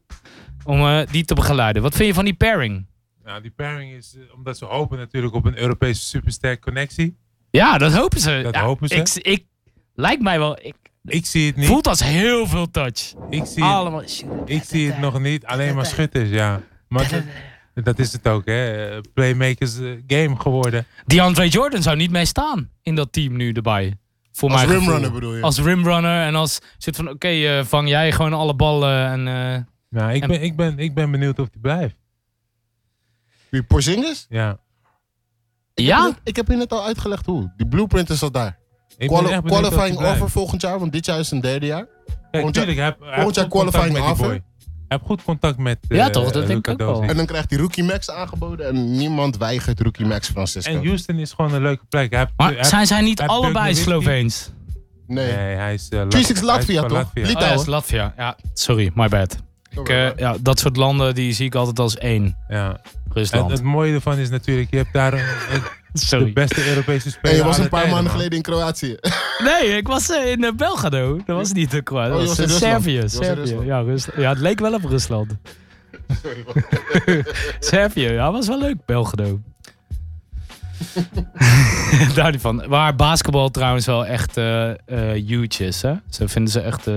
Speaker 3: Om eh, die te begeleiden. Wat vind je van die pairing?
Speaker 5: Nou, die pairing is, eh, omdat ze hopen natuurlijk op een Europese supersterk connectie.
Speaker 3: Ja, dat hopen ze.
Speaker 5: Dat
Speaker 3: Ja,
Speaker 5: hopen ze.
Speaker 3: Ik, ik, lijkt mij wel. Ik,
Speaker 5: Ik zie het niet.
Speaker 3: voelt als heel veel touch.
Speaker 5: Ik zie het,
Speaker 3: Allemaal.
Speaker 5: ik zie het nog niet. Alleen maar schutters, ja. Maar dat, dat is het ook, hè. Eh, Playmakers eh, game geworden.
Speaker 3: Die Andre Jordan zou niet mee staan in dat team nu erbij. Voor
Speaker 4: Als
Speaker 3: mijn gevoel.
Speaker 4: rimrunner bedoel je?
Speaker 3: Oh Als rimrunner en als soort van oké, eh, vang jij gewoon alle ballen en eh,
Speaker 5: Nou, ik
Speaker 3: En-
Speaker 5: ben, ik ben, ik ben benieuwd of die blijft.
Speaker 4: Wie, Porzingis?
Speaker 5: Ja.
Speaker 3: ja,
Speaker 4: Ik heb je net al uitgelegd hoe. Die blueprint is al daar.
Speaker 5: Ik
Speaker 4: Quali-
Speaker 5: ben echt benieuwd of die
Speaker 4: qualifying
Speaker 5: blijft.
Speaker 4: offer volgend jaar, want dit jaar is zijn derde jaar.
Speaker 5: Kijk,
Speaker 4: Volgend jaar-
Speaker 5: tuurlijk, hij heeft- hij
Speaker 4: volgend
Speaker 5: heeft
Speaker 4: jaar
Speaker 5: goed contact
Speaker 4: qualifying
Speaker 5: met die
Speaker 4: offer.
Speaker 5: boy. Hij heeft goed contact met eh,
Speaker 3: Ja, toch? Dat denk ik
Speaker 5: Luka
Speaker 3: ook wel.
Speaker 5: Doncic.
Speaker 4: En dan krijgt hij Rookie Max aangeboden en niemand weigert Rookie Max Francisco.
Speaker 5: En Houston is gewoon een leuke plek. Hij heeft- hij
Speaker 3: maar
Speaker 5: heeft-
Speaker 3: zijn zij niet
Speaker 5: heb Dirk
Speaker 3: allebei
Speaker 5: Nowitzki.
Speaker 3: Sloveens?
Speaker 4: nee.
Speaker 5: Nee, hij is... eh, Lat-
Speaker 4: 3-6
Speaker 5: hij is
Speaker 4: Latvia,
Speaker 5: van
Speaker 4: toch? Lit-
Speaker 3: Oh, ja,
Speaker 4: Litouwen.
Speaker 3: is Latvia. Ja, sorry, my bad. Ik, eh, ja, dat soort landen die zie ik altijd als één.
Speaker 5: Ja. En
Speaker 3: Rusland.
Speaker 5: het mooie ervan is natuurlijk, je hebt daar een- een- de
Speaker 3: sorry.
Speaker 5: beste Europese speler
Speaker 4: En je was
Speaker 5: aller
Speaker 4: een paar
Speaker 5: tijden,
Speaker 4: maanden
Speaker 5: man.
Speaker 4: geleden in Kroatië.
Speaker 3: Nee, ik was eh, in eh, Belgrado. Dat was niet de Kroatië.
Speaker 4: Oh,
Speaker 3: Dat
Speaker 4: je
Speaker 3: was,
Speaker 4: was in
Speaker 3: eh,
Speaker 4: Rusland.
Speaker 3: Servië.
Speaker 4: Je was in
Speaker 3: Servië.
Speaker 4: Rusland.
Speaker 3: Ja, Rusland. ja, het leek wel op Rusland. Servië, ja, was wel leuk, Belgrado. Daar niet van. Waar basketbal trouwens wel echt eh, eh, huge is. Hè? Ze vinden ze echt eh,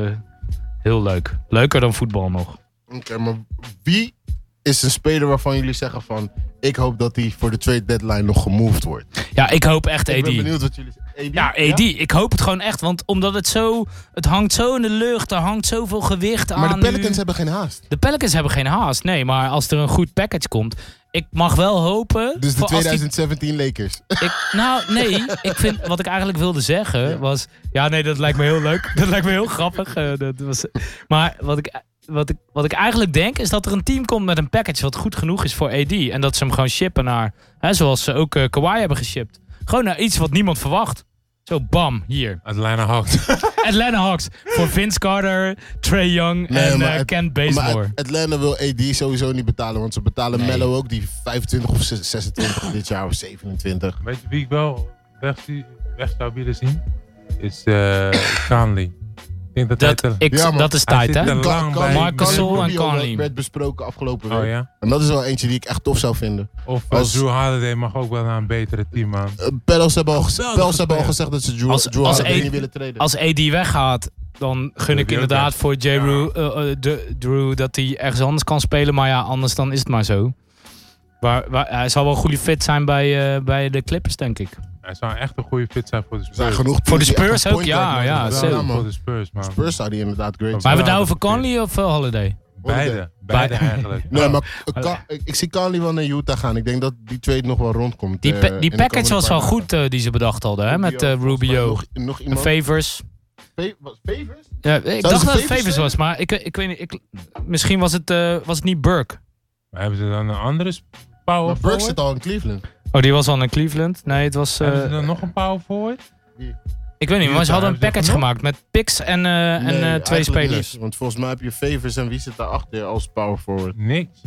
Speaker 3: heel leuk. Leuker dan voetbal nog.
Speaker 4: Oké, maar wie is een speler waarvan jullie zeggen van... ik hoop dat hij voor de trade deadline nog gemoved wordt?
Speaker 3: Ja, ik hoop echt AD.
Speaker 4: Ik ben benieuwd wat jullie zeggen. AD?
Speaker 3: Ja, AD, ik hoop het gewoon echt. Want omdat het zo, het hangt zo in de lucht, er hangt zoveel gewicht aan.
Speaker 4: Maar de Pelicans
Speaker 3: nu.
Speaker 4: hebben geen haast.
Speaker 3: De Pelicans hebben geen haast, nee. Maar als er een goed package komt, ik mag wel hopen...
Speaker 4: Dus de
Speaker 3: voor als die-
Speaker 4: 2017 Lakers.
Speaker 3: ik, nou, nee, ik vind, wat ik eigenlijk wilde zeggen was... Ja, nee, dat lijkt me heel leuk. Dat lijkt me heel grappig. eh, dat was, maar wat ik, wat, ik, wat ik eigenlijk denk, is dat er een team komt met een package wat goed genoeg is voor AD. En dat ze hem gewoon shippen naar, hè, zoals ze ook eh, Kawhi hebben geshipped. Gewoon naar iets wat niemand verwacht. Zo, bam, hier.
Speaker 5: Atlanta Hawks.
Speaker 3: Atlanta Hawks voor Vince Carter, Trey Young
Speaker 4: Nee,
Speaker 3: en
Speaker 4: maar
Speaker 3: eh,
Speaker 4: het-
Speaker 3: Kent
Speaker 4: Maar
Speaker 3: Bazemore.
Speaker 4: At- Atlanta wil AD sowieso niet betalen, want ze betalen
Speaker 3: Nee.
Speaker 4: Mello ook die 25 of 26 dit jaar of 27.
Speaker 5: Weet je wie ik wel weg, zie- weg zou willen zien? Is eh Conley. Ik denk dat,
Speaker 3: Dat,
Speaker 5: hij te-
Speaker 3: ik,
Speaker 4: Ja, man.
Speaker 3: dat is
Speaker 5: Hij
Speaker 3: tijd,
Speaker 5: zit
Speaker 3: hè?
Speaker 5: er lang
Speaker 4: Ka- Ka-
Speaker 5: bij.
Speaker 3: Marc Gasol en
Speaker 4: Rubio werd-
Speaker 3: Conley.
Speaker 4: werd besproken afgelopen week.
Speaker 5: Oh ja?
Speaker 4: En dat is wel eentje die ik echt tof zou vinden.
Speaker 5: Of eh,
Speaker 4: Als-
Speaker 5: Drew Holiday mag ook wel naar een betere team, man.
Speaker 4: Eh, Pels hebben al, gez-
Speaker 5: Geweldige
Speaker 4: Pels hebben al
Speaker 5: speler.
Speaker 4: gezegd dat ze Drew,
Speaker 3: Als-
Speaker 4: Drew
Speaker 3: als
Speaker 4: Holiday
Speaker 3: één-
Speaker 4: niet willen treden.
Speaker 3: Als AD weggaat, dan gun ik
Speaker 5: die ook
Speaker 3: inderdaad
Speaker 5: weg.
Speaker 3: voor J. Rue, eh, eh, de- Drew dat hij ergens anders kan spelen. Maar ja, anders dan is het maar zo. Waar, waar, hij zal wel een goede fit zijn bij, eh, bij de Clippers, denk ik.
Speaker 5: Hij zou echt een goede fit zijn voor de
Speaker 4: Er zijn
Speaker 5: Spurs.
Speaker 4: genoeg
Speaker 3: Voor de
Speaker 4: teams die echt
Speaker 3: Spurs
Speaker 4: een
Speaker 3: ook,
Speaker 4: point guard
Speaker 3: ja,
Speaker 4: nodig
Speaker 3: ja,
Speaker 4: hebben.
Speaker 3: zeker.
Speaker 4: man.
Speaker 5: voor de Spurs, man.
Speaker 4: Spurs zou die inderdaad great
Speaker 3: Maar
Speaker 5: Ja,
Speaker 4: zijn.
Speaker 3: hebben we het nou
Speaker 5: dat
Speaker 3: over
Speaker 5: is
Speaker 3: Conley of eh, Holiday?
Speaker 5: Beide. Beide eigenlijk.
Speaker 4: Nee, maar eh, Ka- ik, ik zie Conley wel naar Utah gaan. Ik denk dat die trade nog wel rondkomt.
Speaker 3: Die,
Speaker 4: eh,
Speaker 3: pa-
Speaker 4: in de
Speaker 3: die package
Speaker 4: komende
Speaker 3: was
Speaker 4: paar
Speaker 3: wel
Speaker 4: dagen.
Speaker 3: goed eh, die ze bedacht hadden, hè? Met eh,
Speaker 4: volgens mij
Speaker 3: Rubio.
Speaker 4: Nog, nog
Speaker 3: En
Speaker 4: iemand.
Speaker 3: Favors.
Speaker 4: Fa- was Favors?
Speaker 3: Ja, ik
Speaker 4: ze
Speaker 3: dacht dat het
Speaker 4: Favors
Speaker 3: Favors
Speaker 4: zijn?
Speaker 3: was, maar ik, ik weet niet. Ik, misschien was het, eh, was het niet Burke.
Speaker 5: Maar hebben ze dan een andere sp- power
Speaker 4: Maar Burks zit
Speaker 5: forward?
Speaker 4: al in Cleveland.
Speaker 3: Oh, die was al naar Cleveland. Nee, het was. eh,
Speaker 5: Hebben ze dan nog een power forward?
Speaker 3: ik weet niet, maar ze hadden een package gemaakt met picks en, eh, en
Speaker 4: Nee,
Speaker 3: eh, twee
Speaker 4: eigenlijk
Speaker 3: spelers.
Speaker 4: niet, want volgens mij heb je Favors en wie zit daarachter als power forward?
Speaker 5: Niks.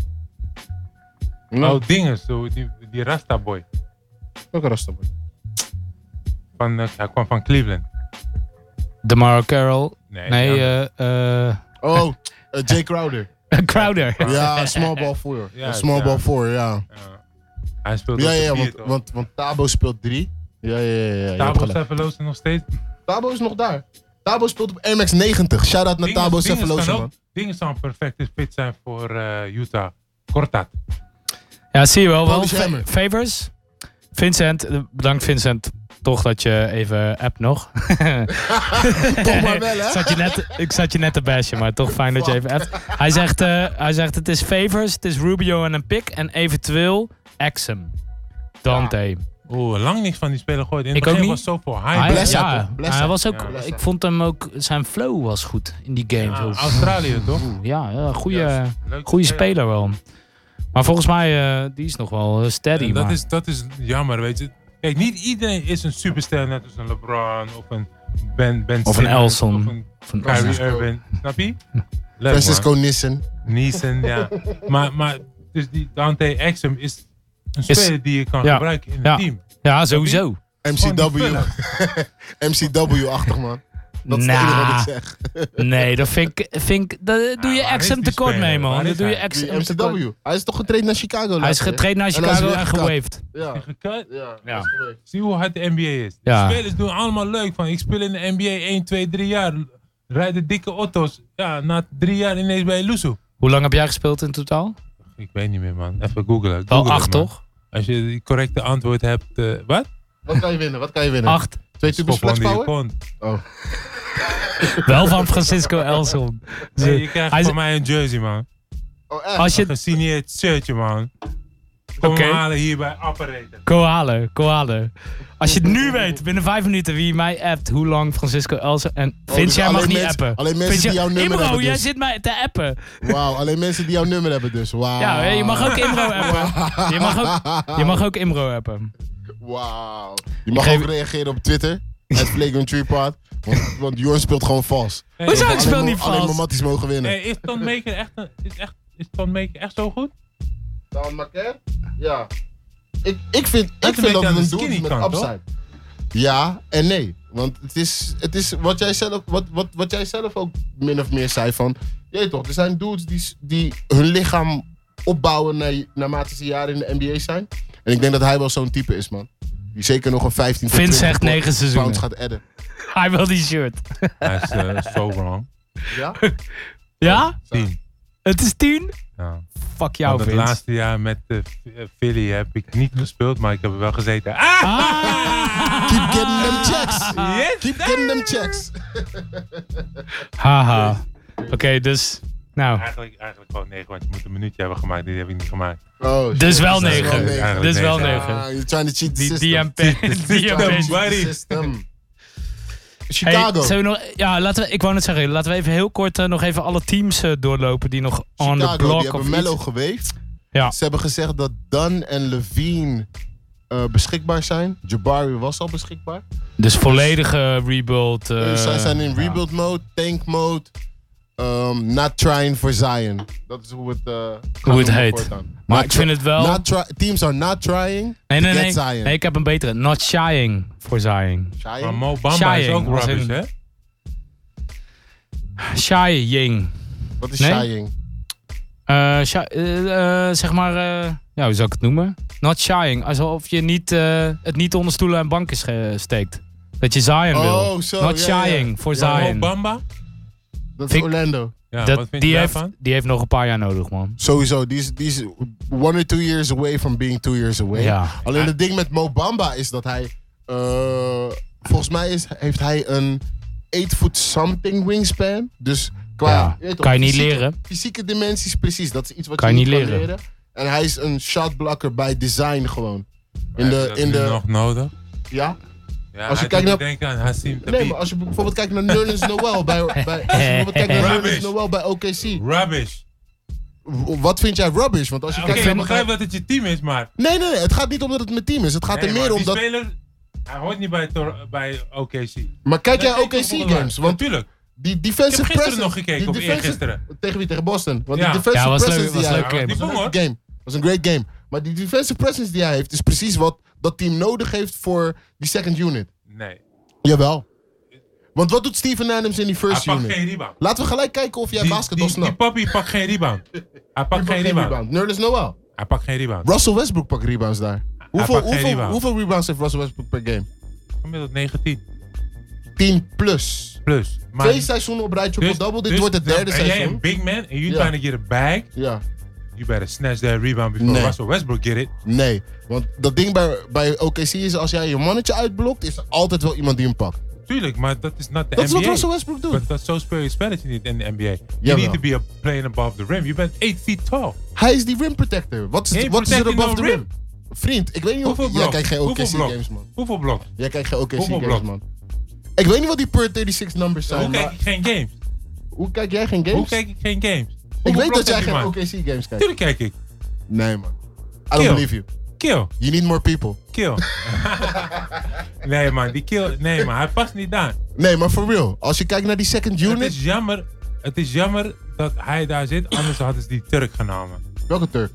Speaker 4: Nou,
Speaker 5: Oh, dinges. zo, Die, die Rasta boy.
Speaker 4: ook een rasta boy.
Speaker 5: Van, eh, hij kwam van Cleveland.
Speaker 3: DeMar Carroll.
Speaker 5: Nee,
Speaker 3: Nee,
Speaker 5: ja.
Speaker 3: eh, eh,
Speaker 4: Oh, eh, Jay Crowder.
Speaker 3: Crowder.
Speaker 4: Ja, small ball four.
Speaker 5: Ja,
Speaker 4: small
Speaker 5: ja.
Speaker 4: ball four, ja.
Speaker 5: Ja. Hij speelt
Speaker 4: Ja,
Speaker 5: op de
Speaker 4: ja,
Speaker 5: vier,
Speaker 4: want-
Speaker 5: toch?
Speaker 6: Want, want Tabo speelt drie. Ja, ja, ja. ja, je hebt
Speaker 5: Tabo
Speaker 6: gelijk.
Speaker 5: Seveloos nog steeds.
Speaker 4: Tabo is nog daar. Tabo speelt op MX90. Shout-out naar
Speaker 5: Dinges-
Speaker 4: Tabo
Speaker 5: Dinges
Speaker 4: Cephalosha,
Speaker 5: kan
Speaker 4: man.
Speaker 5: ook- Dinges zou een perfecte fit zijn voor eh, Utah. Kortat.
Speaker 3: Ja, zie je wel. wel.
Speaker 4: Polish Hammer.
Speaker 3: Fa- Favors. Vincent, eh, bedankt Vincent. Toch dat je even app nog.
Speaker 4: Toch maar wel,
Speaker 3: ik,
Speaker 4: hè?
Speaker 3: zat je net, ik zat je net te bashen, maar toch fijn dat je even appt. Hij zegt, eh, hij zegt het is Favors, het is Rubio en een pick en eventueel Exum. Dante.
Speaker 5: Oeh, lang niks van die speler gooit. In het
Speaker 3: Ik
Speaker 5: begin
Speaker 3: ook
Speaker 5: was zoveel hype. Ah,
Speaker 3: Hij,
Speaker 4: Blessa
Speaker 3: ja,
Speaker 4: toch? Blessa.
Speaker 3: hij was ook,
Speaker 5: Ja, Blessa.
Speaker 3: ik vond hem ook, zijn flow was goed in die game.
Speaker 5: Ja,
Speaker 3: Zo.
Speaker 5: Australië toch?
Speaker 3: Ja, ja goede,
Speaker 5: Juist. Leuke
Speaker 3: goede speler wel. Maar volgens mij, eh, die is nog wel eh, steady.
Speaker 5: En dat,
Speaker 3: maar-
Speaker 5: is, dat is jammer, weet je. Kijk, niet iedereen is een superster net als een LeBron of een Ben, ben
Speaker 3: Of een
Speaker 5: Simmons
Speaker 3: Elson.
Speaker 5: Of een
Speaker 3: van,
Speaker 5: Kyrie Irving. Snap je? Let
Speaker 4: Francisco Nissen.
Speaker 5: man. Neeson, ja. Maar, maar dus die Dante Exum is een speler die je kan
Speaker 3: ja,
Speaker 5: gebruiken in het
Speaker 3: ja.
Speaker 5: team.
Speaker 3: ja, sowieso.
Speaker 4: MCW. MCW-achtig, man. Dat is het enige wat ik
Speaker 3: Nah,
Speaker 4: zeg.
Speaker 3: nee, dat vind ik, vind ik, dat doe
Speaker 5: Ja,
Speaker 3: je
Speaker 5: waar is
Speaker 3: exem
Speaker 5: die
Speaker 3: tekort
Speaker 5: speler?
Speaker 3: mee,
Speaker 5: Waar
Speaker 3: man.
Speaker 5: is
Speaker 3: Dat doe je
Speaker 5: hij?
Speaker 4: Die
Speaker 3: exem tekort.
Speaker 4: MCW. Hij is toch getraind naar Chicago?
Speaker 3: Hij is getraind naar
Speaker 4: En hij is
Speaker 3: Chicago
Speaker 4: weer
Speaker 3: en
Speaker 4: gekapt.
Speaker 3: gewaved.
Speaker 4: Ja,
Speaker 5: Gekut.
Speaker 4: ja.
Speaker 3: Ja.
Speaker 5: Zie hoe hard de NBA is.
Speaker 3: Ja.
Speaker 5: De spelers doen allemaal leuk van ik speel in de NBA 1, 2, 3 jaar. Rijden dikke auto's. Ja, na drie jaar ineens bij Lusso.
Speaker 3: Hoe lang heb jij gespeeld in totaal?
Speaker 5: Ik weet niet meer man. Even googlen.
Speaker 3: Wel
Speaker 5: Google het,
Speaker 3: acht,
Speaker 5: man.
Speaker 3: toch?
Speaker 5: Als je het correcte antwoord hebt. eh, wat?
Speaker 6: Wat kan je winnen? Wat kan je winnen?
Speaker 3: Acht.
Speaker 6: Twee tubes
Speaker 5: Schop onder je
Speaker 6: flexpower?
Speaker 5: kont.
Speaker 3: Wel van Francisco Elson.
Speaker 5: Nee, je krijgt
Speaker 3: Hij
Speaker 5: van
Speaker 3: is-
Speaker 5: mij een jersey man.
Speaker 6: Oh, echt?
Speaker 3: Als
Speaker 5: Een
Speaker 3: je...
Speaker 5: gesigneerd shirtje man. Kom
Speaker 3: Oké.
Speaker 5: hem halen hier bij Apparator.
Speaker 3: Koale, koale. Als je het nu weet, binnen vijf minuten, wie mij appt, hoe lang Francisco Elson... En
Speaker 4: Oh,
Speaker 3: Vince,
Speaker 4: dus
Speaker 3: jij mag
Speaker 4: alleen
Speaker 3: niet
Speaker 4: mensen-
Speaker 3: appen.
Speaker 4: alleen mensen
Speaker 3: Vince,
Speaker 4: die jouw nummer
Speaker 3: Imro,
Speaker 4: hebben
Speaker 3: jij
Speaker 4: dus.
Speaker 3: zit mij te appen.
Speaker 4: Wauw, alleen mensen die jouw nummer hebben dus. Wauw.
Speaker 3: Ja, je mag
Speaker 4: Ah.
Speaker 3: ook Imro appen. Je mag ook, je mag ook Imro appen.
Speaker 4: Wauw. Je mag
Speaker 3: Ik geef-
Speaker 4: ook reageren op Twitter. Het Flagrant Tree Pod. Want, want Jorn speelt gewoon vast.
Speaker 3: Hoezo?
Speaker 5: Hey,
Speaker 3: Ik speel
Speaker 4: Alleen
Speaker 3: niet
Speaker 4: maar- Alleen
Speaker 3: vals.
Speaker 4: maar Matties mogen winnen.
Speaker 5: hey, Eh, is Ton Maker echt, een- is echt, is Ton Maker echt zo goed?
Speaker 4: Nou,
Speaker 6: Dan Maker? Ja.
Speaker 4: Ik, ik vind,
Speaker 5: een
Speaker 4: ik
Speaker 5: beetje
Speaker 4: vind dat
Speaker 5: aan
Speaker 4: het
Speaker 5: de
Speaker 4: een doel is
Speaker 5: skinny
Speaker 4: met
Speaker 5: kant, toch?
Speaker 4: upside. Ja en nee. Want het is, het is wat, jij zelf, wat, wat, wat jij zelf ook min of meer zei van... Je weet toch, er zijn dudes die, s- die hun lichaam opbouwen naar, naarmate ze jaren in de NBA zijn. En ik denk dat hij wel zo'n type is, man. Die zeker nog een 15 tot
Speaker 3: Vince
Speaker 4: 20
Speaker 3: zegt
Speaker 4: pond-
Speaker 3: negen seizoenen.
Speaker 4: pounds gaat adden.
Speaker 3: Hij wil die shirt.
Speaker 5: Hij is eh, zo lang.
Speaker 4: Ja?
Speaker 3: Ja?
Speaker 5: Tien.
Speaker 3: Het is tien?
Speaker 5: Ja.
Speaker 3: Fuck jou,
Speaker 4: Oh,
Speaker 5: Want het
Speaker 3: Vince.
Speaker 5: laatste jaar met eh, eh, Philly heb ik niet gespeeld, maar ik heb er wel gezeten. Ah!
Speaker 3: Ah!
Speaker 4: Keep getting them checks.
Speaker 5: Yes,
Speaker 4: Keep getting them checks.
Speaker 3: Haha. Oké, dus... Nou,
Speaker 5: Eigenlijk, eigenlijk gewoon 9, want je moet een minuutje hebben gemaakt. Die heb ik niet gemaakt.
Speaker 4: Oh, shit.
Speaker 3: dus wel
Speaker 4: Dat is
Speaker 3: negen.
Speaker 4: negen.
Speaker 5: Eigenlijk
Speaker 3: Dus wel
Speaker 5: negen.
Speaker 3: negen.
Speaker 4: Ah, you're trying to cheat the
Speaker 3: Die
Speaker 4: system.
Speaker 3: DMP.
Speaker 4: Trying to
Speaker 3: DMP.
Speaker 4: cheat the
Speaker 5: Buddy.
Speaker 4: system.
Speaker 3: Hey,
Speaker 4: Chicago.
Speaker 3: zullen we nog, ja, laten we, ik wou net zeggen, laten we even heel kort eh, nog even alle teams eh, doorlopen die nog on the
Speaker 4: Chicago,
Speaker 3: block
Speaker 4: die
Speaker 3: of
Speaker 4: hebben Mello
Speaker 3: iets-
Speaker 4: geweest.
Speaker 3: Ja.
Speaker 4: Ze hebben gezegd dat Dunn en Levine eh, beschikbaar zijn. Jabari was al beschikbaar.
Speaker 3: Dus volledige rebuild. eh,
Speaker 4: dus zij zijn in
Speaker 3: ja.
Speaker 4: rebuild mode, tank mode. ehm, not trying for Zion. Dat is hoe het, eh, gaat
Speaker 3: Hoe het
Speaker 4: noemen
Speaker 3: heet.
Speaker 4: voortaan.
Speaker 3: Maar
Speaker 4: Not
Speaker 3: ik
Speaker 4: try-
Speaker 3: vind het wel.
Speaker 4: not try- teams are not trying
Speaker 3: nee, nee,
Speaker 4: to
Speaker 3: nee,
Speaker 4: get Zion.
Speaker 3: nee. Ik heb een betere. Not shying voor Zion.
Speaker 4: Zion?
Speaker 5: Maar Mo Bamba is
Speaker 3: Shying,
Speaker 5: ook
Speaker 3: als
Speaker 5: rubbish,
Speaker 3: in-
Speaker 5: hè?
Speaker 3: Shying.
Speaker 4: Wat is
Speaker 3: Nee?
Speaker 4: Shying?
Speaker 3: Eh, shy- eh, eh, zeg maar, eh, ja, hoe zou ik het noemen? Not shying. Alsof je niet, eh, het niet onder stoelen en banken sche- steekt. Dat je Zion wil.
Speaker 4: Oh, zo.
Speaker 3: Not
Speaker 4: ja, ja.
Speaker 3: shying voor
Speaker 4: Ja,
Speaker 5: Mo
Speaker 3: Zion.
Speaker 5: Bamba?
Speaker 4: Dat is
Speaker 3: Vind-
Speaker 4: Orlando.
Speaker 5: Ja, wat
Speaker 3: Dat,
Speaker 5: vind je
Speaker 3: die, heeft,
Speaker 5: daarvan?
Speaker 3: die heeft nog een paar jaar nodig, man.
Speaker 4: Sowieso, die is, die is one or two years away from being two years away.
Speaker 3: Ja.
Speaker 4: Alleen het ding met Mo Bamba is dat hij. eh, volgens mij is, heeft hij een 8 foot something wingspan. Dus qua.
Speaker 3: Ja,
Speaker 4: je weet
Speaker 3: kan je
Speaker 4: toch,
Speaker 3: niet
Speaker 4: fysieke-
Speaker 3: leren.
Speaker 4: Fysieke dimensies, precies. Dat is iets wat
Speaker 3: Kan
Speaker 4: je
Speaker 3: je
Speaker 4: niet
Speaker 3: niet
Speaker 4: kan
Speaker 3: leren.
Speaker 4: leren. En hij is een shotblocker bij design gewoon. In
Speaker 5: Heb je
Speaker 4: de,
Speaker 5: dat
Speaker 4: in
Speaker 5: nu
Speaker 4: de,
Speaker 5: nog nodig?
Speaker 4: ja?
Speaker 5: Ja,
Speaker 4: Als je
Speaker 5: hij
Speaker 4: kijkt
Speaker 5: doet
Speaker 4: naar-
Speaker 5: me denken aan Hassim
Speaker 4: Nee,
Speaker 5: Tabit.
Speaker 4: maar als je bijvoorbeeld kijkt naar Nerlens Noel bij, bij, als je bijvoorbeeld kijkt naar Nerlens
Speaker 5: Rubbish.
Speaker 4: Noel bij OKC.
Speaker 5: Rubbish.
Speaker 4: w- Wat vind jij rubbish? Want als je
Speaker 5: Oké,
Speaker 4: kijkt
Speaker 5: ik
Speaker 4: naar-
Speaker 5: begrijp dat het je team is, maar...
Speaker 4: Nee, nee, nee. Het gaat niet om dat het mijn team is. Het gaat
Speaker 5: Nee,
Speaker 4: er
Speaker 5: maar
Speaker 4: meer om
Speaker 5: die
Speaker 4: dat.
Speaker 5: speler, hij hoort niet bij, Tor- bij OKC.
Speaker 4: Maar kijk
Speaker 5: Dat
Speaker 4: jij
Speaker 5: weet ik nog wel
Speaker 4: OKC
Speaker 5: waar.
Speaker 4: games? Want
Speaker 5: Natuurlijk.
Speaker 4: die
Speaker 5: Ik heb
Speaker 4: defensive
Speaker 5: gisteren
Speaker 4: presence.
Speaker 5: nog gekeken,
Speaker 4: die
Speaker 5: of
Speaker 4: defensive-
Speaker 5: eergisteren.
Speaker 4: Tegen wie? Tegen Boston. Want
Speaker 5: Ja.
Speaker 4: die defensive
Speaker 3: Ja, was leuk,
Speaker 4: presence die
Speaker 3: was
Speaker 4: hij
Speaker 3: leuk
Speaker 4: heeft.
Speaker 3: game.
Speaker 5: Die
Speaker 4: was
Speaker 5: vong,
Speaker 4: een
Speaker 5: hoor.
Speaker 4: leuke game. was een great game. Maar die defensive presence die hij heeft is precies wat dat team nodig heeft voor die second unit.
Speaker 5: Nee.
Speaker 4: Jawel. Want wat doet Steven Adams in
Speaker 5: Hij
Speaker 4: die first
Speaker 5: pakt
Speaker 4: unit?
Speaker 5: geen rebound.
Speaker 4: Laten we gelijk kijken of jij
Speaker 5: Die,
Speaker 4: basketbal
Speaker 5: die, die
Speaker 4: snapt.
Speaker 5: papi pakt geen rebound. Hij pakt
Speaker 4: Die
Speaker 5: geen
Speaker 4: pakt
Speaker 5: rebound.
Speaker 4: Nerlens Noel.
Speaker 5: Hij pakt geen rebound.
Speaker 4: Russell Westbrook pakt rebounds daar. Hoeveel,
Speaker 5: pakt geen
Speaker 4: hoeveel,
Speaker 5: rebound.
Speaker 4: hoeveel rebounds heeft Russell Westbrook per game?
Speaker 5: Gemiddeld 19
Speaker 4: 10 plus.
Speaker 5: plus. Maar
Speaker 4: Twee seizoenen op rij, triple-double. Dit
Speaker 5: dus-
Speaker 4: wordt het
Speaker 5: dus-
Speaker 4: derde
Speaker 5: en jij
Speaker 4: seizoen.
Speaker 5: een big man en you
Speaker 4: Ja.
Speaker 5: trying to get a bag.
Speaker 4: Ja,
Speaker 5: You better snatch that rebound before
Speaker 4: Nee.
Speaker 5: Russell Westbrook get it.
Speaker 4: nee. Want dat ding bij, bij OKC is als jij je mannetje uitblokt, is er altijd wel iemand die hem pakt.
Speaker 5: Tuurlijk, maar dat is not the
Speaker 4: Dat is
Speaker 5: NBA.
Speaker 4: wat Russell Westbrook doet.
Speaker 5: dat, dat, zo speel je het spelletje niet in de NBA. You
Speaker 4: Jawel.
Speaker 5: need to be a playing above the rim. Je bent 8 feet tall.
Speaker 4: Hij is die rim protector. Wat is,
Speaker 5: Game
Speaker 4: wat is er
Speaker 5: protecting
Speaker 4: above the
Speaker 5: no
Speaker 4: rim?
Speaker 5: rim.
Speaker 4: Vriend, ik weet niet
Speaker 5: Hoeveel
Speaker 4: of jij
Speaker 5: blok?
Speaker 4: kijkt geen OKC
Speaker 5: Hoeveel blok?
Speaker 4: games, man.
Speaker 5: Hoeveel bloks?
Speaker 4: Jij kijkt geen OKC
Speaker 5: Hoeveel
Speaker 4: games,
Speaker 5: blok?
Speaker 4: man. Ik weet niet wat die per 36 numbers zijn,
Speaker 5: Hoe kijk
Speaker 4: maar
Speaker 5: ik geen games?
Speaker 4: hoe kijk jij geen
Speaker 5: Hoe
Speaker 4: games?
Speaker 5: kijk ik geen games? Hoeveel
Speaker 4: ik weet
Speaker 5: bloks
Speaker 4: dat jij
Speaker 5: heb je,
Speaker 4: geen
Speaker 5: man?
Speaker 4: OKC games kijkt.
Speaker 5: Tuurlijk kijk ik.
Speaker 4: Nee, man. I don't
Speaker 5: Kill.
Speaker 4: believe you.
Speaker 5: Kill,
Speaker 4: You need more people.
Speaker 5: kill. nee man, die kill, nee man, hij past niet aan.
Speaker 4: Nee, maar for real. Als je kijkt naar die second
Speaker 5: Het
Speaker 4: unit.
Speaker 5: is jammer, het is jammer dat hij daar zit, anders hadden ze die Turk genomen.
Speaker 4: Welke Turk?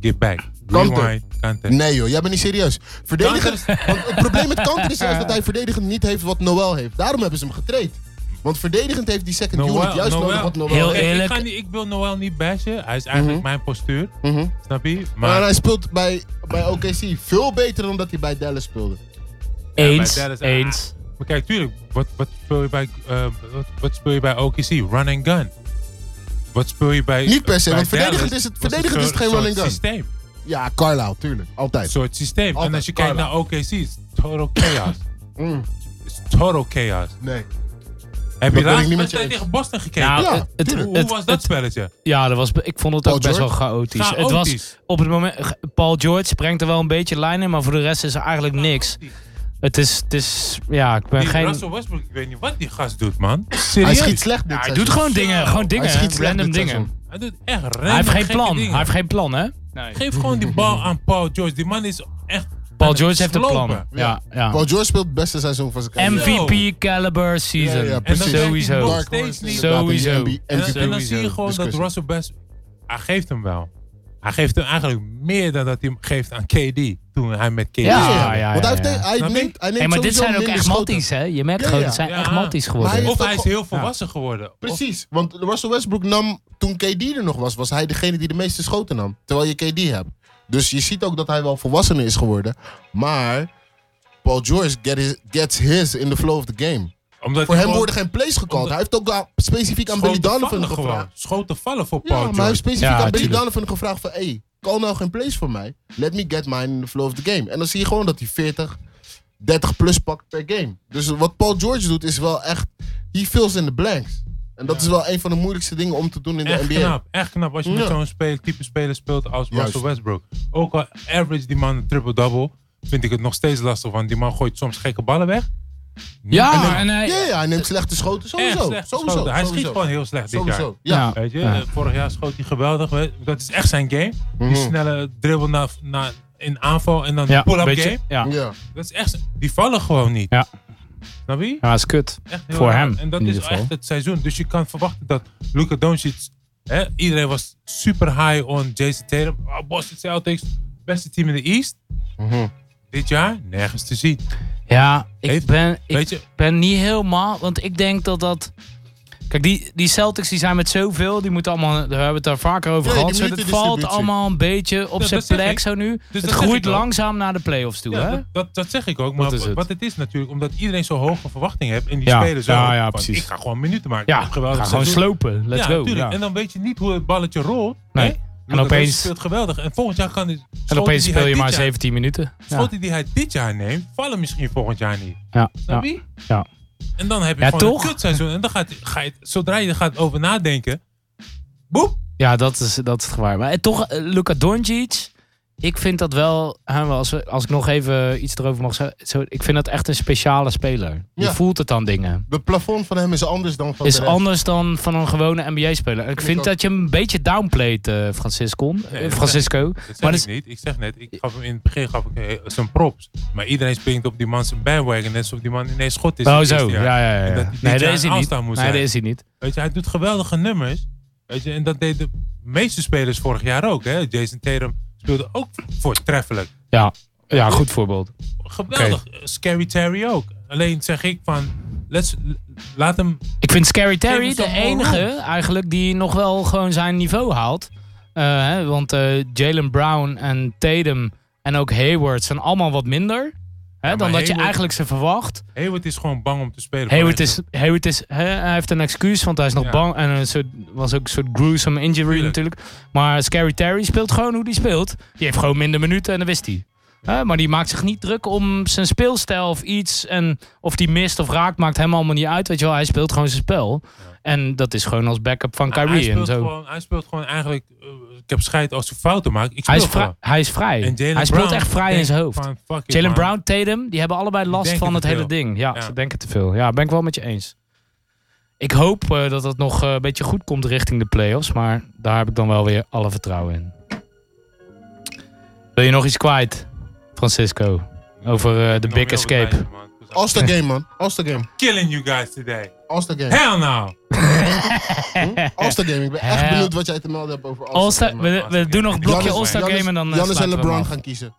Speaker 5: Get back.
Speaker 4: Kanter.
Speaker 5: Rewind, kanter.
Speaker 4: Nee joh, jij bent niet serieus. Verdedigend, want het probleem met Kanter is juist dat hij verdedigend niet heeft wat Noel heeft. Daarom hebben ze hem getraind. Want verdedigend heeft die second
Speaker 5: Noel,
Speaker 4: unit juist
Speaker 5: Noel.
Speaker 4: nodig wat Noel
Speaker 3: Heel
Speaker 4: heeft.
Speaker 3: erg.
Speaker 5: Kijk, ik,
Speaker 3: Eerlijk.
Speaker 5: ga niet, ik wil Noel niet bashen, hij is eigenlijk mijn postuur,
Speaker 4: Mhm.
Speaker 5: snap je?
Speaker 4: Maar
Speaker 5: Maar
Speaker 4: hij speelt bij, bij OKC veel beter dan dat hij bij Dallas speelde.
Speaker 3: Eens,
Speaker 5: maar dat is-
Speaker 3: eens.
Speaker 5: Maar kijk, tuurlijk, wat, wat, speel je bij, eh, wat, wat speel je bij OKC? Run and gun. Wat speel je bij.
Speaker 4: Niet per se,
Speaker 5: bij
Speaker 4: want verdedigend
Speaker 5: Dallas
Speaker 4: is het-
Speaker 5: was
Speaker 4: verdedigend is het geen
Speaker 5: soort
Speaker 4: run and gun.
Speaker 5: Systeem.
Speaker 4: Ja, Carlisle, tuurlijk.
Speaker 5: Een
Speaker 4: Altijd.
Speaker 5: soort systeem.
Speaker 4: Altijd,
Speaker 5: en als je kijkt
Speaker 4: Carla.
Speaker 5: naar OKC, het is total chaos.
Speaker 4: Mm,
Speaker 5: Het is total chaos.
Speaker 4: nee.
Speaker 5: Heb je
Speaker 4: ben ik
Speaker 5: laatst
Speaker 4: niet met je
Speaker 5: wedstrijd
Speaker 4: eens.
Speaker 5: tegen Boston gekeken?
Speaker 3: Nou,
Speaker 4: Ja,
Speaker 3: het- het,
Speaker 4: tuurlijk.
Speaker 5: Hoe
Speaker 3: het-
Speaker 5: was dat
Speaker 3: het-
Speaker 5: spelletje?
Speaker 3: ja, dat was, ik vond het
Speaker 4: Paul
Speaker 3: ook best wel
Speaker 4: George?
Speaker 3: chaotisch. Het was
Speaker 5: Chaotisch.
Speaker 3: op het moment. Paul George brengt er wel een beetje lijn in, maar voor de rest is er eigenlijk niks. Het is, het is ja, ik ben
Speaker 5: Die
Speaker 3: geen.
Speaker 5: Russell Westbrook, ik weet niet wat die gast doet, man.
Speaker 4: Hij
Speaker 3: Serieus?
Speaker 4: schiet slecht dit
Speaker 3: Ja, hij
Speaker 4: seizoen.
Speaker 3: doet gewoon dingen, gewoon dingen,
Speaker 4: Hij schiet
Speaker 3: hè,
Speaker 4: slecht
Speaker 3: random
Speaker 4: dit
Speaker 3: dingen.
Speaker 4: seizoen.
Speaker 5: Hij doet echt random
Speaker 3: Hij heeft geen
Speaker 5: gekke
Speaker 3: plan.
Speaker 5: dingen.
Speaker 3: Hij heeft geen plan, hè?
Speaker 5: Geef gewoon die bal aan Paul George. Die man is echt.
Speaker 3: Paul
Speaker 5: aan het
Speaker 3: George heeft een plan.
Speaker 5: slopen.
Speaker 3: Ja, ja.
Speaker 4: Paul George speelt het beste seizoen van zijn carrière.
Speaker 3: MVP caliber season.
Speaker 4: Ja, ja,
Speaker 5: En
Speaker 4: precies.
Speaker 5: dan krijgt hij
Speaker 3: Sowieso.
Speaker 5: nog
Speaker 4: Dark
Speaker 5: steeds
Speaker 4: Horse
Speaker 5: niet.
Speaker 4: inderdaad in die
Speaker 3: Sowieso.
Speaker 4: NBA
Speaker 5: En, dan- en dan zie je
Speaker 4: MVP
Speaker 5: gewoon dat
Speaker 4: discussie.
Speaker 5: Russell West. Hij geeft hem wel. Hij geeft hem eigenlijk meer dan dat hij hem geeft aan KD. Toen hij met KD
Speaker 3: Ja,
Speaker 5: speelde.
Speaker 3: ja, ja,
Speaker 4: Want hij,
Speaker 3: ja,
Speaker 4: heeft-
Speaker 3: ja.
Speaker 4: hij
Speaker 5: Snap je?
Speaker 4: neemt, hij neemt
Speaker 3: Hey, maar dit
Speaker 4: sowieso
Speaker 3: zijn ook
Speaker 4: minder
Speaker 3: echt
Speaker 4: schoten.
Speaker 3: matties, hè? Je merkt
Speaker 4: Ja,
Speaker 3: gewoon,
Speaker 4: ja.
Speaker 3: het zijn
Speaker 5: Ja.
Speaker 3: echt matties
Speaker 4: Maar
Speaker 3: geworden.
Speaker 4: hij-
Speaker 5: Of hij is
Speaker 4: Toch wel-
Speaker 5: heel volwassen geworden. Of,
Speaker 4: Precies, want Russell Westbrook nam toen KD er nog was, was hij degene die de meeste schoten nam. Terwijl je KD hebt. Dus je ziet ook dat hij wel volwassener is geworden. Maar Paul George get his- gets his in the flow of the game.
Speaker 5: omdat
Speaker 4: Voor
Speaker 5: hij
Speaker 4: hem
Speaker 5: gewoon
Speaker 4: worden geen plays gecalled.
Speaker 5: omdat-
Speaker 4: Hij heeft ook aan- specifiek aan Billy
Speaker 5: schoten
Speaker 4: Donovan
Speaker 5: vallen
Speaker 4: gevraagd.
Speaker 5: gewoon. Schoten vallen voor
Speaker 4: Ja,
Speaker 5: Paul
Speaker 4: maar hij heeft
Speaker 5: George.
Speaker 4: specifiek
Speaker 3: Ja,
Speaker 4: aan Billy
Speaker 3: tuurlijk.
Speaker 4: Donovan gevraagd van... Hey, call nou geen plays voor mij. Let me get mine in the flow of the game. En dan zie je gewoon dat hij 40, 30 plus pakt per game. Dus wat Paul George doet is wel echt... He fills in the blanks. En dat is wel een van de moeilijkste dingen om te doen in
Speaker 5: Echt
Speaker 4: de NBA.
Speaker 5: knap, echt knap als je met
Speaker 4: Ja.
Speaker 5: zo'n speel- type speler speelt als
Speaker 4: Juist.
Speaker 5: Russell Westbrook. Ook al average die man een triple-double, vind ik het nog steeds lastig, want die man gooit soms gekke ballen weg.
Speaker 3: Ja, en eh,
Speaker 4: Ja,
Speaker 3: hij.
Speaker 4: ja, hij neemt slechte schoten.
Speaker 5: Echt
Speaker 4: Sowieso.
Speaker 5: slecht
Speaker 4: sowieso
Speaker 5: geschoten. Hij
Speaker 4: sowieso.
Speaker 5: schiet gewoon heel slecht dit
Speaker 4: Sowieso. Ja.
Speaker 5: jaar. Weet je,
Speaker 3: Ja.
Speaker 5: eh, vorig jaar schoot hij geweldig. weet- Dat is echt zijn game. Die
Speaker 4: Mhm.
Speaker 5: snelle dribbel naar, naar, in aanval en dan
Speaker 3: Ja,
Speaker 5: pull-up
Speaker 3: weet je?
Speaker 5: game.
Speaker 3: Ja.
Speaker 4: ja.
Speaker 5: Dat is echt, z- die vallen gewoon niet.
Speaker 3: Ja.
Speaker 5: Snap je?
Speaker 3: Ja, is kut.
Speaker 5: Echt heel
Speaker 3: Voor
Speaker 5: raar.
Speaker 3: hem,
Speaker 5: En dat
Speaker 3: in
Speaker 5: is
Speaker 3: ieder geval.
Speaker 5: echt het seizoen. Dus je kan verwachten dat Luka Doncic... Hè, iedereen was super high on Jason Tatum. Oh, Boston Celtics, beste team in de East.
Speaker 4: Mhm.
Speaker 5: Dit jaar nergens te zien.
Speaker 3: Ja, ik
Speaker 5: Heeft-
Speaker 3: ben, ik
Speaker 5: weet je-
Speaker 3: ben niet helemaal, want ik denk dat dat... Kijk, die, die Celtics die zijn met zoveel, die moeten allemaal, daar hebben we het daar vaker over
Speaker 4: Ja,
Speaker 3: gehad.
Speaker 4: die
Speaker 3: Dus het valt
Speaker 4: minutendistributie.
Speaker 3: allemaal een beetje op
Speaker 5: Ja,
Speaker 3: zijn
Speaker 5: dat zeg
Speaker 3: plek
Speaker 5: ik. Dus
Speaker 3: zo nu.
Speaker 5: dat
Speaker 3: het
Speaker 5: zeg
Speaker 3: groeit
Speaker 5: ik ook.
Speaker 3: langzaam naar de playoffs toe,
Speaker 5: Ja,
Speaker 3: hè?
Speaker 5: dat, dat, dat zeg ik ook. Maar wat
Speaker 3: is
Speaker 5: het?
Speaker 3: het?
Speaker 5: is natuurlijk, omdat iedereen zo hoge verwachtingen heeft. En die
Speaker 3: Ja,
Speaker 5: spelers zo.
Speaker 3: ja, ja,
Speaker 5: van,
Speaker 3: precies.
Speaker 5: Ik ga gewoon minuten maken. Ik
Speaker 3: Ja,
Speaker 5: heb geweldig
Speaker 3: ga gewoon
Speaker 5: seizoen.
Speaker 3: slopen. Let's
Speaker 5: ja,
Speaker 3: go.
Speaker 5: tuurlijk.
Speaker 3: Ja.
Speaker 5: En dan weet je niet hoe het balletje rolt.
Speaker 3: Nee.
Speaker 5: hè?
Speaker 3: En
Speaker 5: Luka Doncic
Speaker 3: opeens-
Speaker 5: speelt geweldig. En volgend jaar kan hij...
Speaker 3: En opeens speel je maar 17 minuten. Ja,
Speaker 5: Schoten die hij dit jaar neemt, vallen misschien volgend jaar niet.
Speaker 3: ja,
Speaker 5: Snap
Speaker 3: ja.
Speaker 5: je?
Speaker 3: Ja.
Speaker 5: En dan heb je
Speaker 3: Ja,
Speaker 5: gewoon
Speaker 3: toch?
Speaker 5: een kutseizoen. En dan gaat, ga je, zodra je er gaat over nadenken... Boep!
Speaker 3: Ja, dat is, dat is het gewaar. Maar eh, toch, eh, Luka Doncic, ik vind dat wel, hè, wel als, we- als ik nog even iets erover mag zeggen. Zo, ik vind dat echt een speciale speler. Je
Speaker 4: Ja.
Speaker 3: voelt het aan dingen.
Speaker 4: Het plafond van hem is anders dan van
Speaker 3: is
Speaker 4: de rest.
Speaker 3: anders dan van een gewone NBA-speler. En Ik vind
Speaker 4: ook.
Speaker 3: dat je hem een beetje downplayt, eh Francisco. Eh,
Speaker 5: Nee, dat
Speaker 3: Francisco.
Speaker 5: Dat zeg
Speaker 3: Maar dus-
Speaker 5: ik
Speaker 3: dat
Speaker 5: niet. Ik zeg net, ik gaf hem in het begin gaf ik, eh, zijn props. Maar iedereen springt op die man zijn bandwagon. Net alsof die man ineens schot is.
Speaker 3: Oh,
Speaker 5: Het
Speaker 3: zo.
Speaker 5: eerste
Speaker 3: Ja,
Speaker 5: jaar.
Speaker 3: ja, ja.
Speaker 5: En
Speaker 3: ja.
Speaker 5: dat hij dit
Speaker 3: Nee, dat
Speaker 5: jaar
Speaker 3: is hij
Speaker 5: een
Speaker 3: niet.
Speaker 5: all-star moet
Speaker 3: Nee, dat
Speaker 5: zijn.
Speaker 3: is hij niet.
Speaker 5: Weet je, hij doet geweldige nummers. Weet je, en dat deden de meeste spelers vorig jaar ook. Hè? Jason Tatum speelde ook voortreffelijk.
Speaker 3: Ja. Ja, goed voorbeeld.
Speaker 5: Geweldig. Eh, Scary Terry ook. Alleen zeg ik van, let's, laat hem...
Speaker 3: Ik vind Scary Terry
Speaker 5: Geef
Speaker 3: de
Speaker 5: hem zo'n bal
Speaker 3: enige eigenlijk die nog wel gewoon zijn niveau haalt. Eh, hè, want eh, Jalen Brown en Tatum en ook Hayward zijn allemaal wat minder. Hè,
Speaker 5: maar
Speaker 3: dan dat je
Speaker 5: Hayward-
Speaker 3: eigenlijk ze verwacht.
Speaker 5: Hayward is gewoon bang om te spelen.
Speaker 3: Hayward, is, Hayward is, hè, hij heeft een excuus, want hij is nog
Speaker 5: Ja.
Speaker 3: bang. En een soort, was ook een soort gruesome injury
Speaker 5: Tuurlijk.
Speaker 3: natuurlijk. Maar Scary Terry speelt gewoon hoe die speelt. Die heeft gewoon minder minuten en dat wist hij. Hè, maar die maakt zich niet druk om zijn speelstijl of iets. En of die mist of raakt, maakt hem allemaal niet uit. Weet je wel, hij speelt gewoon zijn spel. En dat is gewoon als backup van
Speaker 5: Nou, Hij-
Speaker 3: Kyrie.
Speaker 5: hij,
Speaker 3: en
Speaker 5: speelt
Speaker 3: zo.
Speaker 5: Gewoon, hij speelt gewoon eigenlijk. eh, ik heb scheid als ze fouten maken. Ik speel
Speaker 3: Hij is,
Speaker 5: gewoon.
Speaker 3: vrij- hij is vrij.
Speaker 5: En Jalen
Speaker 3: Hij speelt
Speaker 5: Brown
Speaker 3: echt vrij in
Speaker 5: denkt
Speaker 3: zijn hoofd.
Speaker 5: van, fuck it,
Speaker 3: Jalen
Speaker 5: man.
Speaker 3: Brown, Tatum, die hebben allebei last
Speaker 5: denken
Speaker 3: van het
Speaker 5: te
Speaker 3: hele
Speaker 5: veel.
Speaker 3: ding. Ja,
Speaker 5: Ja.
Speaker 3: ze denken te veel. Ja, ben ik wel met je eens. Ik hoop eh, dat het nog eh, een beetje goed komt richting de playoffs. Maar daar heb ik dan wel weer alle vertrouwen in. Wil je nog iets kwijt, Francisco? Over eh, de
Speaker 5: Nog
Speaker 3: Big
Speaker 5: meer op het
Speaker 3: Escape.
Speaker 5: lijstje, man. Ik was al
Speaker 4: All-Star game, man. All-Star game.
Speaker 5: killing you guys today.
Speaker 4: All-Star game.
Speaker 5: Hell no.
Speaker 4: All-Star game. Ik ben echt
Speaker 3: Hell.
Speaker 4: benieuwd wat jij te melden hebt over All-Star
Speaker 3: All-Star, we,
Speaker 4: game.
Speaker 3: we doen nog een blokje
Speaker 5: Giannis-
Speaker 3: All-Star Game en dan eh,
Speaker 4: Jannis en
Speaker 3: sluiten we hem
Speaker 4: LeBron
Speaker 3: af.
Speaker 4: gaan kiezen.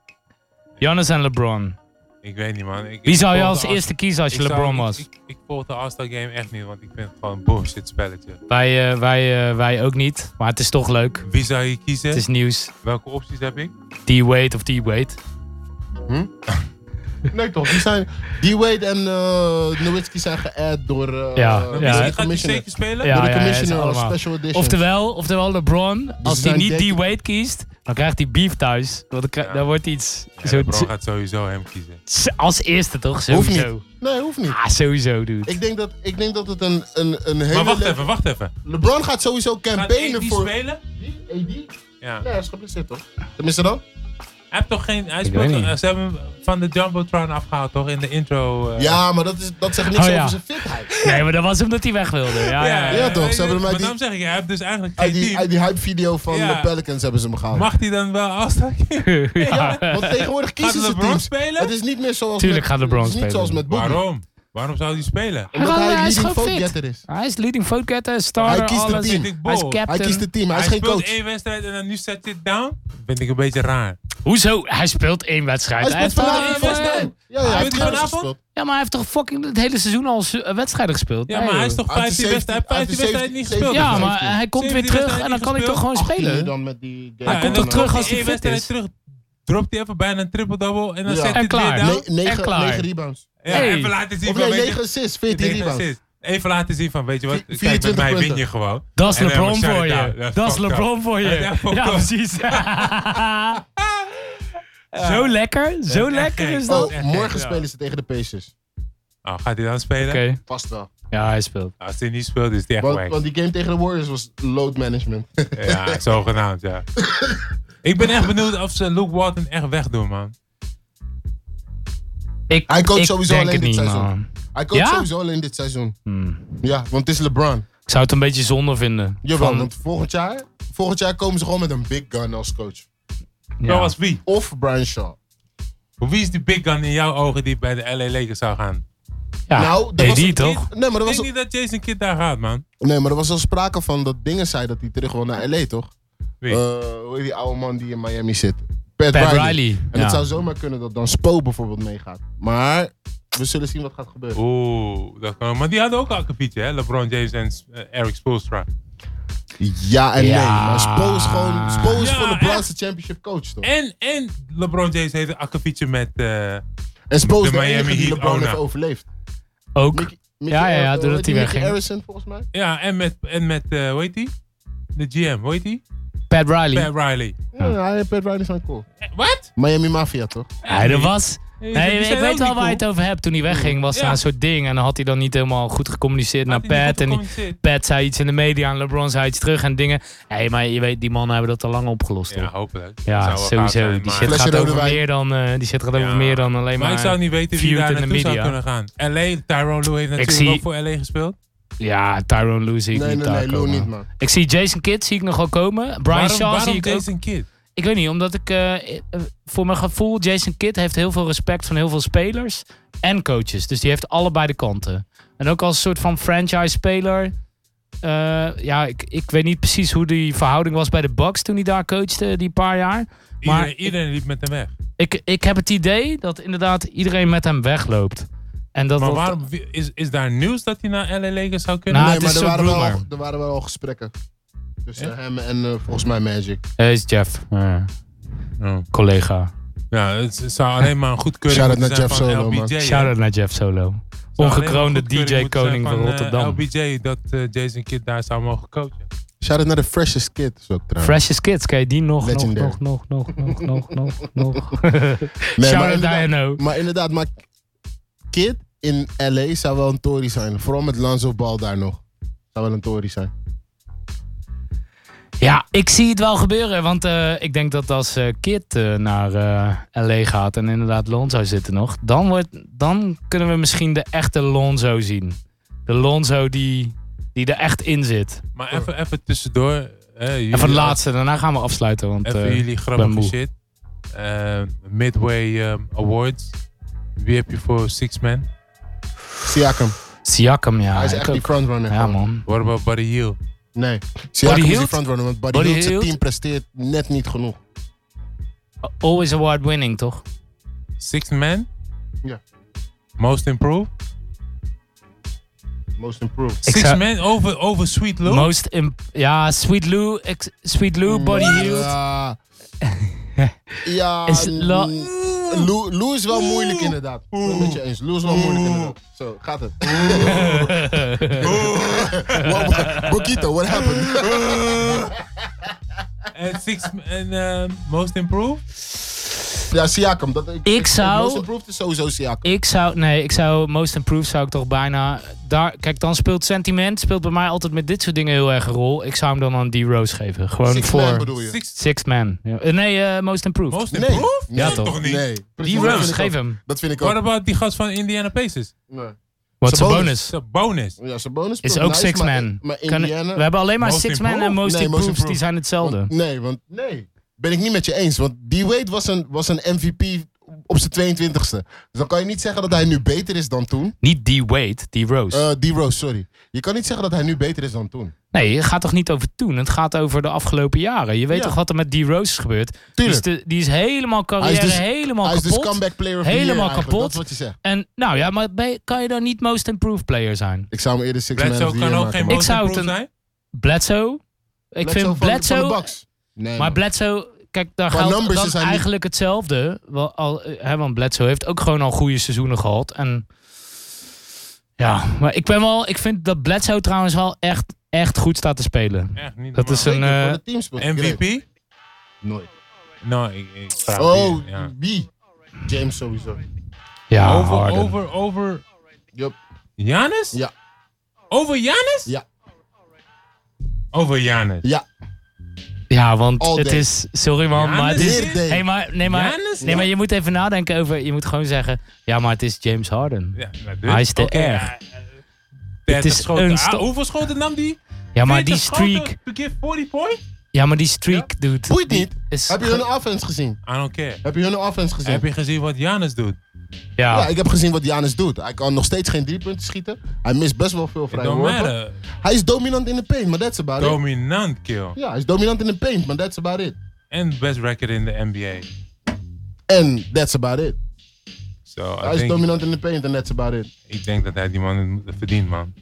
Speaker 3: Giannis en LeBron.
Speaker 5: Ik weet niet, man. Ik,
Speaker 3: Wie
Speaker 5: ik
Speaker 3: zou je
Speaker 5: volg
Speaker 3: als
Speaker 5: de
Speaker 3: eerste kiezen als je
Speaker 5: Ik zou-
Speaker 3: LeBron
Speaker 5: ik-
Speaker 3: was?
Speaker 5: Ik, ik, volg de All-Star Game echt niet, want ik vind het gewoon een bullshit spelletje.
Speaker 3: Wij, eh, wij, eh, wij ook niet. Maar het is toch leuk.
Speaker 5: Wie zou je kiezen?
Speaker 3: Het is nieuws.
Speaker 5: Welke opties heb ik?
Speaker 3: D-Wade of D-Wade.
Speaker 4: Nee toch, die zijn... D-Wade en eh Nowitzki zijn geadd door... eh
Speaker 3: Ja,
Speaker 4: door
Speaker 3: ja.
Speaker 4: de
Speaker 5: Misschien gaat hij
Speaker 4: commissioner.
Speaker 5: zeker spelen.
Speaker 3: Ja,
Speaker 4: door de
Speaker 3: ja, ja, het is
Speaker 4: commissioner als
Speaker 3: allemaal.
Speaker 4: special edition. Dus
Speaker 3: Oftewel, oftewel LeBron, als
Speaker 4: ze
Speaker 3: hij
Speaker 4: zijn
Speaker 3: niet
Speaker 4: dik.
Speaker 3: D-Wade kiest, dan krijgt hij beef thuis. Want dan, krij-
Speaker 5: Ja.
Speaker 3: dan wordt iets...
Speaker 5: Ja,
Speaker 3: zo,
Speaker 5: LeBron gaat sowieso hem kiezen.
Speaker 3: z- als eerste toch?
Speaker 4: Hoeft
Speaker 3: Sowieso.
Speaker 4: Nee, hoeft niet.
Speaker 3: Ah, sowieso, dude.
Speaker 4: Ik denk dat, ik denk dat het een, een, een hele...
Speaker 5: Maar wacht
Speaker 4: le-
Speaker 5: even, wacht even.
Speaker 4: LeBron gaat sowieso
Speaker 5: Gaat
Speaker 4: campaignen
Speaker 5: AD
Speaker 4: voor...
Speaker 5: spelen?
Speaker 4: AD?
Speaker 5: Ja.
Speaker 4: Nee, hij is geblesseerd toch? Tenminste dan?
Speaker 5: Hij heeft toch geen... Hij
Speaker 3: Ik
Speaker 5: speelt,
Speaker 3: weet niet.
Speaker 5: toch- ze hebben hem van de Jumbotron afgehaald, toch? In de intro. eh.
Speaker 4: Ja, maar dat, is, dat zegt niks
Speaker 3: Oh, ja.
Speaker 4: over zijn fitheid.
Speaker 3: Nee, maar dat was omdat hij weg wilde.
Speaker 5: Ah,
Speaker 3: Ja, ja, ja.
Speaker 4: ja. toch,
Speaker 5: weet
Speaker 4: ze hebben
Speaker 5: je,
Speaker 4: hem uit
Speaker 5: Maar
Speaker 4: die-
Speaker 5: daarom zeg ik, hij heeft dus eigenlijk geen
Speaker 4: Uit die,
Speaker 5: team.
Speaker 4: uit die hype video van
Speaker 5: Ja.
Speaker 4: de Pelicans hebben ze hem gehaald.
Speaker 5: Mag hij dan wel All-Star Game?
Speaker 4: Ja, want tegenwoordig kiezen ze
Speaker 5: LeBron
Speaker 4: teams.
Speaker 5: spelen?
Speaker 4: Het is niet meer zoals
Speaker 3: Tuurlijk
Speaker 4: met,
Speaker 3: gaat LeBron
Speaker 4: het is niet
Speaker 3: spelen.
Speaker 4: zoals met Boogie.
Speaker 5: Waarom? Waarom zou hij spelen?
Speaker 4: Omdat
Speaker 3: Waarom?
Speaker 4: hij
Speaker 3: Hij is
Speaker 4: leading
Speaker 3: gewoon
Speaker 4: vote
Speaker 3: fit.
Speaker 4: getter is.
Speaker 3: Hij is leading vote getter, starter,
Speaker 4: Hij kiest het
Speaker 3: alles.
Speaker 4: team.
Speaker 5: Vind ik
Speaker 3: Hij is
Speaker 5: bol.
Speaker 3: captain.
Speaker 4: Hij kiest het team, hij is
Speaker 5: hij
Speaker 4: geen
Speaker 5: speelt
Speaker 4: coach.
Speaker 5: één wedstrijd en dan nu zet hij down? Vind ik een beetje raar.
Speaker 3: Hoezo? Hij speelt één wedstrijd.
Speaker 4: Hij speelt
Speaker 3: heeft
Speaker 4: vanavond
Speaker 3: toch-
Speaker 5: één
Speaker 4: volgens mij. Ja, ja,
Speaker 5: Hij
Speaker 4: hij
Speaker 5: doet vanavond?
Speaker 4: heeft Giannis gespeeld.
Speaker 3: Ja, maar hij heeft toch fucking het hele seizoen al s- eh, wedstrijden gespeeld?
Speaker 5: Ja,
Speaker 3: Nee,
Speaker 5: maar hij is
Speaker 3: joh.
Speaker 5: toch
Speaker 4: Uit de
Speaker 5: 15 wedstrijden 15
Speaker 4: uit de
Speaker 5: wedstrijden niet
Speaker 4: 17
Speaker 5: gespeeld?
Speaker 3: Ja, maar
Speaker 4: Zeventien
Speaker 3: hij komt weer terug en dan kan ik toch gewoon
Speaker 4: Spelen
Speaker 3: spelen?
Speaker 4: dan met die
Speaker 5: Ja,
Speaker 3: Hij
Speaker 5: en
Speaker 3: komt
Speaker 5: dan
Speaker 3: toch terug
Speaker 5: hij
Speaker 3: als hij
Speaker 5: één
Speaker 3: fit
Speaker 5: wedstrijd
Speaker 3: is?
Speaker 5: terug. Dropt hij even bijna een triple-double en dan
Speaker 4: Ja.
Speaker 5: zet
Speaker 4: En
Speaker 5: hij het weer
Speaker 3: klaar.
Speaker 5: down.
Speaker 4: Ne- negen,
Speaker 3: En klaar.
Speaker 4: negen rebounds.
Speaker 5: Ja,
Speaker 3: Hey.
Speaker 5: Even laten zien
Speaker 4: Of
Speaker 5: van,
Speaker 4: nee,
Speaker 5: weet je-
Speaker 4: 9 assists, 14
Speaker 5: negen
Speaker 4: rebounds.
Speaker 5: assists. Even laten zien van, weet je wat,
Speaker 4: Vi-
Speaker 5: kijk, met
Speaker 4: 24
Speaker 5: mij win
Speaker 4: punten.
Speaker 5: je gewoon.
Speaker 3: Dat is
Speaker 5: En dan
Speaker 3: LeBron
Speaker 5: shut it
Speaker 3: voor
Speaker 5: down.
Speaker 3: je.
Speaker 5: Ja,
Speaker 3: Dat is
Speaker 5: fuck
Speaker 3: Lebron voor
Speaker 5: Ja,
Speaker 3: je.
Speaker 5: ja, fuck
Speaker 3: Ja,
Speaker 5: off.
Speaker 3: precies. Zo lekker. Zo
Speaker 5: echt
Speaker 3: lekker
Speaker 5: gek.
Speaker 3: is dat.
Speaker 4: Oh,
Speaker 5: Ja.
Speaker 4: morgen
Speaker 5: Ja.
Speaker 4: spelen ze tegen de Pacers.
Speaker 5: Oh, gaat hij dan spelen?
Speaker 4: Vast wel.
Speaker 3: Ja, hij speelt.
Speaker 5: Als hij niet speelt, is hij echt
Speaker 4: Want,
Speaker 5: wack.
Speaker 4: want die game tegen de Warriors was load management.
Speaker 5: Ja, zogenaamd, ja. Ik ben echt benieuwd of ze Luke Walton echt wegdoen, man.
Speaker 3: Ik,
Speaker 4: Hij coacht
Speaker 3: ik
Speaker 4: sowieso
Speaker 3: denk
Speaker 4: alleen
Speaker 3: het
Speaker 4: dit
Speaker 3: niet,
Speaker 4: seizoen.
Speaker 3: man.
Speaker 4: Hij coacht
Speaker 3: Ja?
Speaker 4: sowieso alleen dit seizoen.
Speaker 3: Hmm.
Speaker 4: Ja, want het is LeBron.
Speaker 3: Ik zou het een beetje zonde vinden.
Speaker 4: Jawel,
Speaker 3: Van-
Speaker 4: want volgend jaar, volgend jaar komen ze gewoon met een big gun als coach.
Speaker 5: Zo
Speaker 3: ja.
Speaker 5: als wie?
Speaker 4: Of Brian Shaw.
Speaker 5: Wie is die big gun in jouw ogen die bij de LA Lakers zou gaan?
Speaker 3: Ja,
Speaker 4: Nou, dat
Speaker 3: AD
Speaker 4: was een-
Speaker 3: Ah, toch?
Speaker 4: Nee, maar er
Speaker 5: Ik
Speaker 4: was,
Speaker 5: denk niet dat Jason Kidd daar gaat, man.
Speaker 4: nee, maar er was al sprake van dat dingen zei dat hij terug wil naar LA, toch?
Speaker 5: Wie?
Speaker 4: Eh, hoe heet die oude man die in Miami zit? Pat,
Speaker 3: Pat
Speaker 4: Riley.
Speaker 3: Riley.
Speaker 4: En
Speaker 3: Ja.
Speaker 4: het zou zomaar kunnen dat dan Spo bijvoorbeeld meegaat. Maar we zullen zien wat gaat gebeuren.
Speaker 5: Oeh, dat kan. Maar die hadden ook al een kiepietje, hè? LeBron James en eh, Eric Spoelstra.
Speaker 4: Ja en
Speaker 3: Ja.
Speaker 4: nee. Maar Spo is gewoon Spo is
Speaker 5: Ja,
Speaker 4: voor de
Speaker 5: echt?
Speaker 4: Blaanse Championship coach, toch?
Speaker 5: En, en LeBron James heeft een akkefietje met. eh,
Speaker 4: En Spo
Speaker 5: de
Speaker 4: is de,
Speaker 5: Miami
Speaker 4: enige die
Speaker 5: Heat
Speaker 4: LeBron
Speaker 5: owner.
Speaker 4: heeft overleefd.
Speaker 3: Ook.
Speaker 4: Mickey, Mickey
Speaker 3: Ja, ja, ja,
Speaker 4: eh,
Speaker 3: doordat
Speaker 4: hoe heet die?
Speaker 3: hij
Speaker 4: Mickey
Speaker 3: wegging.
Speaker 4: Harrison, volgens mij.
Speaker 5: ja, en met. En met eh, hoe heet die? De GM, hoe heet die?
Speaker 3: Pat Riley.
Speaker 5: Pat Riley.
Speaker 4: Ja, hij heeft Pat Riley zijn cool.
Speaker 5: Eh, Wat?
Speaker 4: Miami Mafia, toch?
Speaker 3: Hij er was.
Speaker 5: Nee,
Speaker 3: Nee,
Speaker 5: die
Speaker 3: ik
Speaker 5: zijn
Speaker 3: weet
Speaker 5: ook
Speaker 3: wel
Speaker 5: niet
Speaker 3: waar je het
Speaker 5: cool.
Speaker 3: over hebt. Toen hij wegging was er
Speaker 5: Ja.
Speaker 3: een soort ding. En dan had hij dan niet helemaal goed gecommuniceerd
Speaker 5: Had
Speaker 3: naar
Speaker 5: hij niet goed
Speaker 3: Pat. En die-
Speaker 5: gecommuniceerd?
Speaker 3: Pat zei iets in de media en LeBron zei iets terug en dingen. Hé, maar je weet, die mannen hebben dat al lang opgelost.
Speaker 5: Ja,
Speaker 3: hoor.
Speaker 5: hopelijk.
Speaker 3: Ja,
Speaker 5: Zou wel gaaf
Speaker 3: sowieso.
Speaker 5: zijn,
Speaker 3: die
Speaker 5: maar-
Speaker 3: shit
Speaker 4: Flesje
Speaker 3: gaat,
Speaker 4: rode
Speaker 3: over
Speaker 4: wijn.
Speaker 3: meer, dan, eh, die shit gaat over
Speaker 5: Ja.
Speaker 3: meer dan alleen maar...
Speaker 5: Maar ik zou niet weten wie
Speaker 3: viewed
Speaker 5: daar
Speaker 3: in de
Speaker 5: naartoe zou
Speaker 3: media.
Speaker 5: kunnen gaan. LA, Tyrone Lou heeft natuurlijk
Speaker 3: zie-
Speaker 5: ook voor LA gespeeld.
Speaker 3: Ja, Tyrone Lou zie ik
Speaker 4: Nee,
Speaker 3: niet
Speaker 4: nee,
Speaker 3: daar
Speaker 4: nee, Lou
Speaker 3: komen.
Speaker 4: niet, man.
Speaker 3: Ik zie Jason Kidd zie ik nog wel komen. Brian
Speaker 5: waarom
Speaker 3: Shaw
Speaker 5: waarom
Speaker 3: zie ik ook.
Speaker 5: Jason Kidd?
Speaker 3: Ik weet niet, omdat ik... eh, eh, voor mijn gevoel, Jason Kidd heeft heel veel respect van heel veel spelers en coaches. Dus die heeft allebei de kanten. En ook als soort van franchise-speler... eh, ja, ik, ik weet niet precies hoe die verhouding was bij de Bucks toen hij daar coachte, die paar jaar. Maar
Speaker 5: Iedereen, iedereen liep met hem weg.
Speaker 3: Ik, ik heb het idee dat inderdaad iedereen met hem wegloopt. En dat
Speaker 5: Maar
Speaker 3: dat-
Speaker 5: waarom wie- is, is daar nieuws dat hij naar LA Lakers zou kunnen?
Speaker 3: Nou,
Speaker 4: nee,
Speaker 3: het
Speaker 4: maar
Speaker 3: is
Speaker 4: er
Speaker 3: zo'n
Speaker 4: waren, wel,
Speaker 3: rumor.
Speaker 4: al- er waren wel al gesprekken.
Speaker 6: Tussen hem en eh, volgens mij Magic.
Speaker 3: Hij is Jeff, eh,
Speaker 5: Ja.
Speaker 3: collega.
Speaker 5: Oh. Ja, het het zou alleen maar een goedkeuring
Speaker 4: Shout-out
Speaker 5: moeten
Speaker 4: naar
Speaker 5: zijn
Speaker 4: Jeff
Speaker 5: van
Speaker 4: Solo, man.
Speaker 5: LBJ. hè.
Speaker 3: Shout-out naar Jeff Solo.
Speaker 5: Zou alleen
Speaker 3: Ongekroonde
Speaker 5: maar goedkeuring moeten zijn
Speaker 3: DJ-koning van
Speaker 5: eh,
Speaker 3: Rotterdam.
Speaker 5: LBJ, dat eh, Jason Kidd daar zou mogen coachen.
Speaker 4: Shout-out naar de freshest kid. Is ook trouwens.
Speaker 3: Freshest Kids, kan je die nog, nog,
Speaker 4: Legendary.
Speaker 3: nog, nog, nog, nog, nog, nog, nog.
Speaker 4: Nee, maar
Speaker 3: Shout-out naar
Speaker 4: inderdaad-
Speaker 3: NO.
Speaker 4: Maar inderdaad, maar Kid in LA zou wel een Tory zijn. Vooral met Lanzo Ball daar nog. Zou wel een Tory zijn.
Speaker 3: Ja, ik zie het wel gebeuren. Want eh, ik denk dat als eh, Kid eh, naar eh, LA gaat en inderdaad Lonzo zitten nog, dan, wordt, dan kunnen we misschien de echte Lonzo zien. De Lonzo die, die er echt in zit.
Speaker 5: Maar even, even tussendoor. eh, jullie-
Speaker 3: En van het laatste, daarna gaan we afsluiten. Want,
Speaker 5: Even
Speaker 3: eh,
Speaker 5: jullie grappige
Speaker 3: moe.
Speaker 5: shit. Eh, Midway ehm, Awards. Wie heb je voor Six Man?
Speaker 4: Siakam.
Speaker 3: Siakam, ja.
Speaker 4: hij is
Speaker 3: ik
Speaker 4: echt die
Speaker 3: ook.
Speaker 4: frontrunner.
Speaker 3: ja, man.
Speaker 5: What about Buddy Hill?
Speaker 4: Nee. Siakam is die
Speaker 3: Hield?
Speaker 4: frontrunner. Want Buddy,
Speaker 3: Buddy
Speaker 4: Hield zijn
Speaker 3: Hield?
Speaker 4: team presteert net niet genoeg.
Speaker 3: Always award winning, toch?
Speaker 5: Six Man?
Speaker 4: Ja.
Speaker 5: Most Improved?
Speaker 4: Most improved.
Speaker 3: Ik
Speaker 5: Six
Speaker 3: zou-
Speaker 5: Man over, over Sweet Lou?
Speaker 3: Most imp- ja, Sweet Lou, ex- Sweet Lou, Body Healed.
Speaker 4: Mm. Ja. ja.
Speaker 3: Is lo-
Speaker 4: mm, Lou, Lou is wel moeilijk inderdaad. Ik ben het met je eens. Lou is wel moeilijk inderdaad. Zo, gaat het. Wow, Bokito, what happened?
Speaker 5: En Six en eh, Most Improved?
Speaker 4: Ja, Siakam. Dat, ik,
Speaker 3: zou-
Speaker 4: Most improved is sowieso Siakam.
Speaker 3: Ik zou, nee, ik zou Most Improved zou ik toch bijna. Daar, kijk, dan speelt sentiment speelt bij mij altijd met dit soort dingen heel erg een rol. Ik zou hem dan aan D-Rose geven. Gewoon
Speaker 4: Six
Speaker 3: voor
Speaker 4: man bedoel je?
Speaker 5: Six
Speaker 3: Six Man. Ja. Eh, Nee, eh, Most Improved.
Speaker 5: Most
Speaker 4: Nee.
Speaker 5: Improved?
Speaker 4: Nee.
Speaker 3: Ja, toch?
Speaker 5: niet?
Speaker 4: Nee. precies, dat vind
Speaker 3: D-Rose,
Speaker 4: ik
Speaker 3: geef
Speaker 4: ook.
Speaker 3: hem.
Speaker 4: Dat vind ik
Speaker 5: What
Speaker 4: ook.
Speaker 5: about die gast van Indiana Pacers?
Speaker 6: Nee.
Speaker 3: Wat een
Speaker 4: Sabonis.
Speaker 3: bonus.
Speaker 5: Dat is een bonus.
Speaker 4: Ja, Sabonis
Speaker 3: Is
Speaker 4: speelt
Speaker 3: ook
Speaker 4: nice,
Speaker 3: Six
Speaker 4: maar-
Speaker 3: Man.
Speaker 4: Maar
Speaker 3: Kan-
Speaker 4: Indiana...
Speaker 3: we hebben alleen maar
Speaker 5: Most
Speaker 3: Six Man en
Speaker 5: Improved?
Speaker 3: Most
Speaker 4: Nee, Most
Speaker 3: Improved, die
Speaker 4: Improved.
Speaker 3: zijn hetzelfde.
Speaker 4: want- nee, want nee. Ben ik niet met je eens. Want D. Wade was een, was een MVP op zijn 22 e Dus dan kan je niet zeggen dat hij nu beter is dan toen.
Speaker 3: Niet D-Wade, D-Rose.
Speaker 4: Eh D. Rose, sorry. Je kan niet zeggen dat hij nu beter is dan toen.
Speaker 3: Nee, het gaat toch niet over toen. Het gaat over de afgelopen jaren. Je weet
Speaker 4: Ja.
Speaker 3: toch wat er met die Rose is gebeurd? Die is,
Speaker 4: Tuurlijk.
Speaker 3: de- die is helemaal carrière,
Speaker 4: Hij is dus-
Speaker 3: helemaal
Speaker 4: Hij is
Speaker 3: kapot.
Speaker 4: dus comeback player of the
Speaker 3: Helemaal
Speaker 4: year eigenlijk.
Speaker 3: kapot.
Speaker 4: Dat is wat je zegt.
Speaker 3: En nou ja, maar ben je- kan je dan niet most improved player zijn?
Speaker 4: Ik zou hem eerder Six Man of
Speaker 5: Bledsoe
Speaker 4: the
Speaker 5: kan
Speaker 4: Year
Speaker 5: ook geen
Speaker 4: maken.
Speaker 3: Ik
Speaker 5: Most
Speaker 3: zou het
Speaker 5: Improved
Speaker 3: een-
Speaker 5: zijn.
Speaker 3: Bledsoe? Ik vind
Speaker 4: van-
Speaker 3: Bledsoe...
Speaker 4: Van de Bucks. Nee,
Speaker 3: maar
Speaker 4: man.
Speaker 3: Bledsoe, kijk, daar
Speaker 4: Qua
Speaker 3: geldt
Speaker 4: numbers
Speaker 3: dan
Speaker 4: is hij niet-
Speaker 3: eigenlijk hetzelfde. Wel, al, eh, hè, want Bledsoe heeft ook gewoon al goede seizoenen gehad. En ja, maar ik ben wel... Ik vind dat Bledsoe trouwens wel echt, echt goed staat te spelen.
Speaker 5: Echt niet
Speaker 3: Dat is
Speaker 5: normaal.
Speaker 3: een...
Speaker 4: Zeker,
Speaker 3: eh,
Speaker 4: voor de team speelt hij great.
Speaker 5: MVP?
Speaker 4: Nooit.
Speaker 5: Nou, ik, ik vraag
Speaker 4: Oh,
Speaker 5: die, ja.
Speaker 4: wie? James sowieso.
Speaker 3: ja,
Speaker 5: over,
Speaker 3: Harden.
Speaker 5: over, over
Speaker 4: Yup.
Speaker 5: Janis?
Speaker 4: Ja.
Speaker 5: Over Janis?
Speaker 4: Ja.
Speaker 5: Over Janis.
Speaker 4: Ja.
Speaker 3: Ja, want
Speaker 4: All
Speaker 3: het
Speaker 4: day.
Speaker 3: is. Sorry man,
Speaker 5: Giannis
Speaker 3: maar het is.
Speaker 4: Heer day.
Speaker 3: Hey, maar, nee, maar,
Speaker 5: Giannis?
Speaker 3: nee, maar je moet even nadenken over. Je moet gewoon zeggen. Ja, maar het is James Harden.
Speaker 5: Ja, nou, dus.
Speaker 3: Hij is te
Speaker 5: Oké,
Speaker 3: erg.
Speaker 5: ja, eh, 30
Speaker 3: is
Speaker 5: schoten.
Speaker 3: een
Speaker 5: Ah,
Speaker 3: sta-
Speaker 5: hoeveel schoten nam die?
Speaker 3: Ja, maar die
Speaker 5: 40
Speaker 3: streak.
Speaker 5: schoten To give 40 point?
Speaker 3: Ja, maar die streak, dude.
Speaker 4: Boeit
Speaker 3: die
Speaker 4: niet.
Speaker 3: Is
Speaker 4: Heb je hun offense gezien?
Speaker 5: I don't care.
Speaker 4: Heb je hun offense gezien?
Speaker 5: Heb je gezien wat Janis doet?
Speaker 3: ja.
Speaker 4: Ja, ik heb gezien wat Janis doet. Hij kan nog steeds geen driepunten schieten. Hij mist best wel veel
Speaker 5: It
Speaker 4: vrije
Speaker 5: don't
Speaker 4: worpen.
Speaker 5: matter.
Speaker 4: Hij is dominant in de paint, maar that's about it.
Speaker 5: Dominant kill.
Speaker 4: Ja, hij is dominant in de paint, maar that's about it.
Speaker 5: En best record in de NBA.
Speaker 4: En that's about it.
Speaker 5: So, I
Speaker 4: Hij is
Speaker 5: think,
Speaker 4: dominant in de paint en that's about it.
Speaker 5: ik denk dat hij die man verdient, man.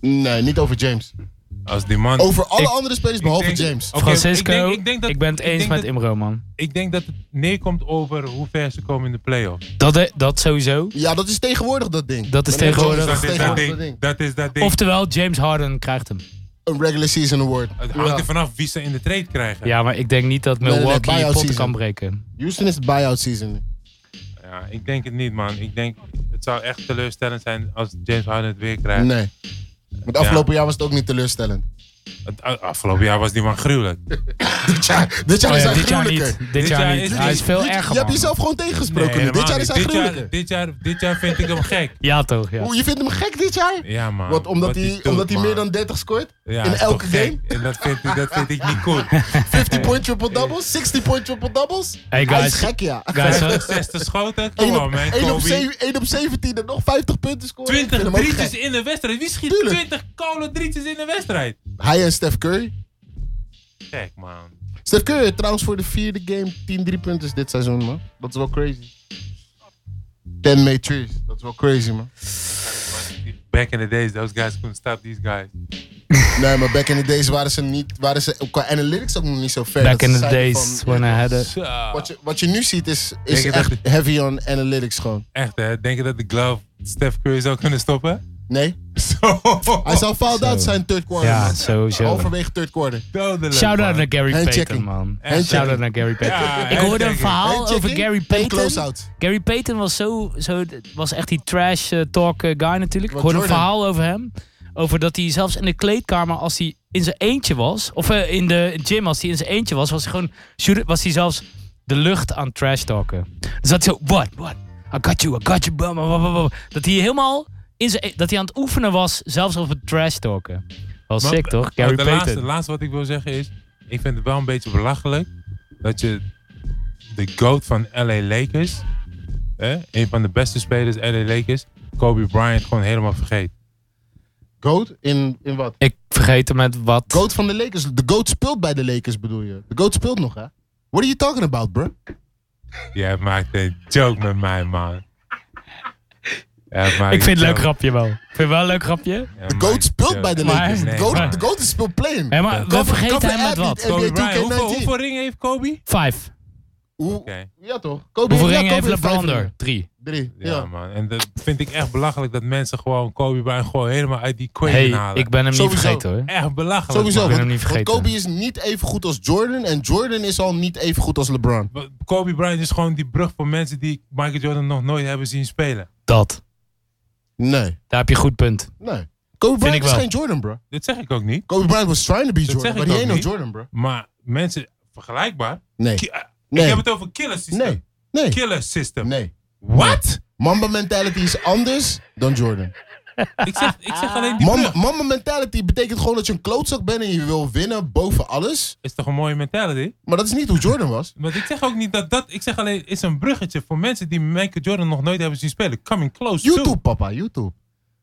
Speaker 4: Nee, niet over James.
Speaker 5: Als die man...
Speaker 4: Over alle
Speaker 3: Ik-
Speaker 4: andere spelers
Speaker 5: ik
Speaker 4: behalve
Speaker 5: denk- Oh.
Speaker 4: James.
Speaker 5: Oké,
Speaker 3: Francisco, ik,
Speaker 5: ik denk- ik denk dat-
Speaker 3: ben het
Speaker 5: ik
Speaker 3: eens
Speaker 5: denk
Speaker 3: met
Speaker 5: dat-
Speaker 3: Imro, man.
Speaker 5: Ik denk dat het neerkomt over hoe ver ze komen in de playoffs.
Speaker 3: Dat, dat sowieso.
Speaker 4: Ja, dat is tegenwoordig dat ding.
Speaker 3: Dat is
Speaker 4: Maar nee,
Speaker 3: tegenwoordig.
Speaker 4: James
Speaker 5: Dat
Speaker 4: is
Speaker 5: is dat
Speaker 4: tegenwoordig
Speaker 5: ding. Dat is dat ding.
Speaker 3: Oftewel, James Harden krijgt hem.
Speaker 4: Een regular season award.
Speaker 5: Het hangt
Speaker 4: Ja.
Speaker 5: er vanaf wie ze in de trade krijgen.
Speaker 3: Ja, maar ik denk niet dat
Speaker 4: nee, nee,
Speaker 3: Milwaukee je
Speaker 4: buyout
Speaker 3: pot
Speaker 4: season.
Speaker 3: kan breken.
Speaker 4: Houston is de buyout season.
Speaker 5: Ja, ik denk het niet, man. Ik denk, het zou echt teleurstellend zijn als James Harden het weer krijgt.
Speaker 4: Nee. Want afgelopen jaar was het ook niet teleurstellend.
Speaker 5: Oh Het a- eh, afgelopen jaar was die man gruwelijk.
Speaker 4: Dit jaar, dit jaar
Speaker 3: Oh
Speaker 4: is
Speaker 3: ja,
Speaker 4: hij
Speaker 3: dit jaar
Speaker 4: gruwelijker.
Speaker 3: niet. Dit jaar niet. Hij is veel
Speaker 4: Dit-
Speaker 3: erger,
Speaker 4: Je hebt
Speaker 3: man.
Speaker 4: jezelf gewoon tegengesproken. nu. dit
Speaker 5: helemaal
Speaker 4: jaar is
Speaker 5: niet.
Speaker 4: hij
Speaker 5: dit,
Speaker 4: gruwelijker.
Speaker 5: jaar, dit, jaar, dit jaar vind ik hem gek.
Speaker 3: Ja, toch? Ja.
Speaker 4: Oeh, je vindt hem gek dit jaar?
Speaker 5: Ja, man.
Speaker 4: Wat, omdat
Speaker 5: Wat
Speaker 4: hij
Speaker 5: doet,
Speaker 4: omdat hij
Speaker 5: man.
Speaker 4: meer dan 30 scoort?
Speaker 5: Ja,
Speaker 4: in
Speaker 5: is toch
Speaker 4: elke
Speaker 5: gek.
Speaker 4: game?
Speaker 5: En dat vind, ik- dat vind ik niet cool.
Speaker 4: 50 point triple doubles? 60 point triple doubles?
Speaker 3: Hey,
Speaker 4: Hij is
Speaker 3: guys.
Speaker 4: gek, ja.
Speaker 3: Guys, wat-
Speaker 5: 60 schoten,
Speaker 4: 1
Speaker 5: kom
Speaker 4: op,
Speaker 5: op, man.
Speaker 4: één op,
Speaker 5: Kobe.
Speaker 4: zeven- één op 17 en nog 50 punten scoren. Ik
Speaker 5: 20
Speaker 4: vind hem ook
Speaker 5: drietjes
Speaker 4: gek.
Speaker 5: in de wedstrijd. Wie schiet
Speaker 4: Tuurlijk.
Speaker 5: 20 koude drietjes in de wedstrijd?
Speaker 4: Hij en Steph Curry.
Speaker 5: Gek, man.
Speaker 4: Steph Curry trouwens voor de vierde game 10 driepunters dit seizoen, man. Dat is wel crazy. 10 made threes. Dat is wel crazy, man.
Speaker 5: Back in the days, those guys couldn't stop these guys.
Speaker 4: Nee, maar back in the days waren ze niet, waren ze qua analytics ook nog niet zo ver.
Speaker 3: Back
Speaker 4: dat ze
Speaker 3: in the
Speaker 4: zeiden
Speaker 3: days
Speaker 4: van,
Speaker 3: when I had it.
Speaker 4: wat, je, wat je nu ziet is, is
Speaker 5: Denk je dat
Speaker 4: echt heavy on analytics gewoon.
Speaker 5: Echt hè, denk je dat de glove Steph Curry zou kunnen stoppen?
Speaker 4: Nee?
Speaker 5: Zo,
Speaker 4: Hij zou fouled out
Speaker 3: Zo.
Speaker 4: zijn third quarter.
Speaker 3: Ja,
Speaker 4: man.
Speaker 3: sowieso.
Speaker 4: Overwege third quarter.
Speaker 5: dodelijk,
Speaker 3: Shout-out
Speaker 5: man.
Speaker 3: naar Gary
Speaker 4: Handchecking.
Speaker 3: Payton, man.
Speaker 5: Handchecking.
Speaker 3: Shout-out naar Gary Payton.
Speaker 5: Ja,
Speaker 3: Ik hoorde een
Speaker 5: handchecking.
Speaker 3: verhaal over
Speaker 4: Handchecking
Speaker 3: Gary
Speaker 4: en
Speaker 3: Payton.
Speaker 4: Close-out.
Speaker 3: Gary Payton was zo, zo was echt die trash eh, talk eh, guy natuurlijk. Ik
Speaker 4: Wat
Speaker 3: hoorde een
Speaker 4: Jordan.
Speaker 3: verhaal over hem. Over dat hij zelfs in de kleedkamer, als hij in zijn eentje was, of eh, in de gym, als hij in zijn eentje was, was hij gewoon, shoot- was hij zelfs de lucht aan trash talken. Dus dat hij zo, what, what, I got you, I got you, blah, blah, blah, blah, blah. Dat hij helemaal, in zijn, e- dat hij aan het oefenen was, zelfs over trash talken. Wel
Speaker 5: Maar-
Speaker 3: sick toch,
Speaker 5: Maar
Speaker 3: Gary
Speaker 5: de
Speaker 3: Payton.
Speaker 5: laatste, de laatste wat ik wil zeggen is, ik vind het wel een beetje belachelijk dat je de GOAT van LA Lakers, hè, een van de beste spelers LA Lakers, Kobe Bryant gewoon helemaal vergeet.
Speaker 4: Goat in, in wat?
Speaker 3: Ik vergeet hem met wat.
Speaker 4: Goat van de Lakers. De Goat speelt bij de Lakers bedoel je. De Goat speelt nog hè? What are you talking about bro?
Speaker 5: Jij maakt een joke met mij, man. Jij maakt
Speaker 3: Ik vind het
Speaker 5: een
Speaker 3: leuk
Speaker 5: joke.
Speaker 3: grapje wel. Ik vind het wel een leuk grapje.
Speaker 5: Jij
Speaker 4: De
Speaker 5: maakt een
Speaker 4: Goat speelt
Speaker 5: joke.
Speaker 4: bij de
Speaker 3: Maar-
Speaker 4: Lakers. De
Speaker 5: Nee,
Speaker 4: Goat,
Speaker 5: maar-
Speaker 4: de Goat is speelt playing.
Speaker 3: Hé, maar we
Speaker 4: Cover-
Speaker 3: vergeten
Speaker 4: cover
Speaker 3: hem met
Speaker 4: athlete,
Speaker 3: wat.
Speaker 4: NBA
Speaker 5: Kobe Bryant,
Speaker 4: 2K19.
Speaker 5: hoeveel, hoeveel ringen heeft Kobe?
Speaker 3: Vijf.
Speaker 4: Hoe-
Speaker 5: Oké.
Speaker 4: Ja toch? Kobe
Speaker 3: Hoeveel
Speaker 4: ja,
Speaker 3: ringen heeft
Speaker 4: Kobe
Speaker 3: LeBron
Speaker 4: vijf
Speaker 3: er?
Speaker 4: ringen.
Speaker 3: Drie.
Speaker 4: Drie.
Speaker 5: Ja,
Speaker 4: Ja.
Speaker 5: man. En dat vind ik echt belachelijk dat mensen gewoon Kobe Bryant gewoon helemaal uit die equation
Speaker 3: hey,
Speaker 5: halen.
Speaker 3: ik ben hem niet
Speaker 4: Sowieso.
Speaker 3: vergeten hoor.
Speaker 5: Echt belachelijk.
Speaker 4: Sowieso.
Speaker 5: man.
Speaker 3: hem
Speaker 4: Want,
Speaker 3: niet
Speaker 4: want
Speaker 3: vergeten.
Speaker 4: Kobe is niet even goed als Jordan. En Jordan is al niet even goed als LeBron.
Speaker 5: Kobe Bryant is gewoon die brug voor mensen die Michael Jordan nog nooit hebben zien spelen.
Speaker 3: Dat.
Speaker 4: Nee.
Speaker 3: Daar heb je een goed punt.
Speaker 4: Nee. Kobe Bryant
Speaker 3: ik
Speaker 4: is
Speaker 3: wel.
Speaker 4: geen Jordan bro.
Speaker 5: Dat zeg ik ook niet.
Speaker 4: Kobe Bryant was trying to be Jordan.
Speaker 5: zeg ik
Speaker 4: Maar die
Speaker 5: ook
Speaker 4: ain't no
Speaker 5: niet.
Speaker 4: Jordan bro.
Speaker 5: Maar mensen, vergelijkbaar.
Speaker 4: Nee.
Speaker 5: Ki- eh, Ik
Speaker 4: Nee.
Speaker 5: heb het over killer system.
Speaker 4: Nee. Nee.
Speaker 5: Killer system.
Speaker 4: Nee.
Speaker 5: Wat?
Speaker 4: Mamba mentality is anders dan Jordan.
Speaker 5: Ik zeg, ik zeg alleen die
Speaker 4: Mamba,
Speaker 5: brug.
Speaker 4: mamba mentality betekent gewoon dat je een klootzak bent en je wil winnen boven alles.
Speaker 5: Is toch een mooie mentality?
Speaker 4: Maar dat is niet hoe Jordan was.
Speaker 5: Want ik zeg ook niet dat dat... Ik zeg alleen, is een bruggetje voor mensen die Michael Jordan nog nooit hebben zien spelen. Coming close to.
Speaker 4: YouTube papa, YouTube.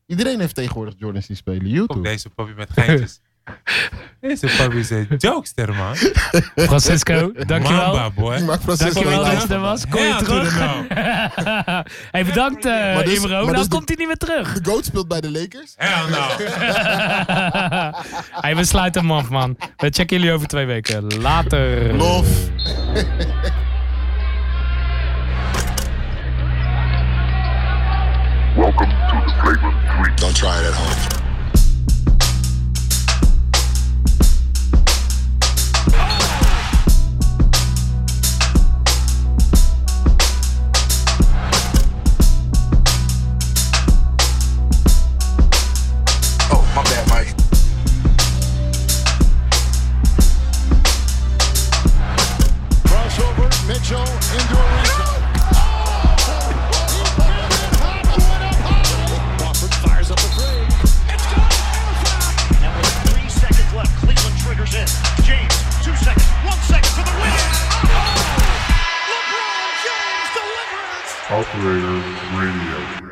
Speaker 4: Iedereen heeft tegenwoordig Jordans die spelen.
Speaker 5: Kom,
Speaker 4: YouTube.
Speaker 5: deze papi met geintjes. deze papi is een jokester, man.
Speaker 3: Francisco, dankjewel.
Speaker 5: Mamba, boy.
Speaker 4: Die maakt Francisco
Speaker 3: Dankjewel
Speaker 4: een
Speaker 3: dat je
Speaker 4: lijst.
Speaker 3: er was. Kom je
Speaker 5: Hell to
Speaker 3: terug?
Speaker 5: the no.
Speaker 3: hey, bedankt eh
Speaker 4: Maar dus-
Speaker 3: Imro.
Speaker 4: maar
Speaker 3: Dan
Speaker 4: dus de-
Speaker 3: komt hij niet meer terug.
Speaker 4: De GOAT speelt bij de Lakers.
Speaker 5: Hell no.
Speaker 3: hey, we sluiten hem af man. We checken jullie over twee weken. Later.
Speaker 4: Love.
Speaker 2: Welcome to the Flavor 3.
Speaker 6: Don't try it at home.
Speaker 7: Oh, my bad, Mike.
Speaker 6: Crossover, Mitchell into a
Speaker 1: Crawford fires up a three. It's good. And a foul. And with three seconds left, Cleveland triggers in. James, two seconds, one second to the win. Oh! LeBron James delivers.
Speaker 2: Operator Radio.